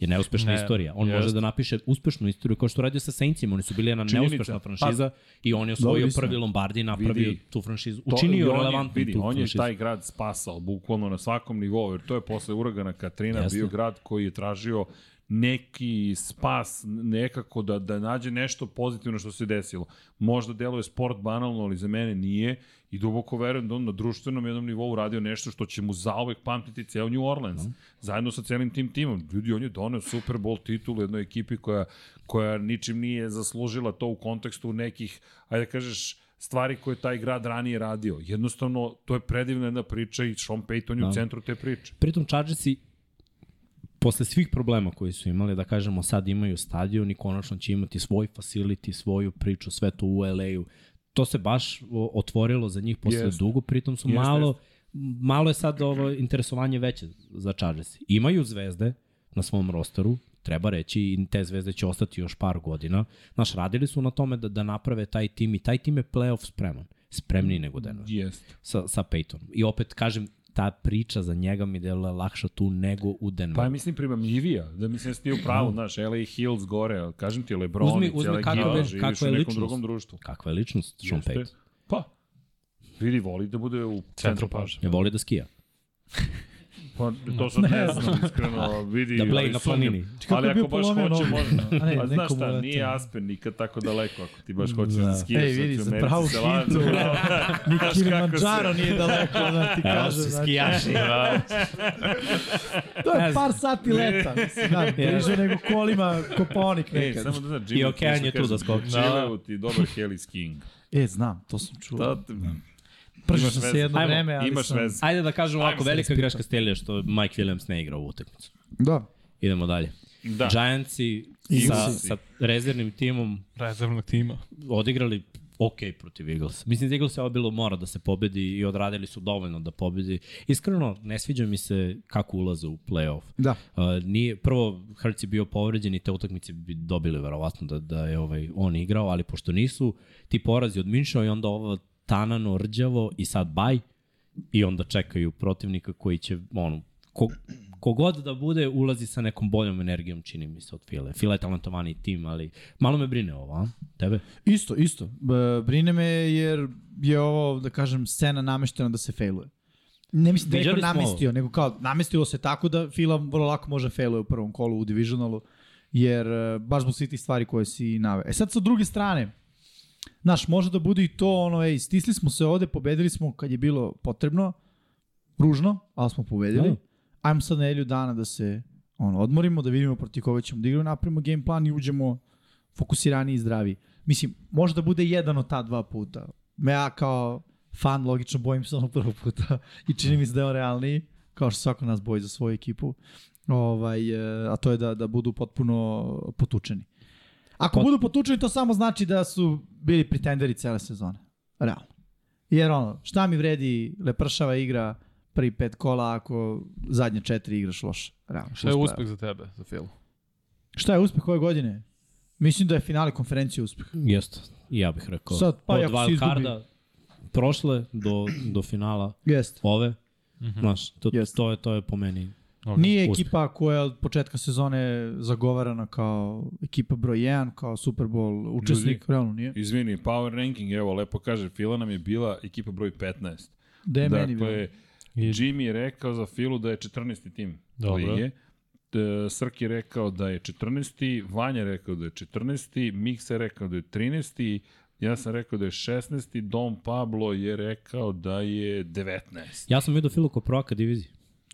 S5: je neuspešna ne,
S4: Ne,
S5: istorija. On
S4: jest.
S5: može da napiše uspešnu istoriju kao što je radio sa Saintsima, oni su bili jedna
S1: Činjenica.
S5: neuspešna franšiza pa, i on je
S3: Dobro,
S5: osvojio
S3: istina.
S5: prvi Lombardi i napravio
S1: Vidi.
S5: tu franšizu.
S1: To-
S5: Učinio
S1: on je-
S5: relevantnu
S1: vidi,
S5: tu
S1: On je
S5: franšizu.
S1: taj grad spasao, bukvalno na svakom nivou, jer to je posle uragana Katrina
S5: Jasno.
S1: Jasne. bio grad koji je tražio neki spas, nekako da, da nađe nešto pozitivno što se desilo. Možda deluje sport banalno, ali za mene nije i duboko verujem da on na društvenom jednom nivou radio nešto što će mu zauvek pamtiti ceo New Orleans. Zajedno sa celim tim timom. Ljudi, on je doneo Super Bowl titul jednoj ekipi koja, koja ničim nije zaslužila to u kontekstu nekih, ajde da kažeš, stvari koje je taj grad ranije radio. Jednostavno, to je predivna jedna priča i Sean Payton je
S5: Da.
S1: u centru te priče.
S5: Pritom Chargersi posle svih problema koji su imali, da kažemo sad imaju stadion i konačno će imati svoj facility, svoju priču, sve to u LA-u. To se baš o, otvorilo za njih posle
S1: Jeste.
S5: dugo, pritom su
S1: Jeste,
S5: malo malo je sad ovo interesovanje veće za Chargers. Imaju zvezde na svom rosteru, treba reći, i te zvezde će ostati još par godina. Znaš, radili su na tome da, da naprave taj tim i taj tim je playoff spreman. Spremniji nego Denver
S1: Jeste.
S5: sa, sa Peytonom. I opet kažem, ta priča za njega mi delala lakša tu nego u
S1: Pa je,
S5: Denveru.
S1: mislim, primamljivija. Da mislim, jesi ti u pravu, znaš, LA Hills gore, kažem ti, Lebron
S5: Uzmi-
S1: i
S5: uzmi
S1: cijela
S5: kako
S1: ekipa,
S5: je-
S1: živiš
S5: kako je
S1: u nekom
S5: ličnost.
S1: drugom društvu.
S5: Kakva je ličnost Sean
S1: Jeste.
S5: Payton?
S1: Pa, vidi, voli da bude u centru pažnje.
S5: Ne voli da skija.
S1: Pa, to sad ne znam, iskreno, vidi.
S5: Da blej
S1: ali
S5: na
S1: sumnjam.
S5: planini.
S3: Kako
S1: Ali
S3: je bio
S1: ako baš
S3: polomio
S1: hoće,
S3: nogu?
S1: može.
S3: <laughs> A ne,
S1: A znaš
S3: neko mu
S1: šta,
S3: leti.
S1: nije Aspen nikad tako daleko, ako ti baš hoćeš da skiraš.
S3: Ej, vidi,
S1: sad ću
S3: za
S1: u Americi
S3: pravu
S1: se lažem.
S3: hitu, bravo. Ni
S1: kako se-
S3: Kilimanjaro nije daleko, da ti
S5: Evo
S3: kažem.
S5: se
S3: znači.
S5: skijaši.
S3: To je
S5: Ne
S3: par sati leta, mislim, da, bliže nego kolima
S1: <laughs>
S3: Kopaonik
S1: Ej,
S3: nekad.
S1: samo da znaš, Jimmy.
S5: I okean je tu da skoči.
S1: Čileu ti dobar heli skiing.
S3: E, znam, to sam čuo.
S1: Da,
S3: Pršao
S1: imaš
S3: sam se
S1: veze.
S3: jedno
S5: Ajmo,
S3: vreme, ali
S1: imaš
S3: sam...
S1: veze.
S5: Ajde da kažem ovako,
S1: Ajmo se
S5: velika greška Stelija što Mike Williams ne igra u utakmicu.
S3: Da.
S5: Idemo dalje.
S1: Da.
S5: Giantsi sa,
S1: Eaglesi.
S5: sa rezervnim timom
S4: Rezervnog tima.
S5: odigrali ok protiv Eagles. Mislim da Eagles je ovo bilo mora da se pobedi i odradili su dovoljno da pobedi. Iskreno, ne sviđa mi se kako ulaze u playoff.
S3: Da.
S5: Uh, nije, prvo, Hertz je bio povređen i te utakmice bi dobili verovatno da, da je ovaj, on igrao, ali pošto nisu, ti porazi od Minšao i onda ovo tanano, rđavo i sad baj i onda čekaju protivnika koji će, ono, ko, kogod da bude, ulazi sa nekom boljom energijom, čini mi se, od File. File je talentovaniji tim, ali malo me brine ovo, a? Tebe?
S3: Isto, isto. B- Brine me jer je ovo, da kažem, scena nameštena da se failuje. Ne mislim da je
S5: Viđali
S3: neko
S5: smo ovo.
S3: namestio, nego kao namestilo se tako da Fila vrlo lako može failuje u prvom kolu u divisionalu, jer e, baš zbog svih tih stvari koje si nave. E sad sa druge strane, znaš, može da bude i to ono, ej, stisli smo se ovde, pobedili smo kad je bilo potrebno, ružno, ali smo pobedili.
S5: Da.
S3: Ajmo sad nedelju dana da se ono, odmorimo, da vidimo protiv koga ćemo da igramo, napravimo game plan i uđemo fokusirani i zdravi. Mislim, možda bude jedan od ta dva puta. Me ja kao fan logično bojim se ono prvog puta i čini mi se da je on realniji, kao što svako nas boji za svoju ekipu. Ovaj, e, a to je da, da budu potpuno potučeni. Ako
S5: Pot-
S3: budu potučeni, to samo znači da su bili pretenderi cele sezone. Realno. Jer ono, šta mi vredi lepršava igra prvi pet kola ako zadnje četiri igraš loše. Realno.
S4: Šta je
S3: uspeo.
S4: uspeh za tebe, za Filu?
S3: Šta je uspeh ove godine? Mislim da je finale konferencije uspeh.
S5: Jeste, ja bih rekao.
S3: Sad, pa i
S5: od
S3: ako se
S5: wild
S3: izgubi.
S5: carda prošle do, do finala
S3: Jeste.
S5: ove, znaš, to,
S3: Mhm. Jeste.
S5: to, je, to je po meni
S3: Nije
S5: uspeh.
S3: ekipa koja je od početka sezone zagovarana kao ekipa broj 1, kao Super Bowl učesnik, Ljudi. realno nije.
S1: Izvini, power ranking, evo, lepo kaže, Fila nam je bila ekipa broj 15.
S3: Da je meni bilo.
S1: dakle, Jimmy je rekao za Filu da je 14. tim
S4: Dobro.
S1: lige. E, Srki je rekao da je 14. Vanja je rekao da je 14. Miksa je rekao da je 13. Ja sam rekao da je 16. Dom Pablo je rekao da je 19.
S5: Ja sam vidio Filu kao prvaka divizije.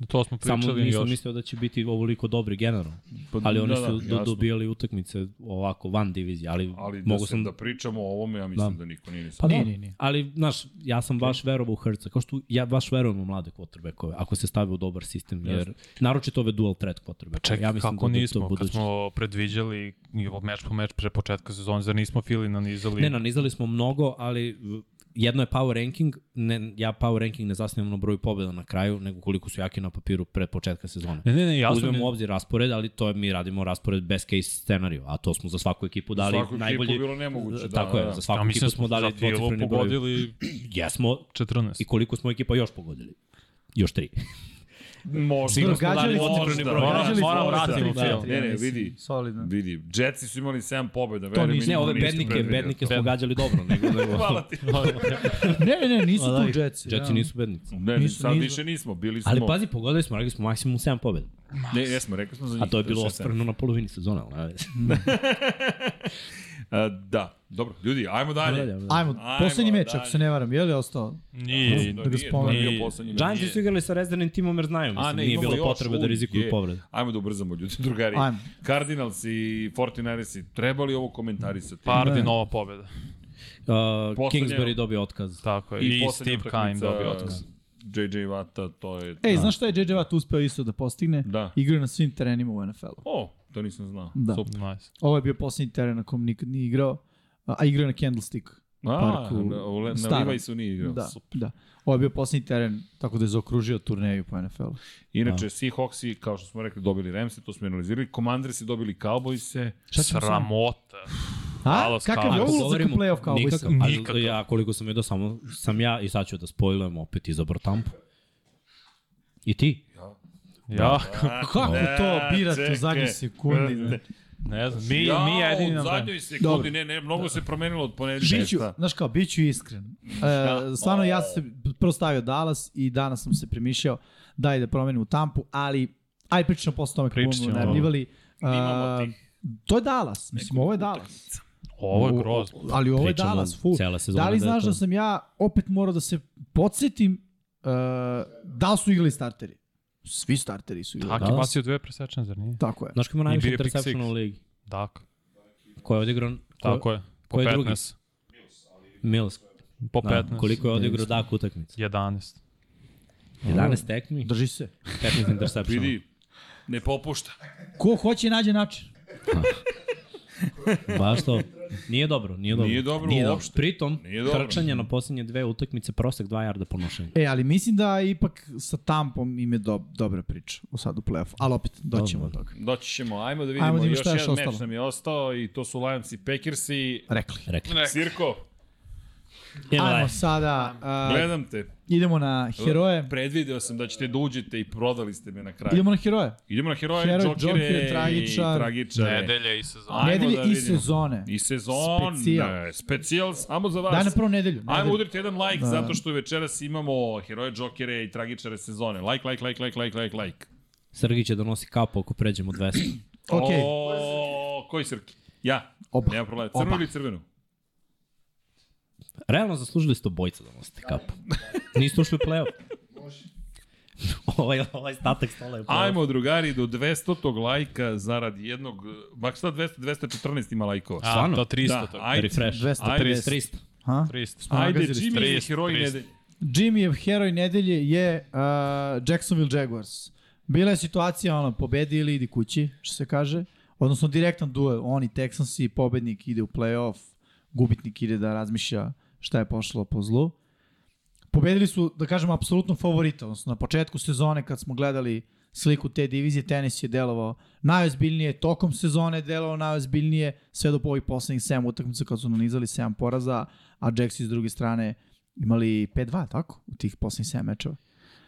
S4: To smo pričali
S5: Samo nisam
S4: još.
S5: mislio da će biti ovoliko dobri generalno.
S1: Pa,
S5: Ali oni
S1: da,
S5: su
S1: da,
S5: da,
S1: jasno.
S5: dobijali utakmice ovako van divizije, ali,
S1: Ali da,
S5: mogu
S1: se,
S5: sam...
S1: da pričamo o ovome, ja mislim da, da niko nije ni
S5: Pa
S1: sam.
S5: nije,
S3: nije, nije.
S5: Ali, znaš, ja sam baš verovao u Herca, kao što ja baš verujem u mlade quarterbackove, ako se stavi u dobar sistem, jer naročito ove dual threat quarterbackove.
S4: Čekaj,
S5: ja
S4: ja
S5: mislim
S4: kako
S5: da, da je to
S4: nismo, kad
S5: budućnost.
S4: smo predviđali i ovo meč po meč pre početka sezone, zar nismo Fili nanizali?
S5: Ne, nanizali smo mnogo, ali v- jedno je power ranking, ne, ja power ranking ne zasnijem na broju pobjeda na kraju, nego koliko su jaki na papiru pred početka sezone.
S4: Ne, ne, ne, jasno
S5: Uzmemo
S4: mi
S5: u
S4: je.
S5: obzir raspored, ali to je, mi radimo raspored best case scenariju, a to smo za svaku ekipu dali
S1: Svaku ekipu
S5: najbolji...
S1: bilo nemoguće, da,
S5: Tako
S1: da,
S5: je,
S1: da.
S5: za
S4: A
S5: svaku
S4: mislim
S5: ekipu
S4: da
S5: smo dali
S4: za Filu
S5: dvocifreni broj.
S4: pogodili
S5: Jesmo,
S4: 14.
S5: i koliko smo ekipa još pogodili? Još tri.
S1: Možda.
S5: Sigurno smo
S3: Gađali
S5: dali
S3: smo-
S5: dvocifreni broj.
S4: Moram-
S3: gađali smo
S4: moram
S3: ove
S4: vratiti
S3: tri,
S4: u film.
S3: tri,
S1: Ne, ne,
S3: ja mislim.
S1: vidi.
S3: Solidno.
S1: Vidi, Jetsi su imali 7 pobjeda, verujem.
S5: Ne, ove bednike, bednike smo gađali dobro. Nego, da
S1: <laughs>
S5: nego,
S1: Hvala ti.
S3: Ne, ne, ne, nisu
S5: Da,
S3: tu Jetsi.
S5: Jetsi nisu bednici.
S1: Ne, ne,
S3: Nisu,
S1: sad
S3: nisu.
S1: više nismo, bili smo.
S5: Ali pazi, pogodili smo, rekli smo maksimum 7 pobjeda.
S1: Ne, jesmo, rekli smo za njih. da
S5: A to je bilo
S1: sve
S5: ostvareno na polovini sezone, ali ne vezi.
S1: sedam. E, Da, dobro, ljudi, ajmo
S5: da,
S1: dalje.
S3: Ajmo,
S1: Ajmo,
S3: poslednji meč,
S1: dalje.
S3: ako se ne varam, je li ostao?
S4: Nije.
S1: Da
S3: ga
S1: nije,
S3: spomenem.
S1: nije bio
S4: I-
S1: poslednji
S5: Giants
S1: meč.
S5: su igrali sa rezervnim timom jer znaju, mislim, nije
S1: imamo
S5: bilo
S1: još,
S5: potrebe da
S1: u,
S5: rizikuju
S1: je.
S5: povredu.
S1: Ajmo da ubrzamo ljudi, drugari.
S3: Ajmo.
S1: Cardinals i 49ersi, trebali ovo komentarisati?
S4: Pardi nova pobjeda.
S5: Uh,
S1: Poslednje-
S5: Kingsbury dobio otkaz.
S4: Tako je. I,
S1: Da. poslednja
S4: Steve Kine
S1: utakmica
S4: dobio otkaz.
S1: JJ Vata, to je...
S3: Ej, znaš šta je JJ Watt uspeo isto da postigne?
S1: Da.
S3: Igra na svim terenima u NFL-u.
S1: O, to nisam znao.
S3: Da.
S1: Super.
S4: Nice.
S3: Ovo je bio poslednji teren na kom nikad nije igrao, a a igrao je na Candlestick.
S1: A,
S3: parku
S1: na, u, Le- na
S3: starom.
S1: Levi su nije igrao.
S3: Da, da. Ovo je bio poslednji teren, tako da je zaokružio turneju po NFL-u.
S1: Inače, Seahawksi, kao što smo rekli, dobili Remse, to smo analizirali. Commanders dobili Cowboyse.
S4: Sramota.
S3: A?
S4: Halo,
S5: Pa,
S3: Kakav je
S4: Skala.
S3: ovo ulazak u play-off kao
S5: nikakav,
S3: Cowboysa?
S5: ali
S4: Nikakav.
S5: Ja, koliko sam vidio, samo sam ja, i sad ću da spojlujem, opet izabro Tampu. I ti? Da.
S4: Ja,
S3: Kako to birate u zadnjoj sekundi? ne?
S4: ne znam. Mi,
S1: Ja,
S4: mi jedini
S1: u
S4: nam
S1: zadnjoj
S3: Dobro.
S1: sekundi, ne, ne, mnogo se promenilo od ponedeljka.
S3: Biću, znaš kao, biću iskren. E, stvarno, ja sam se prvo stavio Dallas i danas sam se premišljao daj da promenim u tampu, ali aj pričamo posle tome kako
S4: Pričat
S3: bomo
S4: ćemo.
S3: najavljivali.
S1: Imamo
S3: E, to je Dallas, mislim, ovo je Dallas.
S4: Ovo je grozno.
S3: Ali ovo je
S5: Pričamo
S3: Dallas, fu.
S5: cela sezona
S3: Da li
S5: da je
S3: znaš
S5: to-
S3: da sam ja opet morao da se podsjetim uh, da li su igrali starteri? Svi starteri su igrali.
S4: Taki
S5: Dallas.
S4: pasio dve presečne, zar nije?
S3: Tako je.
S5: Znaš ko ima najviše
S4: bio je pick
S5: interceptiona
S4: six.
S5: u ligi?
S4: Dak.
S5: Ko je odigran?
S4: Tako je. Po
S5: ko je drugi?
S4: 15.
S5: Mills.
S4: Po
S5: Da,
S4: 15.
S5: koliko je odigrao dak utakmica?
S4: 11.
S5: 11 tekmi,
S3: Drži se.
S5: 15 interceptiona.
S1: Vidi, ne popušta.
S3: Ko hoće nađe način.
S5: Baš to. Nije dobro, nije dobro.
S1: Nije dobro uopšte.
S5: Pritom,
S1: Nije dobro.
S5: trčanje na posljednje dve utakmice, prosek 2 jarda po nošenju.
S3: E, ali mislim da ipak sa tampom im je do, dobra priča u sad u play-offu. Ali opet, doćemo do toga.
S1: Doći ćemo, ajmo da vidimo,
S3: Ajmo da vidimo
S1: još
S3: šta je
S1: jedan
S3: još
S1: meč
S3: ostalo.
S1: nam je ostao i to su Lions i Packersi.
S3: Rekli.
S5: Rekli.
S1: Sirko,
S3: Ajmo sada, uh,
S1: gledam te.
S3: idemo na heroje.
S1: Predvideo sam da ćete da uđete i prodali ste me na kraju. Idemo,
S3: Idemo na heroje.
S1: na heroje,
S3: Heroj,
S1: džokere,
S3: džokere, tragičar.
S1: i tragičare.
S4: i sezona.
S1: Ajmo
S3: Nedelje
S1: da
S3: i
S1: vidimo.
S3: sezone.
S1: I sezon. Specijal.
S3: Specijal.
S1: Specijal, samo za vas.
S3: Daj na prvu nedelju.
S1: Ajmo
S3: nedelju.
S1: udrite jedan like, da. zato što večeras imamo heroje, džokere i tragičare sezone. Like, like, like, like, like, like, like.
S5: Srgi će da nosi kapu ako pređemo 200.
S3: Ok,
S1: O, koji srki? Ja.
S3: Oba.
S1: Nema problema. Crnu
S3: Oba.
S1: ili crvenu?
S5: Realno zaslužili ste obojica da nosite kapu. Niste ušli u play-off. ovaj, ovaj statak stola je u play-off.
S1: Ajmo, drugari, do 200. lajka zarad jednog... Mak šta 200, 214 ima lajkova.
S4: A,
S5: Stvarno?
S4: to 300.
S1: da,
S4: Da, tako.
S1: ajde.
S5: Refresh.
S3: 250.
S5: 300.
S3: Ha?
S4: 300.
S1: Ajde,
S3: Nagazili
S1: Jimmy je
S4: 300,
S1: heroj
S4: 300.
S1: nedelje.
S3: Jimmyjev heroj nedelje je uh, Jacksonville Jaguars. Bila je situacija, ono, pobedi ili idi kući, što se kaže. Odnosno, direktan duel. Oni, Texansi, pobednik ide u playoff, gubitnik ide da razmišlja šta je pošlo po zlu. Pobedili su, da kažem, apsolutno favorita. Odnosno, na početku sezone, kad smo gledali sliku te divizije, tenis je delovao najozbiljnije, tokom sezone je delovao najozbiljnije, sve do ovih poslednjih 7 utakmica kad su nanizali 7 poraza, a Jacksi s druge strane imali 5-2, tako? U tih poslednjih 7 mečeva.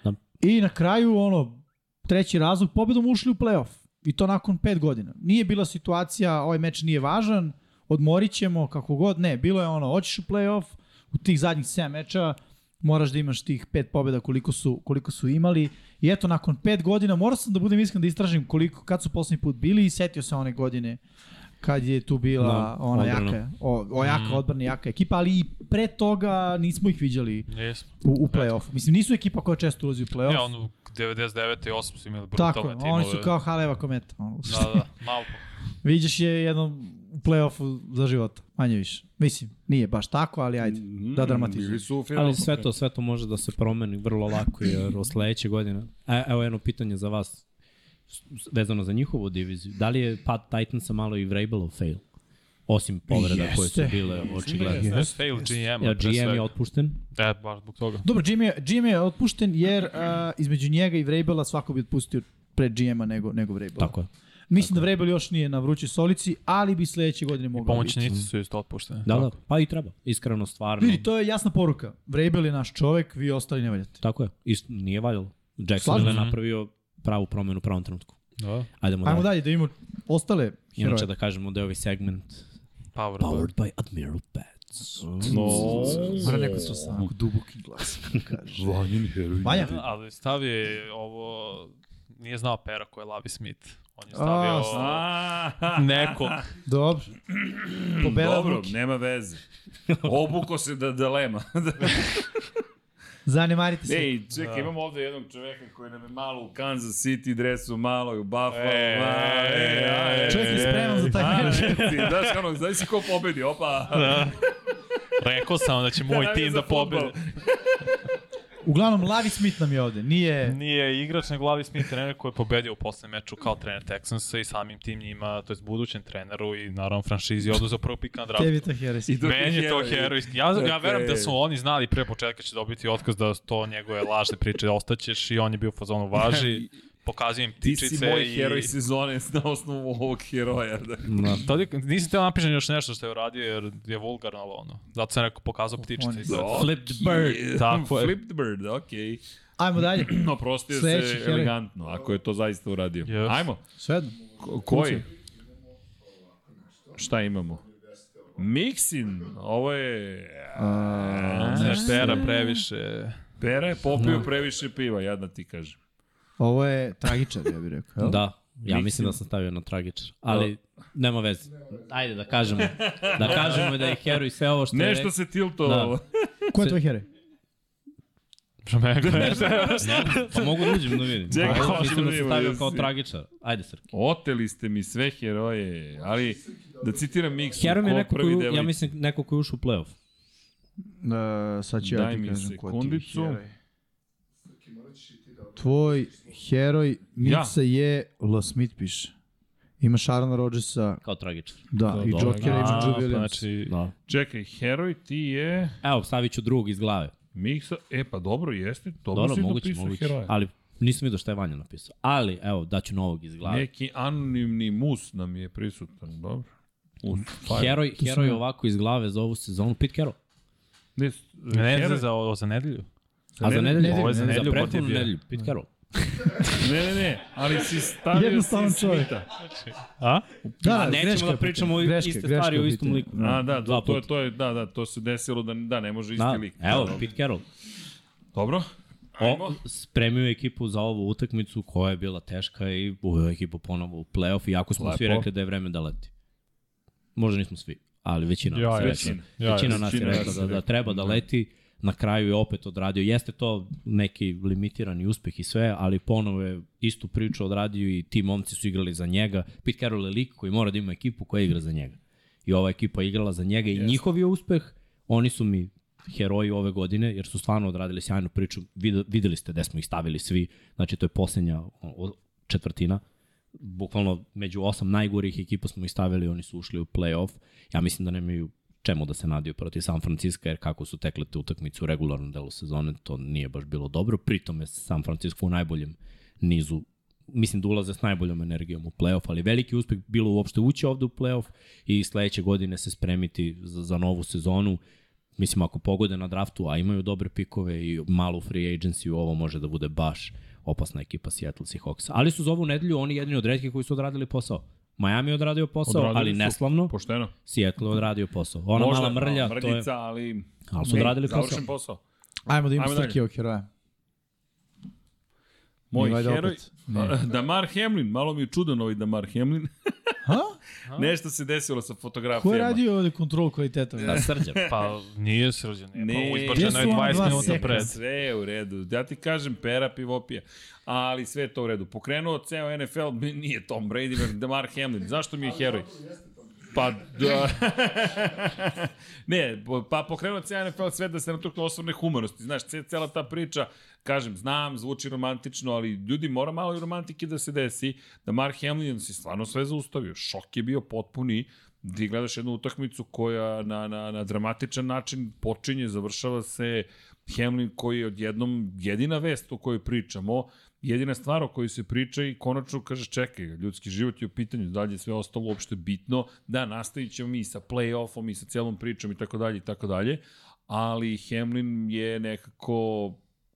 S5: Da.
S3: I na kraju, ono, treći razlog, pobedom ušli u playoff. I to nakon 5 godina. Nije bila situacija, ovaj meč nije važan, odmorit ćemo, kako god, ne. Bilo je ono, hoćeš u playoff, u tih zadnjih 7 mečeva moraš da imaš tih 5 pobeda koliko su, koliko su imali. I eto, nakon 5 godina, morao sam da budem iskren da istražim koliko, kad su poslednji put bili i setio se one godine kad je tu bila
S5: Da,
S3: ona
S5: odbrana. Mhm.
S3: jaka, o, o jaka odbrana, jaka ekipa, ali i pre toga nismo ih viđali
S4: Jesmo.
S3: u, u play-offu. Mislim, nisu ekipa koja često ulazi u play-off.
S4: Ja, E, ono, 99. i 8 su imali brutalne
S3: Tako, je,
S4: timove.
S3: oni su kao Haleva kometa. Ono.
S4: Da, da, malo. <laughs>
S3: Viđaš je jednom u play-offu za života, manje više. Mislim, nije baš tako, ali ajde, da dramatizujem.
S1: Mm-hmm, Bili su u finalu.
S5: Ali sve to, sve to može da se promeni vrlo lako jer od sledeće godine. E, evo jedno pitanje za vas s- s- vezano za njihovu diviziju. Da li je pad Titansa malo i Vrabelov fail? Osim povreda koje su
S3: Jeste.
S5: bile očigledne.
S4: Yes, fail GM-a. pre
S5: Ja, GM je
S4: svega.
S5: otpušten.
S4: E, baš zbog toga.
S3: Dobro, GM je, GM je otpušten jer a, između njega i Vrabela svako bi otpustio pre GM-a nego, nego Vrabela.
S5: Tako je.
S3: Mislim da Vrabel još nije na vrućoj solici, ali bi sledeće godine mogao biti.
S4: Pomoćnici su isto otpušteni.
S5: Da, da, pa i treba. Iskreno, stvarno.
S3: Vidi, to je jasna poruka. Vrabel je naš čovek, vi ostali ne valjate.
S5: Tako je. Ist, nije valjalo. Jackson
S3: Slažem
S5: je
S4: se.
S5: napravio pravu promenu u pravom trenutku.
S4: da.
S5: Ajdemo
S3: Ajmo
S5: dalje.
S3: dalje da imamo ostale heroje.
S5: Inače da kažemo da je ovaj segment
S4: Power. Power.
S5: powered by Admiral Pets.
S1: No.
S3: Mora neko se osam,
S5: Mm.
S3: duboki glas. kaže.
S1: Vanjin heroj.
S3: Vanja,
S5: Da.
S4: Ali stavio je ovo... Nije znao pera ko je Lavi Smith. On je
S3: A,
S4: stavio nekog.
S3: dobro. Pobela
S1: Dobro,
S3: Dobro.
S1: nema veze. Obuko se da dilema.
S3: <laughs> Zanemarite se.
S1: Ej, čekaj, imamo ovde jednog čoveka koji nam je malo u Kansas City dresu, malo i u Buffalo.
S4: E,
S1: ma, e,
S4: e,
S1: a, e,
S3: Čovjek je spreman za taj
S1: a,
S3: meč.
S1: e, ti, Znaš, ono, znaš si ko pobedi, opa.
S4: Rekao sam da će Da,
S1: <laughs>
S4: moj
S1: Navija
S4: tim
S1: za
S4: da pobedi.
S1: fudbal.
S3: Uglavnom, Lavi Smith nam je ovde. Nije...
S4: Nije igrač, nego Lavi Smith trener koji je pobedio u poslednjem meču kao trener Texansa i samim tim njima, to je budućem treneru i naravno franšizi oduzeo prvo pik na draftu.
S3: Tebi je to heres.
S1: I dok
S4: Meni je to
S1: heroj.
S4: herojski. Ja, ja
S1: Dakle-
S4: verujem da su oni znali pre početka će dobiti otkaz da to njegove lažne priče ostaćeš i on je bio u fazonu
S1: <laughs>
S4: važi, pokazujem
S1: Ti
S4: ptičice i...
S1: si moj heroj sezone na osnovu ovog heroja. Da.
S4: Na, tadi, nisam teo napišen još nešto što je uradio jer je vulgarno, ali ono. Zato sam rekao pokazao
S3: On
S4: ptičice.
S3: je
S4: i sve.
S5: Flipped bird.
S4: Tako je.
S1: Flipped bird, okej.
S3: Ajmo dalje.
S1: No, prostio
S3: Sljedeći
S1: se
S3: heroj.
S1: elegantno, ako je to zaista uradio.
S4: Yes.
S1: Ajmo.
S3: Sve jedno.
S1: Ko- Koji? Šta imamo? Mixin, ovo je...
S4: Ne, pera previše.
S1: Pera je popio
S3: da.
S1: previše piva, jadna ti kažem.
S3: Ovo je tragičar, ja bih rekao. jel?
S5: Da, ja mislim da sam stavio na tragičar, ali nema veze. Ajde da kažemo. Da kažemo da je heroj sve ovo što je
S1: Nešto
S5: rekao.
S1: se
S3: da.
S1: tiltovalo.
S3: Ko je tvoj heroj?
S1: Da,
S5: Pa mogu da uđem da vidim.
S1: Čekaj,
S5: Pa,
S1: hoćemo
S5: mislim
S1: da
S5: da sam
S1: vidimo,
S5: stavio
S1: jesi.
S5: kao tragičar. Ajde, Srki.
S1: Oteli ste mi sve heroje, ali da citiram Mixu,
S5: Heroj mi je
S1: ko
S5: neko
S1: prvi
S5: koji,
S1: deli.
S5: ja mislim, neko koji je ušao u play-off.
S3: Uh, sad ću ja
S1: Daj
S3: ti
S1: mi
S3: kažem ko je tvoj
S1: sekundicu.
S3: heroj. Tvoj heroj Mica je L. Smith piše. Ima Sharona Rodgersa,
S5: Kao tragičar.
S3: da, i
S5: dobro.
S3: Jokera, ima Drew Williams.
S4: Znači,
S5: Da.
S1: Čekaj, heroj ti je
S5: Evo, stavit ću drugog iz glave.
S1: Miksa, e pa dobro, jeste, dobro,
S5: Dobro,
S1: si da
S5: moguće,
S1: dopisao
S5: moguće.
S1: heroja.
S5: Ali nisam vidio šta je Vanja napisao. Ali, evo, daću novog iz glave.
S1: Neki anonimni mus nam je prisutan, dobro. Us, pa,
S5: Heroj,
S3: sam
S5: heroj
S3: ja.
S5: ovako iz glave za ovu sezonu, Pete Carroll.
S1: Ne,
S4: ne,
S1: heroj-
S4: za, ovo za nedelju.
S5: A za nedelju?
S3: Ovo je za
S5: Za
S4: nedelju
S5: prethodnu
S4: protiv je.
S5: nedelju, Pete Carroll.
S1: Ne, ne, ne, ali si stavio
S3: Jednostavan
S1: si
S3: čovjek.
S1: Smita.
S4: A?
S3: Da,
S5: A nećemo
S3: greška
S5: da
S3: je
S5: pričamo o
S3: pitanje. Greška,
S5: iste
S3: greška
S5: stvari
S3: je
S5: u istom
S3: pitanje.
S5: liku.
S1: A, da,
S5: Dva
S1: da, to, je,
S5: puta.
S1: to je, da, da, to se desilo da, da ne može isti
S5: Da,
S1: lik.
S5: evo,
S1: Da,
S5: Pete Carroll.
S1: Dobro. Ajmo.
S5: O, spremio je ekipu za ovu utakmicu koja je bila teška i uveo je ekipu ponovo u play-off, iako smo
S1: Lepo.
S5: svi rekli da je vreme da leti. Možda nismo svi, ali većina
S4: Ja,
S5: nas je
S1: većina.
S5: rekla. Većina
S1: Ja,
S5: nas je
S1: većina
S5: rekla
S1: nas je
S5: da, da
S1: rekla.
S5: treba da leti, na kraju je opet odradio. Jeste to neki limitirani uspeh i sve, ali ponovo je istu priču odradio i ti momci su igrali za njega. Pete Carroll je lik koji mora da ima ekipu koja igra za njega. I ova ekipa je igrala za njega i njihov je uspeh. Oni su mi heroji ove godine, jer su stvarno odradili sjajnu priču. Vid- Videli ste gde smo ih stavili svi. Znači, to je posljednja o- o- četvrtina. Bukvalno među osam najgorih ekipa smo ih stavili, oni su ušli u play-off. Ja mislim da nemaju čemu da se nadaju protiv San Francisco, jer kako su tekle te utakmice u regularnom delu sezone, to nije baš bilo dobro. Pritom je San Francisco u najboljem nizu mislim da ulaze s najboljom energijom u play-off, ali veliki uspeh bilo uopšte ući ovde u play-off i sledeće godine se spremiti za, za novu sezonu. Mislim, ako pogode na draftu, a imaju dobre pikove i malu free agency, ovo može da bude baš opasna ekipa Seattle Seahawks. Ali su za ovu nedelju oni jedini od redke koji su odradili posao. Miami je odradio posao,
S1: Odradili
S5: odradili ali
S1: su.
S5: neslavno.
S1: Pošteno.
S5: Seattle je odradio posao. Ona Možda, da, mala mrlja,
S1: mrljica,
S5: to je...
S1: ali...
S5: Ali su odradili posao.
S1: Završen posao.
S3: Ajmo da imamo
S1: Ajmo dalje.
S3: Srkijevog heroja.
S1: Moj
S3: Nije valjda
S1: heroj... <laughs> Pa,
S3: opet. Ne.
S1: Damar Hamlin, malo mi je čudan ovaj Damar Hamlin.
S3: Ha?
S1: <laughs> Nešto se desilo sa fotografijama.
S3: Ko je radio ovde kontrol kvaliteta?
S5: Da <laughs> srđan.
S4: Pa nije srđan.
S1: Ne,
S4: Ne, pa
S1: gdje
S4: izbačeno
S1: su
S4: je
S3: ona
S4: 20
S3: dva
S4: minuta
S3: seka?
S4: pred.
S1: Sve je u redu. Ja ti kažem, pera pivopija. Ali sve je to u redu. Pokrenuo ceo NFL, mi nije Tom Brady, nego Damar Hamlin. Zašto mi je heroj? Pa, da. <laughs> ne, po- pa pokrenuo ceo NFL sve da se natukne osvorne humanosti. Znaš, ce- cela ta priča, kažem, znam, zvuči romantično, ali ljudi mora malo i romantike da se desi. Da Mark Hamlin se stvarno sve zaustavio. Šok je bio potpuni ti gledaš jednu utakmicu koja na, na, na dramatičan način počinje, završava se Hamlin koji je odjednom jedina vest o kojoj pričamo, jedina stvar o kojoj se priča i konačno kaže čekaj, ljudski život je u pitanju, dalje je sve ostalo uopšte bitno, da nastavit ćemo mi sa play-offom i sa celom pričom i tako dalje i tako dalje, ali Hamlin je nekako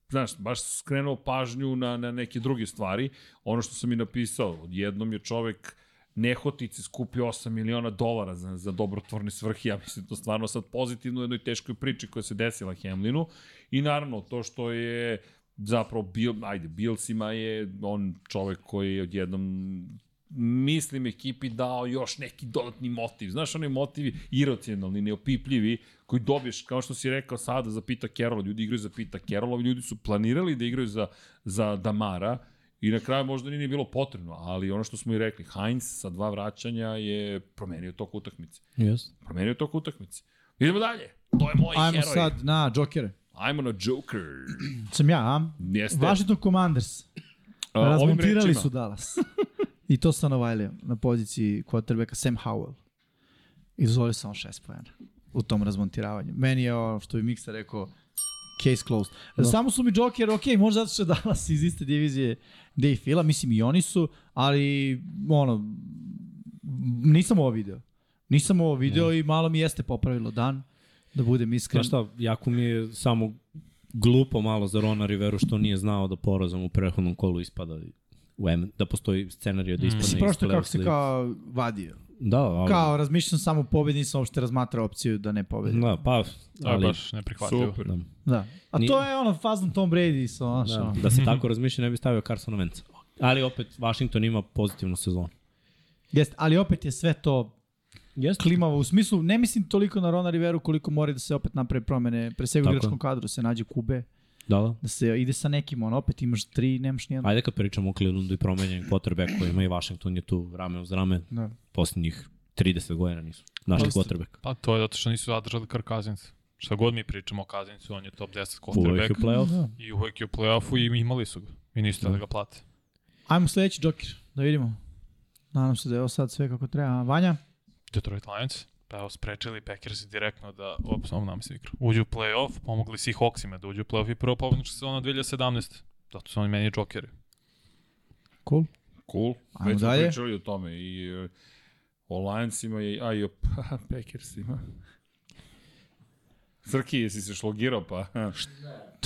S1: znaš, baš skrenuo pažnju na, na neke druge stvari. Ono što sam i napisao, odjednom je čovek nehotice skupio 8 miliona dolara za, za dobrotvorne svrhe, ja mislim to stvarno sad pozitivno u jednoj teškoj priči koja se desila Hemlinu i naravno to što je zapravo Bill, ajde, Billsima je on čovek koji je odjednom mislim ekipi dao još neki dodatni motiv. Znaš, oni motivi iracionalni, neopipljivi, koji dobiješ, kao što si rekao sada, za Pita Kerola, ljudi igraju za Pita Kerola, ovi ljudi su planirali da igraju za, za Damara, I na kraju možda nije bilo potrebno, ali ono što smo i rekli, Heinz sa dva vraćanja je promenio tok utakmice.
S5: Yes.
S1: Promenio tok utakmice. Idemo dalje. To je moj
S3: Ajmo
S1: heroj.
S3: sad na Jokere.
S1: Ajmo na Joker.
S3: Sam ja, a?
S1: Jeste.
S3: Washington Commanders.
S1: A, Pa, ovim
S3: Razmontirali
S1: rečima.
S3: su Dallas. I to sa Novajlijom na poziciji quarterbacka Sam Howell. I dozvolio samo šest pojena u tom razmontiravanju. Meni je ono što bi Miksa rekao case closed. No. Samo su mi Joker, ok, možda zato što je Dallas iz iste divizije Dave Fila, mislim i oni su, ali ono, nisam ovo video. Nisam ovo video i malo mi jeste popravilo dan, da budem iskren.
S5: Znaš šta, jako mi je samo glupo malo za Rona Riveru što nije znao da porazom u prethodnom kolu ispada u M, da postoji scenarij da ispadne mm.
S3: Si prošto kako se kao vadio.
S5: Da, ali,
S3: Kao, razmišljam samo o pobedi, nisam uopšte razmatrao opciju da ne pobedi.
S5: Da, pa,
S4: To je
S5: ali,
S4: baš neprihvatljivo.
S1: Super.
S5: da,
S3: Da. A
S5: Nije-
S3: to je ono fazom Tom Brady sa ono
S5: da,
S3: što...
S5: da se tako razmišlja ne bi stavio Carsona Venca. Ali opet, Washington ima pozitivnu sezonu.
S3: Jeste, ali opet je sve to
S5: Jeste.
S3: klimavo. U smislu, ne mislim toliko na Rona Riveru koliko mora da se opet naprave promene. Pre svega u
S5: Tako je.
S3: igračkom kadru se nađe Kube,
S5: Da, da.
S3: da se ide sa nekim, ono, opet imaš tri, nemaš nijedan.
S5: Ajde kad pričamo o Clevelandu i promenjenim quarterbackovima i Washington je tu rame uz rame.
S3: Da.
S5: Posljednjih 30 godina nisu našli
S4: Jeste.
S5: quarterback.
S4: Pa to je zato što nisu zadržali Kirk Cousins. Šta god mi pričamo o Cousinsu, on je top 10
S5: Uvijek je
S4: quarterback
S5: playoff.
S3: Da.
S4: i uvek je u play-offu i imali su ga. I nisu da ga plate.
S3: Ajmo sledeći Joker, da vidimo. Nadam se da je ovo sad sve kako treba. A, Vanja?
S4: Detroit Lions, pa evo, sprečili Packersi direktno da, ops, ovom nam se igra, uđu u play-off, pomogli si Hawksima da uđu u play-off i prvo pobjednička sezona 2017. Zato su oni meni džokeri.
S3: Cool.
S1: Cool.
S3: Ajmo
S1: Već smo
S3: dalje.
S1: pričali o tome i e, o Lionsima i, a i o <laughs> Packersima. Srki, jesi se šlogirao pa?
S3: To je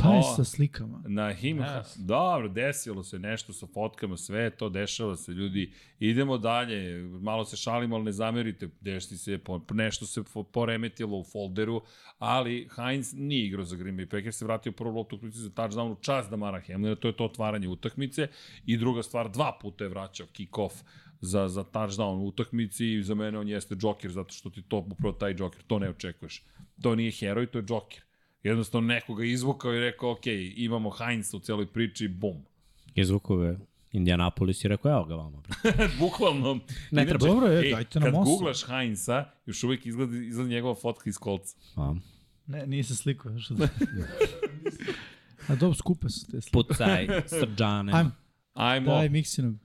S5: Da.
S1: O.
S3: sa slikama.
S1: Na him,
S4: Yes.
S1: dobro, desilo se nešto sa fotkama, sve to dešava se, ljudi, idemo dalje, malo se šalimo, ali ne zamerite, dešti se, po, nešto se fo- poremetilo u folderu, ali Heinz nije igrao za Green Bay Packers, se vratio prvu loptu utakmice za touchdown u čast Damara Hamlina, to je to otvaranje utakmice, i druga stvar, dva puta je vraćao kick-off za, za touchdown u utakmici i za mene on jeste džoker, zato što ti to, upravo taj džoker, to ne očekuješ. To nije heroj, to je džoker. Jednostavno nekoga izvukao i rekao, ok, imamo Heinz u celoj priči, bum. <laughs>
S5: Izvukove Indianapolis i rekao, evo ga vama. bre.
S1: Bukvalno.
S3: Ne
S1: Inače,
S3: treba. Dobro je,
S1: ej,
S3: dajte nam
S1: Kad
S3: osam.
S1: googlaš Heinza, još uvijek izgleda, izgleda njegova fotka iz kolca.
S5: A,
S3: Ne, nije se slikao. Što da... <laughs> A dobro, skupe su te slike.
S5: Pucaj, srđane.
S3: Ajmo,
S1: Ajmo.
S3: daj Miksinog.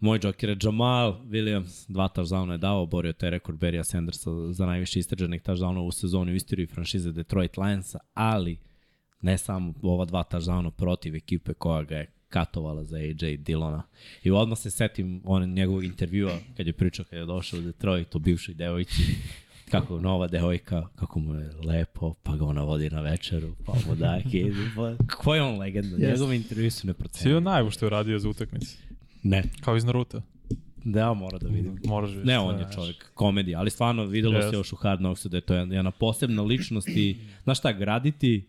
S5: Moj džoker je Jamal Williams, dva touchdowna je dao, borio taj rekord Berija Sandersa za najviše istraženih touchdowna u sezoni u istoriji franšize Detroit Lionsa, ali ne samo ova dva touchdowna protiv ekipe koja ga je katovala za AJ Dillona. I odmah se setim on, njegovog intervjua kad je pričao kad je došao u Detroit o bivšoj devojci kako nova devojka, kako mu je lepo, pa ga ona vodi na večeru, pa mu daje kidu, pa... Ko je on legenda?
S3: Yes.
S5: Yes. Njegove intervju su
S4: Svi
S5: neprocenili.
S4: je najbolj što je radio za utakmice.
S5: Ne,
S4: Kao iz Naruto.
S5: da, mora da vidim.
S4: Moraš vidjeti
S5: Ne,
S4: šta
S5: on je
S4: znaš.
S5: čovjek komedija, ali stvarno videlo yes.
S4: Jeste.
S5: se još u Hard Knocksu da je to jedna, jedna posebna ličnost i, znaš šta, graditi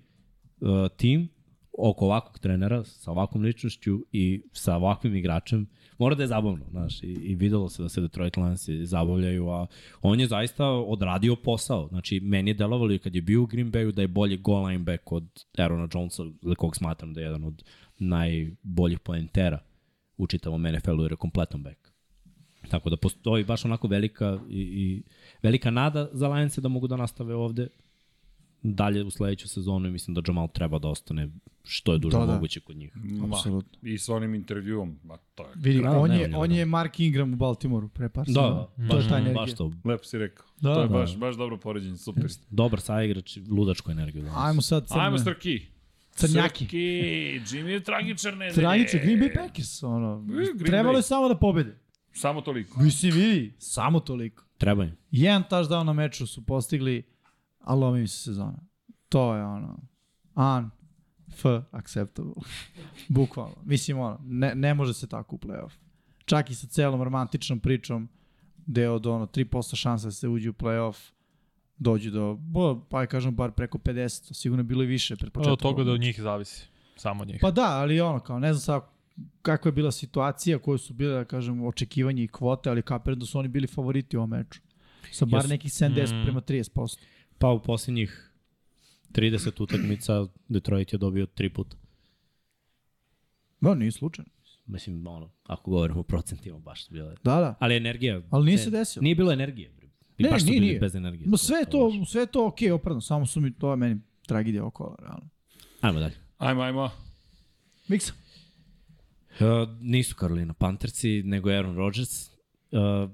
S5: uh, tim oko ovakvog trenera, sa ovakvom ličnošću i sa ovakvim igračem, mora da je zabavno, znaš, i, i videlo se da se Detroit Lions zabavljaju, a on je zaista odradio posao, znači, meni je delovalo i kad je bio u Green Bayu da je bolji goal lineback od Aarona Jonesa, za kog smatram da je jedan od najboljih poentera u čitavom NFL-u jer je kompletan back. Tako da postoji baš onako velika i, i velika nada za Lions da mogu da nastave ovde dalje u sledeću sezonu i mislim da Jamal treba da ostane što je duže
S3: Da, da.
S5: moguće kod njih.
S1: Ma,
S3: Apsolutno.
S1: I sa onim intervjuom, ma to je,
S3: Vidi,
S5: Rado,
S3: on,
S5: ne,
S3: je,
S5: on je
S3: on je Mark Ingram u Baltimoru pre par
S5: Da,
S3: sezona. to
S5: baš,
S3: je ta energija.
S5: baš to.
S1: lepo si rekao. Da,
S3: Da,
S1: to je
S3: da.
S1: baš, baš dobro poređenje, super.
S5: Dobar saigrač, ludačku energiju. danas.
S3: Ajmo sad crne.
S1: Ajmo Strki.
S3: Crnjaki.
S1: Srki, Jimmy je tragičar nedelje.
S3: Tragično, Green Bay Packers, ono.
S1: E. Green
S3: Trebalo
S1: Bay.
S3: je samo da pobede.
S1: Samo toliko.
S3: Mislim, vidi, samo toliko.
S5: Treba im.
S3: Jedan touchdown na meču su postigli, a lomi mi se sezona. To je ono, un f acceptable. <laughs> Bukvalno. Mislim, ono, ne, ne može se tako u playoff. Čak i sa celom romantičnom pričom, gde od ono, 3% šansa da se uđe u playoff, dođu do, bo, pa je kažem, bar preko 50, to sigurno je bilo i više pred početkom.
S4: Od toga da od njih zavisi. Samo od njih.
S3: Pa da, ali ono, kao, ne znam sad kakva je bila situacija, koje su bile, da kažem, očekivanje i kvote, ali kapir da su oni bili favoriti u ovom meču. Sa bar
S5: Jesu.
S3: nekih 70 prema 30%.
S5: Pa u posljednjih 30 utakmica Detroit je dobio tri puta.
S3: Da, nije slučajno.
S5: Mislim, ono, ako govorimo o procentima, baš su bile.
S3: Da, da.
S5: Ali energija...
S3: Ali nije
S5: ne-
S3: se desilo.
S5: Nije bilo energije. bre. I
S3: Ne,
S5: baš su
S3: nije,
S5: bili
S3: nije.
S5: bez energije.
S3: Ma sve je to,
S5: baš.
S3: sve je to okej, okay, opravno, samo su mi, to je meni tragedija okolo, realno.
S5: Ajmo dalje.
S1: Ajmo, ajmo.
S3: Miksa.
S5: Uh, nisu Carolina Panthersi, nego Aaron Rodgers. Uh,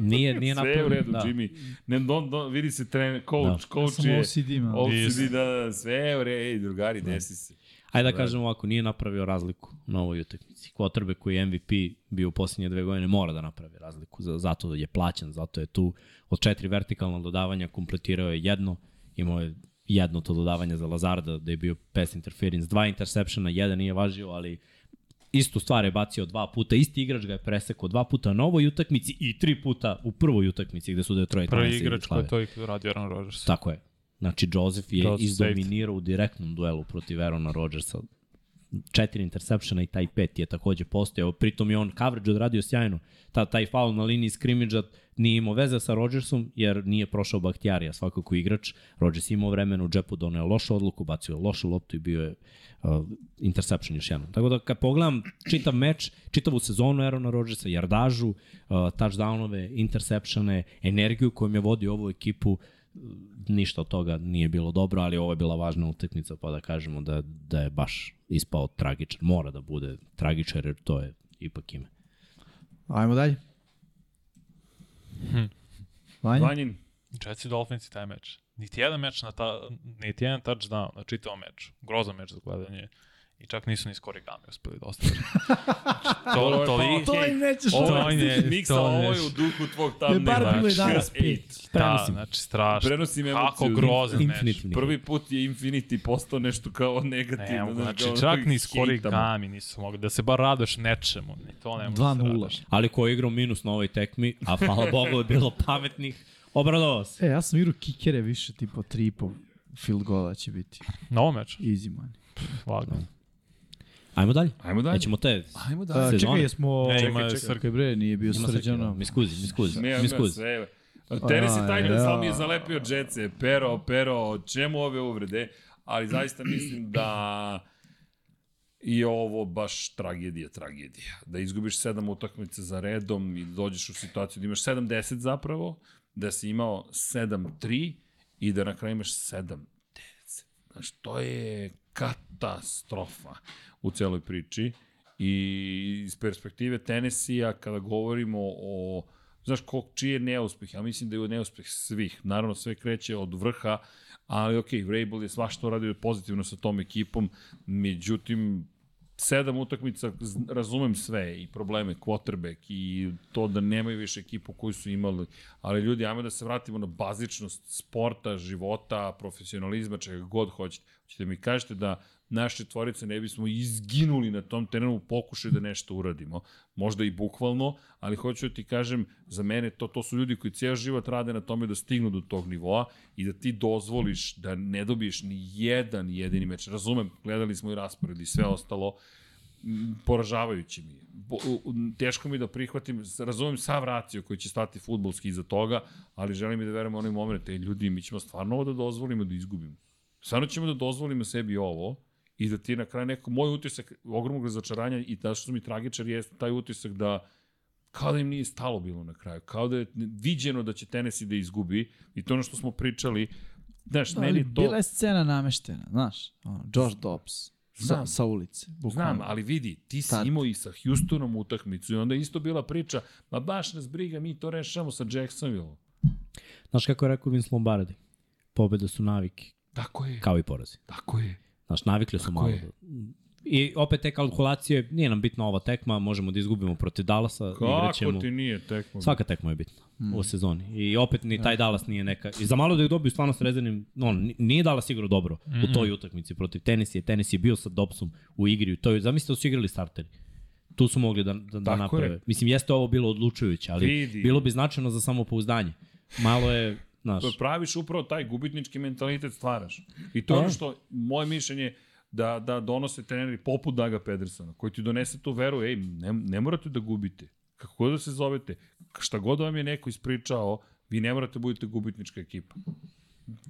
S5: nije, nije
S1: Sve je u
S5: napravio-
S1: redu, da. Jimmy. Ne, don, don, vidi se trener, coach, da. coach
S3: Samo
S1: je...
S3: OCD, man.
S1: OCD, da, da, sve je u redu, ej, drugari, desi se.
S5: Ajde da kažem ovako, nije napravio razliku na ovoj utakmici. Quarterback koji je MVP bio u posljednje dve godine mora da napravi razliku, za- zato je plaćen, zato je tu. Od četiri vertikalna dodavanja kompletirao je jedno, imao je jedno to dodavanje za Lazarda da je bio pass interference, dva intersepšena, jedan nije važio, ali istu stvar je bacio dva puta, isti igrač ga je presekao dva puta na ovoj utakmici i tri puta u prvoj utakmici gde su Detroit
S4: Prvi
S5: Lions
S4: igrač koji
S5: slavili.
S4: je to i radio Aaron Rodgers.
S5: Tako je. Znači, Joseph je
S4: Joseph
S5: izdominirao u direktnom duelu protiv Aarona Rodgersa. Četiri intersepšena i taj pet je takođe postojao. Pritom je on coverage odradio sjajno. Ta, taj faul na liniji skrimidža nije imao veze sa Rodgersom jer nije prošao Bakhtiarija svakako igrač. Rodgers je imao vremena u džepu, doneo lošu odluku, bacio je lošu loptu i bio je uh, interception još jednom. Tako da kad pogledam čitav meč, čitavu sezonu Aarona Rodgersa, jardažu, uh, touchdownove, intersepšene, energiju kojom je vodio ovu ekipu, ništa od toga nije bilo dobro, ali ovo je bila važna utakmica, pa da kažemo da, da je baš ispao tragičan. Mora da bude tragičan, jer to je ipak ime.
S3: Ajmo dalje. Vanja?
S1: Vanjin,
S4: Jets i Dolphins i taj meč. Niti jedan meč na ta, niti jedan touchdown na čitavom meču. Grozan meč za gledanje. I čak nisu ni skori game uspeli da ostvari. to, to, li,
S3: To im nećeš da-
S1: ovo
S4: To je-
S1: je, miksa,
S4: to je-
S1: ovo je u duhu tvog
S3: Je bar
S1: thumbnaila.
S3: bilo
S4: znači,
S3: 11-5.
S4: da, znači strašno.
S1: Prenosim
S4: Kako
S1: emociju.
S4: grozan meč.
S5: Infinitivni.
S1: Prvi put je Infinity postao nešto kao negativno.
S4: Ne, mogu,
S1: znaš,
S4: znači
S1: kao
S4: čak ni
S1: hejtamo.
S4: skori kami nisu mogli. Da se bar radoš nečemu. Ni to ne može da se
S3: 2-0.
S4: radaš.
S5: Ali ko je igrao minus na ovoj tekmi, a hvala Bogu je bilo pametnih, obradovao se.
S3: E, ja sam igrao kikere više, tipa 3,5 field gola će biti.
S4: Na ovom meču,
S3: Easy man.
S4: lagano.
S5: Ajmo dalje.
S1: Ajmo dalje.
S5: Nećemo te...
S1: Ajmo dalje.
S3: A,
S5: Sezone.
S3: čekaj, jesmo...
S4: E, ima
S3: čekaj,
S4: Srk-
S3: čekaj, bre, nije bio
S5: Ima srđano.
S3: srđano.
S5: Mi skuzi, mi skuzi,
S1: Ne,
S5: mi
S1: ima
S5: skuzi.
S1: sve. Tenis i
S3: Aj,
S1: Titans,
S3: ja.
S1: ali mi je zalepio džece. Pero, pero, čemu ove uvrede? Ali zaista mislim da je ovo baš tragedija, tragedija. Da izgubiš sedam utakmice za redom i dođeš u situaciju da imaš 7-10 zapravo, da si imao 7-3 i da na kraju imaš 7-10. Znaš, to je katastrofa u celoj priči. I iz perspektive Tenesija, kada govorimo o znaš kog, čiji je neuspeh, ja mislim da je neuspeh svih, naravno sve kreće od vrha, ali ok, Vrabel je svašta radio pozitivno sa tom ekipom, međutim, sedam utakmica, z- razumem sve i probleme, quarterback i to da nemaju više ekipu koju su imali, ali ljudi, ajmo da se vratimo na bazičnost sporta, života, profesionalizma, čega god hoćete. Hoćete mi kažete da naše tvorice ne bismo izginuli na tom terenu u pokušaju da nešto uradimo. Možda i bukvalno, ali hoću da ti kažem, za mene to, to su ljudi koji ceo život rade na tome da stignu do tog nivoa i da ti dozvoliš da ne dobiješ ni jedan jedini meč. Razumem, gledali smo i raspored i sve ostalo, m, poražavajući mi je. Bo, u- u- teško mi je da prihvatim, s- razumem sav racio koji će stati futbolski iza toga, ali želim i da verujem u onaj moment, ej ljudi, mi ćemo stvarno ovo da dozvolimo da izgubimo. Stvarno ćemo da dozvolimo sebi ovo i da ti na kraju neko, moj utisak ogromnog razočaranja i da što su mi tragičar jeste taj utisak da kao da im nije stalo bilo na kraju, kao da je viđeno da će Tennessee da izgubi i to je ono što smo pričali, Znaš, da,
S3: Ali
S1: meni to...
S3: bila je scena nameštena, znaš, ono, Josh Dobbs, sa,
S1: Znam.
S3: sa ulice. Bukvalno.
S1: Znam, ali vidi, ti si
S3: Sad.
S1: imao i sa Houstonom utakmicu i onda je isto bila priča, ma baš nas briga, mi to rešamo sa Jacksonville.
S5: Znaš kako je rekao Vince Lombardi? Pobede su navike,
S1: Tako je,
S5: kao i porazi.
S1: tako je.
S5: Znaš, navikli su malo.
S1: je.
S5: da- I opet te kalkulacije, nije nam bitna ova tekma, možemo da izgubimo protiv Dallasa,
S1: Kako
S5: igraćemo.
S1: ti nije tekmo?
S5: Svaka tekma je bitna mm. Da. u sezoni. I opet ni taj Dallas nije neka. I za malo da ih dobiju stvarno s rezervnim, no, n- nije Dallas igrao dobro mm. u toj utakmici protiv Tenisije. Tenis je bio sa Dobsom u igri. U toj, zamislite da su igrali starteri. Tu su mogli da, da, da
S1: Tako
S5: naprave. Je.
S1: je.
S5: Mislim, jeste ovo bilo odlučujuće, ali
S1: Vidi.
S5: bilo bi značajno za samopouzdanje. Malo je, znaš,
S1: To praviš upravo taj gubitnički mentalitet staraš. I to je ono
S5: Da.
S1: što, moje mišljenje, da, da donose treneri poput Daga Pedersona, koji ti donese tu veru, ej, ne, ne morate da gubite, kako god da se zovete, šta god vam je neko ispričao, vi ne morate da budete gubitnička ekipa.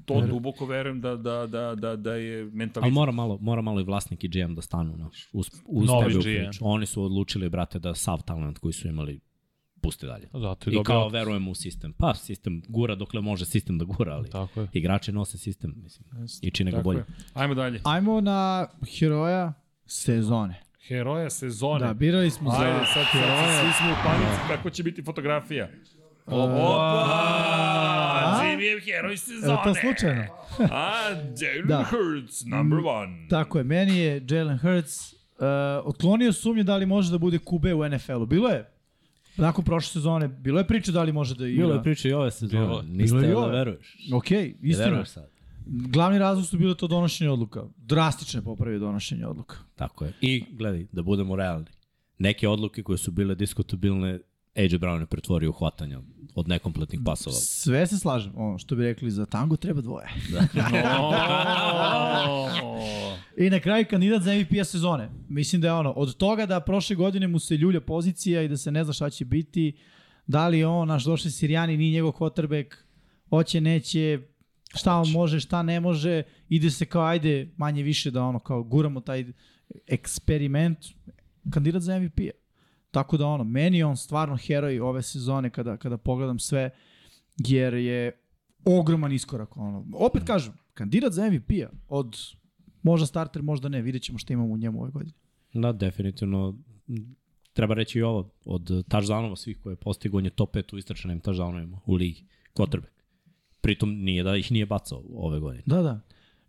S1: To duboko verujem da, da, da, da, da je
S5: Ali
S1: mentalitet.
S5: mora malo, mora malo i vlasnik i GM da stanu na, uz, uz
S4: Novi
S5: tebe u
S4: GM.
S5: priču. Oni su odlučili, brate, da sav talent koji su imali puste dalje.
S4: Zato je
S5: I kao
S4: dobio...
S5: verujemo u sistem. Pa, sistem gura dokle može sistem da gura, ali
S4: Tako je.
S5: igrači nose sistem, mislim,
S3: Jeste.
S5: i čine ga
S1: Tako
S5: bolje.
S1: je. Ajmo dalje.
S3: Ajmo na heroja sezone.
S1: Heroja sezone.
S3: Da, birali smo za
S1: Ajde, sad, sad, sad svi smo u panici, kako će biti fotografija. Opa! Jimmy je heroj
S3: Je li
S1: sezone.
S3: E, to slučajno?
S1: A, Jalen
S3: Da.
S1: da. Hurts, number one.
S3: Tako je, meni je Jalen Hurts uh, otklonio sumnje da li može da bude QB u NFL-u. Bilo je, nakon prošle sezone, bilo je priče da li može da igra.
S5: Bilo je priče i ove sezone,
S4: Bilo-
S5: niste
S3: bilo je i
S5: da
S3: ove.
S5: veruješ.
S3: Ok,
S5: Ne
S3: istina.
S5: veruješ sad.
S3: Glavni razlog su bilo to donošenje odluka. Drastično je popravio donošenje odluka.
S5: Tako je. I gledaj, da budemo realni. Neke odluke koje su bile diskutabilne, AJ Brown je pretvorio u hvatanja od nekompletnih pasova.
S3: Sve se slažem, ono što bi rekli za tango treba dvoje. I na kraju kandidat za MVP-a sezone. Mislim da je ono, od toga da prošle godine mu se ljulja pozicija i da se ne zna šta će biti, da li je on naš došli Sirijani, nije njegov kvotrbek, hoće, neće, šta on može, šta ne može, ide se kao ajde manje više da ono kao guramo taj eksperiment, kandidat za MVP-a. Tako da ono, meni je on stvarno heroj ove sezone kada, kada pogledam sve, jer je ogroman iskorak. Ono. Opet kažem, kandidat za MVP-a od možda starter, možda ne, vidjet ćemo šta imamo u njemu ove godine.
S5: Da, definitivno. m, Treba reći i ovo, od touchdownova svih koje je postigao, on je top 5 u istračanim touchdownovima u ligi, quarterback. Pritom nije da ih nije bacao ove godine.
S3: Da, da.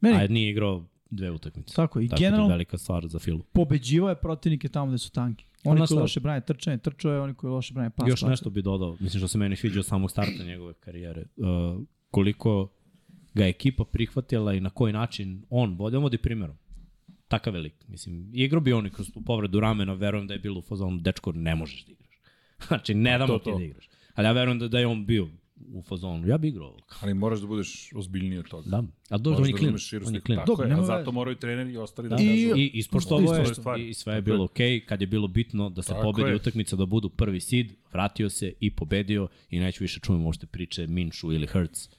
S3: Meni,
S5: A nije igrao dve utakmice.
S3: tako, i
S5: Tako da je
S3: generalno
S5: velika stvar za Filu.
S3: pobeđivao je protivnike tamo gde su tanki. Oni
S5: Ono
S3: koji
S5: Pa šta?
S3: loše brane trčanje, trčao je, oni koji loše brane pas.
S5: Pa, Još
S3: pas.
S5: nešto bi dodao, mislim što se meni sviđa od samog starta njegove karijere. Uh, koliko ga je ekipa prihvatila i na koji način on, vodi, on vodi primjerom. Takav je lik. Mislim, igrao bi on i kroz tu povredu ramena, verujem da je bilo u fazonu, dečko, ne možeš da igraš. <laughs> Znači, ne damo ti
S1: to.
S5: da igraš. Ali ja verujem da, da je on bio u fazonu. Ja bi igrao ovo.
S1: <laughs> Ali moraš da budeš ozbiljniji od toga.
S5: Da. A
S1: Moraš
S5: dobro, on je
S1: da
S5: klin.
S1: razumeš širu
S5: On je
S1: sliku.
S5: klin.
S1: Tako je,
S3: nema
S1: a
S3: veze.
S1: zato moraju treneri i ostali da,
S5: Da,
S1: kažu.
S5: I ispoštovao
S1: Ispoštovao
S5: je
S1: je stvari.
S5: i sve je bilo okej, okay, kad je bilo bitno da se
S1: Tako
S5: pobedi
S1: je.
S5: utakmica, da budu prvi seed, vratio se i pobedio i neću više čujem uopšte priče Minšu ili Hurts.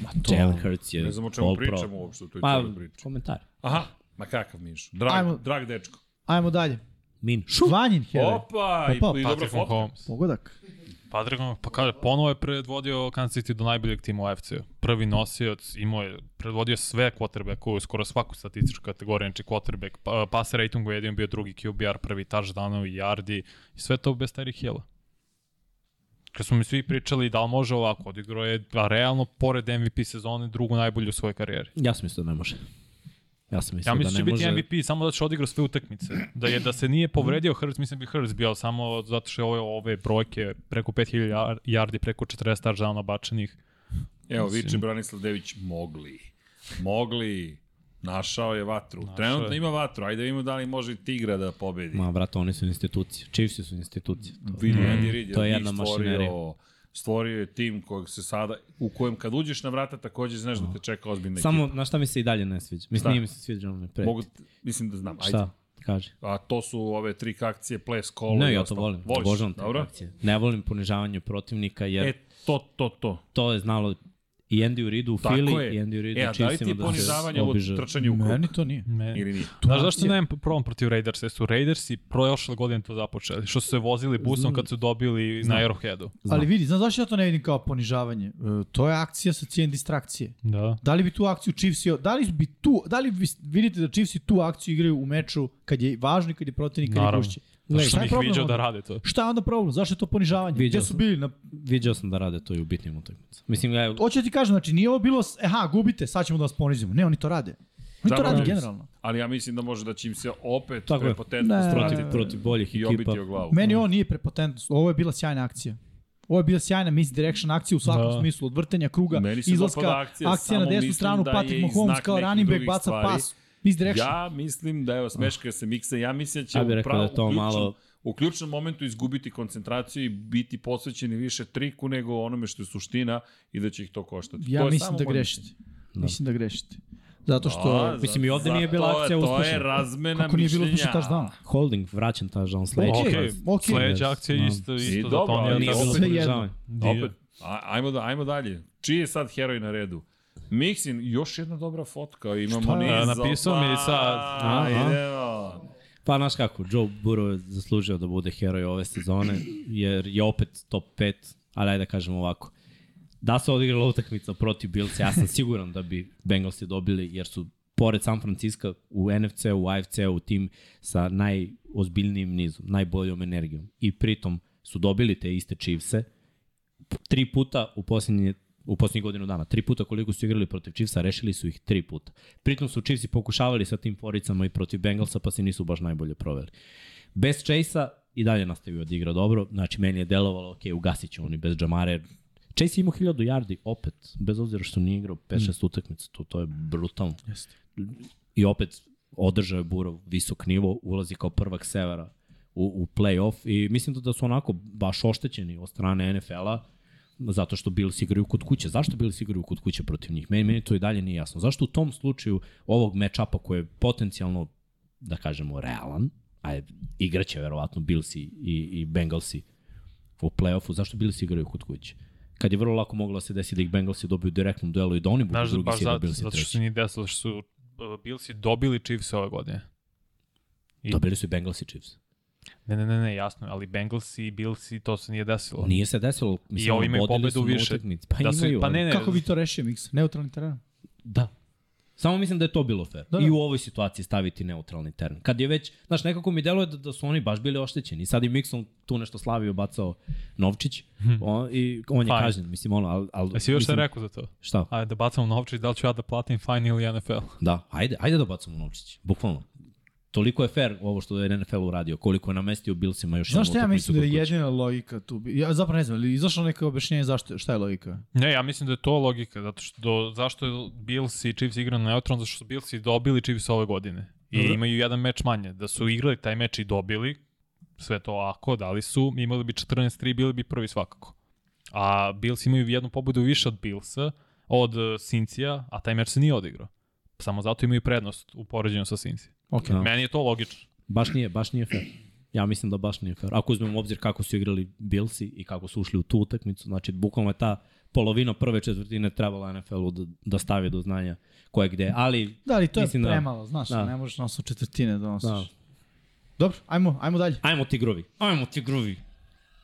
S5: Ma to, Jalen Hurts je
S1: Ne znam o čemu
S5: all pro.
S1: pričamo uopšte u toj
S5: Pa,
S1: cijeloj priči.
S5: komentar.
S1: Aha, ma kakav Miš. Drag,
S3: Ajmo.
S1: drag dečko.
S3: Ajmo dalje.
S5: Min.
S3: Vanjin heroj.
S1: Opa, i,
S3: Opa,
S1: i dobra
S4: Patrick
S1: fotka.
S4: Mahomes.
S3: Pogodak.
S4: Patrick Mahomes, pa kaže, ponovo je predvodio Kansas City do najboljeg tima u AFC-u. Prvi nosioc, imao je, predvodio sve quarterbacku, skoro svaku statističku kategoriju, znači quarterback, pa, pass ratingu je jedin bio drugi QBR, prvi touchdownovi, yardi, i sve to bez Terry Hilla. Kad smo mi svi pričali da li može ovako, odigrao je a realno, pored MVP sezone, drugu najbolju u svojoj karijeri.
S5: Ja sam mislio da ne može. Ja sam mislio
S4: Ja
S5: da
S4: mislim da
S5: ne
S4: će biti
S5: može.
S4: MVP samo da će odigrao sve utakmice. Da je da se nije povredio Hurts, mislim da bi Hurts bio samo zato što je ove, ove brojke preko 5000 jar- yardi, preko 40 touchdowna bačenih.
S1: Evo, viče Branislav Dević, mogli. Mogli. Našao je vatru. Našao Trenutno
S4: je.
S1: ima vatru. Ajde vidimo da li može i Tigra da pobedi.
S5: Ma, vrata, oni su institucije. Chiefs su institucije. To.
S1: Vidi, Andy Reid je,
S5: To je
S1: njih
S5: jedna mašinerija.
S1: stvorio, stvorio je tim kojeg se sada, u kojem kad uđeš na vrata takođe znaš da te čeka ozbiljna
S5: Samo,
S1: ekipa.
S5: na šta mi se i dalje ne sviđa? Mislim,
S1: Šta?
S5: nije mi se sviđa ono pre.
S1: Da. Mogu, mislim da znam. Ajde.
S5: Šta? Kaže.
S1: A to su ove tri akcije, ples, kolo
S5: Ne,
S1: i
S5: ja to
S1: ostalo.
S5: volim.
S1: Voliš,
S5: Obožavam te
S1: dobro?
S5: akcije. Ne volim ponižavanje protivnika jer
S1: E, to, to, to.
S5: to je znalo I Andy Reid u
S1: Tako
S5: Philly,
S1: je.
S5: i Andy Reid
S1: E, a
S5: u
S1: da li ti
S5: Chiefsima
S1: je ponižavanje ovo trčanje u krug?
S3: Meni to nije.
S4: Ne.
S1: Ili nije?
S4: Znaš zašto nemam problem protiv Raidersa? Jer su Raidersi prošle godine to započeli. Što su se vozili busom kad su dobili na Arrowheadu.
S5: Znam.
S3: Ali vidi, znaš zašto ja to ne vidim kao ponižavanje? E, to je akcija sa cijen distrakcije.
S4: Da.
S3: Da li bi tu akciju Chiefsi, da li bi tu, da li vi- vidite da Chiefsi tu akciju igraju u meču kad je važno i kad je protivnik, kad je
S4: Naravno.
S3: gušće?
S4: Znaš
S3: šta
S4: što
S3: je
S4: bih
S3: problem
S4: viđao
S3: onda?
S4: da rade to.
S3: Šta je onda problem? Zašto je to ponižavanje?
S5: Viđao
S3: Gde su
S5: sam.
S3: bili? Na...
S5: Viđao sam da rade to i u bitnim utakmicama. Mislim, ja,
S3: Hoću da ti kažem, znači nije ovo bilo, s- e, aha, gubite, sad ćemo da vas ponizimo. Ne, oni to rade. Oni to
S1: Zapravo
S3: rade
S1: ne.
S3: generalno.
S1: Ali ja mislim da može da će im se opet
S5: Tako je.
S1: prepotentno
S3: Ne.
S1: stratiti
S5: protiv, protiv boljih
S1: i
S5: ekipa.
S1: obiti o glavu.
S3: Meni ovo nije prepotentnost, ovo je bila sjajna akcija. Ovo je bila sjajna misdirection akcija u svakom
S4: Da.
S3: smislu, odvrtanja kruga,
S1: Meni se dopada
S3: izlaska,
S1: akcija,
S3: akcija,
S1: samo
S3: na
S1: mislim
S3: desnu stranu,
S1: da je
S3: Patrick
S1: i
S3: Mahomes
S1: znak
S3: kao
S1: nekih
S3: running back
S1: drugih
S3: baca
S1: stvari.
S3: pas, misdirection.
S1: Mm. Ja mislim da je smeška se miksa, ja mislim da će
S5: Ja bih
S1: u,
S5: rekao
S1: pravu,
S5: da je to
S1: u, ključnom,
S5: malo-
S1: u ključnom momentu izgubiti koncentraciju i biti posvećeni više triku nego onome što je suština i da će ih to koštati.
S3: Ja
S1: to je
S3: mislim
S1: samo
S3: da
S1: moje
S3: grešite.
S1: mišljenje.
S5: Da.
S3: Mislim da grešite. Zato
S1: A,
S3: što...
S5: mislim, i ovde
S1: zato
S5: nije bila
S1: je-
S5: akcija
S1: To je
S5: uspešna.
S1: razmena
S3: Kako nije bilo da.
S1: mišljenja.
S3: slušaj taš dan?
S5: Holding, vraćam ta žal sledeći.
S3: Okej,
S4: Okej,
S3: okej.
S4: sledeća akcija je
S5: Da.
S4: isto, isto da
S1: dobro,
S4: to nije
S1: ali
S5: Nije
S1: opet-
S5: bilo
S3: sve jedno.
S5: ponižavanje.
S1: Opet, a- ajmo, da, ajmo dalje. Čiji je sad heroj na redu? Mixin, još jedna dobra fotka, imamo
S3: Šta?
S1: niz.
S4: E, napisao mi je sad.
S1: Opa,
S5: Aha.
S1: idemo.
S5: Pa znaš kako, Joe Burrow je zaslužio da bude heroj ove sezone, jer je opet top 5, ali ajde da kažem ovako. Da se odigrala utakmica protiv Bills, ja sam siguran da bi Bengalsi dobili, jer su pored San Francisco u NFC, u AFC, u tim sa najozbiljnijim nizom, najboljom energijom. I pritom su dobili te iste Chiefse, tri puta u posljednje u posljednjih godinu dana. Tri puta koliko su igrali protiv Chiefsa, rešili su ih tri puta. Pritom su Chiefsi pokušavali sa tim foricama i protiv Bengalsa, pa se nisu baš najbolje proveli. Bez Chase-a i dalje nastavio da igra dobro. Znači, meni je delovalo, ok, ugasit će oni bez Jamare. Chase je imao 1000 yardi, opet, bez obzira što nije igrao 5-6 utakmica, to, to je brutalno.
S3: Jeste.
S5: I opet, održao je Burov visok nivo, ulazi kao prvak severa u, u play-off i mislim da, da su onako baš oštećeni od strane NFL-a zato što Bills igraju kod kuće. Zašto Bills igraju kod kuće protiv njih? Meni, meni to i dalje nije jasno. Zašto u tom slučaju ovog match-upa koji je potencijalno, da kažemo, realan, a je- igraće verovatno Bills i, i, i Bengalsi u play-offu, zašto Bills igraju kod kuće? Kad je vrlo lako moglo da se desi da ih Bengalsi dobiju u direktnom duelu i da oni budu
S4: Znaš,
S5: drugi
S4: baš
S5: sida,
S4: zato,
S5: Bills i
S4: zato što
S5: treći.
S4: se nije desilo, što su uh, Billsi dobili Chiefs ove godine. i-
S5: Dobili su i Bengalsi Chiefs.
S4: Ne, ne, ne, ne, jasno, ali Bengalsi i Billsi to se nije desilo.
S5: Nije se desilo. Mislim,
S4: I ovi imaju
S5: vodili
S4: pobedu
S5: su na
S4: više.
S5: utakmici. Pa,
S4: Da su,
S5: imaju,
S4: pa ne,
S5: ali-
S4: ne,
S3: Kako bi to rešio, Miks? Neutralni teren?
S5: Da. Samo mislim da je to bilo fair.
S3: Da,
S5: Da,
S3: da.
S5: I u ovoj situaciji staviti neutralni teren. Kad je već, znaš, nekako mi deluje da, da su oni baš bili oštećeni. Sad i Mixon tu nešto slavio, bacao Novčić. On, I on je
S4: Hm. Fajn.
S5: kažnjen, mislim, ono, ali... ali
S4: Jesi još
S5: mislim,
S4: šta rekao za to?
S5: Šta?
S4: Ajde, da bacamo novčić, da li ću ja da platim fine ili NFL?
S5: Da, ajde, ajde da bacamo Novčić. Bukvalno. Toliko je fair ovo što je NFL uradio, koliko je namestio Bilsima još
S3: Znaš šta ja
S5: utakmicu
S3: mislim da
S5: kod
S3: je
S5: kuće.
S3: jedina logika tu? bi- Ja zapravo ne znam, ali izašlo neko objašnjenje zašto, šta je logika?
S4: Ne, ja mislim da je to logika, zato što do, zašto je Bills i Chiefs igrali na neutralno, zato što su Bills i dobili Chiefs ove godine. I
S3: Dobro.
S4: imaju jedan meč manje. Da su igrali taj meč i dobili, sve to ako, da li su, imali bi 14-3, bili bi prvi svakako. A Bills imaju jednu pobedu više od Billsa, od eh, Cincija, a taj meč se nije odigrao. Samo zato imaju prednost u poređenju sa Cincy.
S3: Ok.
S5: Da.
S4: Meni je to logično.
S5: Baš nije, baš nije fair. Ja mislim da baš nije fair. Ako uzmemo u obzir kako su igrali Billsi i kako su ušli u tu utakmicu, znači bukvalno je ta polovina prve četvrtine trebala NFL-u da, da stavi do znanja ko je gde, ali
S3: Da, ali to je
S5: Mislim da-
S3: premalo, znaš,
S5: da.
S3: ne možeš nas u četvrtine da nosiš.
S5: Da.
S3: Dobro, ajmo, ajmo dalje.
S5: ajmo ti gruvi. Ajmo ti gruvi.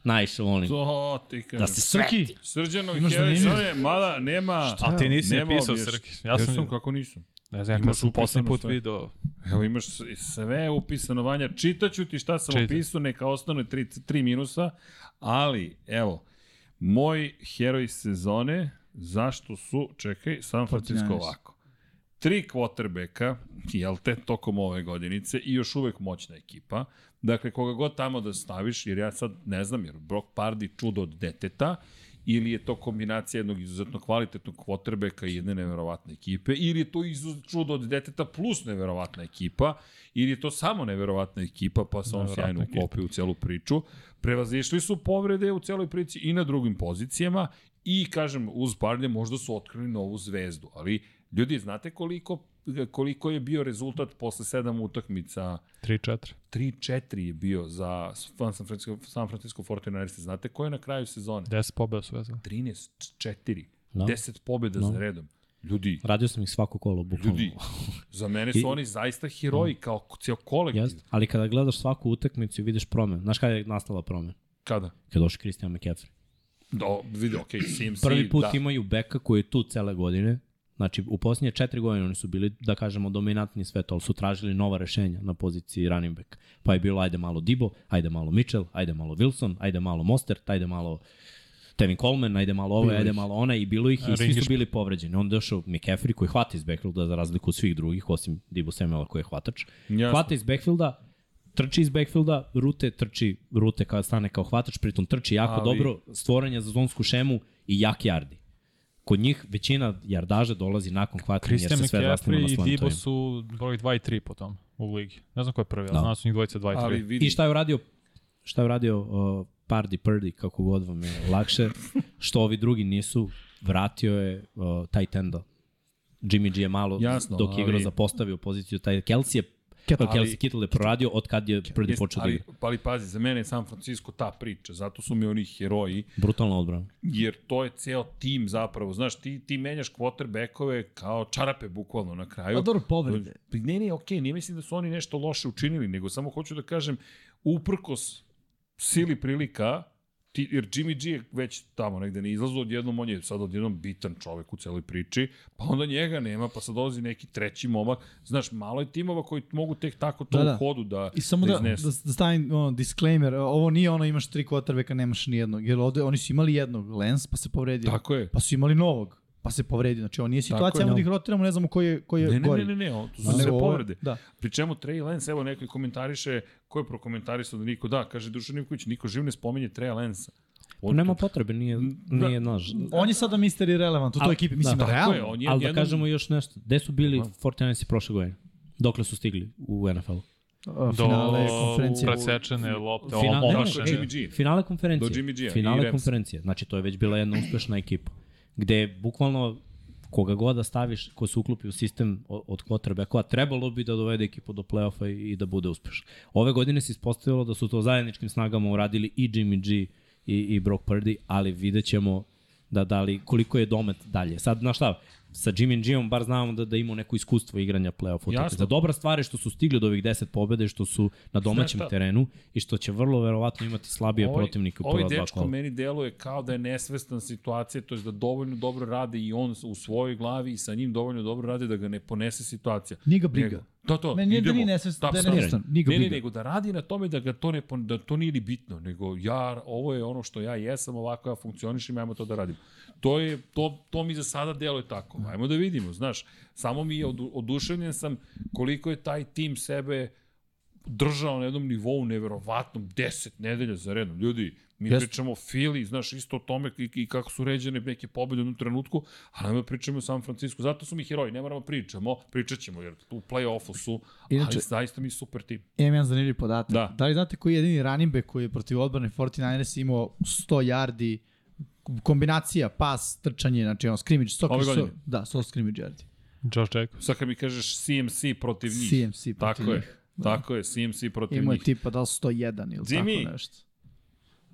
S5: Najviše volim.
S1: To ti kažem.
S5: Da se sveti.
S1: Srđanov
S3: Imaš
S1: heroj,
S3: zanimljiv-
S1: sada je, mada nema...
S4: A ti nisi
S1: nema
S4: napisao,
S1: objašnjenja.
S4: Srki. Ja sam,
S1: Jesam, kako nisam.
S4: ne znam,
S1: Imaš
S4: kad sam
S1: upisano
S4: poslednji put
S1: sve.
S3: da.
S4: video
S1: Evo imaš s- sve upisano vanja, čitaću ti šta sam
S4: Čitaj.
S1: upisao, neka ostane tri, tri minusa, ali evo, moj heroj sezone, zašto su, čekaj, San Francisco
S3: 49ers.
S1: ovako. Tri quarterbacka, jel te, tokom ove godinice i još uvek moćna ekipa. Dakle, koga god tamo da staviš, jer ja sad ne znam, jer Brock Pardy čudo od deteta, ili je to kombinacija jednog izuzetno kvalitetnog quarterbacka i jedne neverovatne ekipe, ili je to izuz, čudo od deteta plus neverovatna ekipa, ili je to samo neverovatna ekipa, pa se on sjajno
S4: Neverovatna
S1: uklopio u celu priču. Prevazišli su povrede u celoj priči i na drugim pozicijama i, kažem, uz Parlje možda su otkrili novu zvezdu, ali ljudi, znate koliko koliko je bio rezultat posle sedam utakmica
S4: 3-4.
S1: 3-4 je bio za San Francisco, San Francisco 49ers. Znate ko je na kraju sezone?
S4: 10 pobeda su vezali.
S1: 13-4.
S5: Da.
S1: 10 pobjeda za redom. Ljudi,
S5: Radio sam ih svako kolo, bukvalno.
S1: ljudi, za mene su
S5: I- Mm.
S1: oni zaista heroji kao ceo kolektiv.
S5: Jeste. Ali kada gledaš svaku utakmicu i vidiš promen, znaš kada je nastala promen?
S1: Kada?
S5: Kada došao Christian McCaffrey.
S1: Do, vidi, okej, CMC,
S5: Prvi put
S1: da.
S5: da. imaju beka koji je tu cele godine. Znači, u posljednje četiri godine oni su bili, da kažemo, dominantni sve to, ali su tražili nova rešenja na poziciji running back. Pa je bilo, ajde malo Dibo, ajde malo Mitchell, ajde malo Wilson, ajde malo Mostert, ajde malo Tevin Coleman, ajde malo ovo, ajde malo ona i bilo ih i svi su
S4: Ringiš-
S5: bili povređeni. Onda je došao McCaffrey koji hvata iz backfielda za razliku od svih drugih, osim Dibo Samuela koji je hvatač.
S1: Jasno.
S5: Hvata iz backfielda, trči iz backfielda, rute, trči rute kada stane kao hvatač, pritom trči jako
S1: Ali-
S5: dobro, stvoranja za zonsku šemu i jak jardi. Kod njih većina jardaža dolazi nakon hvatanja jer
S4: Christian
S5: se sve zasniva na
S4: McCaffrey i Dibo
S5: slantovima.
S4: su broj 2 i 3 po tom u ligi. Ne znam ko je prvi, ali
S5: Da.
S4: znam da su njih dvojica 2 i 3.
S1: Ali vidi,
S5: I šta je uradio, šta je uradio uh, Pardi Prdi, kako god vam je lakše, što ovi drugi nisu, vratio je uh, taj tenda. Jimmy G je malo,
S1: Jasno,
S5: dok je igrao
S1: ali-
S5: ali... zapostavio poziciju, taj Kelsey je
S3: Kittle.
S5: Kelsey ali... Kittle je proradio od kad je Prdi
S1: Jeste,
S5: počeo da
S1: ali,
S5: igra.
S1: pa ali pazi, za mene je San Francisco ta priča, zato su mi oni heroji,
S5: Brutalna odbrana.
S1: jer to je ceo tim zapravo, znaš, ti, ti menjaš quarterbackove kao čarape bukvalno na kraju. Pa
S3: A Pa dobro, povrede.
S1: Ne, ne, okej, ne mislim da su oni nešto loše učinili, nego samo hoću da kažem, uprkos sili prilika, ti, jer Jimmy G je već tamo negde ne izlazu, odjednom on je sad odjednom bitan čovek u celoj priči, pa onda njega nema, pa sad dolazi neki treći momak, znaš, malo je timova koji mogu tek tako to
S3: Da,
S1: da,
S3: da.
S1: u hodu da,
S3: I samo da, da,
S1: iznesu.
S3: da stavim ono, disclaimer, ovo nije ono imaš tri quarterbacka, nemaš ni jednog, jer ovde oni su imali jednog, Lens pa se povredio,
S1: Tako je.
S3: pa su imali novog, pa se povredio. Znači ovo nije
S1: Tako
S3: situacija,
S1: je,
S3: ajmo da
S1: da.
S3: ih rotiramo, ne znamo koji je, koji je
S1: Ne, ne,
S3: gori.
S1: ne, ne, ne, o, to su
S3: A
S1: sve
S3: nego ovo-
S1: povrede.
S3: Da.
S1: Pri čemu Trey Lance, evo neko komentariše, ko je prokomentarisao da niko da, kaže Dušan Ivković, niko živ ne spominje Trey Lance-a.
S5: Pa
S1: On-
S5: nema potrebe, nije, nije
S1: da.
S5: naš.
S3: On je sada Mr. Irrelevant u
S5: A,
S3: toj ekipi, mislim,
S5: da.
S3: da,
S5: Tako
S1: Ko je,
S3: realno.
S1: on je
S5: Ali da
S1: jednom-
S5: kažemo još nešto. Gde su bili 49-si prošle godine? Dokle su stigli u NFL-u?
S3: A, finale, konferencije.
S4: presečene lopte,
S5: Final-
S4: Final,
S5: ne,
S1: Došao je
S4: omašene.
S1: Jimmy G.
S5: Finale konferencije.
S1: Do Jimmy G-a i
S5: Finale
S1: Ramsa.
S5: konferencije. Znači, to je već bila jedna uspešna ekipa. Gde je bukvalno koga god da staviš, ko se uklopi u sistem o- od quarterbackova, trebalo bi da dovede ekipu do play-offa i, i da bude uspešna. Ove godine se ispostavilo da su to zajedničkim snagama uradili i Jimmy G i, i Brock Purdy, ali vidjet ćemo da, da li, koliko je domet dalje. Sad, znaš šta, sa Jimmy G-om bar znamo da, da ima neko iskustvo igranja play-offa.
S1: Jasno.
S5: utakmica. Dobra stvar je što su stigli do ovih 10 pobjede, i što su na domaćem
S1: šta?
S5: terenu i što će vrlo verovatno imati slabije
S1: Ovaj-
S5: protivnike u
S1: ovaj
S5: prva dva
S1: dečko
S5: kola.
S1: meni deluje kao da je nesvestan situacije, to je da dovoljno dobro radi i on u svojoj glavi i sa njim dovoljno dobro radi da ga ne ponese situacija.
S3: Nije ga briga.
S1: Nego- To, to,
S3: Meni nije da
S1: idemo.
S3: nije nesvestan,
S1: Tap,
S3: da je
S1: tap.
S3: nesvestan, nije ga
S1: Ne, ne,
S3: briga.
S1: nego da radi na tome da ga to ne pon- da to nije ni bitno, nego ja ovo je ono što ja jesam, ovako ja funkcionišem, ajmo to da radim. To je to to mi za sada deluje tako. Ajmo da vidimo, znaš. Samo mi je odu, oduševljen sam koliko je taj tim sebe držao na jednom nivou neverovatnom 10 nedelja za redom. Ljudi, mi
S5: Jeste.
S1: Jeste. pričamo o Fili, znaš, isto o tome i, i kako su ređene neke pobede u jednom trenutku, a nama pričamo o San Francisco. Zato su mi heroji, ne moramo pričamo, pričat ćemo, jer u play-offu su, Inače,
S3: Inače-
S1: ali zaista mi super tim.
S3: Imam jedan zanimljiv podatak.
S1: Da.
S3: da li znate koji je jedini running back koji je protiv odbrane 49ers imao 100 yardi, kombinacija, pas, trčanje, znači on scrimmage, 100,
S1: Ove
S3: 100
S1: godine?
S3: da, 100 scrimmage yardi.
S4: Josh Jacobs.
S1: Sad kad mi kažeš CMC protiv njih.
S3: CMC protiv
S1: Tako
S3: njih.
S1: je. Tako je, CMC protiv
S3: Imao je
S1: njih.
S3: tipa da li 101 ili
S1: Jimmy!
S3: tako nešto.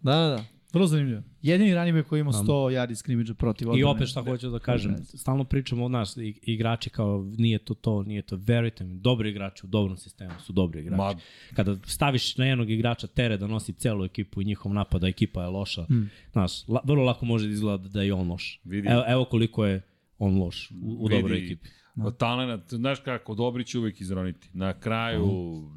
S3: Da, da, da. Vrlo zanimljivo. Jedini running back koji je imao 100 yardi scrimmage protiv odbrane.
S5: I opet šta hoću da kažem, stalno pričamo o nas, i- igrači kao nije to to, nije to, verujte mi, dobri igrači u dobrom sistemu su dobri igrači.
S1: Ma,
S5: Kada staviš na jednog igrača tere da nosi celu ekipu i njihov napad, a ekipa je loša, mm. znaš, la, vrlo lako može da izgleda da je on loš.
S1: Vidi.
S5: Evo, evo koliko je on loš u, u dobroj ekipi.
S1: No. Talenat, znaš kako, dobri će uvek izroniti. Na kraju,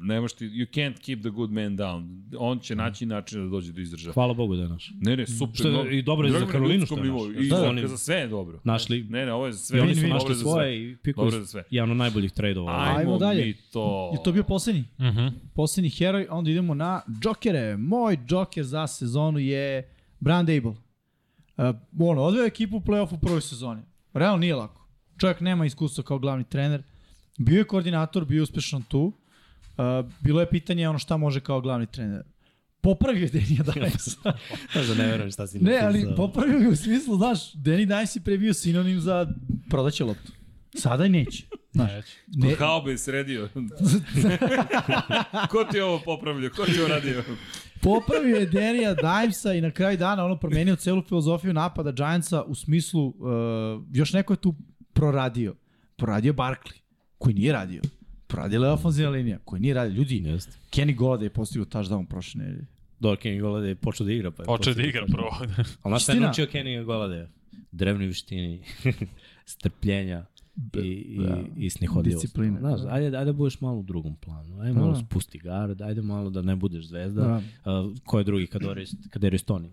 S1: ne možeš ti, you can't keep the good man down. On će naći način da dođe do izražaja.
S5: Hvala Bogu da je naš.
S1: Ne, ne, super.
S5: Što je
S1: no,
S5: i dobro je za
S1: drago mi na
S5: Karolinu
S1: ljudskom
S5: što je
S1: nivou.
S5: naš.
S1: I
S5: Da,
S1: za,
S5: oni-
S1: za sve je dobro.
S5: Našli,
S1: Ne, ne, ovo je za sve.
S5: I oni
S1: ovo
S5: su
S1: je
S5: našli
S1: za sve.
S5: svoje i pikuju
S1: Dobro za sve.
S5: jedan od najboljih trejdova.
S1: Ajmo,
S3: Ajmo dalje.
S1: dalje. mi to.
S3: Je
S1: <laughs>
S3: to bio poslednji?
S4: Mhm.
S3: Poslednji heroj, a onda idemo na džokere. Moj džoker za sezonu je Brand Able. Uh, ono, odveo je ekipu u play-off u prvoj sezoni. Realno nije lako. Čovjek nema iskustva kao glavni trener. Bio je koordinator, bio je uspešan tu. Uh, bilo je pitanje ono šta može kao glavni trener. Popravio je Denija Dajsa.
S5: Možda ne verujem šta si
S3: ne, ali popravio ga u smislu, znaš, Deni Dajs je pre bio sinonim za prodaće loptu. Sada i neće. Znaš, ne,
S1: <laughs> Kao bi sredio. Ko ti je ovo popravljao? Ko ti je ovo radio?
S3: Popravio je Derija Divesa i na kraju dana ono promenio celu filozofiju napada Giantsa u smislu, uh, još neko je tu proradio. Proradio Barkley, koji nije radio. Proradila je ofenzivna linija, koji nije radio. Ljudi,
S5: Jeste.
S3: Kenny Golade je postigao touchdown prošle nedelje.
S5: Dobro, Kenny Golade je počeo da igra. Pa je
S4: Počeo da
S5: postigao
S4: igra
S5: tačno.
S4: prvo. <laughs>
S5: Ali znaš šta je
S3: Istina.
S5: naučio Kenny Golade? Drevni vištini, <laughs> strpljenja i, i,
S3: da.
S5: i snihodljivost.
S3: Discipline.
S5: Znaš, ajde, ajde da budeš malo u drugom planu. Ajde malo
S3: Da.
S5: spusti gard, ajde malo da ne budeš zvezda.
S3: Da.
S5: A, ko je drugi kad Kadarius kad Toni?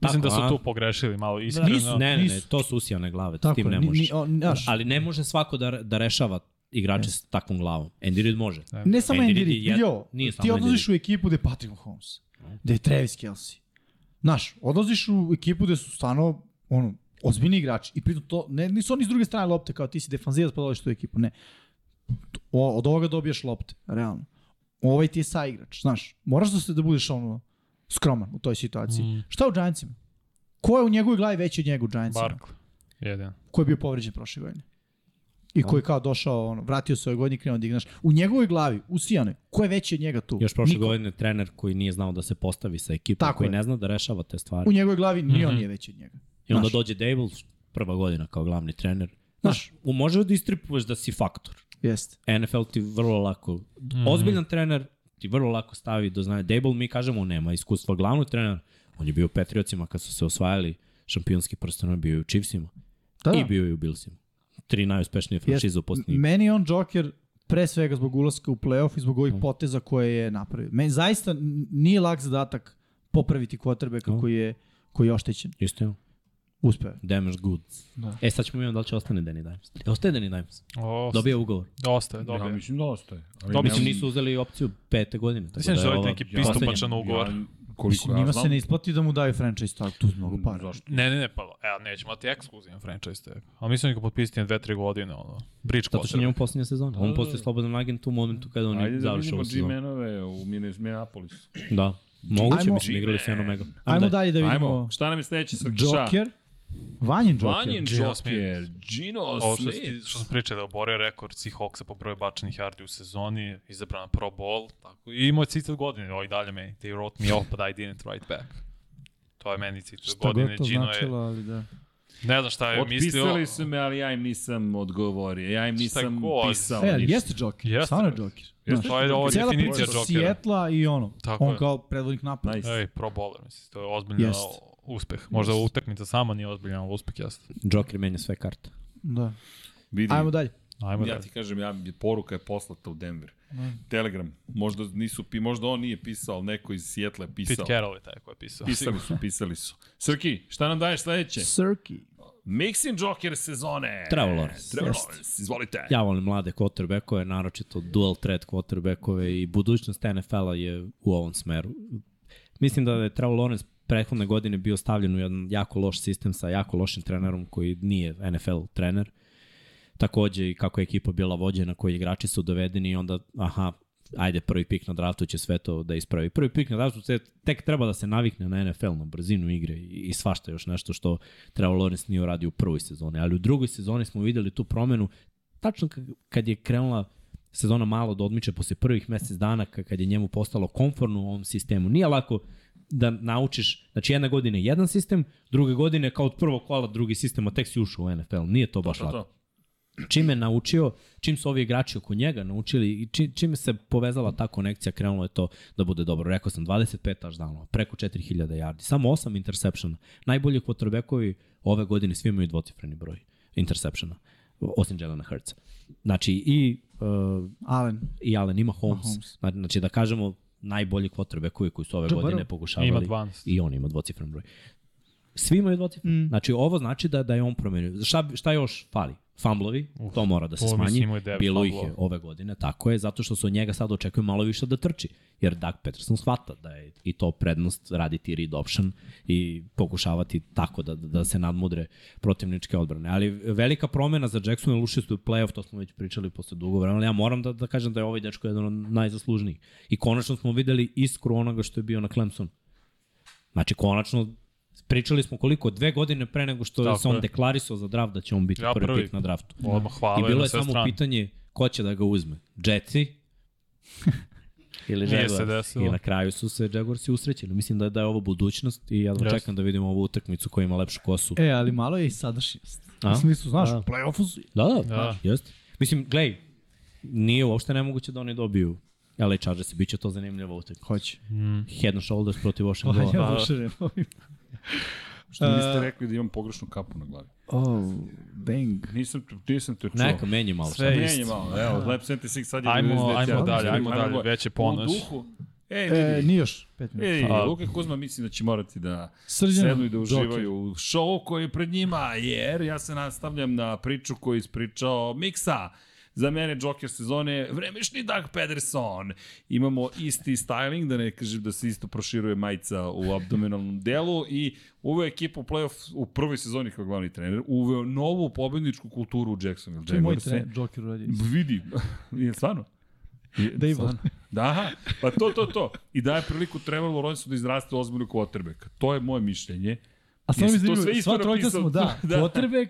S4: Mislim da su
S5: a?
S4: tu pogrešili malo iskreno.
S5: Nisu, ne, ne, ne,
S3: nisu.
S5: to su usijane glave,
S3: Tako
S5: s tim
S3: je,
S5: ne
S3: ni-
S5: možeš.
S3: ni- on- znaš.
S5: ali ne može svako da, da rešava igrače s takvom glavom. Andy Reid može.
S3: Ne samo
S5: Andy
S3: Andy
S5: Reid
S3: Reid,
S5: je-
S3: jo,
S5: nije
S3: ti
S5: samo Andy
S3: odlaziš u ekipu gde je Patrick Mahomes, gde je Travis Kelsey. Znaš, odlaziš u ekipu gde su stano, ono, ozbiljni igrači i pritom to, ne, nisu oni s druge strane lopte, kao ti si defanzivac pa dolaziš u tu ekipu, ne. O, od ovoga dobijaš lopte, realno. Ovaj ti je saigrač, znaš, moraš da se da budeš ono, skroman u toj situaciji. Mm. Šta u Giantsima? Ko je u njegovoj glavi veći od njega u Giantsima?
S4: Barkle. Jedan.
S3: ko je bio povređen prošle godine. I koji je
S5: Da.
S3: kao došao, ono, vratio se ove godine i krenuo da ignaš. U njegovoj glavi, u Sijane, ko je veći od njega tu?
S5: Još prošle
S3: Niko.
S5: godine trener koji nije znao da se postavi sa ekipom,
S3: Tako
S5: koji
S3: je.
S5: ne zna da rešava te stvari.
S3: U njegovoj glavi ni on
S4: Mhm.
S3: nije veći od njega.
S5: I onda
S3: Znaš.
S5: dođe Dable, prva godina kao glavni trener.
S3: Znaš.
S5: Znaš, u- može da istripuješ da si faktor.
S3: Jeste.
S5: NFL ti vrlo lako,
S3: Mhm.
S5: ozbiljan trener ti vrlo lako stavi do znanja. Dable mi kažemo nema iskustva glavnog trenera. On je bio u Patriotsima kad su se osvajali šampionski prstenoj, bio je u Chiefsima
S3: Da, da.
S5: i bio je u Billsima. Tri najuspešnije franšize u posljednjih.
S3: Meni je on Joker pre svega zbog ulaska u playoff i zbog
S5: Mhm.
S3: ovih poteza koje je napravio. Meni zaista n- nije lak zadatak popraviti kvotrbe
S5: No.
S3: kako je koji je oštećen.
S5: Isto je.
S3: Uspeo je.
S5: Damage goods.
S3: Da.
S5: E sad ćemo vidjeti da li će ostane Danny Dimes. E, ostaje Danny Dimes.
S4: O,
S5: Dobio ugovor.
S4: Dosta je,
S1: Ja
S4: dobio.
S1: mislim da ostaje. Ali
S4: Dobit
S5: Pa Mislim
S1: ne-
S5: nisu uzeli opciju pete godine. Tako
S4: Mislim da
S5: da
S4: će
S5: je
S4: dobiti
S5: ova
S4: neki
S1: ja-
S4: pristupačan ugovor.
S1: Ja, koliko
S3: Mislim,
S1: ja
S3: njima
S1: znam,
S3: se ne isplati da mu daju franchise tag, tu su mnogo para.
S1: Zašto?
S4: Ne, ne, ne, pa evo, nećemo imati ekskluzivan franchise tag. Ali mislim da ga potpisati na 2-3 godine, ono. Bridge
S5: Zato što
S4: quarterback.
S5: njemu posljednja sezona. On
S1: da,
S5: postaje
S1: da.
S5: slobodan agent u momentu kada oni
S1: Ajde da
S5: završe
S1: vidimo
S5: ovu sezonu.
S1: G-menove u Minneapolis.
S5: Da. Moguće,
S3: Ajmo-
S5: mislim, igrali su jedno mega.
S3: Ajmo dalje da vidimo
S1: Ajmo, šta nam je sledeći sa
S3: Joker. Vanjin Joker.
S1: Vanjen
S4: Gino
S1: Joker, Gino
S4: Ovo što,
S1: Smith.
S4: što sam pričao da je oborio rekord svih Hawksa po broju bačenih yardi u sezoni, izabran na Pro Bowl, tako. I imao je citat godine, oj dalje me, they wrote me off, but I didn't write back. To je meni citat
S3: Šta
S4: godine,
S3: god to
S4: Gino
S3: značilo, ali da.
S4: je, ne znam šta je mislio.
S1: Otpisali su me, ali ja im nisam odgovorio. Ja im
S4: Šta
S1: nisam
S4: god.
S1: pisao.
S3: E,
S1: ništa.
S3: jeste Joker,
S4: Jeste.
S3: jeste. stvarno je Joker.
S4: Jeste, to je ovo
S3: Cela
S4: definicija
S3: priča
S4: Jokera.
S3: Sijetla i ono,
S4: Tako
S3: on
S4: je.
S3: kao predvodnik napada.
S1: Nice.
S4: Ej, Pro Bowler, mislim, to je ozbiljno
S3: Jest.
S4: uspeh. Možda utakmica sama nije ozbiljna, ali uspeh jeste.
S5: Joker menja sve karte.
S3: Da.
S1: Vidi,
S3: Ajmo dalje.
S4: Ajmo
S1: ja
S4: da.
S1: ti kažem, ja, poruka je poslata u Denver.
S3: Mm.
S1: Telegram, možda, nisu, pi- možda on nije pisao, ali neko iz Sijetla je
S4: Pete
S1: pisao.
S4: Carroll je taj koji je pisao.
S1: Pisali su, pisali su. Srki, šta nam daješ sledeće?
S3: Srki.
S1: Mixing Joker sezone.
S5: Trevor Lawrence.
S1: Trevor
S5: Jeste.
S1: Lawrence, izvolite.
S5: Ja volim mlade quarterbackove, naročito dual threat quarterbackove i budućnost NFL-a je u ovom smeru. Mislim da je Trevor Lawrence prethodne godine bio stavljen u jedan jako loš sistem sa jako lošim trenerom koji nije NFL trener. Takođe i kako je ekipa bila vođena, koji igrači su dovedeni i onda, aha, ajde, prvi pik na draftu će sve to da ispravi. Prvi pik na draftu se tek treba da se navikne na NFL, na brzinu igre i, i svašta još nešto što Trevor Lawrence nije uradio u prvoj sezoni. Ali u drugoj sezoni smo videli tu promenu, tačno k- kad je krenula sezona malo da odmiče posle prvih mesec dana ka- kad je njemu postalo konforno u ovom sistemu. Nije lako da naučiš, znači jedna godina je jedan sistem, druge godine kao od prvog kola drugi sistem, a tek si ušao u NFL. Nije to baš
S1: To, to,
S5: lako
S1: to.
S5: čime je naučio, čim su ovi igrači oko njega naučili i či, čime se povezala ta konekcija, krenulo je to da bude dobro. Rekao sam 25 touchdownova, preko 4000 yardi, samo 8 intersepšena. Najbolji quarterbackovi ove godine svi imaju dvocifreni broj intersepšena, osim Jelena Hurtsa. Znači i uh,
S3: Alen.
S5: i Allen ima Holmes.
S3: Holmes.
S5: Holmes. Znači da kažemo najbolji quarterbackovi koji su ove
S3: Joe
S5: godine
S3: Burrow.
S5: pokušavali.
S4: Ima 12.
S5: I on ima dvocifren broj. Svi imaju dvocifren. Mm. Znači ovo znači da da je on promenio. Šta, šta još fali? Fumblovi, Uf, to mora da se
S4: ovo mislim
S5: smanji.
S4: imao je devet
S5: Bilo ih je
S4: fumblova.
S5: ove godine, tako je, zato što se od njega sad očekuje malo više da trči. Jer Doug Peterson shvata da je i to prednost raditi read option i pokušavati tako da, da se nadmudre protivničke odbrane. Ali velika promena za Jackson je ušli su u playoff, to smo već pričali posle dugo vremena, ali ja moram da, da kažem da je ovaj dečko jedan od najzaslužnijih. I konačno smo videli iskru onoga što je bio na Clemsonu. Znači, konačno, pričali smo koliko, dve godine pre nego što
S4: Tako
S5: se on
S4: je.
S5: deklarisao za draft da će on biti
S4: Ja
S5: ja, prvi,
S4: prvi.
S5: prvi pik na draftu.
S4: Odmah hvala
S5: I bilo
S4: na
S5: je
S4: sve
S5: samo
S4: strane. <laughs>
S5: pitanje ko će da ga uzme. Jetsi Ili
S4: Nije se
S5: Jaguars.
S4: desilo.
S5: I na kraju su se Jaguarsi usrećili. Mislim da, da je ovo budućnost i ja yes.
S4: Jeste.
S5: čekam da vidim ovu utakmicu koja ima lepšu kosu.
S3: E, ali malo je i sadašnjost.
S5: A?
S3: U smislu, znaš,
S5: Da.
S3: u play-offu su...
S5: Da, da, da.
S4: Da.
S5: jeste. Mislim, glej, nije uopšte nemoguće da oni dobiju LA Chargers, bit će to zanimljivo utakmica.
S3: Hoće.
S4: Hm.
S5: Head and shoulders
S4: <laughs>
S5: protiv Ocean
S3: Pa,
S1: Da.
S5: Goa.
S3: ja dušerim ovim.
S1: Što mi
S3: E-
S1: niste rekli da imam pogrešnu kapu na glavi?
S3: Oh, bang.
S1: Nisam, nisam te čuo.
S5: Neka, menji malo.
S4: Sve
S5: šta.
S4: je
S1: Menje
S4: isto.
S1: malo, evo, Lab 76 sad je
S4: Ajmo,
S1: 99,
S4: ajmo
S1: ja.
S4: dalje, ajmo dalje,
S1: gore.
S4: već je ponoć.
S1: U duhu, ej,
S3: E,
S1: vidi,
S3: nije još. Pet minuta.
S1: Ej,
S4: A-
S1: Luka i Kuzma mislim da će morati da
S3: Srđan,
S1: sednu i da
S3: Joker.
S1: uživaju u šovu koji je pred njima, jer ja se nastavljam na priču koju je ispričao Miksa. Za mene Joker sezone vremešni Doug Pederson. Imamo isti styling, da ne kažem da se isto proširuje majica u abdominalnom delu i uveo ekipu u playoff u prvoj sezoni kao glavni trener, uveo novu pobedničku kulturu u Jacksonville
S3: To je moj
S1: Jaguarsu.
S3: trener, Joker uradio.
S1: Vidi, je stvarno. Je,
S3: Da i
S1: stvarno. Da, aha, pa to, to, to. I daje priliku Trevor Lawrenceu da izraste u ozbiljnu quarterbacka. To je moje mišljenje.
S3: A stvarno mi
S1: Jesi to sve
S3: zanimljivo,
S1: isto
S3: sva trojka
S1: napisao?
S3: smo, da,
S1: <laughs> Da.
S3: quarterback,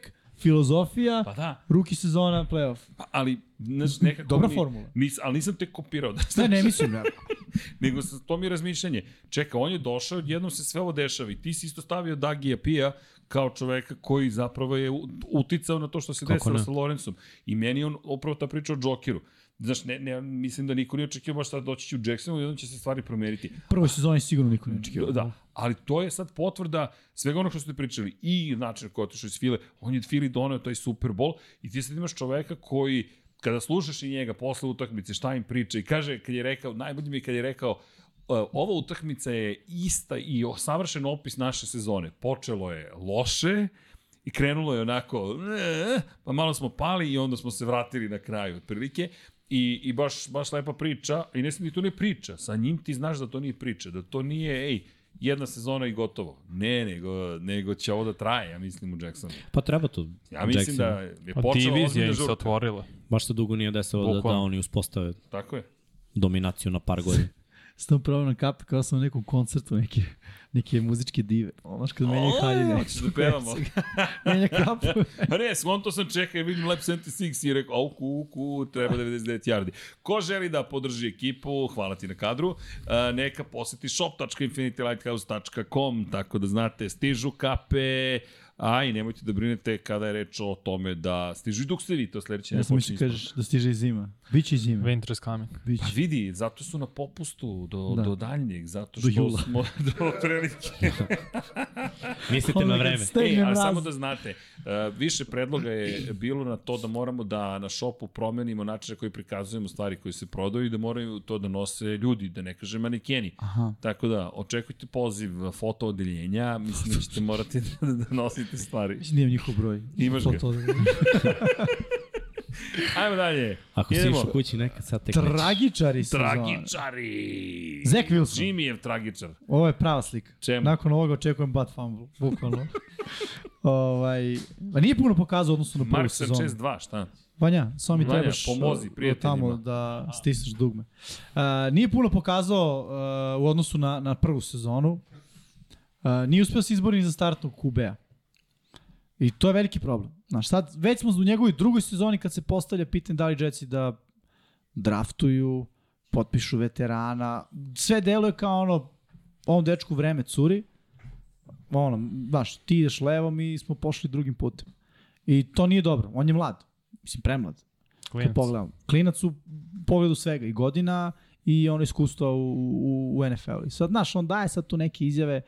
S3: filozofija,
S1: Pa da.
S3: ruki sezona, playoff.
S1: Ali, znaš, nekako...
S3: Dobra
S1: mi-
S3: formula.
S1: Nis, ali nisam te kopirao, <laughs> da,
S3: Ne, ne mislim, ja.
S1: nego sa to mi je razmišljanje. Čeka, on je došao, jednom se sve ovo dešava i ti si isto stavio Dagija Pija kao čoveka koji zapravo je u- uticao na to što se
S5: Kako
S1: desilo
S5: ne?
S1: sa Lorencom. I meni je on upravo ta priča o Džokiru. Znaš, ne, ne, mislim da niko nije očekio baš sad doći će u Jacksonu i onda će se stvari promeniti.
S3: <laughs> Prvoj sezoni sigurno niko ne očekivao.
S1: Da, ali to je sad potvrda svega onog što ste pričali i način koji je otišao iz File. On je od Fili doneo taj Super Bowl i ti sad imaš čoveka koji kada slušaš i njega posle utakmice šta im priča i kaže kad je rekao, najbolje mi je kad je rekao "E, ova utakmica je ista i o- savršen opis naše sezone. Počelo je loše, I krenulo je onako, "E, pa malo smo pali i onda smo se vratili na kraju otprilike. I, i baš, baš lepa priča, i ne smije to ne priča, sa njim ti znaš da to nije priča, da to nije, ej, jedna sezona i gotovo. Ne, nego, nego će ovo da traje, ja mislim u Jacksonu.
S5: Pa treba to.
S1: Ja mislim
S5: Jackson.
S1: da je
S4: A
S1: počela
S4: Pa divizija
S1: ozbiljna
S4: im se
S1: žurka.
S4: otvorila.
S5: Baš se dugo nije desilo da, da
S4: Bukvalno.
S5: oni uspostave
S1: Tako je.
S5: dominaciju na par godina.
S3: Sam pravo na kapi kao sam u nekom koncertu neke, neke muzičke dive. Ono što menja haljine.
S1: Hoćeš da
S4: <laughs>
S1: pevamo.
S3: menja kapu.
S1: Pa ne, skonto to sam čekao i vidim Lab 76 i rekao, au, ku, ku, treba 99 yardi. Ko želi da podrži ekipu, hvala ti na kadru, e, neka poseti shop.infinitylighthouse.com, tako da znate, stižu kape, a i nemojte da brinete kada je reč o tome da stižu i dok ste vi to sledeće
S3: Ja
S1: ne
S3: sam
S1: počinje
S3: mislio
S1: ispod.
S3: kažeš da stiže i zima. Biće i zima.
S4: Winter is coming.
S3: Biće.
S1: Pa vidi, zato su na popustu do,
S3: Da.
S1: da. do daljnjeg, zato
S3: Do
S1: što
S3: jula.
S1: smo <laughs> do prilike.
S5: Mislite na vreme.
S1: E,
S3: Stegne
S1: a
S3: mraz.
S1: samo da znate, uh, više predloga je bilo na to da moramo da na šopu promenimo način na koji prikazujemo stvari koje se prodaju i da moraju to da nose ljudi, da ne kažem manikeni.
S3: Aha.
S1: Tako da, očekujte poziv foto odeljenja, mislim da ćete morati <laughs> da, da nosite stvari.
S3: Mislim da imam njihov broj.
S1: Imaš ga.
S3: To, to, da-
S1: Ajmo dalje.
S5: Ako si
S1: Idemo.
S5: išao kući nekad, sad tek nećeš.
S3: Tragičari su.
S1: Tragičari!
S3: Zach Wilson.
S1: Jimmy je tragičar.
S3: Ovo je prava slika.
S1: Čemu?
S3: Nakon ovoga očekujem butt fumble, bukvalno. ovaj, pa nije puno pokazao u odnosu na prvu
S1: Mark
S3: sezonu.
S1: Sanchez 2, šta?
S3: Vanja, samo mi
S1: Vanja,
S3: trebaš
S1: pomozi
S3: uh,
S1: prijateljima.
S3: tamo da stisneš dugme. Uh, nije puno pokazao uh, u odnosu na, na prvu sezonu. Uh, nije uspeo se izbori ni za startnog QB-a. I to je veliki problem. Znaš, sad, već smo u njegovoj drugoj sezoni kad se postavlja pitanje da li Jetsi da draftuju, potpišu veterana, sve deluje kao ono, ovom dečku vreme curi, ono, baš, ti ideš levo, mi smo pošli drugim putem. I to nije dobro, on je mlad, mislim premlad, kad
S4: Klinac.
S3: pogledam. Klinac u pogledu svega i godina i ono iskustva u, u, u NFL-u. I sad, znaš, on daje sad tu neke izjave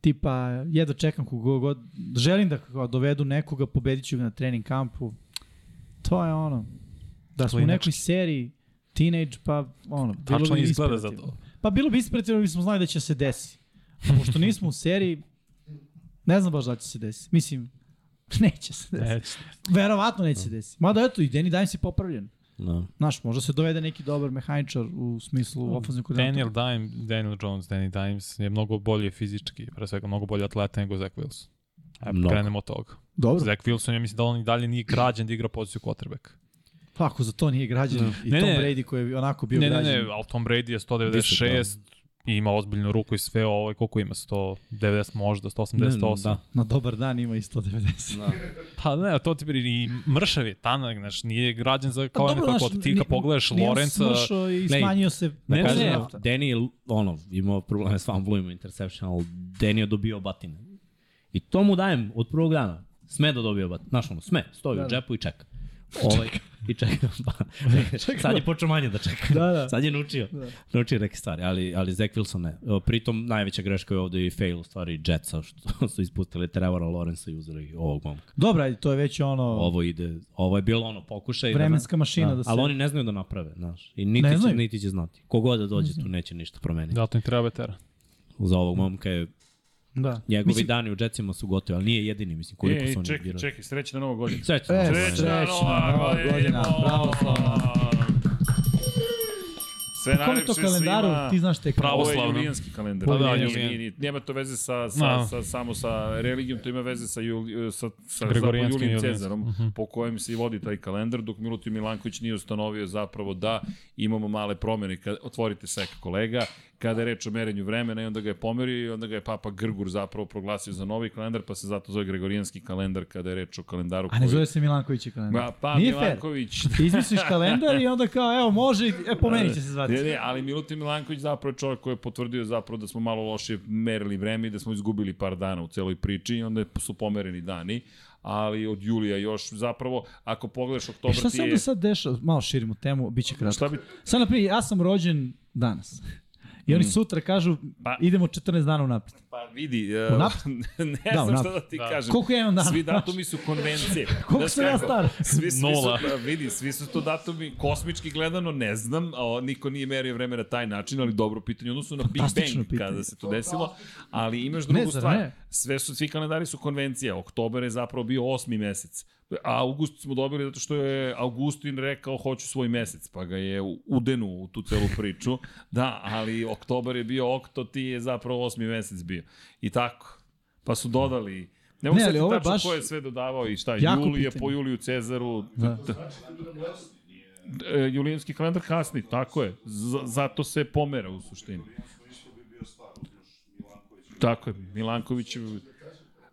S3: tipa, jedva čekam kogo god, želim da kao dovedu nekoga, pobedit ću ga na trening kampu. To je ono, da smo u
S4: Klinački.
S3: nekoj seriji teenage, pa ono, bilo
S4: Tačno
S3: bi
S4: izgleda za
S3: inspirativno.
S4: to.
S3: Pa bilo bi ispratilo bismo znali da će se desi. A pošto nismo u seriji, ne znam baš da će se desiti. Mislim, <laughs> neće se desiti.
S4: Neće.
S3: Verovatno
S4: Da.
S3: neće se desiti. Mada eto, i Danny Dimes je popravljen.
S5: Da.
S3: Znaš, možda se dovede neki dobar mehaničar u smislu ofenzivnog koordinatora.
S4: Mm. da. Daniel Dime, Daniel Jones, Danny Dimes je mnogo bolje fizički, pre svega mnogo bolje atleta nego Zach Wilson. Ajde,
S5: Mnogo.
S4: krenemo od toga.
S3: Dobro,
S4: Zach Wilson, ja mislim da on i dalje nije građen da igra poziciju quarterback.
S3: pa ako za to nije građen i
S4: Da. Ne,
S3: Tom
S4: ne.
S3: Brady koji je onako bio
S4: Ne, ne,
S3: građen.
S4: ne, ali Tom Brady je 196, i ima ozbiljnu ruku i sve ovo, ovaj, koliko ima, 190 možda, 180,
S5: Ne,
S4: 108.
S5: Da.
S3: Na dobar dan ima i 190. Da.
S4: Pa ne, to ti bi i mršav je tanak, znaš, nije građen za kao pa, nekako, znaš, ti kad pogledaš Lorenca,
S3: i
S5: Ne,
S3: smanjio se...
S5: Ne,
S4: Da
S5: ne,
S4: kažem,
S5: ne,
S3: lopta.
S5: Danny je, ono, imao probleme s fumbleima, interception, ali Danny je dobio batine. I to mu dajem od prvog dana. Sme da dobio batine. Znaš ono, sme, stoji
S3: Da,
S5: u
S3: da.
S5: džepu i
S3: <laughs>
S5: čeka. Ovaj, I čeka. Pa, sad je počeo manje da čeka.
S3: Da, da.
S5: Sad je naučio. Da. Naučio neke stvari, ali, ali Zach Wilson ne. E, Pritom, najveća greška je ovde i fail u stvari Jetsa, što su ispustili Trevora Lawrence i uzeli ovog momka.
S3: Dobra, ajde, to je već ono...
S5: Ovo ide, ovo je bilo ono pokušaj.
S3: Da. Vremenska
S5: da,
S3: mašina da
S5: da
S3: se-
S5: se... Ali oni ne znaju da naprave, znaš. I
S3: Ne
S5: niti, će,
S3: znaju.
S5: niti će znati. Kogod da dođe tu neće ništa promeniti
S4: da, to im treba vetera.
S5: za ovog momka je
S3: Da.
S5: njegovi dani u Jetsima su gotovi, ali nije jedini, mislim, koliko
S1: Ej,
S5: su oni
S1: E,
S5: znači,
S1: čekaj,
S5: igrali.
S1: čekaj, srećna nova godina.
S5: Srećno.
S3: E,
S5: Srećno.
S3: srećna
S1: pa
S3: Nova godina. Bravo, Slava.
S1: Sve najlepše
S3: Koliko kalendaru
S1: svima.
S3: ti znaš tek?
S4: Pravo.
S1: Ovo je
S4: Pravoslavno.
S1: julijanski kalendar.
S4: Pa da,
S1: Nije-
S4: julijan.
S1: nije- nije- Nema to veze sa, sa,
S4: Da.
S1: sa, samo sa religijom, to ima veze sa, jul, sa, sa
S4: Gregorijanskim
S1: zapravo Julijem
S4: julijanskim. Mhm.
S1: Cezarom, po kojem se i vodi taj kalendar, dok Milutin Milanković nije ustanovio zapravo da imamo male promene. Kad, otvorite sek kolega, kada je reč o merenju vremena i onda ga je pomerio i onda ga je Papa Grgur zapravo proglasio za novi kalendar, pa se zato zove Gregorijanski kalendar kada je reč o kalendaru
S3: A ne zove se Milanković kalendar.
S1: Ma, pa
S3: Nije fair.
S1: Milanković,
S3: Ti izmisliš kalendar i onda kao, evo, može, i- e, pomeni će se zvati.
S1: Ne, ne, ali Milutin Milanković zapravo je čovjek koji je potvrdio zapravo da smo malo loše merili vreme i da smo izgubili par dana u celoj priči i onda su pomereni dani, ali od julija još zapravo, ako pogledaš
S3: E
S1: oktobar
S3: šta
S1: ti
S3: se
S1: je...
S3: onda sad dešava? Malo širimo temu, bit će kratko.
S1: Šta bi,
S3: Sad, na primjer, ja sam rođen danas. I oni sutra kažu,
S1: Mm. Pa-
S3: idemo 14 dana unapred.
S1: pa vidi, uh,
S3: Unapred?
S1: <laughs> ne
S3: Da,
S1: znam šta
S3: unapred.
S1: da ti kažem.
S3: Koliko ja imam dana?
S1: Svi datumi su konvencije. Da
S3: Koliko sam ja
S1: kako?
S3: star?
S1: <laughs> Svi, svi
S4: Nula.
S1: Su, da, vidi, svi su to datumi, kosmički gledano, ne znam, a, o, niko nije merio vreme na taj način, ali dobro pitanje, odnosno na Big
S3: Fantastično
S1: Bang
S3: pitanje.
S1: kada se to desilo, ali imaš drugu
S3: Ne, zar
S1: stvar.
S3: ne?
S1: Sve su, svi kalendari su konvencija, oktober je zapravo bio osmi mesec, a august smo dobili zato što je Augustin rekao hoću svoj mesec, pa ga je u- udenuo u tu celu priču, <laughs> da, ali oktober je bio okto, ti je zapravo osmi mesec bio. I tako, pa su dodali Ne mogu
S3: Ne, ali
S1: se
S3: ovo je
S1: tačno
S3: baš-
S1: ko je sve dodavao i šta,
S3: Jako
S1: Julije
S3: pitanje.
S1: po Juliju Cezaru,
S3: Da.
S1: E, julijanski kalendar kasni, tako je. Z zato se pomera u suštini. Tako je, Milanković je-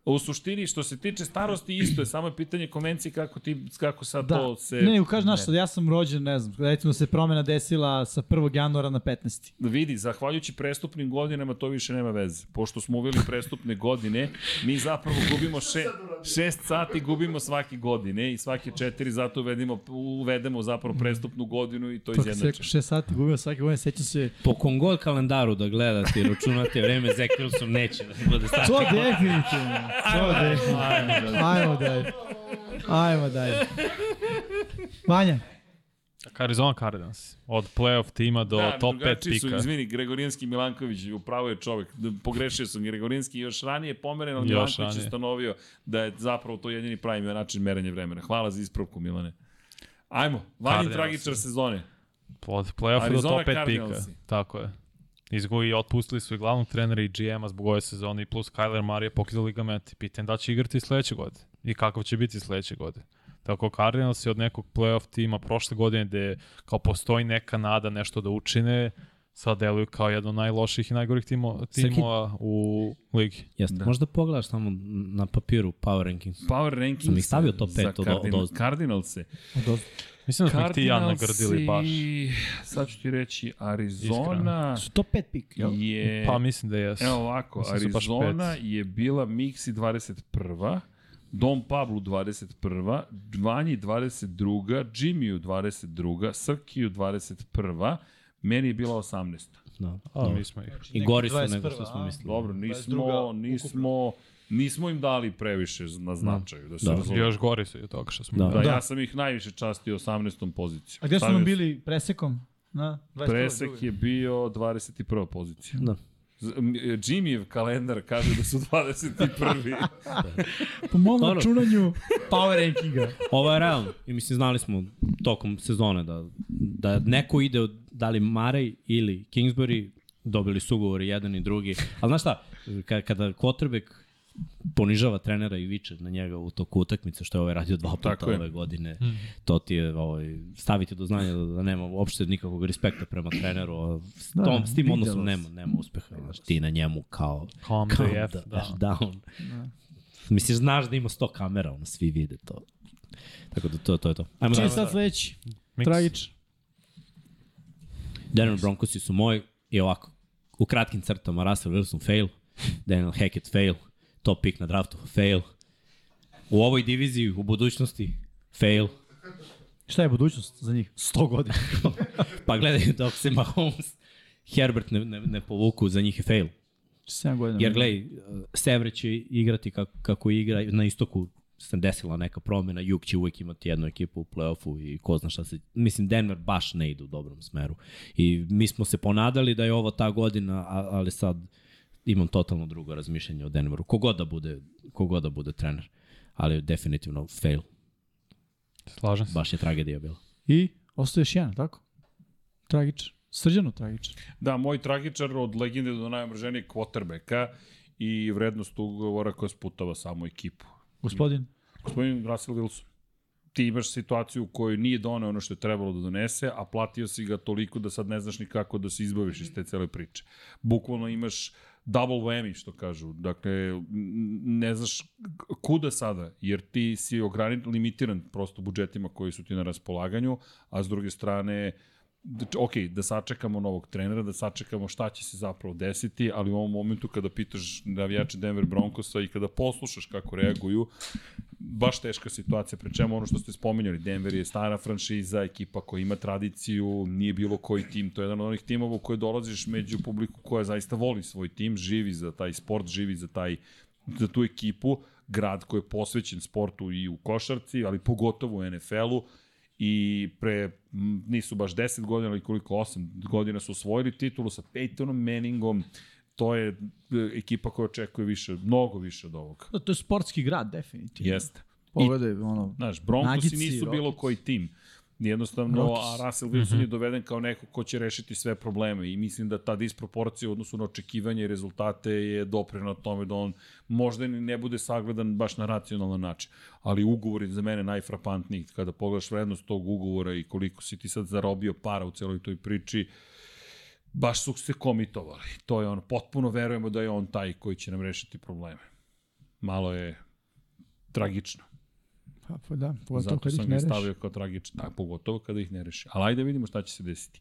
S1: U suštini, što se tiče starosti, isto je, samo je pitanje konvencije kako, ti, kako sad
S3: Da.
S1: to se...
S3: Ne, ne, kaže znaš šta, ja sam rođen, ne znam, recimo se promena desila sa 1. januara na 15.
S1: Vidi, zahvaljujući prestupnim godinama to više nema veze. Pošto smo uveli prestupne godine, mi zapravo gubimo še, šest sati, gubimo svake godine i svake četiri, zato uvedimo, uvedemo zapravo prestupnu godinu i to
S3: To kad se rekao
S1: izjednačimo.
S3: 6 sati, gubio svake godine, sećam se,
S5: Po kongol kalendaru da gledate i računate vreme, Zach Wilson neće da bude stari.
S3: to definitivno, to definitivno, ajmo dalje, ajmo dalje. Vanja,
S4: Arizona Cardinals, od playoff tima do da, top 5
S1: drugačiji Su,
S4: pika.
S1: izvini, Gregorijanski Milanković, upravo je čovek, da, pogrešio sam Gregorijanski, još ranije pomeren, ali
S4: Još
S1: Milanković je
S4: ranije.
S1: stanovio da je zapravo to jedini pravi način merenja vremena. Hvala za ispravku, Milane. Ajmo, vanji
S4: Cardinals.
S1: tragičar sezone.
S4: Od play-offa do
S1: Arizona
S4: top 5 pika.
S1: Cardinalsi.
S4: Tako je. Izgu i otpustili su i glavnog trenera i GM-a zbog ove sezone i plus Kyler Murray je pokidao ligament. Pitan da će igrati i sledeće godine i kakav će biti sledeće godine. Tako Cardinals je od nekog playoff tima prošle godine gde kao postoji neka nada nešto da učine, sad deluju kao jedno od najloših i najgorih timo, timova u ligi.
S5: Jeste, da. možda pogledaš samo na papiru Power Rankings.
S1: Power rankings.
S5: Sam ih stavio top
S1: za
S5: pet od-
S1: Cardinal-
S5: od ozdo.
S1: Cardinalse.
S4: Mislim da smo ih ti i ja nagrdili baš.
S1: sad ću ti reći, Arizona
S3: su to pet pik, jel?
S1: je...
S4: Pa mislim da jesu.
S1: Evo ovako,
S4: Mislim da su baš
S1: Arizona
S4: pet.
S1: je bila Mixi 21. Don Pablo 21. Vanji 22. Jimmyu 22. Srkiju 21. Meni je bila 18.
S5: Da.
S4: A, mi smo ih.
S5: I gori su
S3: 21,
S5: nego što smo
S3: a?
S5: mislili.
S1: Dobro,
S3: 22.
S1: nismo, nismo, nismo im dali previše na značaju, da se da.
S5: Da.
S1: razumemo.
S4: Još gori su i od toga što smo
S5: Da.
S1: Da,
S3: Da.
S1: ja sam ih najviše častio 18. poziciju.
S3: A gde su
S1: Stavio
S3: nam
S1: sam-
S3: bili presekom? Na, 21.
S1: Presek je bio 21. pozicija.
S5: Da.
S1: Z- m- e, Jimmyjev kalendar kaže da su <laughs> 21.
S3: Po mom
S5: Dobro.
S3: računanju power rankinga.
S5: Ovo je realno. I mislim, znali smo tokom sezone da, da neko ide, od, da li Marej ili Kingsbury, dobili su ugovor i jedan i drugi. Ali znaš šta, ka- kada quarterback ponižava trenera i viče na njega u toku utakmice, što je ovaj radio dva puta
S1: Tako je.
S5: ove godine. To ti je, ovaj, staviti do znanja da, da nema uopšte nikakvog respekta prema treneru. a S,
S3: Da,
S5: tom, s tim
S3: videlo
S5: odnosom
S3: se.
S5: nema, nema uspeha. Znaš, ti na njemu kao...
S4: Calm
S5: Calm
S4: the F,
S5: the
S4: da.
S5: F <laughs> down. Misliš, znaš da ima 100 kamera, ono, svi vide to. Tako da to, to je to. Ajmo
S3: Čiji
S5: da,
S3: je sad sledeći?
S4: Mix.
S3: Tragič.
S5: Denver Broncosi su moji i ovako, u kratkim crtama Russell Wilson fail, Daniel Hackett fail, top pick na draftu fail, u ovoj diviziji u budućnosti fail,
S3: Šta je budućnost za njih? 100
S1: <laughs>
S3: godina. Znači,
S5: pa gledaj dok se Mahomes Herbert ne, ne, ne povuku, za njih je fail.
S3: 7 godina.
S5: Jer gledaj, Sevre će igrati kako, kako igra, na istoku se desila neka promjena, Jug će uvijek imati jednu ekipu u playoffu i ko zna šta se... Mislim, Denver baš ne ide u dobrom smeru. I mi smo se ponadali da je ovo ta godina, a- ali sad imam totalno drugo razmišljanje o Denveru. Kogod da bude, kogod da bude trener. Ali definitivno fail.
S4: Slažem se.
S5: Baš je tragedija bila.
S3: I ostaje još jedan, tako? Tragič. Srđano tragič.
S1: Da, moj tragičar od legende do najomrženijeg quarterbacka i vrednost ugovora koja sputava samo ekipu.
S3: Gospodin.
S1: Gospodin Russell Wilson, ti imaš situaciju u kojoj nije doneo ono što je trebalo da donese, a platio si ga toliko da sad ne znaš ni kako da se izbaviš iz te cele priče. Bukvalno imaš double whammy, što kažu. Dakle, n- ne znaš k- kuda sada, jer ti si ograničen, limitiran prosto budžetima koji su ti na raspolaganju, a s druge strane, d- ok, da sačekamo novog trenera, da sačekamo šta će se zapravo desiti, ali u ovom momentu kada pitaš navijače Denver Broncosa i kada poslušaš kako reaguju, baš teška situacija, pri čemu ono što ste spominjali, Denver je stara franšiza, ekipa koja ima tradiciju, nije bilo koji tim, to je jedan od onih timova u koje dolaziš među publiku koja zaista voli svoj tim, živi za taj sport, živi za, taj, za tu ekipu, grad koji je posvećen sportu i u košarci, ali pogotovo u NFL-u, i pre m, nisu baš 10 godina, ali koliko 8 godina su osvojili titulu sa Peytonom Manningom, to je e, ekipa koja očekuje više, mnogo više od ovoga.
S3: Da, to je sportski grad, definitivno.
S1: Jeste.
S3: Pogledaj, ono...
S1: Znaš, Broncosi
S3: Nagici,
S1: nisu
S3: Rockies.
S1: bilo koji tim. Jednostavno,
S3: Rockies. Mhm.
S1: a Russell Wilson je doveden kao neko ko će rešiti sve probleme i mislim da ta disproporcija u odnosu na očekivanje i rezultate je doprena tome da on možda ni ne bude sagledan baš na racionalan način. Ali ugovor je za mene najfrapantniji. Kada pogledaš vrednost tog ugovora i koliko si ti sad zarobio para u celoj toj priči, baš su se komitovali. To je ono, potpuno verujemo da je on taj koji će nam rešiti probleme. Malo je tragično.
S3: Pa, pa da, pogotovo
S1: Zato
S3: kad
S1: sam ga
S3: ih ne
S1: i
S3: reši.
S1: stavio kao tragično, da, pogotovo kada ih ne reši. Ali ajde vidimo šta će se desiti.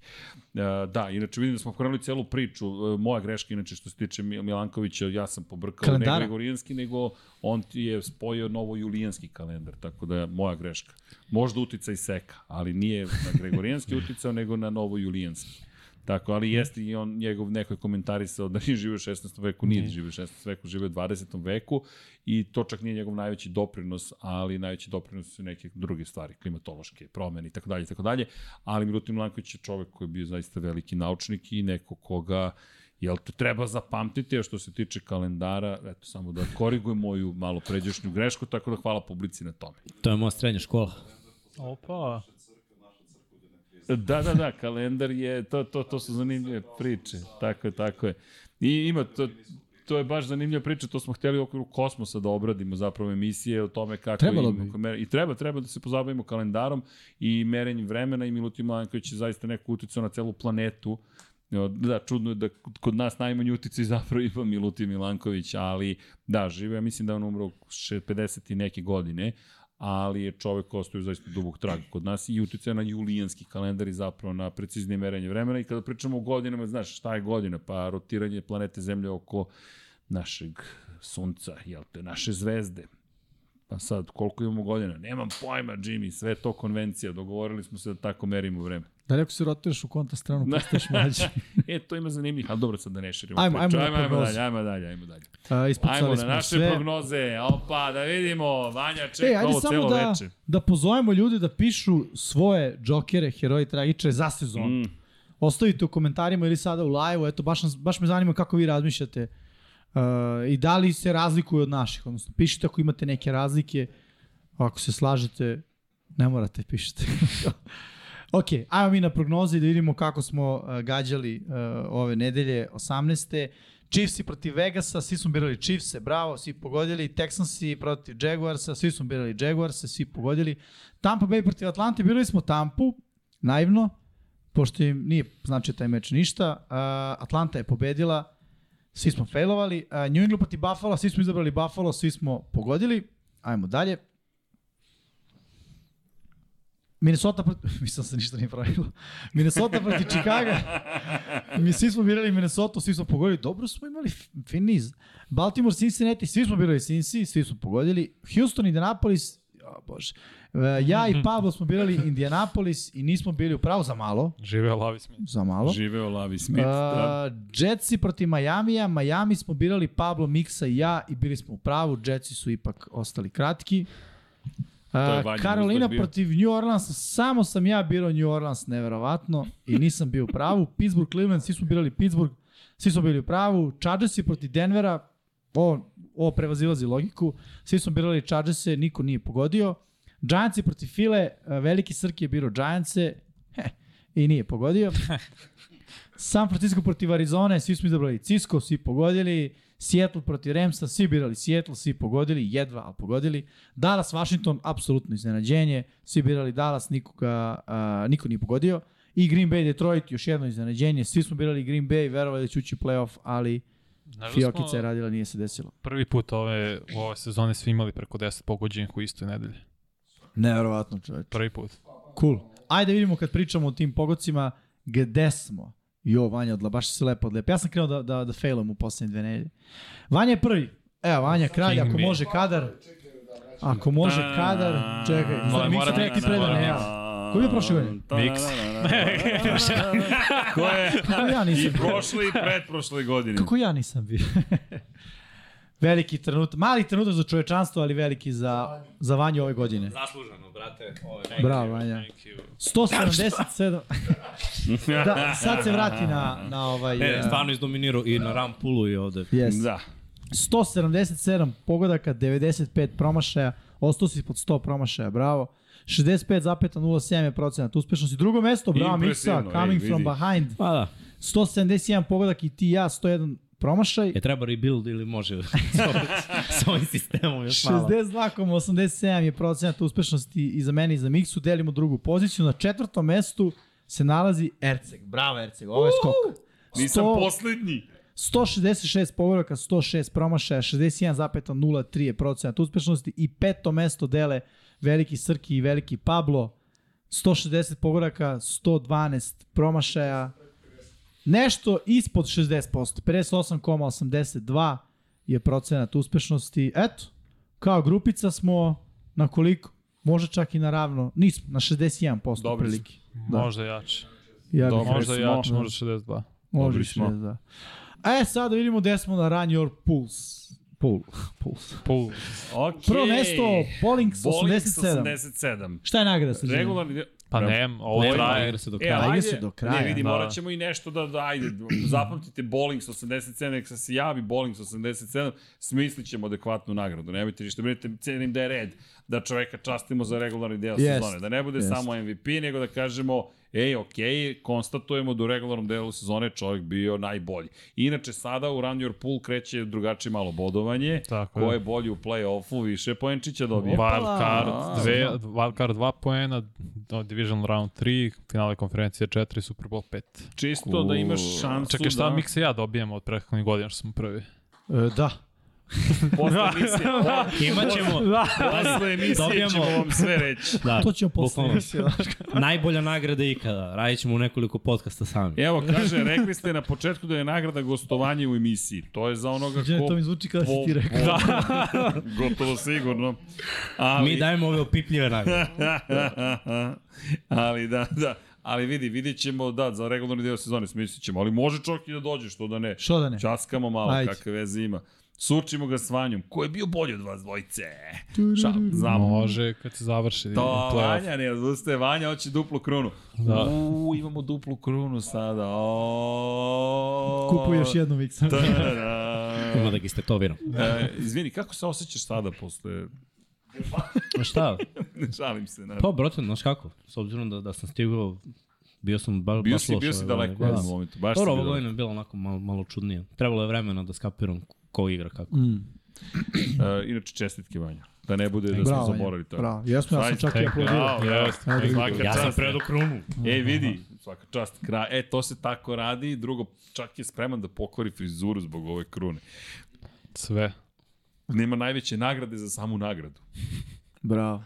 S1: E, da, inače vidim da smo pokrenuli celu priču. E, moja greška, inače, što se tiče Mil- Milankovića, ja sam pobrkao
S3: Kalendara?
S1: ne gregorijanski, nego on ti je spojio novojulijanski kalendar, tako da moja greška. Možda utica i seka, ali nije na gregorijanski uticao, nego na novojulijanski. Tako, ali jeste i on, njegov neko je komentarisao da <laughs> nije živio u 16. veku, nije ne. živio u 16. veku, živio u 20. veku i to čak nije njegov najveći doprinos, ali najveći doprinos su neke druge stvari, klimatološke promene i tako dalje i tako dalje, ali Milutin Milanković je čovek koji je bio zaista veliki naučnik i neko koga jel te treba zapamtiti, a što se tiče kalendara, eto samo da korigujem moju malo pređašnju grešku, tako da hvala publici na tome.
S5: To je moja srednja škola.
S4: Opa.
S1: Da, da, da, kalendar je, to, to, to su zanimljive priče, tako je, tako je. I ima, to, to je baš zanimljiva priča, to smo hteli u okviru kosmosa da obradimo zapravo emisije o tome kako
S3: Trebalo
S1: im-
S3: bi.
S1: kako mere- I treba, treba da se pozabavimo kalendarom i merenjem vremena i Milutin Milanković je zaista neko uticao na celu planetu. Da, čudno je da kod nas najmanji uticaj zapravo ima Milutin Milanković, ali da, žive, ja mislim da je on umro še- 50 i neke godine, ali je čovek ostao zaista dubog traga kod nas i utjecaja na julijanski kalendar i zapravo na preciznije merenje vremena i kada pričamo o godinama, znaš šta je godina, pa rotiranje planete Zemlje oko našeg sunca, jel te, naše zvezde. Pa sad, koliko imamo godina? Nemam pojma, Jimmy, sve je to konvencija, dogovorili smo se da tako merimo vreme.
S3: Da li ako se rotiraš u kontra
S1: <laughs>
S3: stranu, postaješ mlađi.
S1: E, to ima zanimljivih, ali dobro, sad da ne širimo
S3: Ajmo-
S1: priču.
S3: ajmo na
S1: Ajmo, ajmo
S3: prognoze.
S1: dalje, ajmo dalje, ajmo dalje.
S3: A,
S1: Ajmo
S3: ispucali
S1: na
S3: smo
S1: naše
S3: sve.
S1: prognoze, opa, da vidimo, Vanja
S3: Ej,
S1: čeka
S3: ajde
S1: ovo
S3: samo
S1: celo
S3: da,
S1: veče.
S3: da pozovemo ljude da pišu svoje džokere, heroje, tragiče za sezon. Mm. Ostavite u komentarima ili sada u live-u, eto, baš, nas, baš me zanima kako vi razmišljate uh, i da li se razlikuju od naših, odnosno pišite ako imate neke razlike, ako se slažete, ne morate da pišite. <laughs> ok, eh, ajmo mi na prognoze i da vidimo kako smo uh, gađali uh, ove nedelje 18. Chiefs i protiv Vegasa, svi smo birali Chiefs, bravo, svi pogodili. Texans i protiv Jaguarsa, svi smo birali Jaguarsa, svi pogodili. Tampa Bay protiv Atlante, birali smo Tampu, naivno, pošto im nije značio taj meč ništa. Uh, Atlanta je pobedila, svi smo failovali. Uh, New England protiv Buffalo, svi smo izabrali Buffalo, svi smo pogodili. Ajmo dalje. Minnesota protiv... <laughs> Mislim da se ništa nije pravilo. Minnesota protiv Chicaga. Mi svi smo birali Minnesota, svi smo pogodili. Dobro smo imali fin niz. Baltimore, Cincinnati, svi smo birali Cincy, svi smo pogodili. Houston, Indianapolis, o bože. E, Ja i Pablo smo birali Indianapolis i nismo bili u pravu za malo.
S4: Žive Lavi Smith.
S3: Za malo.
S1: Živeo Lavi Smith. da.
S3: Uh, Jetsi protiv Majamija, Majami smo birali Pablo, Miksa i ja i bili smo u pravu, Jetsi su ipak ostali kratki.
S1: je
S3: Uh,
S1: Vanjin
S3: Karolina
S1: uzdah bio.
S3: protiv New Orleansa, samo sam ja birao New Orleans, neverovatno, i nisam bio u pravu. <laughs> Pittsburgh, Cleveland, svi smo birali Pittsburgh, svi smo bili u pravu. Chargersi protiv Denvera, ovo, ovo prevazilazi logiku, svi smo birali Chargerse, niko nije pogodio. Giantsi protiv File, uh, veliki Srki je birao Giantse, heh, i nije
S1: <laughs>
S3: pogodio. San Francisco protiv Arizone, svi smo izabrali Cisco, svi pogodili. Seattle protiv Ramsa, svi birali Seattle, svi pogodili, jedva, ali pogodili. Dallas, Washington, apsolutno iznenađenje, svi birali Dallas, nikoga, a, niko nije pogodio. I Green Bay, Detroit, još jedno iznenađenje, svi smo birali Green Bay, verovali da će ući u playoff, ali
S4: Znaš da smo
S3: Fiokica je radila, nije se desilo.
S4: Prvi put ove, u ove sezone svi imali preko 10 pogođenih u istoj nedelji.
S3: Neverovatno čoveč.
S4: Prvi put.
S3: Cool. Ajde vidimo kad pričamo o tim pogocima, gde smo? Jo, Vanja, odla, baš si se lepo odlepa. Ja sam krenuo da, da, da failam u poslednje dve nedelje. Vanja je prvi. Evo, Vanja, kralj, ako
S4: me.
S3: može kadar. Ako može kadar, čekaj. Mora,
S1: da,
S3: mora,
S4: mora,
S3: mora, ti
S4: mora,
S3: predan,
S4: mora.
S3: ja. Ko da je bio prošle godine?
S1: Miks. Ko je
S3: Kako ja
S1: i
S3: nisam bio?
S1: prošle i pretprošle godine.
S3: Kako ja nisam bio? <laughs> veliki trenutak, mali trenutak za čovečanstvo, ali veliki za, za Vanju ove
S1: <laughs>
S3: godine.
S5: Zasluženo, brate. Ove,
S3: Bravo, Vanja.
S1: <laughs>
S3: 177. da, sad se vrati na, na ovaj...
S5: E,
S3: eh,
S5: stvarno izdominirao i na Rampulu i ovde.
S3: Yes.
S1: Da.
S3: 177 pogodaka, 95 promašaja, ostao si ispod 100 promašaja, bravo. 65,07 je procenat uspešnosti. Drugo mesto, bravo Miksa,
S1: Impresivno, ej,
S3: coming
S1: vidi.
S3: from behind.
S5: Pa da.
S3: 171 pogodak i ti i ja, 101 promašaj.
S5: E, treba rebuild ili može <laughs> s ovim- s ovim sistemom još malo.
S3: 62,87 je procenat uspešnosti i za mene i za Miksu. Delimo drugu poziciju. Na četvrtom mestu se nalazi Erceg. Bravo Erceg, ovo je skok.
S1: Nisam
S3: 100
S1: poslednji.
S3: 166 povoraka, 106 promašaja, 61,03 je procenat uspešnosti i peto mesto dele Veliki Srki i Veliki Pablo. 160 pogoraka, 112 promašaja, nešto ispod 60%, 58,82 je procenat uspešnosti. Eto, kao grupica smo na koliko? Možda čak i na ravno, nismo, na 61%
S1: Dobri
S3: Dobri
S1: smo.
S3: prilike.
S4: Možda jače.
S3: Ja bih
S1: Dobro.
S4: Možda
S1: Recimo,
S4: jače,
S1: da.
S4: možda 62.
S3: Može
S1: Dobri
S3: se,
S1: smo.
S3: da. E, sada vidimo gde smo na Run Your Pulse. Pul. <laughs> Puls.
S4: Pul.
S1: Okay.
S3: Prvo mesto, Bolings 87.
S1: 87.
S3: Šta je nagrada sa
S1: Regularni deo.
S4: Pa
S1: Bravo.
S4: ne, ovo
S1: Nema,
S4: traje.
S5: igra se do
S1: E,
S5: kraja.
S3: ali-
S1: ajde,
S3: igra se do kraja.
S1: Ne, vidi,
S4: Da.
S1: morat ćemo i nešto da, da ajde, zapamtite Bolings 87, nek se javi Bolings 87, smislit ćemo adekvatnu nagradu, nemojte ništa, brinite, cenim da je red, da čoveka častimo za regularni deo
S3: Jest.
S1: sezone, da ne bude
S3: Jest.
S1: samo MVP, nego da kažemo, ej, okej, konstatujemo da u regularnom delu sezone je čovjek bio najbolji. Inače, sada u Run Your Pool kreće drugačije malo bodovanje,
S4: Tako
S1: ko
S4: je.
S1: je bolji u play-offu, više poenčića dobije.
S4: Wild card,
S1: A,
S4: dve, wild card 2 poena, do- Division round 3, finale konferencije 4, Super Bowl 5.
S1: Čisto da imaš šansu
S4: Čekaj, šta
S1: da...
S4: mi se ja dobijemo od prethodnih godina što smo prvi?
S3: E, da.
S1: Posle emisije,
S5: <laughs> Imaćemo
S1: <laughs>
S3: Da.
S1: posle emisije
S5: Dobijamo.
S1: ćemo vam sve reći.
S5: da,
S3: To ćemo
S1: <laughs>
S3: posle. <laughs> Znači,
S5: bukvalno.
S1: da.
S5: najbolja nagrada ikada. Radit ćemo u nekoliko podcasta sami.
S1: Evo, kaže, rekli ste na početku da je nagrada gostovanje u emisiji. To je za onoga
S3: Žene, to
S1: ko...
S3: mi zvuči kada si
S1: po-
S3: ti rekao.
S1: po- <laughs> Gotovo sigurno. Ali,
S5: Mi da. dajemo ove opipljive nagrade.
S1: <laughs> ali da, da. Ali vidi, vidjet ćemo, da, za regularni deo sezone smislit ćemo, ali može čovjek i da dođe, što da ne.
S3: Što da ne?
S1: Časkamo malo,
S3: Ajde.
S1: kakve veze ima. Sučimo ga s Vanjom. Ko je bio bolji od vas dvojice? Šalim, znamo.
S4: Može kad se završi
S1: To,
S4: playoff.
S1: Vanja ne odustaje, Vanja hoće duplu krunu.
S4: Da.
S1: Uuu, imamo duplu krunu sada. O... da,
S3: Kupuj još jednu miksa.
S5: Ima <laughs>
S1: Tadadam.
S5: da ga
S1: <laughs>
S5: istetoviram.
S1: E, izvini, kako se osjećaš sada posle...
S5: Ma šta?
S1: ne šalim se, naravno.
S5: Pa, brate, znaš kako? S obzirom da, da sam stigao Bio sam ba,
S1: Bio
S5: baš
S1: si,
S5: loš
S1: bio si
S5: ove
S1: daleko u
S5: godine.
S1: jednom
S5: Da.
S1: momentu. Baš
S5: Dobro,
S1: si
S5: ova
S1: bio daleko.
S5: godina je bila onako malo, malo čudnija. Trebalo je vremena da skapiram ko igra kako.
S1: Mm. E, inače, čestitke Vanja. Da ne bude da smo
S3: Bravo,
S1: zaboravili to.
S3: bravo. Jesmo, ja sam
S1: Zaista,
S3: čak i
S1: e,
S3: aplaudirao.
S1: bravo, bravo,
S4: Jeste,
S1: svaka
S4: ja sam
S1: čast.
S4: predo krunu.
S1: E, vidi, svaka čast, kraj. E, to se tako radi. Drugo, čak je spreman da pokori frizuru zbog ove krune.
S4: Sve.
S1: Nema najveće nagrade za samu nagradu.
S3: Bravo.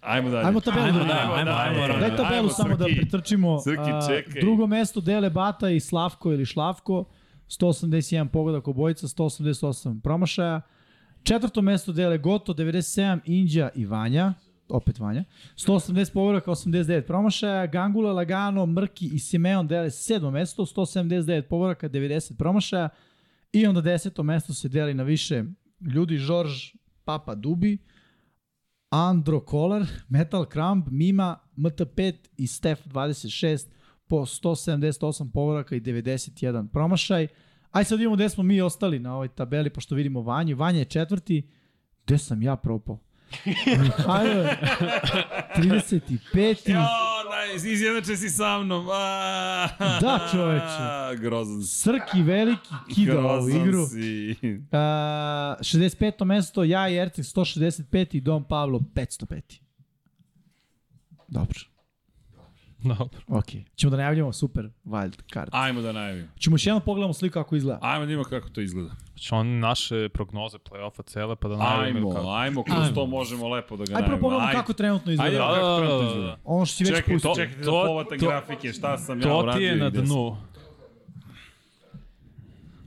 S1: Ajmo dalje.
S3: Ajmo tabelu.
S5: Ajmo,
S3: da
S5: da, ajmo, ajmo, ajmo.
S3: Daj tabelu samo da
S1: Srki.
S3: pretrčimo.
S1: Srki,
S3: A,
S1: čekaj.
S3: Drugo mesto dele Bata i Slavko ili Šlavko. 181 pogodak obojica, 188 promašaja. Četvrto mesto dele Goto, 97 Inđa i Vanja opet Vanja. 180 pogodaka, 89 promašaja. Gangula, Lagano, Mrki i Simeon dele sedmo mesto, 179 pogodaka, 90 promašaja. I onda deseto mesto se deli na više ljudi, Žorž, Papa Dubi, Andro Kolar, Metal Crumb, Mima, MT5 i Stef 26 po 178 povoraka i 91 promašaj. Aj sad vidimo gde smo mi ostali na ovoj tabeli, pošto vidimo Vanju. Vanja je četvrti. Gde sam ja
S1: <laughs>
S3: propao? Mihajlo je 35.
S1: Jo, nice, izjednače si sa mnom. A,
S3: Da, čoveče.
S1: Grozan si.
S3: Srki veliki kida ovu
S1: Grozan
S3: igru.
S1: si.
S3: A, 65. mesto, ja i Erceg 165. i Dom Pavlo 505. Dobro,
S4: Dobro.
S3: okej. Okay. Ćemo da najavljamo super wild card.
S1: Ajmo da najavimo.
S3: Ćemo još jednom pogledamo sliku kako izgleda.
S1: Ajmo da vidimo kako to izgleda.
S4: Znači on naše prognoze play-offa cele pa da najavimo ili
S1: Ajmo,
S4: kako.
S1: ajmo, kroz to možemo lepo da ga
S3: Aj
S1: najavimo.
S3: prvo pogledamo
S1: Ajde.
S3: kako trenutno
S1: Ajde,
S3: izgleda.
S1: da,
S4: Da,
S1: kako
S4: da,
S1: to
S4: da,
S1: izgleda.
S3: Ono što si već
S1: Čekaj, to,
S3: pustio.
S1: čekajte da
S4: To-
S1: povatam
S4: to-
S1: grafike, šta sam ja
S4: To ti
S1: uradio.
S4: je na
S1: i gde sam.
S4: dnu.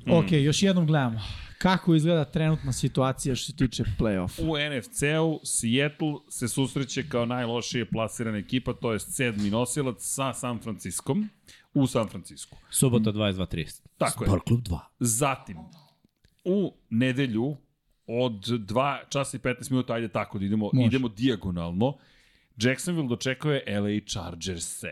S1: mm.
S3: Ok, još jednom gledamo. Kako izgleda trenutna situacija što se tiče play-offa.
S1: U NFC-u Seattle se susreće kao najlošije plasirana ekipa, to je sedmi nosilac sa San Franciskom, u San Francisku.
S5: Subota 22.30.
S1: Tako je.
S5: Sport klub 2.
S1: Zatim, u nedelju od 2 časa i 15 minuta, ajde tako da idemo, Može.
S3: Može.
S1: idemo dijagonalno, Jacksonville dočekuje LA Chargers. E,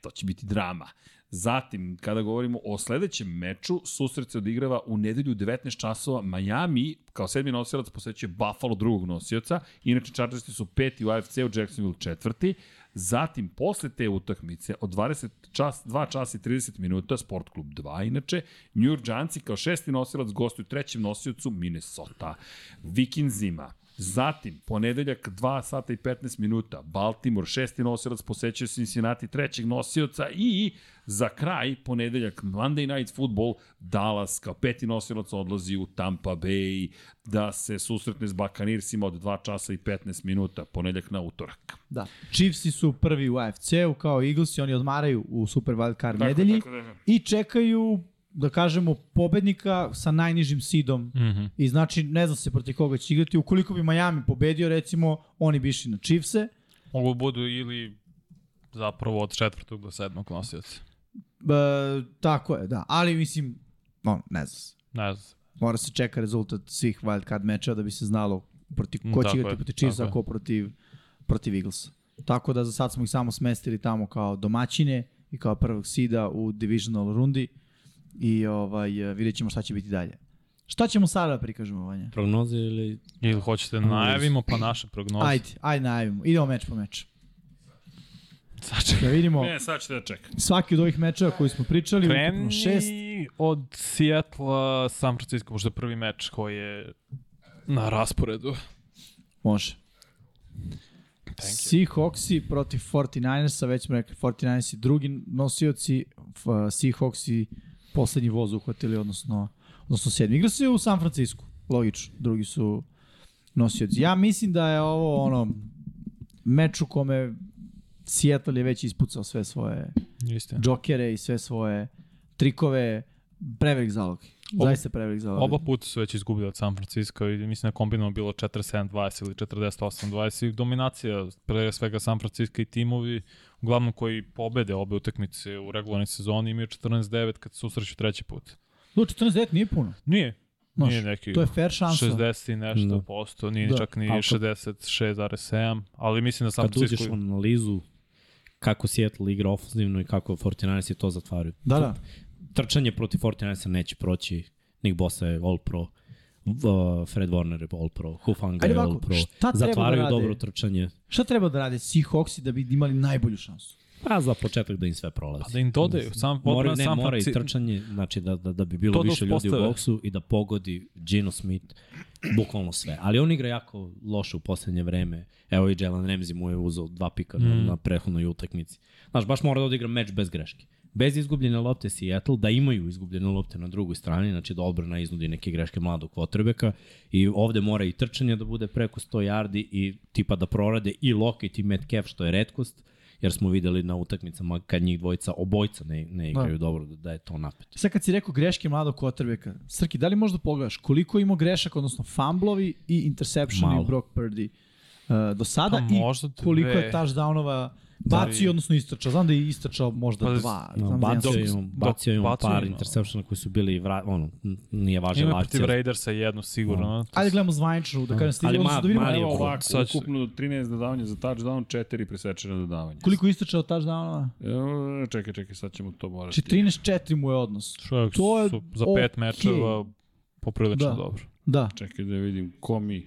S1: to će biti drama. Zatim, kada govorimo o sledećem meču, susret se odigrava u nedelju u 19 časova. Miami, kao sedmi nosilac, posećuje Buffalo drugog nosioca. Inače, Chargersi su peti u AFC-u, Jacksonville četvrti. Zatim, posle te utakmice, od 20 čas, 2 časa i 30 minuta, Sport klub 2, inače, New York Giantsi kao šesti nosilac gostuju trećem nosiocu Minnesota. Vikinzima. Zatim, ponedeljak 2 sata i 15 minuta, Baltimore šesti nosilac posećuje Cincinnati trećeg nosioca i za kraj, ponedeljak Monday Night Football, Dallas kao peti nosilac odlazi u Tampa Bay da se susretne s Bakanircima od 2 časa i 15 minuta, ponedeljak na utorak.
S3: Da. Chiefsi su prvi u AFC-u kao Eaglesi, oni odmaraju u Super Wild Card
S1: Tako,
S3: nedelji
S1: tako da-
S3: i čekaju da kažemo pobednika sa najnižim sidom
S4: Mm
S1: Mhm.
S4: -hmm.
S3: I znači, ne znam se protiv koga će igrati. Ukoliko bi Miami pobedio, recimo, oni bi išli na Chiefse. E,
S4: Mogu da budu ili zapravo od četvrtog do sedmog nosioca.
S3: tako je, da. Ali, mislim, on, ne znam se.
S4: Ne znam.
S3: Mora se čeka rezultat svih wildcard mečeva da bi se znalo protiv ko će
S4: Tako
S3: igrati
S4: je,
S3: protiv Chiefsa,
S4: tako je.
S3: ko protiv, protiv Eaglesa. Tako da za sad smo ih samo smestili tamo kao domaćine i kao prvog sida u divisional rundi i ovaj, e, vidjet ćemo šta će biti dalje. Šta ćemo sada da prikažemo, Vanja?
S5: Prognoze ili...
S4: Ili hoćete da najavimo pa naše prognoze. <laughs>
S3: Ajde, ajde najavimo. Idemo meč po meč.
S4: Znači,
S3: Da vidimo
S1: Ne, sad ćete da čekam.
S3: svaki od ovih mečeva koji smo pričali, ukupno
S4: kreni
S3: šest,
S4: od Sijetla San Francisco, možda prvi meč koji je na rasporedu.
S3: Može. Seahawksi protiv 49ersa, već smo rekli 49ersi drugi nosioci, f- Seahawksi poslednji voz uhvatili, odnosno, odnosno sedmi. Igra se u San Francisco, logično, drugi su nosioci. Ja mislim da je ovo ono meč u kome Seattle je već ispucao sve svoje
S4: Istina.
S3: džokere i sve svoje trikove, prevelik zalog. Zaista prevelik zalog.
S4: Oba puta su već izgubili od San Francisco i mislim da je kombinovano bilo 47-20 ili 48-20 i dominacija pre svega San Francisco i timovi uglavnom koji pobede obe utakmice u regularnoj sezoni imaju 14-9 kad se susreću treći put.
S3: Do 14 nije puno.
S4: Nije,
S3: Znaš,
S4: nije neki
S3: to je fair šansa.
S4: 60 i nešto
S5: Da.
S4: posto, nije
S3: Da.
S4: čak ni
S5: Al kad-
S4: 66,7, ali mislim da San
S5: Kad uđeš Pa u
S4: Francisco...
S5: analizu kako Seattle igra ofenzivno i kako 49ers je to zatvaraju.
S3: Da, da.
S5: Trčanje protiv 49ersa neće proći. Nick Bosa je all pro. V- uh, Fred Warner je all pro. Hufanga
S3: Ajde
S5: je all
S3: ovako,
S5: pro.
S3: šta treba da
S5: Zatvaraju
S3: rade?
S5: dobro trčanje.
S3: Šta treba da rade Seahawksi da bi imali najbolju šansu?
S5: Pa za početak da im sve prolazi.
S4: Pa da im dodaju, sam
S5: Mora,
S4: odbrana,
S5: ne,
S4: sam
S5: mora i
S4: faci-
S5: trčanje, znači da, da, da bi bilo
S4: To da
S5: više ljudi u
S4: uspostave.
S5: boksu i da pogodi Gino Smith bukvalno sve. Ali on igra jako loše u poslednje vreme. Evo i Jalen Ramsey mu je uzao dva pika mm. na, na prethodnoj utakmici. Znaš, baš mora da odigra meč bez greške. Bez izgubljene lopte Seattle, da imaju izgubljene lopte na drugoj strani, znači da odbrana iznudi neke greške mladog kvotrbeka i ovde mora i trčanje da bude preko 100 yardi i tipa da prorade i Lockett i Metcalf, što je redkost, jer smo videli na utakmicama kad njih dvojica, obojica ne, ne igraju dobro, da je to napet.
S3: Sad kad si rekao greške mladog kotrbeka, Srki, da li možda pogledaš koliko ima grešak, odnosno fumblovi i interceptioni
S5: Malo.
S3: i Brock Purdy uh, do sada
S4: Pa možda
S3: i koliko
S4: dve.
S3: je touchdownova bacio,
S4: Da.
S3: odnosno istrčao. Znam da je istrčao možda
S4: Pa,
S3: dva.
S5: No,
S3: znam da je
S5: bacio
S3: jedan-
S5: je on, bacio je on
S4: bacio
S5: par
S4: im,
S5: intersepšena koji su bili, vra, ono, n- nije važna
S4: Ima protiv
S5: akcija.
S4: Raidersa jednu
S3: Da.
S4: sigurno. No.
S3: Ajde gledamo zvaničnu, da kažem stigli,
S5: Ali
S3: odnosno
S5: ma-
S3: da vidimo
S5: mali je
S1: Evo
S5: Evo,
S1: ovako,
S4: sad ću-
S1: ukupno 13 dodavanja za touchdown, 4 presečena dodavanja.
S3: koliko je istrčao touchdownova.
S1: Evo, čekaj, čekaj, sad ćemo to morati.
S3: 14-4 mu je odnos.
S4: Čovjek
S3: To je
S4: su za pet
S3: okej.
S4: mečeva poprilično
S3: Da.
S4: dobro.
S3: Da,
S1: Čekaj da vidim ko mi.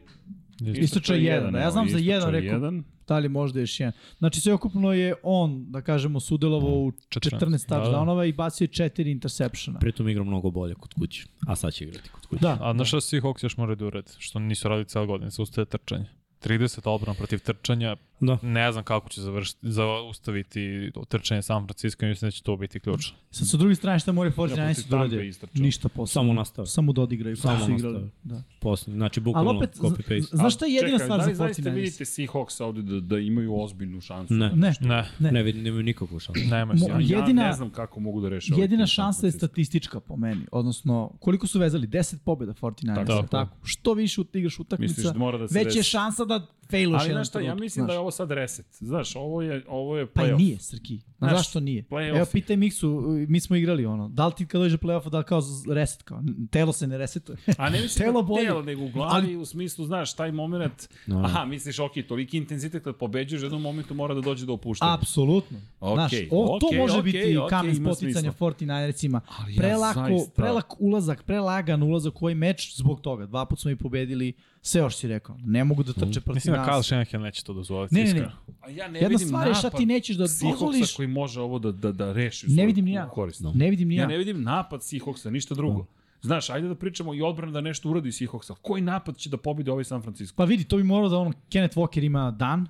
S3: istrčao je jedan. Ja
S1: evo,
S3: znam za
S1: istrčao
S3: jedan,
S1: je
S3: rekao,
S1: Jedan.
S3: da li možda još jedan. Znači sve okupno je on, da kažemo, sudelovao u 14
S4: 14, da, da.
S3: touchdownova i bacio je 4 intersepšena.
S5: Pritom igra mnogo bolje kod kuće, a sad će igrati kod kuće.
S3: Da.
S4: A znaš šta svi Hawks još moraju da urade? Što nisu radili cijela godina, zaustaje trčanje. 30 odbrana protiv trčanja,
S5: Da.
S4: ne znam kako će završiti, zaustaviti trčanje San Francisco i mislim da će to biti ključno.
S3: Sad sa druge strane šta moraju 49ers
S1: protiv
S3: da
S1: Tampe
S3: urade?
S1: istrčao.
S3: Ništa posebno.
S5: Samo nastave.
S3: Samo da odigraju.
S5: Samo
S3: kako su igrali.
S5: nastave.
S3: Da.
S5: Posle, znači
S3: Ali
S5: bukvalno
S3: opet,
S5: copy-paste.
S3: z- znaš šta je jedina
S1: Čekaj,
S3: stvar
S1: da li
S3: za
S1: zaista
S3: 49ers?
S1: vidite Seahawks ovde da, da imaju ozbiljnu šansu?
S5: Ne.
S3: Ne,
S4: Ne,
S3: Ne.
S5: Ne vidim, nemaju nikakvu šansu.
S4: nema
S3: Da. Mo-
S4: se.
S1: Ja jedina,
S3: Jedina-
S1: ne znam kako mogu da reše. ovaj
S3: jedina
S1: tim San
S3: šansa je
S1: Francisco.
S3: statistička po meni. Odnosno, koliko su vezali? 10 pobjeda 49ers.
S4: Tako.
S3: Tako. tako. Što više ut- igraš utakmica,
S1: da. Misliš da mora da se
S3: već je
S1: desi?
S3: šansa da failuš
S1: Ali
S3: jedan
S1: znaš šta, ja
S3: trenutak,
S1: mislim
S3: znaš.
S1: da je ovo sad reset. Znaš, ovo je, ovo je
S3: Pa i
S1: playoff.
S3: nije, Srki. Znaš,
S1: Znaš,
S3: zašto nije?
S1: playoff
S3: Evo,
S1: je.
S3: pitaj Miksu, mi smo igrali ono. Da li ti kad dođe do play-offa, da li kao z- reset, kao, n- telo se ne resetuje?
S1: <laughs> A ne mislim
S3: Telo
S1: telo
S3: boli.
S1: telo, nego u glavi,
S3: Ali-
S1: u smislu, znaš, taj moment,
S5: Da.
S1: aha, misliš, ok, toliki intenzitet kad pobeđuješ, u jednom momentu mora da dođe do opuštanja.
S3: Apsolutno.
S1: Okej,
S3: Znaš, o, to
S1: okej,
S3: može
S1: okej,
S3: biti
S1: okej,
S3: kamen
S1: ima
S3: spoticanja
S1: smisla.
S3: 49ercima.
S1: Ali ja
S3: Prelako,
S1: zaista-
S3: prelak ulazak, prelagan ulazak u ovaj meč zbog toga. Dva put smo i pobedili, sve još si rekao. Ne mogu da
S5: Mhm.
S3: trče protiv
S4: Mislim da Kyle
S3: nas.
S4: Shanahan neće to dozvoliti,
S3: Ne, ne, ne.
S4: iskreno.
S1: A ja ne
S3: Jedna
S1: vidim
S3: stvar je šta ti nećeš da dozvoliš.
S1: Seahawksa koji može ovo da, da, da reši. u
S3: Ne
S1: svoju
S3: vidim ni ja.
S1: korist.
S3: Ne vidim ni
S1: Ja
S3: ja.
S1: ne vidim napad Seahawksa, ništa drugo. Znaš, ajde da pričamo i odbrana da nešto uradi Seahawksa. Koji napad će da pobedi ovaj San Francisco?
S3: Pa vidi, to bi morao da on, Kenneth Walker ima dan,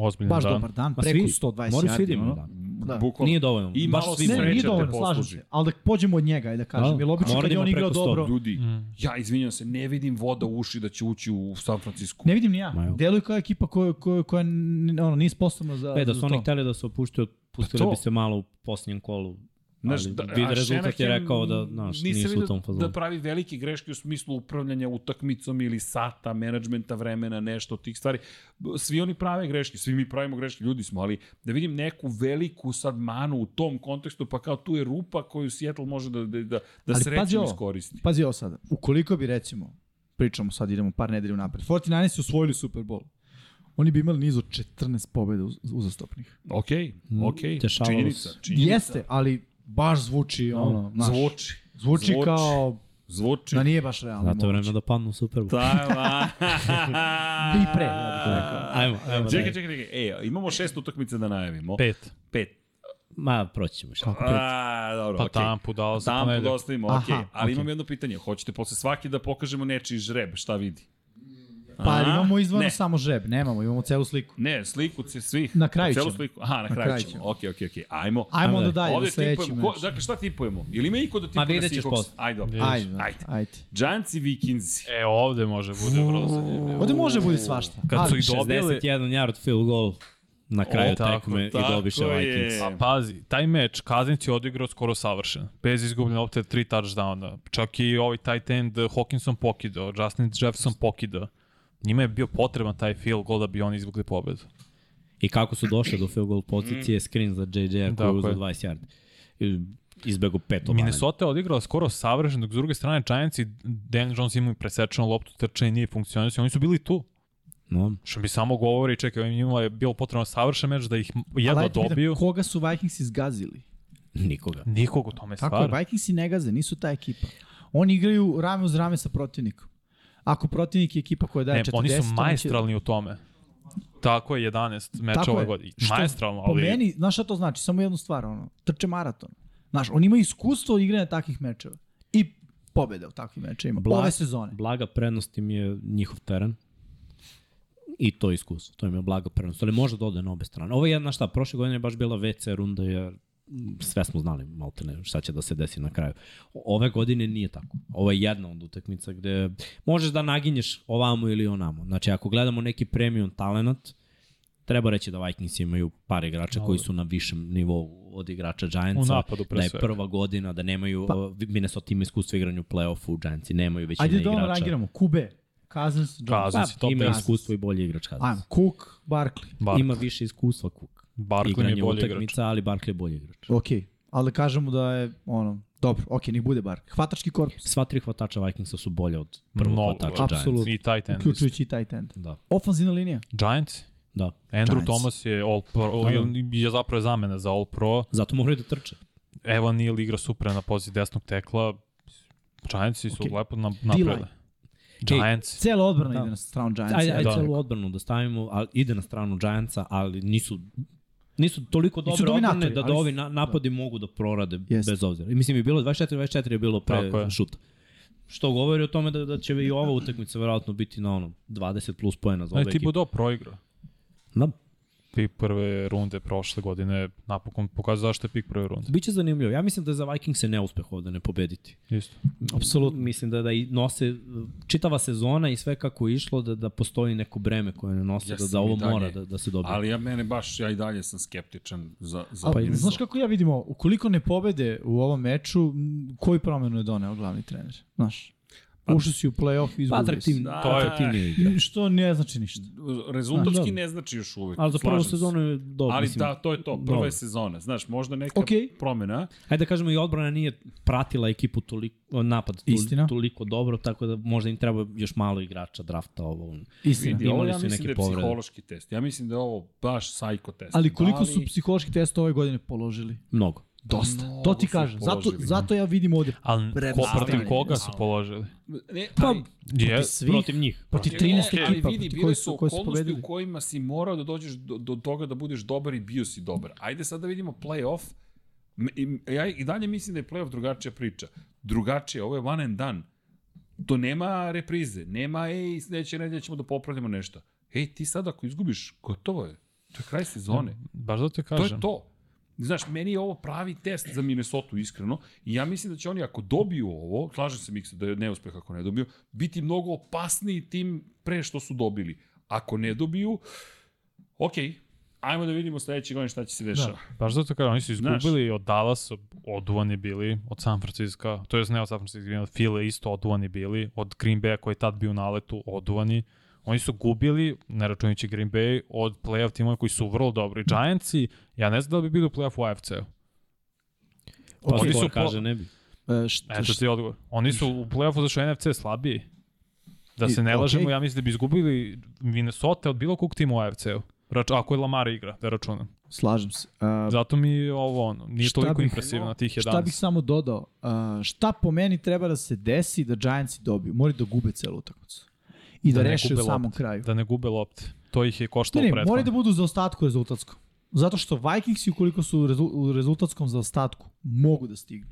S4: Ozbiljno da.
S3: baš
S4: dan.
S3: dobar dan,
S5: Ma
S3: preko
S5: svi-
S3: 120
S5: moraju svi da
S3: yardi.
S5: imaju
S3: ono.
S5: dan.
S3: Da.
S1: Bukvalno.
S5: Nije dovoljno.
S1: I
S5: baš
S1: malo
S5: svi
S1: sreće
S3: Ne, nije
S1: te
S3: dovoljno, slažem
S1: posluži.
S3: se. Ali da pođemo od njega, ajde da kažem.
S5: Da.
S3: Jer obično
S5: Mora
S3: kad
S5: da
S3: je
S5: ima
S3: on igrao
S5: preko 100.
S3: dobro,
S1: Ljudi, ja izvinjam se, ne vidim voda u uši da će ući u San Francisco.
S3: Ne vidim ni ja.
S5: Ma evo.
S3: Deluju kao ekipa koja, koja, koja n- ono, nije sposobna za,
S5: E,
S3: za
S5: da su
S3: to.
S5: oni hteli da se opuštaju, pustili
S1: to.
S5: bi se malo u posljednjem kolu.
S1: Znaš,
S5: Ali
S1: da-
S5: vid
S1: a
S5: rezultat je
S1: Shanahan
S5: rekao da, znaš,
S1: nisam
S5: nisu u
S1: vidio
S5: tom fazonu.
S1: Da pravi velike greške u smislu upravljanja utakmicom ili sata, menadžmenta vremena, nešto od tih stvari. Svi oni prave greške, svi mi pravimo greške, ljudi smo, ali da vidim neku veliku sad manu u tom kontekstu, pa kao tu je rupa koju Seattle može da, da, da, da
S3: Ali pazi
S1: srećem
S3: ovo.
S1: iskoristi.
S3: Pazi ovo sada. Ukoliko bi recimo, pričamo sad, idemo par nedelju napred, 49 su osvojili Super Bowl. Oni bi imali niz od 14 pobjeda uz- uzastopnih.
S1: Ok, ok,
S5: Mm, dešavalo se.
S1: činjenica, činjenica.
S3: Jeste, ali baš zvuči ono, znaš,
S1: Zvuči.
S3: zvuči,
S1: zvuči.
S3: kao
S1: Zvuči.
S3: da
S1: <laughs>
S3: nije baš realno.
S5: Zato je
S3: moguće.
S5: vreme da padnu u Super Bowl. <laughs>
S1: Tajva.
S3: I pre, ja bih rekao.
S5: Ajmo, ajmo.
S1: Čekaj,
S5: da-
S1: čekaj, čekaj. E, imamo šest utakmica da najavimo.
S4: Pet.
S1: Pet.
S5: Ma, proći ćemo šta.
S1: A, dobro,
S4: Pa
S1: okej.
S4: Tampu dao za
S1: Tampu
S4: ponedeljak.
S1: da ostavimo, okej.
S3: Aha,
S1: Ali
S3: okej.
S1: imam jedno pitanje. Hoćete posle svake da pokažemo nečiji žreb, šta vidi?
S3: Pa
S1: A?
S3: imamo izvorno
S1: Ne.
S3: samo žreb, nemamo, imamo celu sliku.
S1: Ne, sliku c- svih.
S3: Na kraju
S1: Celu
S3: ćemo.
S1: sliku. Aha, na, kraju,
S3: kraju
S1: ćemo.
S3: ćemo.
S1: Okej, okej, okej. Ajmo.
S3: Ajmo onda dalje,
S1: Ovde
S3: na sledeći
S1: tipujemo. Ko,
S3: meč.
S1: dakle, šta tipujemo? Ili ima iko da tipuje
S5: vidjet ćeš
S1: Seahawks?
S5: posle.
S1: Ajde, dobro.
S3: Ajde, ajde.
S1: Ajde.
S3: ajde.
S1: Giants i Vikings.
S4: E, ovde može bude vrlo zanimljivo.
S3: Ovde može bude svašta.
S4: Kad su
S3: ali-
S4: i dobili,
S5: 61 yard field goal na kraju
S4: tako,
S5: tekme i
S1: tako
S5: dobiše
S1: je.
S5: Vikings. pa
S4: A pazi, taj meč Kaznic je odigrao skoro savršen. Bez izgubljene lopte, tri touchdowna. Čak i ovaj tight end eh, Hawkinson pokidao, Justin Jefferson pokidao. Njima je bio potreban taj field goal da bi oni izvukli pobedu.
S5: I kako su
S4: <clears throat>
S5: došli do field goal pozicije, screen za JJ koji
S4: Mhm. Tako
S5: je uzao
S4: je.
S5: 20 yardi. I Izbego pet obaranja.
S4: Minnesota je odigrala skoro savršen, dok s druge strane Giants i Dan Jones imaju presečenu loptu, trčanje nije funkcionisao. Oni su bili tu.
S5: No.
S4: Što mi samo govori, čekaj, njima je bilo potrebno savršen meč da ih
S3: ali
S4: jedva
S3: ajde pitam,
S4: dobiju.
S3: Koga su Vikings izgazili?
S5: Nikoga.
S4: Nikog u tome
S3: Tako je,
S4: stvar.
S3: Vikingsi ne gaze, nisu ta ekipa. Oni igraju rame uz rame sa protivnikom. Ako protivnik je ekipa koja daje
S4: Ne,
S3: 40,
S4: E, oni su
S3: da, oni će-
S4: majstralni u tome. Tako je, 11
S3: Tako
S4: meča ove
S3: je.
S4: godine.
S3: Što
S4: Maestralno,
S3: Po
S4: ali...
S3: meni, znaš šta to znači? Samo jednu stvar, ono, trče maraton. Znaš, on ima iskustvo igranja takih mečeva. I pobede u takvim mečevima.
S5: Bla-
S3: Ove sezone.
S5: Blaga prednost im je njihov teren. I to iskustvo, to im je blaga prednost. Ali može da ode na obe strane. Ovo je, znaš šta, prošle godine je baš bila WC runda jer m, sve smo znali malte ne šta će da se desi na kraju. O- Ove godine nije tako. Ovo je jedna od utakmica gde možeš da naginješ ovamo ili onamo. Znači ako gledamo neki premium talent, treba reći da Vikings imaju par igrača koji su na višem nivou od igrača
S4: U
S5: Giantsa,
S4: napadu, pre
S5: da je
S4: svega.
S5: prva godina, da nemaju, pa, Minnesota ima iskustvo igranja u play-offu, Giantsi nemaju većina
S3: Ajde da
S5: igrača.
S3: ono rangiramo. Kube, Cousins, Jones.
S4: Cousins.
S5: Pa,
S4: Kansas i top
S5: ima
S4: Kansas.
S5: iskustvo i bolji igrač Kansas.
S3: Ajmo, Cook, Barkley.
S4: Barkley.
S5: Ima više iskustva Cook.
S4: Barkley mi je
S5: Igranje
S4: bolji
S5: utakmica,
S4: igrač.
S5: ali Barkley je bolji igrač.
S3: Ok, ali da kažemo da je, ono, dobro, ok, nek bude Barkley. Hvatački korpus,
S5: Sva tri hvatača Vikingsa su bolje od prvog
S4: Mnogo,
S5: hvatača Giants.
S3: apsolutno.
S4: I tight end.
S3: uključujući i tight end.
S5: Da,
S3: Ofanzivna linija.
S4: Giants.
S5: da.
S4: Andrew
S3: Giants. Da,
S4: Thomas je all pro, je zapravo zamena za all pro.
S5: Zato moraju da trče.
S4: Evo Neal igra super na poziciji desnog tekla. Giantsi su
S3: Ok.
S4: okay. lepo na,
S3: D-line.
S4: napredali. Giants.
S3: Cela odbrana
S5: Da.
S3: ide na stranu Giants.
S5: Ajde, ajde
S4: Da.
S5: celu odbranu da stavimo, ali ide na stranu Giantsa, ali nisu nisu toliko
S3: Nisu
S5: dobre odbrane
S3: dominatori,
S5: da, da
S3: ali
S5: ovi
S3: su-
S5: na, napadi da. mogu da prorade yes.
S3: Jeste.
S5: bez obzira. I mislim je bilo 24-24 je bilo pre
S4: Tako je.
S5: šuta. Što govori o tome da, da će i ova utakmica verovatno biti na onom 20 plus poena za
S4: Ne,
S5: obe
S4: ti
S5: ekipe.
S4: Budo Znači, proigra.
S5: Da,
S4: Pik prve runde prošle godine napokon pokazuje zašto je pik prve runde.
S5: Biće zanimljivo. Ja mislim da je za Vikingse neuspeh ovde ne pobediti.
S4: Isto.
S5: Apsolutno. Mislim da da i nose uh, čitava sezona i sve kako je išlo da da postoji neko breme koje ne nose
S1: Ja
S5: ja da, da
S1: sam i
S5: ovo
S1: dalje.
S5: mora da da se dobije.
S1: Ali ja mene baš, ja i dalje sam skeptičan za, za
S3: Pa,
S1: Minnesota.
S3: znaš kako ja vidim ovo? Ukoliko ne pobede u ovom meču, m, koju promenu je doneo glavni trener? Znaš, ušao si u play-off i
S5: pa
S3: izgubio si.
S5: atraktivni,
S1: Da.
S5: to je atraktivnije igra.
S3: Što ne znači ništa.
S1: Rezultatski
S5: Da.
S1: ne znači još uvek.
S5: Ali za prvu
S1: slažem se.
S5: sezonu je dobro.
S1: Ali
S5: mislim.
S1: da, to je to, prva
S5: Dobro.
S1: je sezona. Znaš, možda neka
S3: Okej.
S1: promena.
S5: Hajde da kažemo i odbrana nije pratila ekipu toliko, napad tol,
S3: Istina.
S5: toliko dobro, tako da možda im treba još malo igrača drafta ovo.
S3: Istina.
S1: Vidi, ovo
S5: Imali
S1: ja
S5: su
S1: mislim da
S5: neke
S1: je
S5: povrede.
S1: psihološki test. Ja mislim da je ovo baš psycho test.
S3: Ali koliko
S1: Da
S3: su
S1: li-
S3: psihološki test ove godine položili?
S5: Mnogo.
S3: Dosta.
S1: Mnogo
S3: to ti
S1: su
S3: kažem. Zato,
S1: položili.
S3: zato ja vidim ovde.
S4: Ali ko protiv
S3: stavljanje.
S4: koga su položili?
S1: Ne,
S3: Pa,
S1: ali,
S4: Je,
S3: svih.
S5: Protiv njih.
S3: Protiv
S1: Ne,
S3: 13
S1: okej,
S3: ekipa
S1: ali
S3: protiv
S1: vidi,
S3: koji
S1: bile
S3: su,
S1: su
S3: koji su
S1: okolnosti
S3: pobedili.
S1: u kojima si morao da dođeš do, do toga da budeš dobar i bio si dobar. Ajde sad da vidimo play-off. M- i- Ja i dalje mislim da je play-off drugačija priča. Drugačije, ovo je one and done. To nema reprize, nema ej, sledeće nedelje ćemo da popravljamo nešto. Ej, ti sad ako izgubiš, gotovo je. To je kraj sezone.
S4: baš zato ti
S1: To je
S4: kažem.
S1: to. Znaš, meni je ovo pravi test za Minnesota, iskreno. I ja mislim da će oni, ako dobiju ovo, slažem se Miksa da je neuspeh ako ne dobiju, biti mnogo opasniji tim pre što su dobili. Ako ne dobiju, okej, ajmo da vidimo sledeće godine šta će
S3: Da,
S1: se dešava.
S4: Baš zato kažem, oni su
S1: Znaš.
S4: izgubili od Dallasa, oduvani bili, od San Francisco, to je ne od San Francisco, od File isto oduvani bili, od Green Bay koji je tad bio na letu, oduvani. Oni su gubili, ne računajući Green Bay, od playoff timova koji su vrlo dobri. Giantsi, ja ne znam da li bi bili u playoff u AFC-u.
S5: Pa
S4: Oni su
S5: skor
S4: po-
S5: kaže ne bi.
S3: E, šta,
S4: Eto ti odgovor. Oni su u play-offu zašto je NFC slabiji. Da
S3: I-
S4: se ne
S3: okej.
S4: lažemo, ja mislim da bi izgubili Minnesota od bilo kog tima u AFC-u. Rač, ako je Lamar igra, da računam.
S3: slažem se. E,
S4: Zato mi je ovo ono, nije
S3: Šta
S4: toliko
S3: bih-
S4: impresivno tih 11.
S3: Šta bih samo dodao? Uh, šta po meni treba da se desi da Giantsi dobiju? Moraju da gube celu utakmicu. I da,
S4: Da
S3: da
S4: ne
S3: reše u
S4: gube loptu.
S3: samom kraju.
S4: da ne gube lopte. To ih je koštalo
S3: Ne, ne,
S4: prethodno.
S3: moraju da budu u zaostatku rezultatskom. Zato što Vikingsi, ukoliko su u rezu- u rezultatskom zaostatku, mogu da stignu.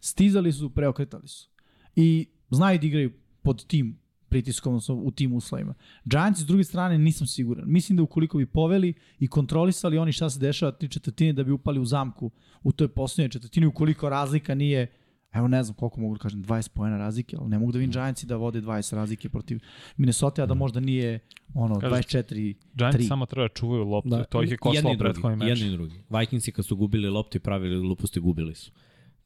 S3: Stizali su, preokretali su. I znaju da igraju pod tim pritiskom, odnosno u tim uslovima. Giants, s druge strane, nisam siguran. Mislim da ukoliko bi poveli i kontrolisali oni šta se dešava tri četvrtine da bi upali u zamku u toj poslednjoj četvrtini, ukoliko razlika nije Evo ne znam koliko mogu da kažem, 20 poena razlike, ali ne mogu da vidim Giantsi da vode 20 razlike protiv Minnesota, a da možda nije ono
S4: Kažete,
S3: 24
S4: Giants
S3: tri.
S4: samo treba da čuvaju loptu. Da. To ih je
S5: Jedni
S4: koštalo
S5: i drugi,
S4: prethodni meč.
S5: Jedni i drugi. Vikingsi kad su gubili loptu i pravili gluposti, gubili su.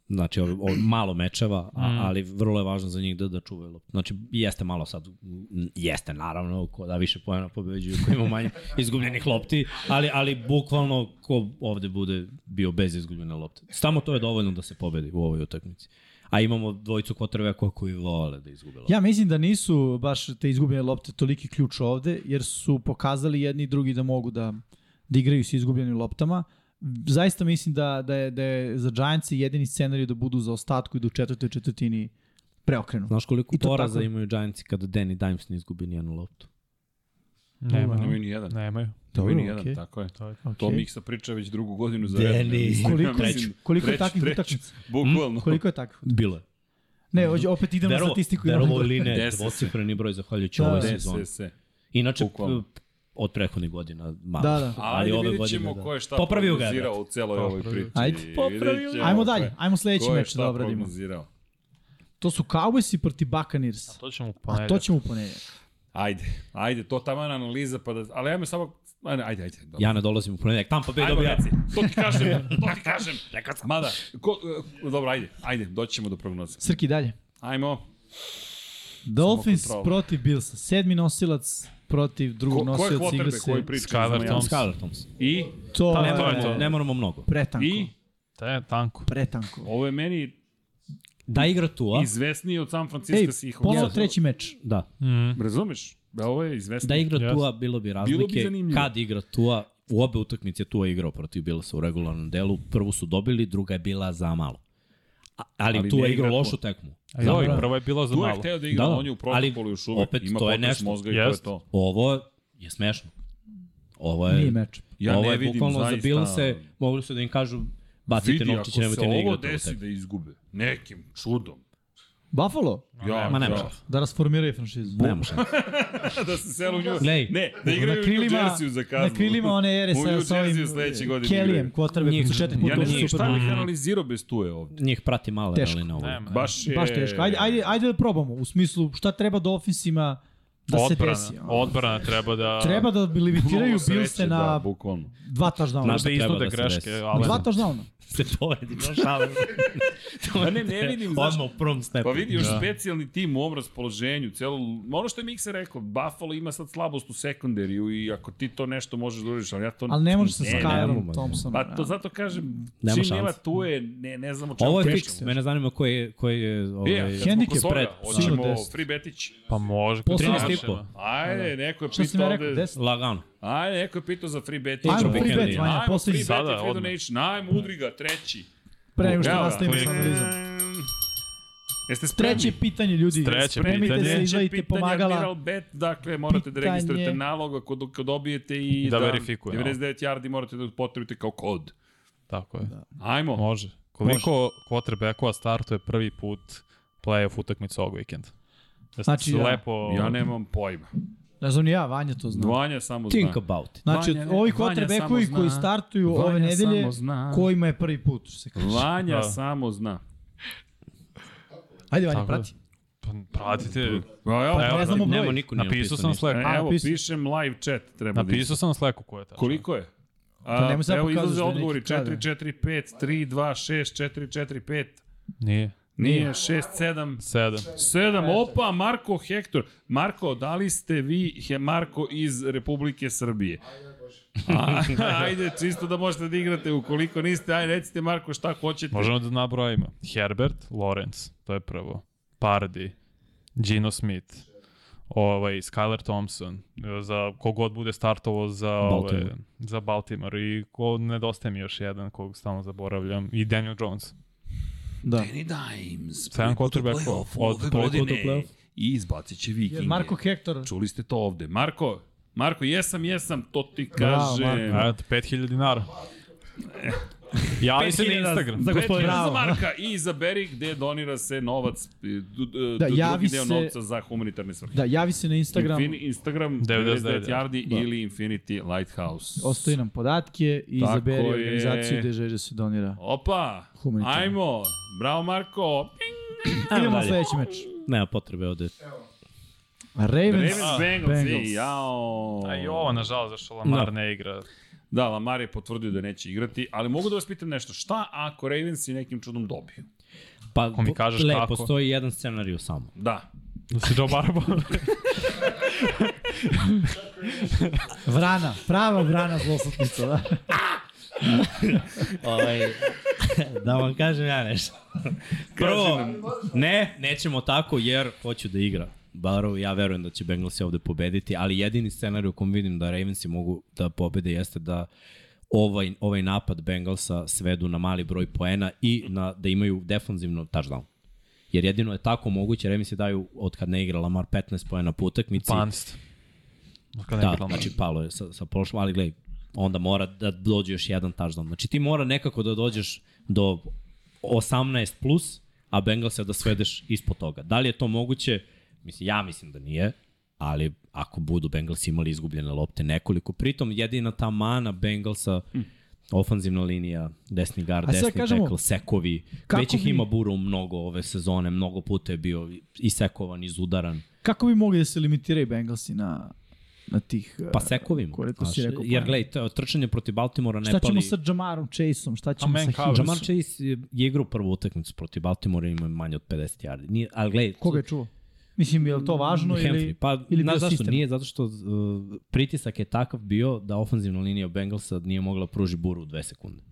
S5: Znači, ovo, ovo, malo mečeva, a,
S4: Mm.
S5: ali vrlo je važno za njih da, da čuvaju loptu. Znači, jeste malo sad, m, jeste naravno, ko da više pojena pobeđuju, ko
S4: <laughs>
S5: ima manje izgubljenih lopti, ali, ali bukvalno ko ovde bude bio bez izgubljene lopte. Samo to je dovoljno da se pobedi u ovoj utakmici. A imamo dvojicu kotrbeka koji vole da izgube loptu.
S3: Ja mislim da nisu baš te izgubljene lopte toliki ključ ovde, jer su pokazali jedni i drugi da mogu da, da igraju sa izgubljenim loptama. Zaista mislim da, da, je, da je za Giants jedini scenarij da budu za ostatku i da u četvrtoj četvrtini preokrenu.
S5: Znaš koliko
S3: I to
S5: poraza
S3: tako.
S5: imaju Giantsi kada Danny Dimes ne izgubi nijenu loptu?
S4: Nema.
S1: Nemaju ni jedan.
S4: Nemaju.
S1: Nemaju ni
S3: Dobro,
S1: jedan,
S3: okej.
S1: tako je.
S4: To je
S3: Okay.
S1: To Miksa priča već drugu godinu za
S5: Deni.
S1: redom. ja mislim.
S3: Koliko,
S1: Ja
S3: treću,
S1: mislim,
S3: koliko je
S1: treću,
S3: takvih
S1: treću,
S3: utakmica?
S1: <laughs>
S3: Hm?
S1: Bukvalno.
S3: Koliko je takvih?
S5: Bilo je.
S1: <laughs>
S3: Ne, hoće- opet idemo na statistiku. idemo na
S5: Derovo ili ne,
S1: Desi se.
S5: dvocifreni broj zahvaljujući
S3: Da.
S5: ovoj
S3: Desi
S5: sezoni.
S1: Se, se.
S5: Inače,
S1: Bukvalno.
S5: p- od prethodnih godina malo.
S3: Da, da.
S1: Ali,
S5: Ali ove
S1: vidjet
S5: godine,
S1: ćemo
S5: da.
S1: ko je šta
S5: Popravio ga je,
S1: prognozirao
S5: brate.
S1: u celoj ovoj
S4: Popravio.
S1: priči.
S3: Ajde,
S1: Vidjet
S5: popravio.
S1: ćemo
S3: Ajmo
S1: ko je-
S3: dalje, ajmo sledeći
S1: ko je
S3: meč
S1: šta
S3: da obradimo.
S1: prognozirao.
S3: To su Cowboysi proti Buccaneers.
S4: To ćemo u
S3: A
S4: ponedjak.
S3: to ćemo u ponedjeljak.
S1: Ajde, ajde, to taman analiza, pa da, ali ajmo samo, ajde, ajde, ajde. dobro.
S5: Ja ne dolazim u ponedjak. Tampa Bay
S1: Ajmo,
S5: dobija.
S1: reci, to ti kažem, to ti
S5: <laughs>
S1: kažem. Rekao sam. Mada, ko, e, dobro, ajde, ajde, doći ćemo do prognoze.
S3: Srki dalje.
S1: Ajmo,
S3: Dolphins
S1: kontrola.
S3: protiv Billsa. Sedmi nosilac protiv drugog
S1: ko, ko je
S3: nosilac igra
S1: quarterback
S3: se.
S1: koji priča?
S4: Skylar
S1: Znamo ja.
S4: Thompson.
S5: Skylar Thompson.
S1: I,
S3: To
S4: Pa
S3: je,
S4: to je to.
S5: Ne moramo mnogo.
S3: pretanko.
S1: i,
S4: To je tanko.
S3: Pretanko.
S1: ovo je meni
S5: Da igra Tua.
S1: izvesniji od San Francisco
S3: Ej,
S1: Seahawks.
S3: ponovo treći meč.
S5: Da.
S4: Mm.
S1: Razumeš? Da, ovo je izvesniji.
S5: Da igra
S4: Jasno.
S5: Tua, bilo bi razlike.
S1: zanimljivo.
S5: Kad igra Tua, u obe utakmice Tua je igrao protiv Billsa u regularnom delu. Prvu su dobili, druga je bila za malo. A- Ali,
S1: Ali
S5: ali Tua
S1: ne
S5: je igrao
S1: igra
S5: lošu
S1: Tua.
S5: tekmu.
S3: E,
S4: Ajde, ovo, prvo je bilo za
S1: Tu je
S4: malo.
S1: hteo da igra,
S5: Da,
S1: on je u protokolu
S5: ali
S1: još uvek.
S5: opet,
S1: Ima
S5: to je
S1: potres
S5: nešto.
S1: mozga i
S4: Jest.
S1: to je to.
S5: Ovo je smešno. Ovo je...
S3: Nije meč.
S1: Ja
S5: ovo
S1: ne
S5: je
S1: vidim
S5: Ovaj bukvalno
S1: zaista.
S5: za Billse, mogli su da im kažu bacite
S1: Vidi, ako
S5: novčiće,
S1: se
S5: nemojte ne
S1: ovo
S5: igrati. ovu
S1: desi
S5: tekmu.
S1: da izgube, nekim čudom.
S3: Buffalo
S1: Ja,
S5: Ma nema
S1: ja.
S5: šanse.
S3: da rasformiraju franšizu.
S5: Nema šanse.
S1: da se selu u nju.
S5: Glej,
S1: ne, da igraju
S3: na
S1: na
S3: krilima-
S1: krilima, u New Jersey za kaznu.
S3: Na krilima one ere
S1: U New
S3: sa, sa ovim e,
S1: Jersey sledeće godine.
S3: Kellyem,
S1: igraju.
S3: quarterbackom su četiri puta
S1: Ja
S3: u
S1: ne znam
S3: Super
S1: šta
S3: Bowl.
S1: bih analizirao bez tuje ovde.
S5: Njih prati malo
S3: Teško.
S5: ali na ovo.
S4: Nema.
S1: Baš je...
S3: Baš teško. Ajde, ajde, ajde da probamo. U smislu šta treba Dolphinsima da
S4: odbrana,
S3: se desi. ono.
S4: odbrana treba da...
S3: Treba da limitiraju
S1: Malo
S3: Billse
S1: sreće,
S3: na
S1: Da, bukvalno.
S3: dva touchdowna.
S5: Znaš
S4: da
S5: šta treba
S4: iznude
S5: da se
S4: greške,
S5: desi?
S4: ali...
S3: Dva touchdowna.
S5: <laughs> Se povedi, no šalim.
S1: Pa ne, ne vidim, znaš,
S5: Odmah u prvom stepu.
S1: Pa vidi, još da. specijalni tim u ovom raspoloženju, celo, ono što je Miksa rekao, Buffalo ima sad slabost u sekunderiju i ako ti to nešto možeš da uradiš, ali ja to...
S3: Ali ne može sa
S1: Ne,
S5: nemamo,
S3: Skylerom
S5: ne.
S3: Thompsonom.
S1: Pa to
S3: ja.
S1: zato kažem,
S5: Nema
S1: čim
S5: šanse.
S1: nema tu je, ne, ne znamo čemu
S5: Ovo je
S1: pričamo.
S5: fiks. Mene zanima koji je... Koji je ovaj...
S1: E,
S3: Hen- Handicap
S1: Handicap
S5: pred-
S1: pred. Hoćemo
S3: sigurno 10.
S1: free betić.
S4: Pa može.
S3: Posle
S4: 13
S5: i po.
S1: Ajde, neko je
S3: Šta sam ja
S1: pitao
S3: rekao?
S1: ovde.
S3: Deset?
S5: Lagano.
S1: Ajde, neko je pitao za free betić.
S3: Ajmo
S5: free
S1: Ajmo
S5: bet,
S1: free
S3: Vanja, poslednji.
S1: bet i
S4: Sada,
S1: free
S4: odmah.
S1: donation. Ajmo, udri ga, treći.
S3: Pre nego što
S1: Evo ga,
S3: nastavimo
S1: klik.
S3: sa analizom.
S1: Jeste spremni?
S3: Treće pitanje, ljudi.
S4: Treće
S3: Spremite
S4: pitanje.
S3: se,
S1: Treće
S3: izvadite
S1: pitanje
S3: pomagala.
S1: Admiral Bet, dakle morate da
S3: Pitanje.
S1: registrujete nalog ako, do- ako dobijete i
S4: Da verifikuje,
S1: 99 yardi morate da potrebite kao kod.
S4: Tako je.
S3: Da.
S1: Ajmo.
S4: Može. Koliko quarterbackova startuje prvi put playoff utakmicu ovog vikenda? Da
S3: Znači,
S4: znači,
S3: ja.
S4: lepo...
S1: Ja nemam pojma.
S3: Ne znam ni ja, Vanja to zna.
S1: Vanja samo zna.
S5: Think about it.
S3: Znači,
S1: Vanja ne- Vanja
S3: ovi quarterbackovi
S1: samo
S3: koji
S1: zna.
S3: startuju ove
S1: Vanja
S3: nedelje,
S1: samo zna.
S3: kojima je prvi put, što se kaže.
S1: Vanja
S4: Da.
S1: samo zna.
S3: Ajde, Vanja,
S4: Tako da.
S3: prati.
S4: Pa, Pratite,
S1: Pa evo,
S4: Evo,
S3: Ne znamo broj.
S5: Nema niko nije
S4: napisao sam
S5: ništa.
S4: Slack.
S1: e, evo
S3: napisao.
S1: pišem live chat. Treba da
S4: Napisao sam na Slacku ko je tačno.
S1: Koliko je? A,
S3: Pa nemoj sad
S1: evo
S3: pokazuješ
S1: izlaze
S3: da je
S1: odgovori
S3: neki kada.
S1: 4, 4, 5, 3, 2, 6, 4, 4, 5,
S4: Nije.
S1: nije 6, 7,
S4: Sedam.
S1: 7, opa, Marko Hektor. Marko, da li ste vi, he, Marko, iz Republike Srbije? A, <laughs> ajde, čisto da možete da igrate, ukoliko niste, ajde, recite Marko šta hoćete.
S4: Možemo da nabrojimo. Herbert, Lawrence, to je prvo. Pardy, Gino Smith, ovaj, Skyler Thompson, za kogod bude startovo za, ovaj,
S5: Baltimore.
S4: za Baltimore i ko, nedostaje mi još jedan kog stalno zaboravljam i Daniel Jones.
S3: Da.
S1: Danny Dimes.
S4: Sedam
S1: prvi put u
S4: quarterbackova
S1: play-offu
S4: od
S1: ove
S4: prvi put u
S1: godine
S4: play-off.
S1: I izbacit će Vikinge.
S3: Jer Marko Hektor,
S1: Čuli ste to ovde. Marko, Marko, jesam, jesam, to ti
S3: Bravo,
S1: kažem.
S3: Marko.
S4: Eto, 5000
S5: <laughs>
S4: dinara. Javi se na
S5: 5000
S4: Instagram.
S3: za gospodina.
S1: Petrinja
S3: Da, Bravo.
S1: za Marka i izaberi gde donira se novac, e, du, du,
S3: Da,
S1: da,
S3: javi
S1: drugi deo
S3: se-
S1: novca za humanitarne svrhe.
S3: da, javi se na Instagram,
S1: Infin, Instagram
S4: 99
S1: 99 Yardi da. ili Infinity Lighthouse.
S3: ostavi nam podatke i
S1: Tako
S3: izaberi
S1: je.
S3: organizaciju gde želiš da se donira.
S1: Opa,
S3: Humanitarno.
S1: ajmo, bravo Marko. Ping,
S5: Ajmo
S3: Idemo na
S5: dalje.
S3: sledeći meč.
S5: Nema potrebe ovde.
S3: Ravens,
S1: Ravens Bengals,
S3: Ah, Bengals.
S1: Bengals. I, jao.
S4: A i ovo, nažalost, zašto Lamar
S5: Da.
S4: ne igra.
S1: Da, Lamar je potvrdio da neće igrati, ali mogu da vas pitam nešto. Šta ako Ravens i nekim čudom dobiju?
S5: Pa,
S4: Ako mi kažeš
S5: le,
S4: kako.
S5: postoji jedan scenariju samo.
S1: Da.
S4: Da si Joe
S5: <laughs>
S4: Barbo.
S3: Vrana, prava vrana zlosutnica, da.
S5: ovaj, <laughs> da vam kažem ja nešto. Prvo, ne, nećemo tako jer hoću da igra. Barov, ja verujem da će Bengalsi ovde pobediti, ali jedini scenarij u kom vidim da Ravensi mogu da pobede jeste da ovaj, ovaj napad Bengalsa svedu na mali broj poena i na, da imaju defanzivno touchdown. Jer jedino je tako moguće, Ravensi daju od kad ne igra Lamar 15 poena po utakmici.
S4: Panst. Kad ne
S5: Da,
S4: bi Lamar.
S5: znači palo je sa, sa prošlom, ali gledaj, onda mora da dođe još jedan touchdown. Znači ti mora nekako da dođeš do 18 plus, a Bengalsa da svedeš ispod toga. Da li je to moguće? Mislim, ja mislim da nije, ali ako budu Bengalsi imali izgubljene lopte nekoliko, pritom jedina ta mana Bengalsa, ofanzivna linija, desni gar,
S3: Hm. A sad
S5: desni
S3: kažemo,
S5: tackle, sekovi,
S3: kako
S5: već ih
S3: bi-
S5: ima Buru mnogo ove sezone, mnogo puta je bio i sekovan, i zudaran.
S3: Kako bi mogli da se limitiraju Bengalsi na, na tih... e,
S5: Pa sekovima.
S3: Koliko si
S5: znaš,
S3: rekao,
S5: Jer
S3: pa-
S5: gledaj, to- trčanje protiv Baltimora ne
S3: Šta ćemo
S5: pali...
S3: sa Jamarom Chaseom?
S1: Pa
S3: Šta
S4: A
S3: ćemo
S4: man
S3: sa
S4: coversu?
S3: Hillsom?
S5: Jamar Chase je je igrao prvu utakmicu protiv Baltimora i ima manje od 50 yardi. Nije, ali gledaj,
S3: Koga je čuo? Mislim, je li to važno
S5: Henry,
S3: ili...
S5: pa,
S3: ili
S5: ili znaš
S3: bio
S5: zašto?
S3: sistem?
S5: Nije zato što uh, pritisak je takav bio da ofanzivna linija Bengalsa nije mogla da pruži buru u dve sekunde.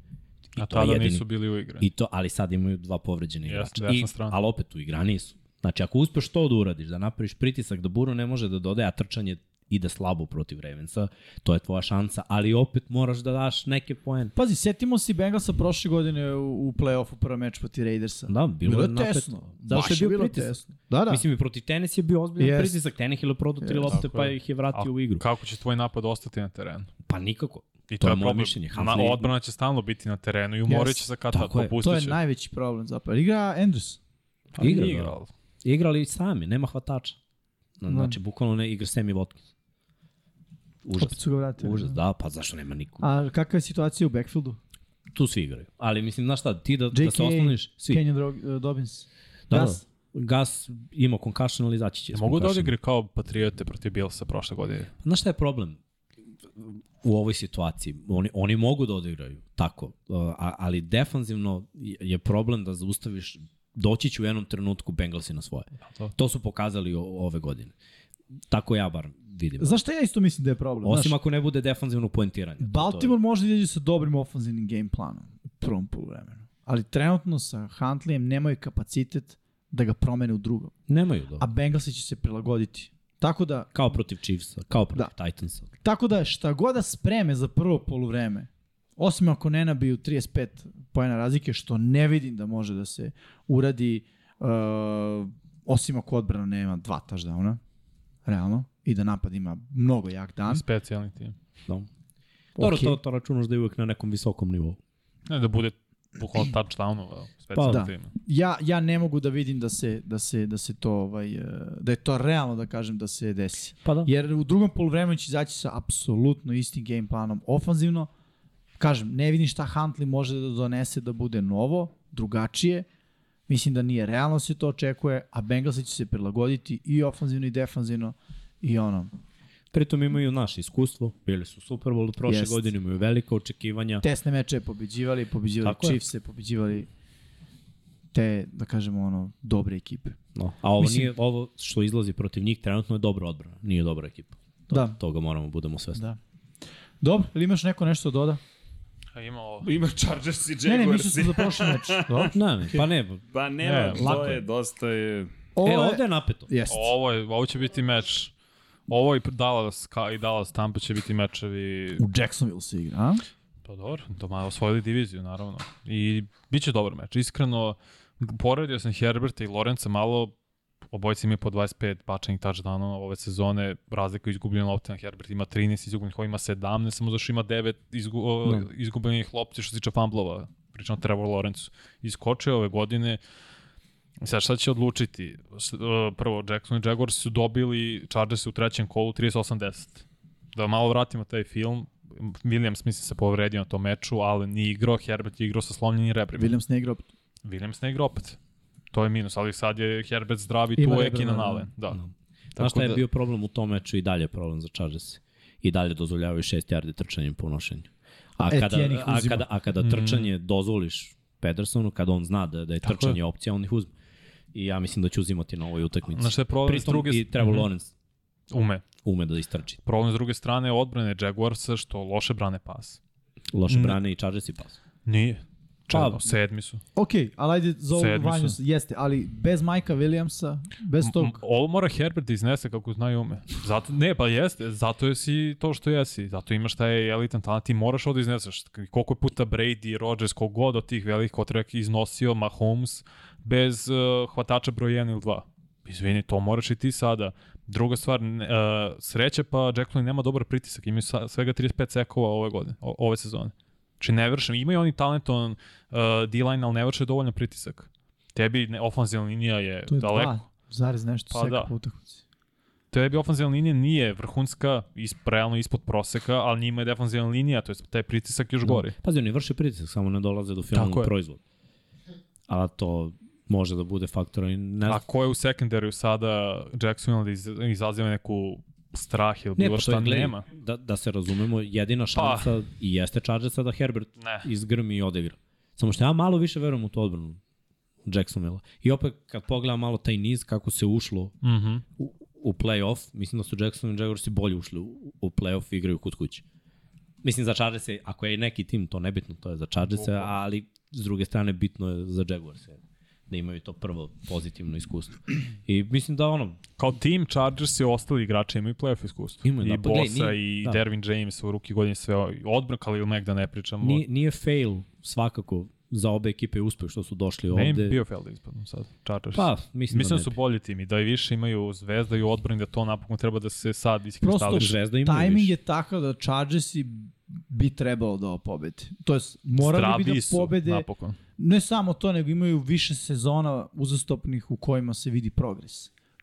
S4: A
S5: to je
S4: tada
S5: jedini.
S4: nisu bili u igre.
S5: I to, ali sad imaju dva povređene
S4: Jeste,
S5: igrača.
S4: desna
S5: I,
S4: strana.
S5: ali opet u igra nisu. Znači, ako uspeš to da uradiš, da napraviš pritisak da buru ne može da dodaje, a trčanje ide slabo protiv Ravensa, to je tvoja šansa, ali opet moraš da daš neke poen.
S3: Pazi, setimo se Bengalsa prošle godine u, u play-offu prva meč protiv Raidersa.
S5: Da, bilo,
S3: bilo
S5: je
S3: je
S5: napet.
S3: tesno.
S5: Zato što
S3: Baš
S5: je bio pritisak.
S3: tesno. Da, da.
S5: Da. Mislim i protiv tenis je bio ozbiljan yes.
S3: Jest.
S5: pritisak. Tenih je prodao tri
S3: Jest.
S5: lopte
S4: Tako
S5: pa
S4: je.
S5: ih je vratio u igru.
S4: Kako će tvoj napad ostati na terenu?
S5: Pa nikako.
S4: I
S5: To je moje mišljenje.
S4: Ona
S5: Humphrey-
S4: odbrana će stalno biti na terenu i umorit će se kad tad
S5: Tako je.
S3: to
S4: popustit
S3: je
S4: će.
S3: najveći problem zapravo. Igra Andrews.
S4: Pa nije
S5: Igra, da.
S4: igrao.
S5: Igrali sami, nema hvatača.
S3: Da.
S5: Znači, bukvalno ne igra Sammy Watkins.
S3: Opet
S5: Užas.
S3: su ga vratili.
S5: Užas, da, pa zašto nema niko?
S3: A kakva je situacija u backfieldu?
S5: Tu svi igraju. Ali mislim, znaš šta, ti da, da
S3: JK,
S5: se osloniš, svi.
S3: Kenyon Drog- eh, Dobbins.
S5: da, da.
S3: Gas.
S5: Gas ima concussion, ali izaći će. s
S4: Mogu da
S5: concussion.
S4: odigre kao Patriote protiv Bilsa prošle godine.
S5: Pa Znaš šta je problem u ovoj situaciji? Oni, oni mogu da odigraju, tako, uh, a- ali defanzivno je problem da zaustaviš, doći će u jednom trenutku Bengalsi na svoje.
S4: to.
S5: Da, To su pokazali o- ove godine. Tako ja bar vidim.
S3: Znaš šta ja isto mislim da je problem?
S5: Osim
S3: Znaš,
S5: ako ne bude defanzivno poentiranje.
S3: Baltimore može da izađe sa dobrim ofanzivnim game planom u prvom poluvremenu. Ali trenutno sa Huntleyem nemaju kapacitet da ga promene u drugom.
S5: To je- Nemaju
S3: A
S5: da.
S3: Bengalsi će se prilagoditi. Tako da,
S5: Kao protiv Chiefsa, kao protiv da. Titansa.
S3: tako da šta god da spreme za prvo poluvreme, osim ako ne nabiju 35 pojena razlike, što ne vidim da može da se uradi, uh, osim ako odbrana nema dva touchdowna, realno, i da napad ima mnogo jak dan.
S4: Specijalni tim.
S5: Da. Dobro,
S3: Okej.
S5: to, to računaš da je uvek na nekom visokom nivou.
S4: Ne da bude
S5: <clears throat>
S4: bukvalno touchdownova
S5: Pa
S4: specijalni
S3: da.
S4: da. tim.
S3: ja, ja ne mogu da vidim da se, da se, da se to, ovaj, eh, da je to realno da kažem da se desi.
S5: Pa da.
S3: Jer u drugom poluvremenu će izaći sa apsolutno istim game planom ofanzivno. Kažem, ne vidim šta Huntley može da donese da bude novo, drugačije. Mislim da nije realno se to očekuje, a Bengalsi će se prilagoditi i ofanzivno i defanzivno i ono,
S5: Pritom imaju naše iskustvo, bili su u Super Bowlu prošle
S3: Jest.
S5: godine, imaju velika očekivanja.
S3: tesne meče pobeđivali, pobeđivali
S5: Tako je.
S3: Chiefs, pobeđivali te, da kažemo, ono, dobre ekipe.
S5: No. A ovo,
S3: Mislim-
S5: nije, ovo što izlazi protiv njih trenutno je dobra odbrana, nije dobra ekipa. To,
S3: Da.
S5: Toga moramo budemo svesni.
S3: Da. Dobro, ili imaš neko nešto da doda?
S4: A imao...
S1: Ima Chargers i
S3: Ne, ne,
S1: Jaguars.
S3: mislim smo za prošli meč.
S5: Da. Ne, ne, pa ne.
S1: Pa nema,
S4: Ne,
S1: to
S5: lako
S1: je,
S5: je.
S1: dosta je...
S5: e, ovde je napeto.
S3: Jeste.
S4: Ovo, je, ovo će biti meč. Ovo i Dallas, ka, i Dallas Tampa će biti mečevi...
S3: U Jacksonville se igra, a?
S4: Pa dobro, doma osvojili diviziju, naravno. I bit će dobar meč. Iskreno, poredio sam Herberta i Lorenca malo, obojci imaju po 25 bačenih touchdownova ove sezone, razlika u izgubljenim loptima. Herbert ima 13 izgubljenih, ovo ima 17, samo zašto ima 9 izgu, o, izgubljenih lopti što se tiče fumblova. Pričam o Trevor Lorencu. Iskočio je ove godine, I Sad šta će odlučiti? S- e, Prvo, Jackson i Jaguars su dobili Chargers u trećem kolu 38-10. Da malo vratimo taj film, Williams mislim se povredio na tom meču, ali nije igrao, Herbert je igrao sa slomljenim rebrima.
S3: Williams ne igra opet.
S4: Williams ne igra opet. To je minus, ali sad je Herbert zdrav i
S3: Ima
S4: tu je
S3: rebra,
S4: Keenan
S3: da, da.
S4: Allen. Da.
S5: Da.
S4: Tako
S5: Znaš šta je
S4: da-
S5: bio problem u tom meču i dalje je problem za Chargers. I dalje dozvoljavaju 6 yardi trčanjem po nošenju. A
S4: E,
S3: Etienne
S5: kada,
S3: ih
S5: a
S3: uzima.
S5: kada, a
S4: Mhm.
S5: kada trčanje dozvoliš Pedersonu, kada on zna da, da je
S4: Tako je.
S5: trčanje opcija, on ih uzme. I ja mislim da će uzimati na ovoj utakmici.
S4: Znaš šta je problem s
S5: Pritom
S4: druge...
S5: i Trevor
S4: Mhm.
S5: Lawrence
S4: Ume.
S5: ume da istrči.
S4: Problem s druge strane je odbrane Jaguarsa što loše brane pas.
S5: Loše
S4: Ne.
S5: brane i Chargers i pas.
S4: Nije. Čao,
S5: Pa-
S4: sedmi su.
S3: Ok, ali ajde za ovu
S4: Sedmi su.
S3: vanju, jeste, ali bez Majka Williamsa, bez
S4: M-
S3: tog...
S4: Ovo mora Herbert da iznese kako zna i ume. Zato, ne, pa jeste, zato je si to što jesi. Zato imaš taj elitan talent, ti moraš ovo da izneseš. Koliko je puta Brady, Rodgers, kogod od tih velikih kotrek iznosio Mahomes bez uh, hvatača broj 1 ili 2. Izvini, to moraš i ti sada. Druga stvar, ne, uh, sreće pa Jacklin nema dobar pritisak, imaju sa, svega 35 sekova ove godine, o, ove sezone. Znači ne vrše, imaju oni talenton uh, D-line, ali ne vrše dovoljno pritisak. Tebi ne, ofenzivna linija je,
S3: To je da,
S4: daleko.
S3: dva, zarez nešto
S4: Pa
S3: pa, seka
S4: da.
S3: da. po utakmici.
S4: Tebi ofenzivna linija nije vrhunska, isp, realno ispod proseka, ali njima je defenzivna linija, to je taj pritisak
S5: Da.
S4: još gori.
S5: Pazi, oni vrše pritisak, samo ne dolaze do
S4: Tako
S5: finalnog
S4: je.
S5: proizvoda. A to može da bude faktor i ne
S4: A
S5: znam.
S4: ko je u sekundariju sada Jacksonville da iz, izaziva neku strah ili
S5: Ne,
S4: bilo
S5: pa
S4: šta
S5: to je,
S4: nema?
S5: nema. Da, da se razumemo, jedina šansa pa. i jeste Chargersa da Herbert
S4: Ne.
S5: izgrmi i odigra. Samo što ja malo više verujem u tu odbranu Jacksonville. I opet kad pogledam malo taj niz kako se ušlo
S4: Mhm.
S5: u, u play-off, mislim da su Jackson i Jaguarsi bolje ušli u, u play-off i igraju kod kuće. Mislim za Chargers je, ako je neki tim, to nebitno, to je za Chargers, ali s druge strane bitno je za Jaguars da imaju to prvo pozitivno iskustvo. I mislim da ono,
S4: Kao tim Chargers i ostali igrači imaju playoff iskustvo.
S5: Imaju,
S4: I
S5: da,
S4: da,
S5: pa gledaj,
S4: Bosa
S5: nije-
S4: i
S5: da.
S4: Dervin James u ruki godine sve odbran, Khalil Mack da ne pričamo.
S5: nije, nije fail svakako za obe ekipe uspeh što su došli
S4: Ne im
S5: ovde.
S4: Biofeld ispadnu sad, Chargers.
S5: Pa, mislim,
S4: Mislim da
S5: ne
S4: su
S5: bi.
S4: bolji timi, da i više imaju zvezda i u odbrani, da to napokon treba da se sad iskristališe.
S5: Zvezda imaju
S3: Timing
S5: više.
S3: je takav da Chargersi bi trebalo da pobede. To jest, morali bi
S4: Zdraviji
S3: da
S4: su
S3: pobede,
S4: napokon.
S3: ne samo to, nego imaju više sezona uzastopnih u kojima se vidi progres.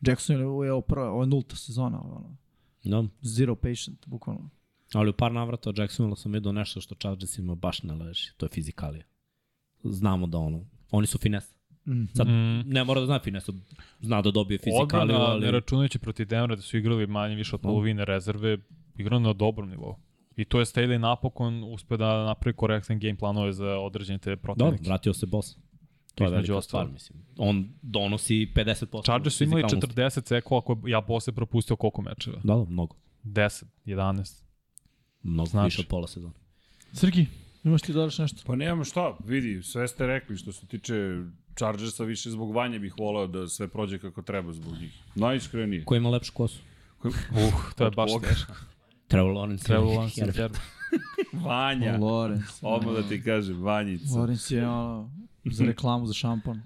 S3: Jackson je ovo prva, ovo je nulta sezona, ono,
S5: Da.
S3: zero patient, bukvalno.
S5: Ali u par navrata od Jacksonville sam vidio nešto što Chargersima baš ne leži. To je fizikalija. Znamo da ono, oni su finesa.
S3: Mhm.
S5: Sad,
S4: Mm.
S5: ne mora da zna finesa, zna da dobije fizikaliju,
S4: Odbrana,
S5: ali... Mhm.
S4: ne računajući protiv Denvera da su igrali manje više od polovine rezerve, igrano na dobrom nivou. I to je Staley napokon uspeo da napravi korektan game planove za određene te
S5: Dobro,
S4: protivnike.
S5: Da, vratio se boss. To je
S4: Između
S5: velika
S4: ostalog.
S5: stvar, mislim. On donosi 50%.
S4: Chargers su imali
S5: fizikalnosti.
S4: 40 sekova ako je ja posle propustio koliko mečeva.
S5: Da, da, mnogo.
S4: 10, 11.
S5: Mnogo
S4: Znaš.
S5: Znaš. više od pola sezona.
S3: Srki, imaš ti dodaš nešto?
S1: Pa nemam šta, vidi, sve ste rekli što se tiče Chargersa, više zbog vanje bih volao da sve prođe kako treba zbog njih. Najiskrenije.
S5: Ko ima lepšu kosu?
S4: Uh, to je baš
S1: Boga.
S4: teško.
S5: Trevor Lawrence. <laughs>
S4: Trebalo vam se
S5: Jer-
S4: Herbert.
S1: Vanja.
S3: Lorenz.
S1: Odmah da ti kažem, Vanjica.
S3: Lorenz je ono, za reklamu za šampan.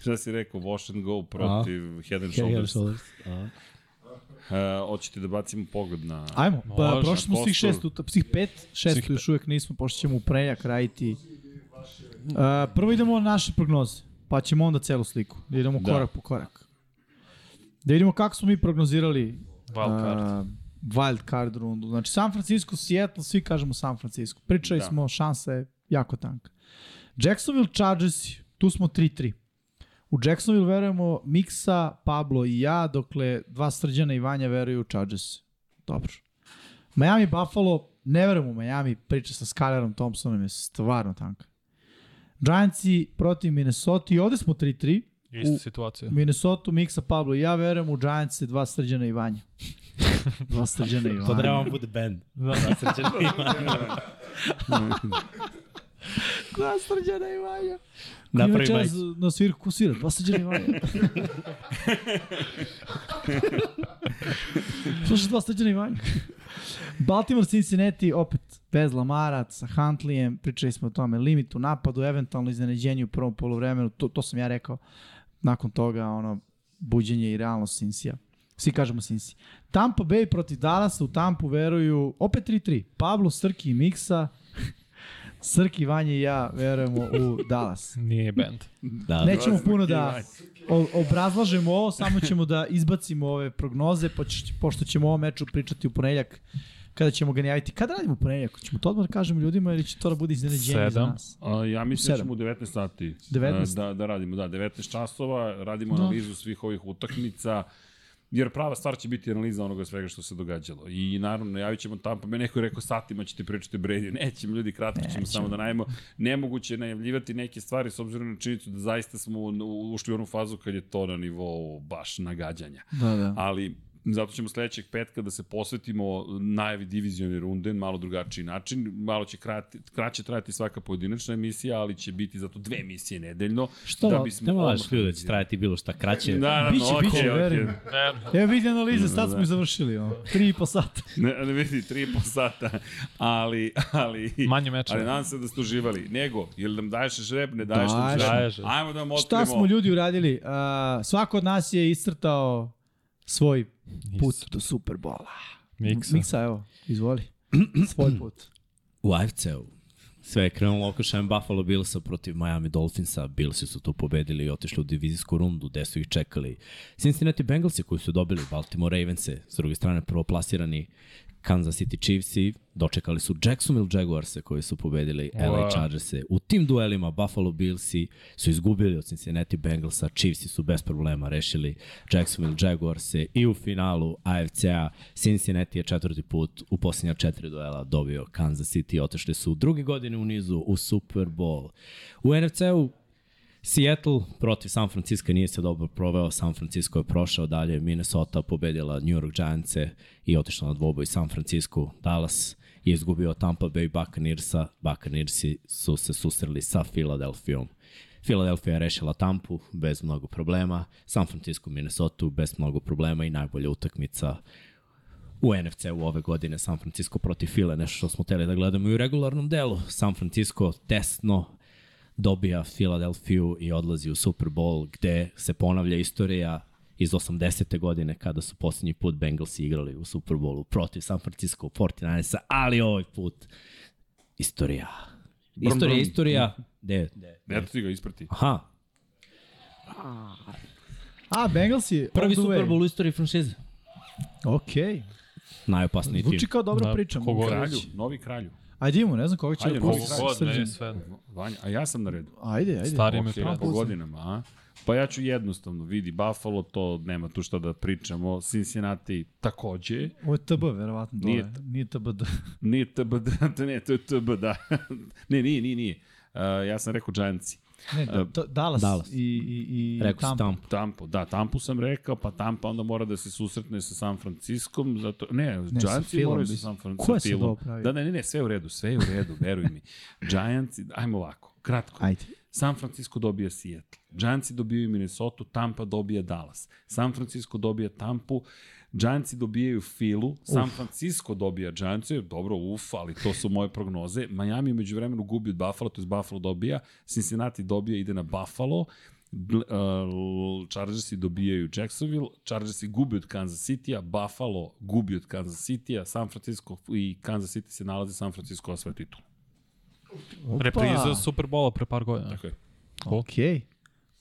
S1: Šta si rekao, wash and go protiv head and shoulders. Uh,
S5: A,
S1: hoćete da bacimo pogled na...
S3: Ajmo, pa
S4: Može,
S3: prošli smo svih
S1: kostur.
S3: šest, uta, svih pet, šestu
S4: Svih
S3: još uvek nismo, pošto ćemo u preljak raditi. E, prvo idemo na naše prognoze, pa ćemo onda celu sliku, da idemo
S1: Da.
S3: da. korak po korak. Da vidimo kako smo mi prognozirali
S4: Wild card.
S3: e, wild card rundu. Znači San Francisco, Seattle, svi kažemo San Francisco. Pričali
S1: Da.
S3: da. smo, šansa je jako tanka. Jacksonville Chargers, tu smo 3-3. U Jacksonville verujemo Miksa, Pablo i ja, dokle dva Srđana i Vanja veruju u Chargers. Dobro. Miami Buffalo, ne verujemo u Miami, priča sa Skylerom Thompsonom je stvarno tanka. Giantsi protiv Minnesota i ovde smo 3-3.
S4: Ista
S3: U-
S4: situacija.
S3: Minnesota, Miksa, Pablo i ja verujem u Giants dva Srđana i
S5: <laughs>
S3: Vanja. Dva Srđana i Vanja.
S5: To treba vam bude band. Da, <laughs>
S3: Dva Srđana i Vanja.
S5: Napravi
S3: Ima
S5: majcu.
S3: čas na svirku ko svira, dva Srđana i Vanja. Slušaj, dva Srđana i Vanja. Baltimore, Cincinnati, opet bez Lamara, sa Huntlijem, pričali smo o tome, limitu napadu, eventualno iznenađenje u prvom polovremenu, to, to sam ja rekao. Nakon toga, ono, buđenje i realnost Cinsija. Svi kažemo Cinsi. Tampa Bay protiv Dallasa, u Tampu veruju, opet 3-3, Pablo, Srki i Miksa, Srki, Vanje i ja verujemo u Dallas.
S4: Nije band.
S5: da.
S3: Nećemo puno da o- obrazlažemo ovo, samo ćemo da izbacimo ove prognoze, pa ćeš- pošto ćemo o ovom meču pričati u ponedjeljak, kada ćemo ga najaviti. Kada radimo u ponedjeljak? Ćemo to odmah da kažemo ljudima ili će to da bude iznenađenje za
S4: Sedam.
S3: nas?
S1: A, ja mislim da
S3: Sedam.
S1: ćemo u 19 sati
S3: 19.
S1: Da, da radimo, da, 19 časova, radimo
S3: Da.
S1: analizu svih ovih utakmica, jer prava stvar će biti analiza onoga svega što se događalo. I naravno, najavit ćemo Tampa, me neko je rekao satima ćete pričati o Brady, <laughs> nećemo ljudi, kratko ćemo samo da najavimo. Nemoguće je najavljivati neke stvari s obzirom na činjenicu da zaista smo u- ušli u onu fazu kad je to na nivou baš nagađanja
S3: Da, da.
S1: ali zato ćemo sledećeg petka da se posvetimo najavi divizione runde, malo drugačiji način, malo će krati, kraće trajati svaka pojedinačna emisija, ali će biti zato dve emisije nedeljno.
S5: Što, da ne
S1: odmah-
S5: moraš ljudi, da će trajati bilo šta kraće.
S1: Da, da,
S3: Biće,
S1: biće,
S3: biće,
S1: biće,
S3: verujem.
S1: okay.
S3: Evo vidi analize, sad smo ih završili. Ovo. Tri i po sata.
S1: Ne, ne vidi, tri i po sata, ali, ali...
S4: Manje meča.
S1: Ali nadam se da ste uživali. Nego, jel nam daješ žreb, ne daješ nam
S3: Daješ.
S1: žreb?
S4: Daješ.
S1: Ajmo da vam otkrimo.
S3: Šta smo ljudi uradili? Uh, svako od nas je iscrtao svoj put do Superbola.
S4: Miksa.
S3: Miksa, evo, izvoli. Svoj put.
S5: U AFC-u sve je krenulo oko šajem Buffalo Billsa protiv Miami Dolphinsa. Billsi su tu pobedili i otišli u divizijsku rundu gde su ih čekali Cincinnati Bengalsi koji su dobili Baltimore Ravense, s druge strane prvoplasirani Kansas City Chiefsi, dočekali su Jacksonville Jaguarse koji su pobedili wow. LA Chargerse. U tim duelima Buffalo Billsi su izgubili od Cincinnati Bengalsa, Chiefsi su bez problema rešili Jacksonville Jaguarse i u finalu AFC-a Cincinnati je četvrti put u posljednja četiri duela dobio Kansas City, otešli su druge godine u nizu u Super Bowl. U NFC-u Seattle protiv San Francisco nije se dobro proveo, San Francisco je prošao dalje, Minnesota pobedila New York Giants i otišla na dvoboj San Francisco, Dallas je izgubio Tampa Bay Buccaneersa, Buccaneersi su se susreli sa Filadelfijom. Filadelfija je rešila Tampu bez mnogo problema, San Francisco Minnesota bez mnogo problema i najbolja utakmica u NFC-u ove godine San Francisco protiv Fila, nešto što smo teli da gledamo i u regularnom delu. San Francisco tesno dobija Filadelfiju i odlazi u Super Bowl gde se ponavlja istorija iz 80. godine kada su posljednji put Bengalsi igrali u Super Bowlu protiv San Francisco 49ersa, ali ovaj put istorija.
S1: Brum,
S5: Istorija,
S1: brum.
S5: istorija. De, de.
S1: Ne ti ga isprati.
S5: Aha,
S3: A, Bengalsi,
S5: prvi
S3: all the
S5: Super
S3: way.
S5: Bowl u istoriji franšize.
S3: Okej.
S5: Najopasniji tim.
S3: Zvuči kao dobra
S4: Da,
S3: priča.
S4: kogo-
S1: Kralju, novi kralju.
S3: Ajde imamo, ne znam koga će
S1: Ajde,
S3: da
S1: kogo
S3: pusti
S4: god, meni je
S3: srđan.
S4: sve.
S1: Vanja, a ja sam na redu.
S3: Ajde, ajde.
S4: Stari me
S1: Okay, po
S4: pravo.
S1: godinama, a? Pa ja ću jednostavno, vidi, Buffalo, to nema tu šta da pričamo, Cincinnati takođe,
S3: Ovo je TB, verovatno.
S1: Nije
S3: Nije, nije TB. Da.
S1: nije TB, <laughs> da, ne, to je TB, da. <laughs> ne, nije, nije, nije. Uh, ja sam rekao Giantsi.
S3: <laughs> Ne, da, to, Dallas,
S5: Dallas.
S3: i, i, i
S5: Rekao sam
S3: Tampa.
S5: tam.
S1: Tampo, da, Tampu sam rekao, pa Tampa onda mora da se susretne sa San Franciskom, zato, ne,
S3: sa
S1: Giantsi
S3: Philom
S1: moraju sa
S3: bi-
S1: San
S3: Ko je sad
S1: Franciskom.
S3: ovo pravio?
S1: Da, ne, ne, ne, sve je u redu, sve je u redu, veruj mi. Giantsi, ajmo ovako, kratko.
S3: Ajde.
S1: San Francisco dobija Seattle, Giantsi dobijaju Minnesota, Tampa dobija Dallas, San Francisco dobija Tampu, Giantsi dobijaju Filu, San Francisco dobija Giantsi, dobro, uf, ali to su moje prognoze. Miami među vremenu gubi od Buffalo, to je Buffalo dobija, Cincinnati dobija, ide na Buffalo, Bl- uh, Chargersi dobijaju Jacksonville, Chargersi gubi od Kansas City-a, Buffalo gubi od Kansas City-a, San Francisco i Kansas City se nalaze, San Francisco osvaja titul.
S3: Opa.
S4: Repriza Superbola pre par godina.
S1: Tako je.
S3: Okej.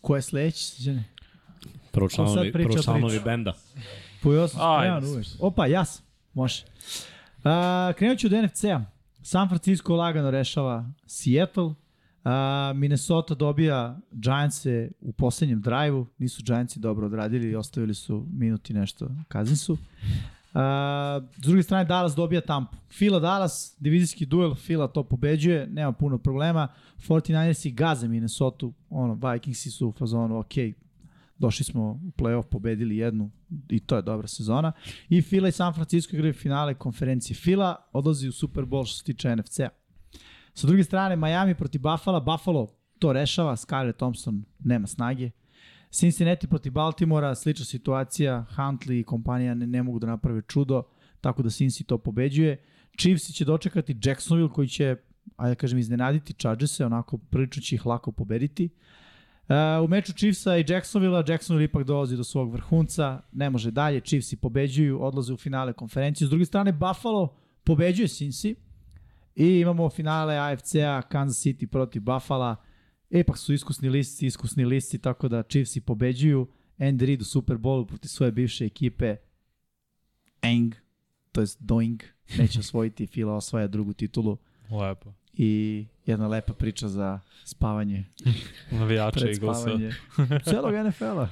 S3: Ko je sledeći? srđane?
S5: Prvo
S3: Ko
S5: članovi,
S3: sad priča
S5: prvo članovi
S3: priču?
S5: benda.
S3: Po ja sam
S4: Ajde.
S3: spreman uvek. da Opa, jas. Može. A, krenut ću od NFC-a. San Francisco lagano rešava Seattle. A, Minnesota dobija Giantse u poslednjem drive-u. Nisu Giantsi dobro odradili i ostavili su minuti nešto Kazinsu. A, s druge strane, Dallas dobija Tampu. Fila Dallas, divizijski duel, Fila to pobeđuje, nema puno problema. 49ersi gaze Minnesota, ono, Vikingsi su u fazonu, okej, došli smo u play-off, pobedili jednu i to je dobra sezona. I Fila i San Francisco igraju finale konferencije. Fila odlazi u Super Bowl što se tiče NFC-a. Sa druge strane, Miami protiv Buffalo. Buffalo to rešava, Skyler Thompson nema snage. Cincinnati protiv Baltimora, slična situacija, Huntley i kompanija ne, ne mogu da naprave čudo, tako da Cincy to pobeđuje. Chiefs će dočekati Jacksonville koji će, ajde da kažem, iznenaditi Chargers-e, onako prilično će ih lako pobediti. Uh, u meču Chiefsa i Jacksonville, Jacksonville ipak dolazi do svog vrhunca, ne može dalje, Chiefsi pobeđuju, odlaze u finale konferencije. S druge strane, Buffalo pobeđuje Cincy i imamo finale AFC-a, Kansas City protiv Buffalo. Ipak E, pa su iskusni listi, iskusni listi, tako da Chiefsi pobeđuju. Andy Reid u Super Bowlu protiv svoje bivše ekipe Eng, to jest Doing, neće osvojiti, Fila osvaja drugu titulu
S4: Lepo.
S3: i jedna lepa priča za spavanje
S4: Navijače
S3: pred
S4: Eaglesa.
S3: spavanje. Celog NFL-a.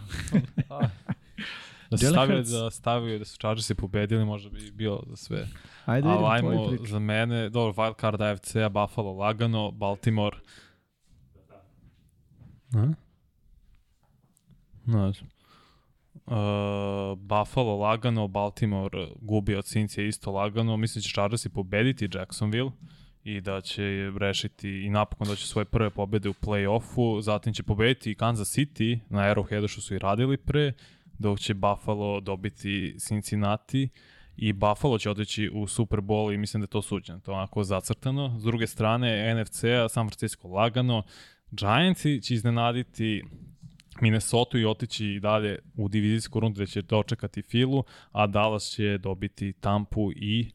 S4: Da su
S3: Jalen
S4: stavili
S3: Hurts.
S4: da stavio da su Chargersi pobedili, možda bi bio za sve.
S3: Ajde
S4: Ali
S3: vidimo tvoju
S4: ajmo
S3: priču.
S4: za mene, dobro, wild card AFC-a, Buffalo lagano, Baltimore. A? Ne znam. Uh, Buffalo lagano, Baltimore uh, gubi od Cincy isto lagano. Mislim da će Chargersi pobediti Jacksonville i da će rešiti i napokon da će svoje prve pobede u play-offu, zatim će pobediti i Kansas City na Arrowheadu što su i radili pre, dok će Buffalo dobiti Cincinnati i Buffalo će otići u Super Bowl i mislim da je to suđeno, to je onako zacrtano. S druge strane, NFC-a, San Francisco lagano, Giantsi će iznenaditi Minnesota i otići i dalje u divizijsku rundu gde će dočekati Filu, a Dallas će dobiti Tampu i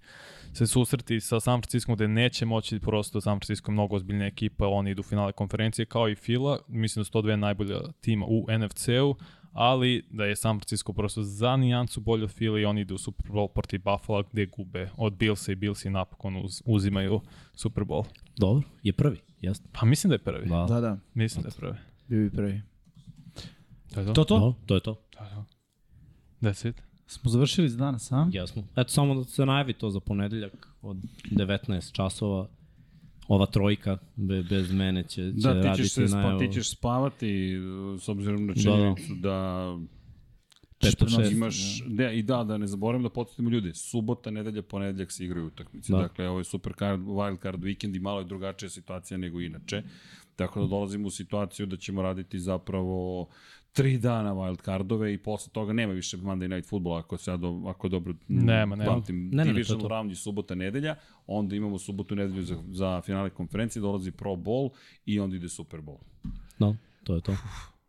S4: se susreti sa San Francisco gde neće moći prosto San Francisco je mnogo ozbiljna ekipa, oni idu u finale konferencije kao i Fila, mislim da su to dve najbolja tima u NFC-u, ali da je San Francisco prosto za nijancu bolje od Fila i oni idu u Super Bowl protiv Buffalo gde gube od Billsa i Billsi napokon uz, uzimaju Super Bowl.
S5: Dobro, je prvi, jasno.
S4: Pa mislim da je prvi. Da.
S3: Da, da,
S4: Mislim da je prvi.
S3: bio bi prvi.
S4: To je to.
S3: To to?
S5: To? to je to,
S4: That's it.
S3: Smo završili za danas, a?
S5: jasno. Eto, samo da se najavi to za ponedeljak od 19 časova. Ova trojka be, bez mene će, će
S1: Da, ti
S5: raditi
S1: ćeš, se spa,
S5: najavu.
S1: ti ćeš spavati uh, s obzirom na
S5: da.
S1: činjenicu da,
S5: Pet od
S1: da
S5: šest.
S1: imaš, ne, i da, da ne zaboravim da podsjetimo ljudi, subota, nedelja, ponedeljak se igraju utakmice, da.
S5: Da.
S1: dakle ovo je super card, wild card vikend i malo je drugačija situacija nego inače, tako da dolazimo u situaciju da ćemo raditi zapravo tri dana wild cardove i posle toga nema više Monday Night Football ako se ja do, ako dobro
S4: Nema, nema.
S1: pamtim.
S5: Ne, ne, ne, to je
S1: Divisional
S5: to.
S1: round je subota, nedelja, onda imamo subotu, nedelju za, za finale konferencije, dolazi Pro Bowl i onda ide Super Bowl.
S5: No, Da, to je to.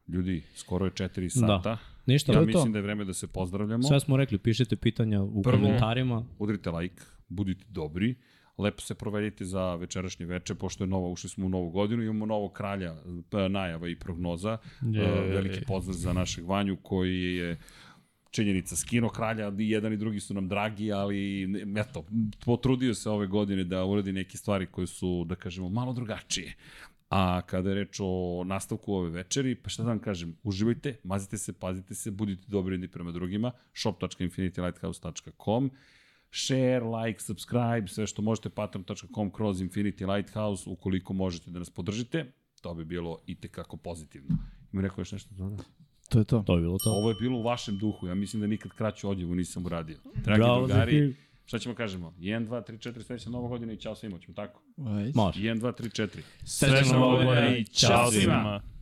S1: Ljudi, skoro je 4 sata. Da.
S5: Ništa,
S1: Ja
S5: to je to.
S1: mislim da je vreme da se pozdravljamo.
S5: Sve smo rekli, pišite pitanja u
S1: Prvo-
S5: komentarima.
S1: Udrite like, budite dobri. Lepo se provedite za večerašnje veče, pošto je nova, ušli smo u novu godinu, imamo novog kralja e, najava i prognoza.
S4: Je.
S1: E, Veliki pozdrav za našeg Vanju koji je činjenica skino kralja, i jedan i drugi su nam dragi, ali ne- eto, potrudio se ove godine da uradi neke stvari koje su, da kažemo, malo drugačije. A kada je reč o nastavku ove večeri, pa šta da vam kažem, uživajte, mazite se, pazite se, budite dobri jedni prema drugima, shop.infinitylighthouse.com, share, like, subscribe, sve što možete, patreon.com kroz Infinity Lighthouse, ukoliko možete da nas podržite, to bi bilo i tekako pozitivno. Ima rekao još nešto?
S3: To je to.
S5: To je bilo to.
S1: Ovo je bilo u vašem duhu, ja mislim da nikad kraću odjevu nisam uradio. Dragi
S5: Bravo,
S1: drugari,
S5: Zeki.
S1: šta ćemo kažemo? 1, 2, 3, 4, sledeća nova godina i čao svima, ćemo tako?
S3: Ajde.
S5: Može.
S1: 1, 2, 3, 4.
S4: Srećna
S5: Srećna
S4: Bogu
S5: Bogdana
S4: i čao svima.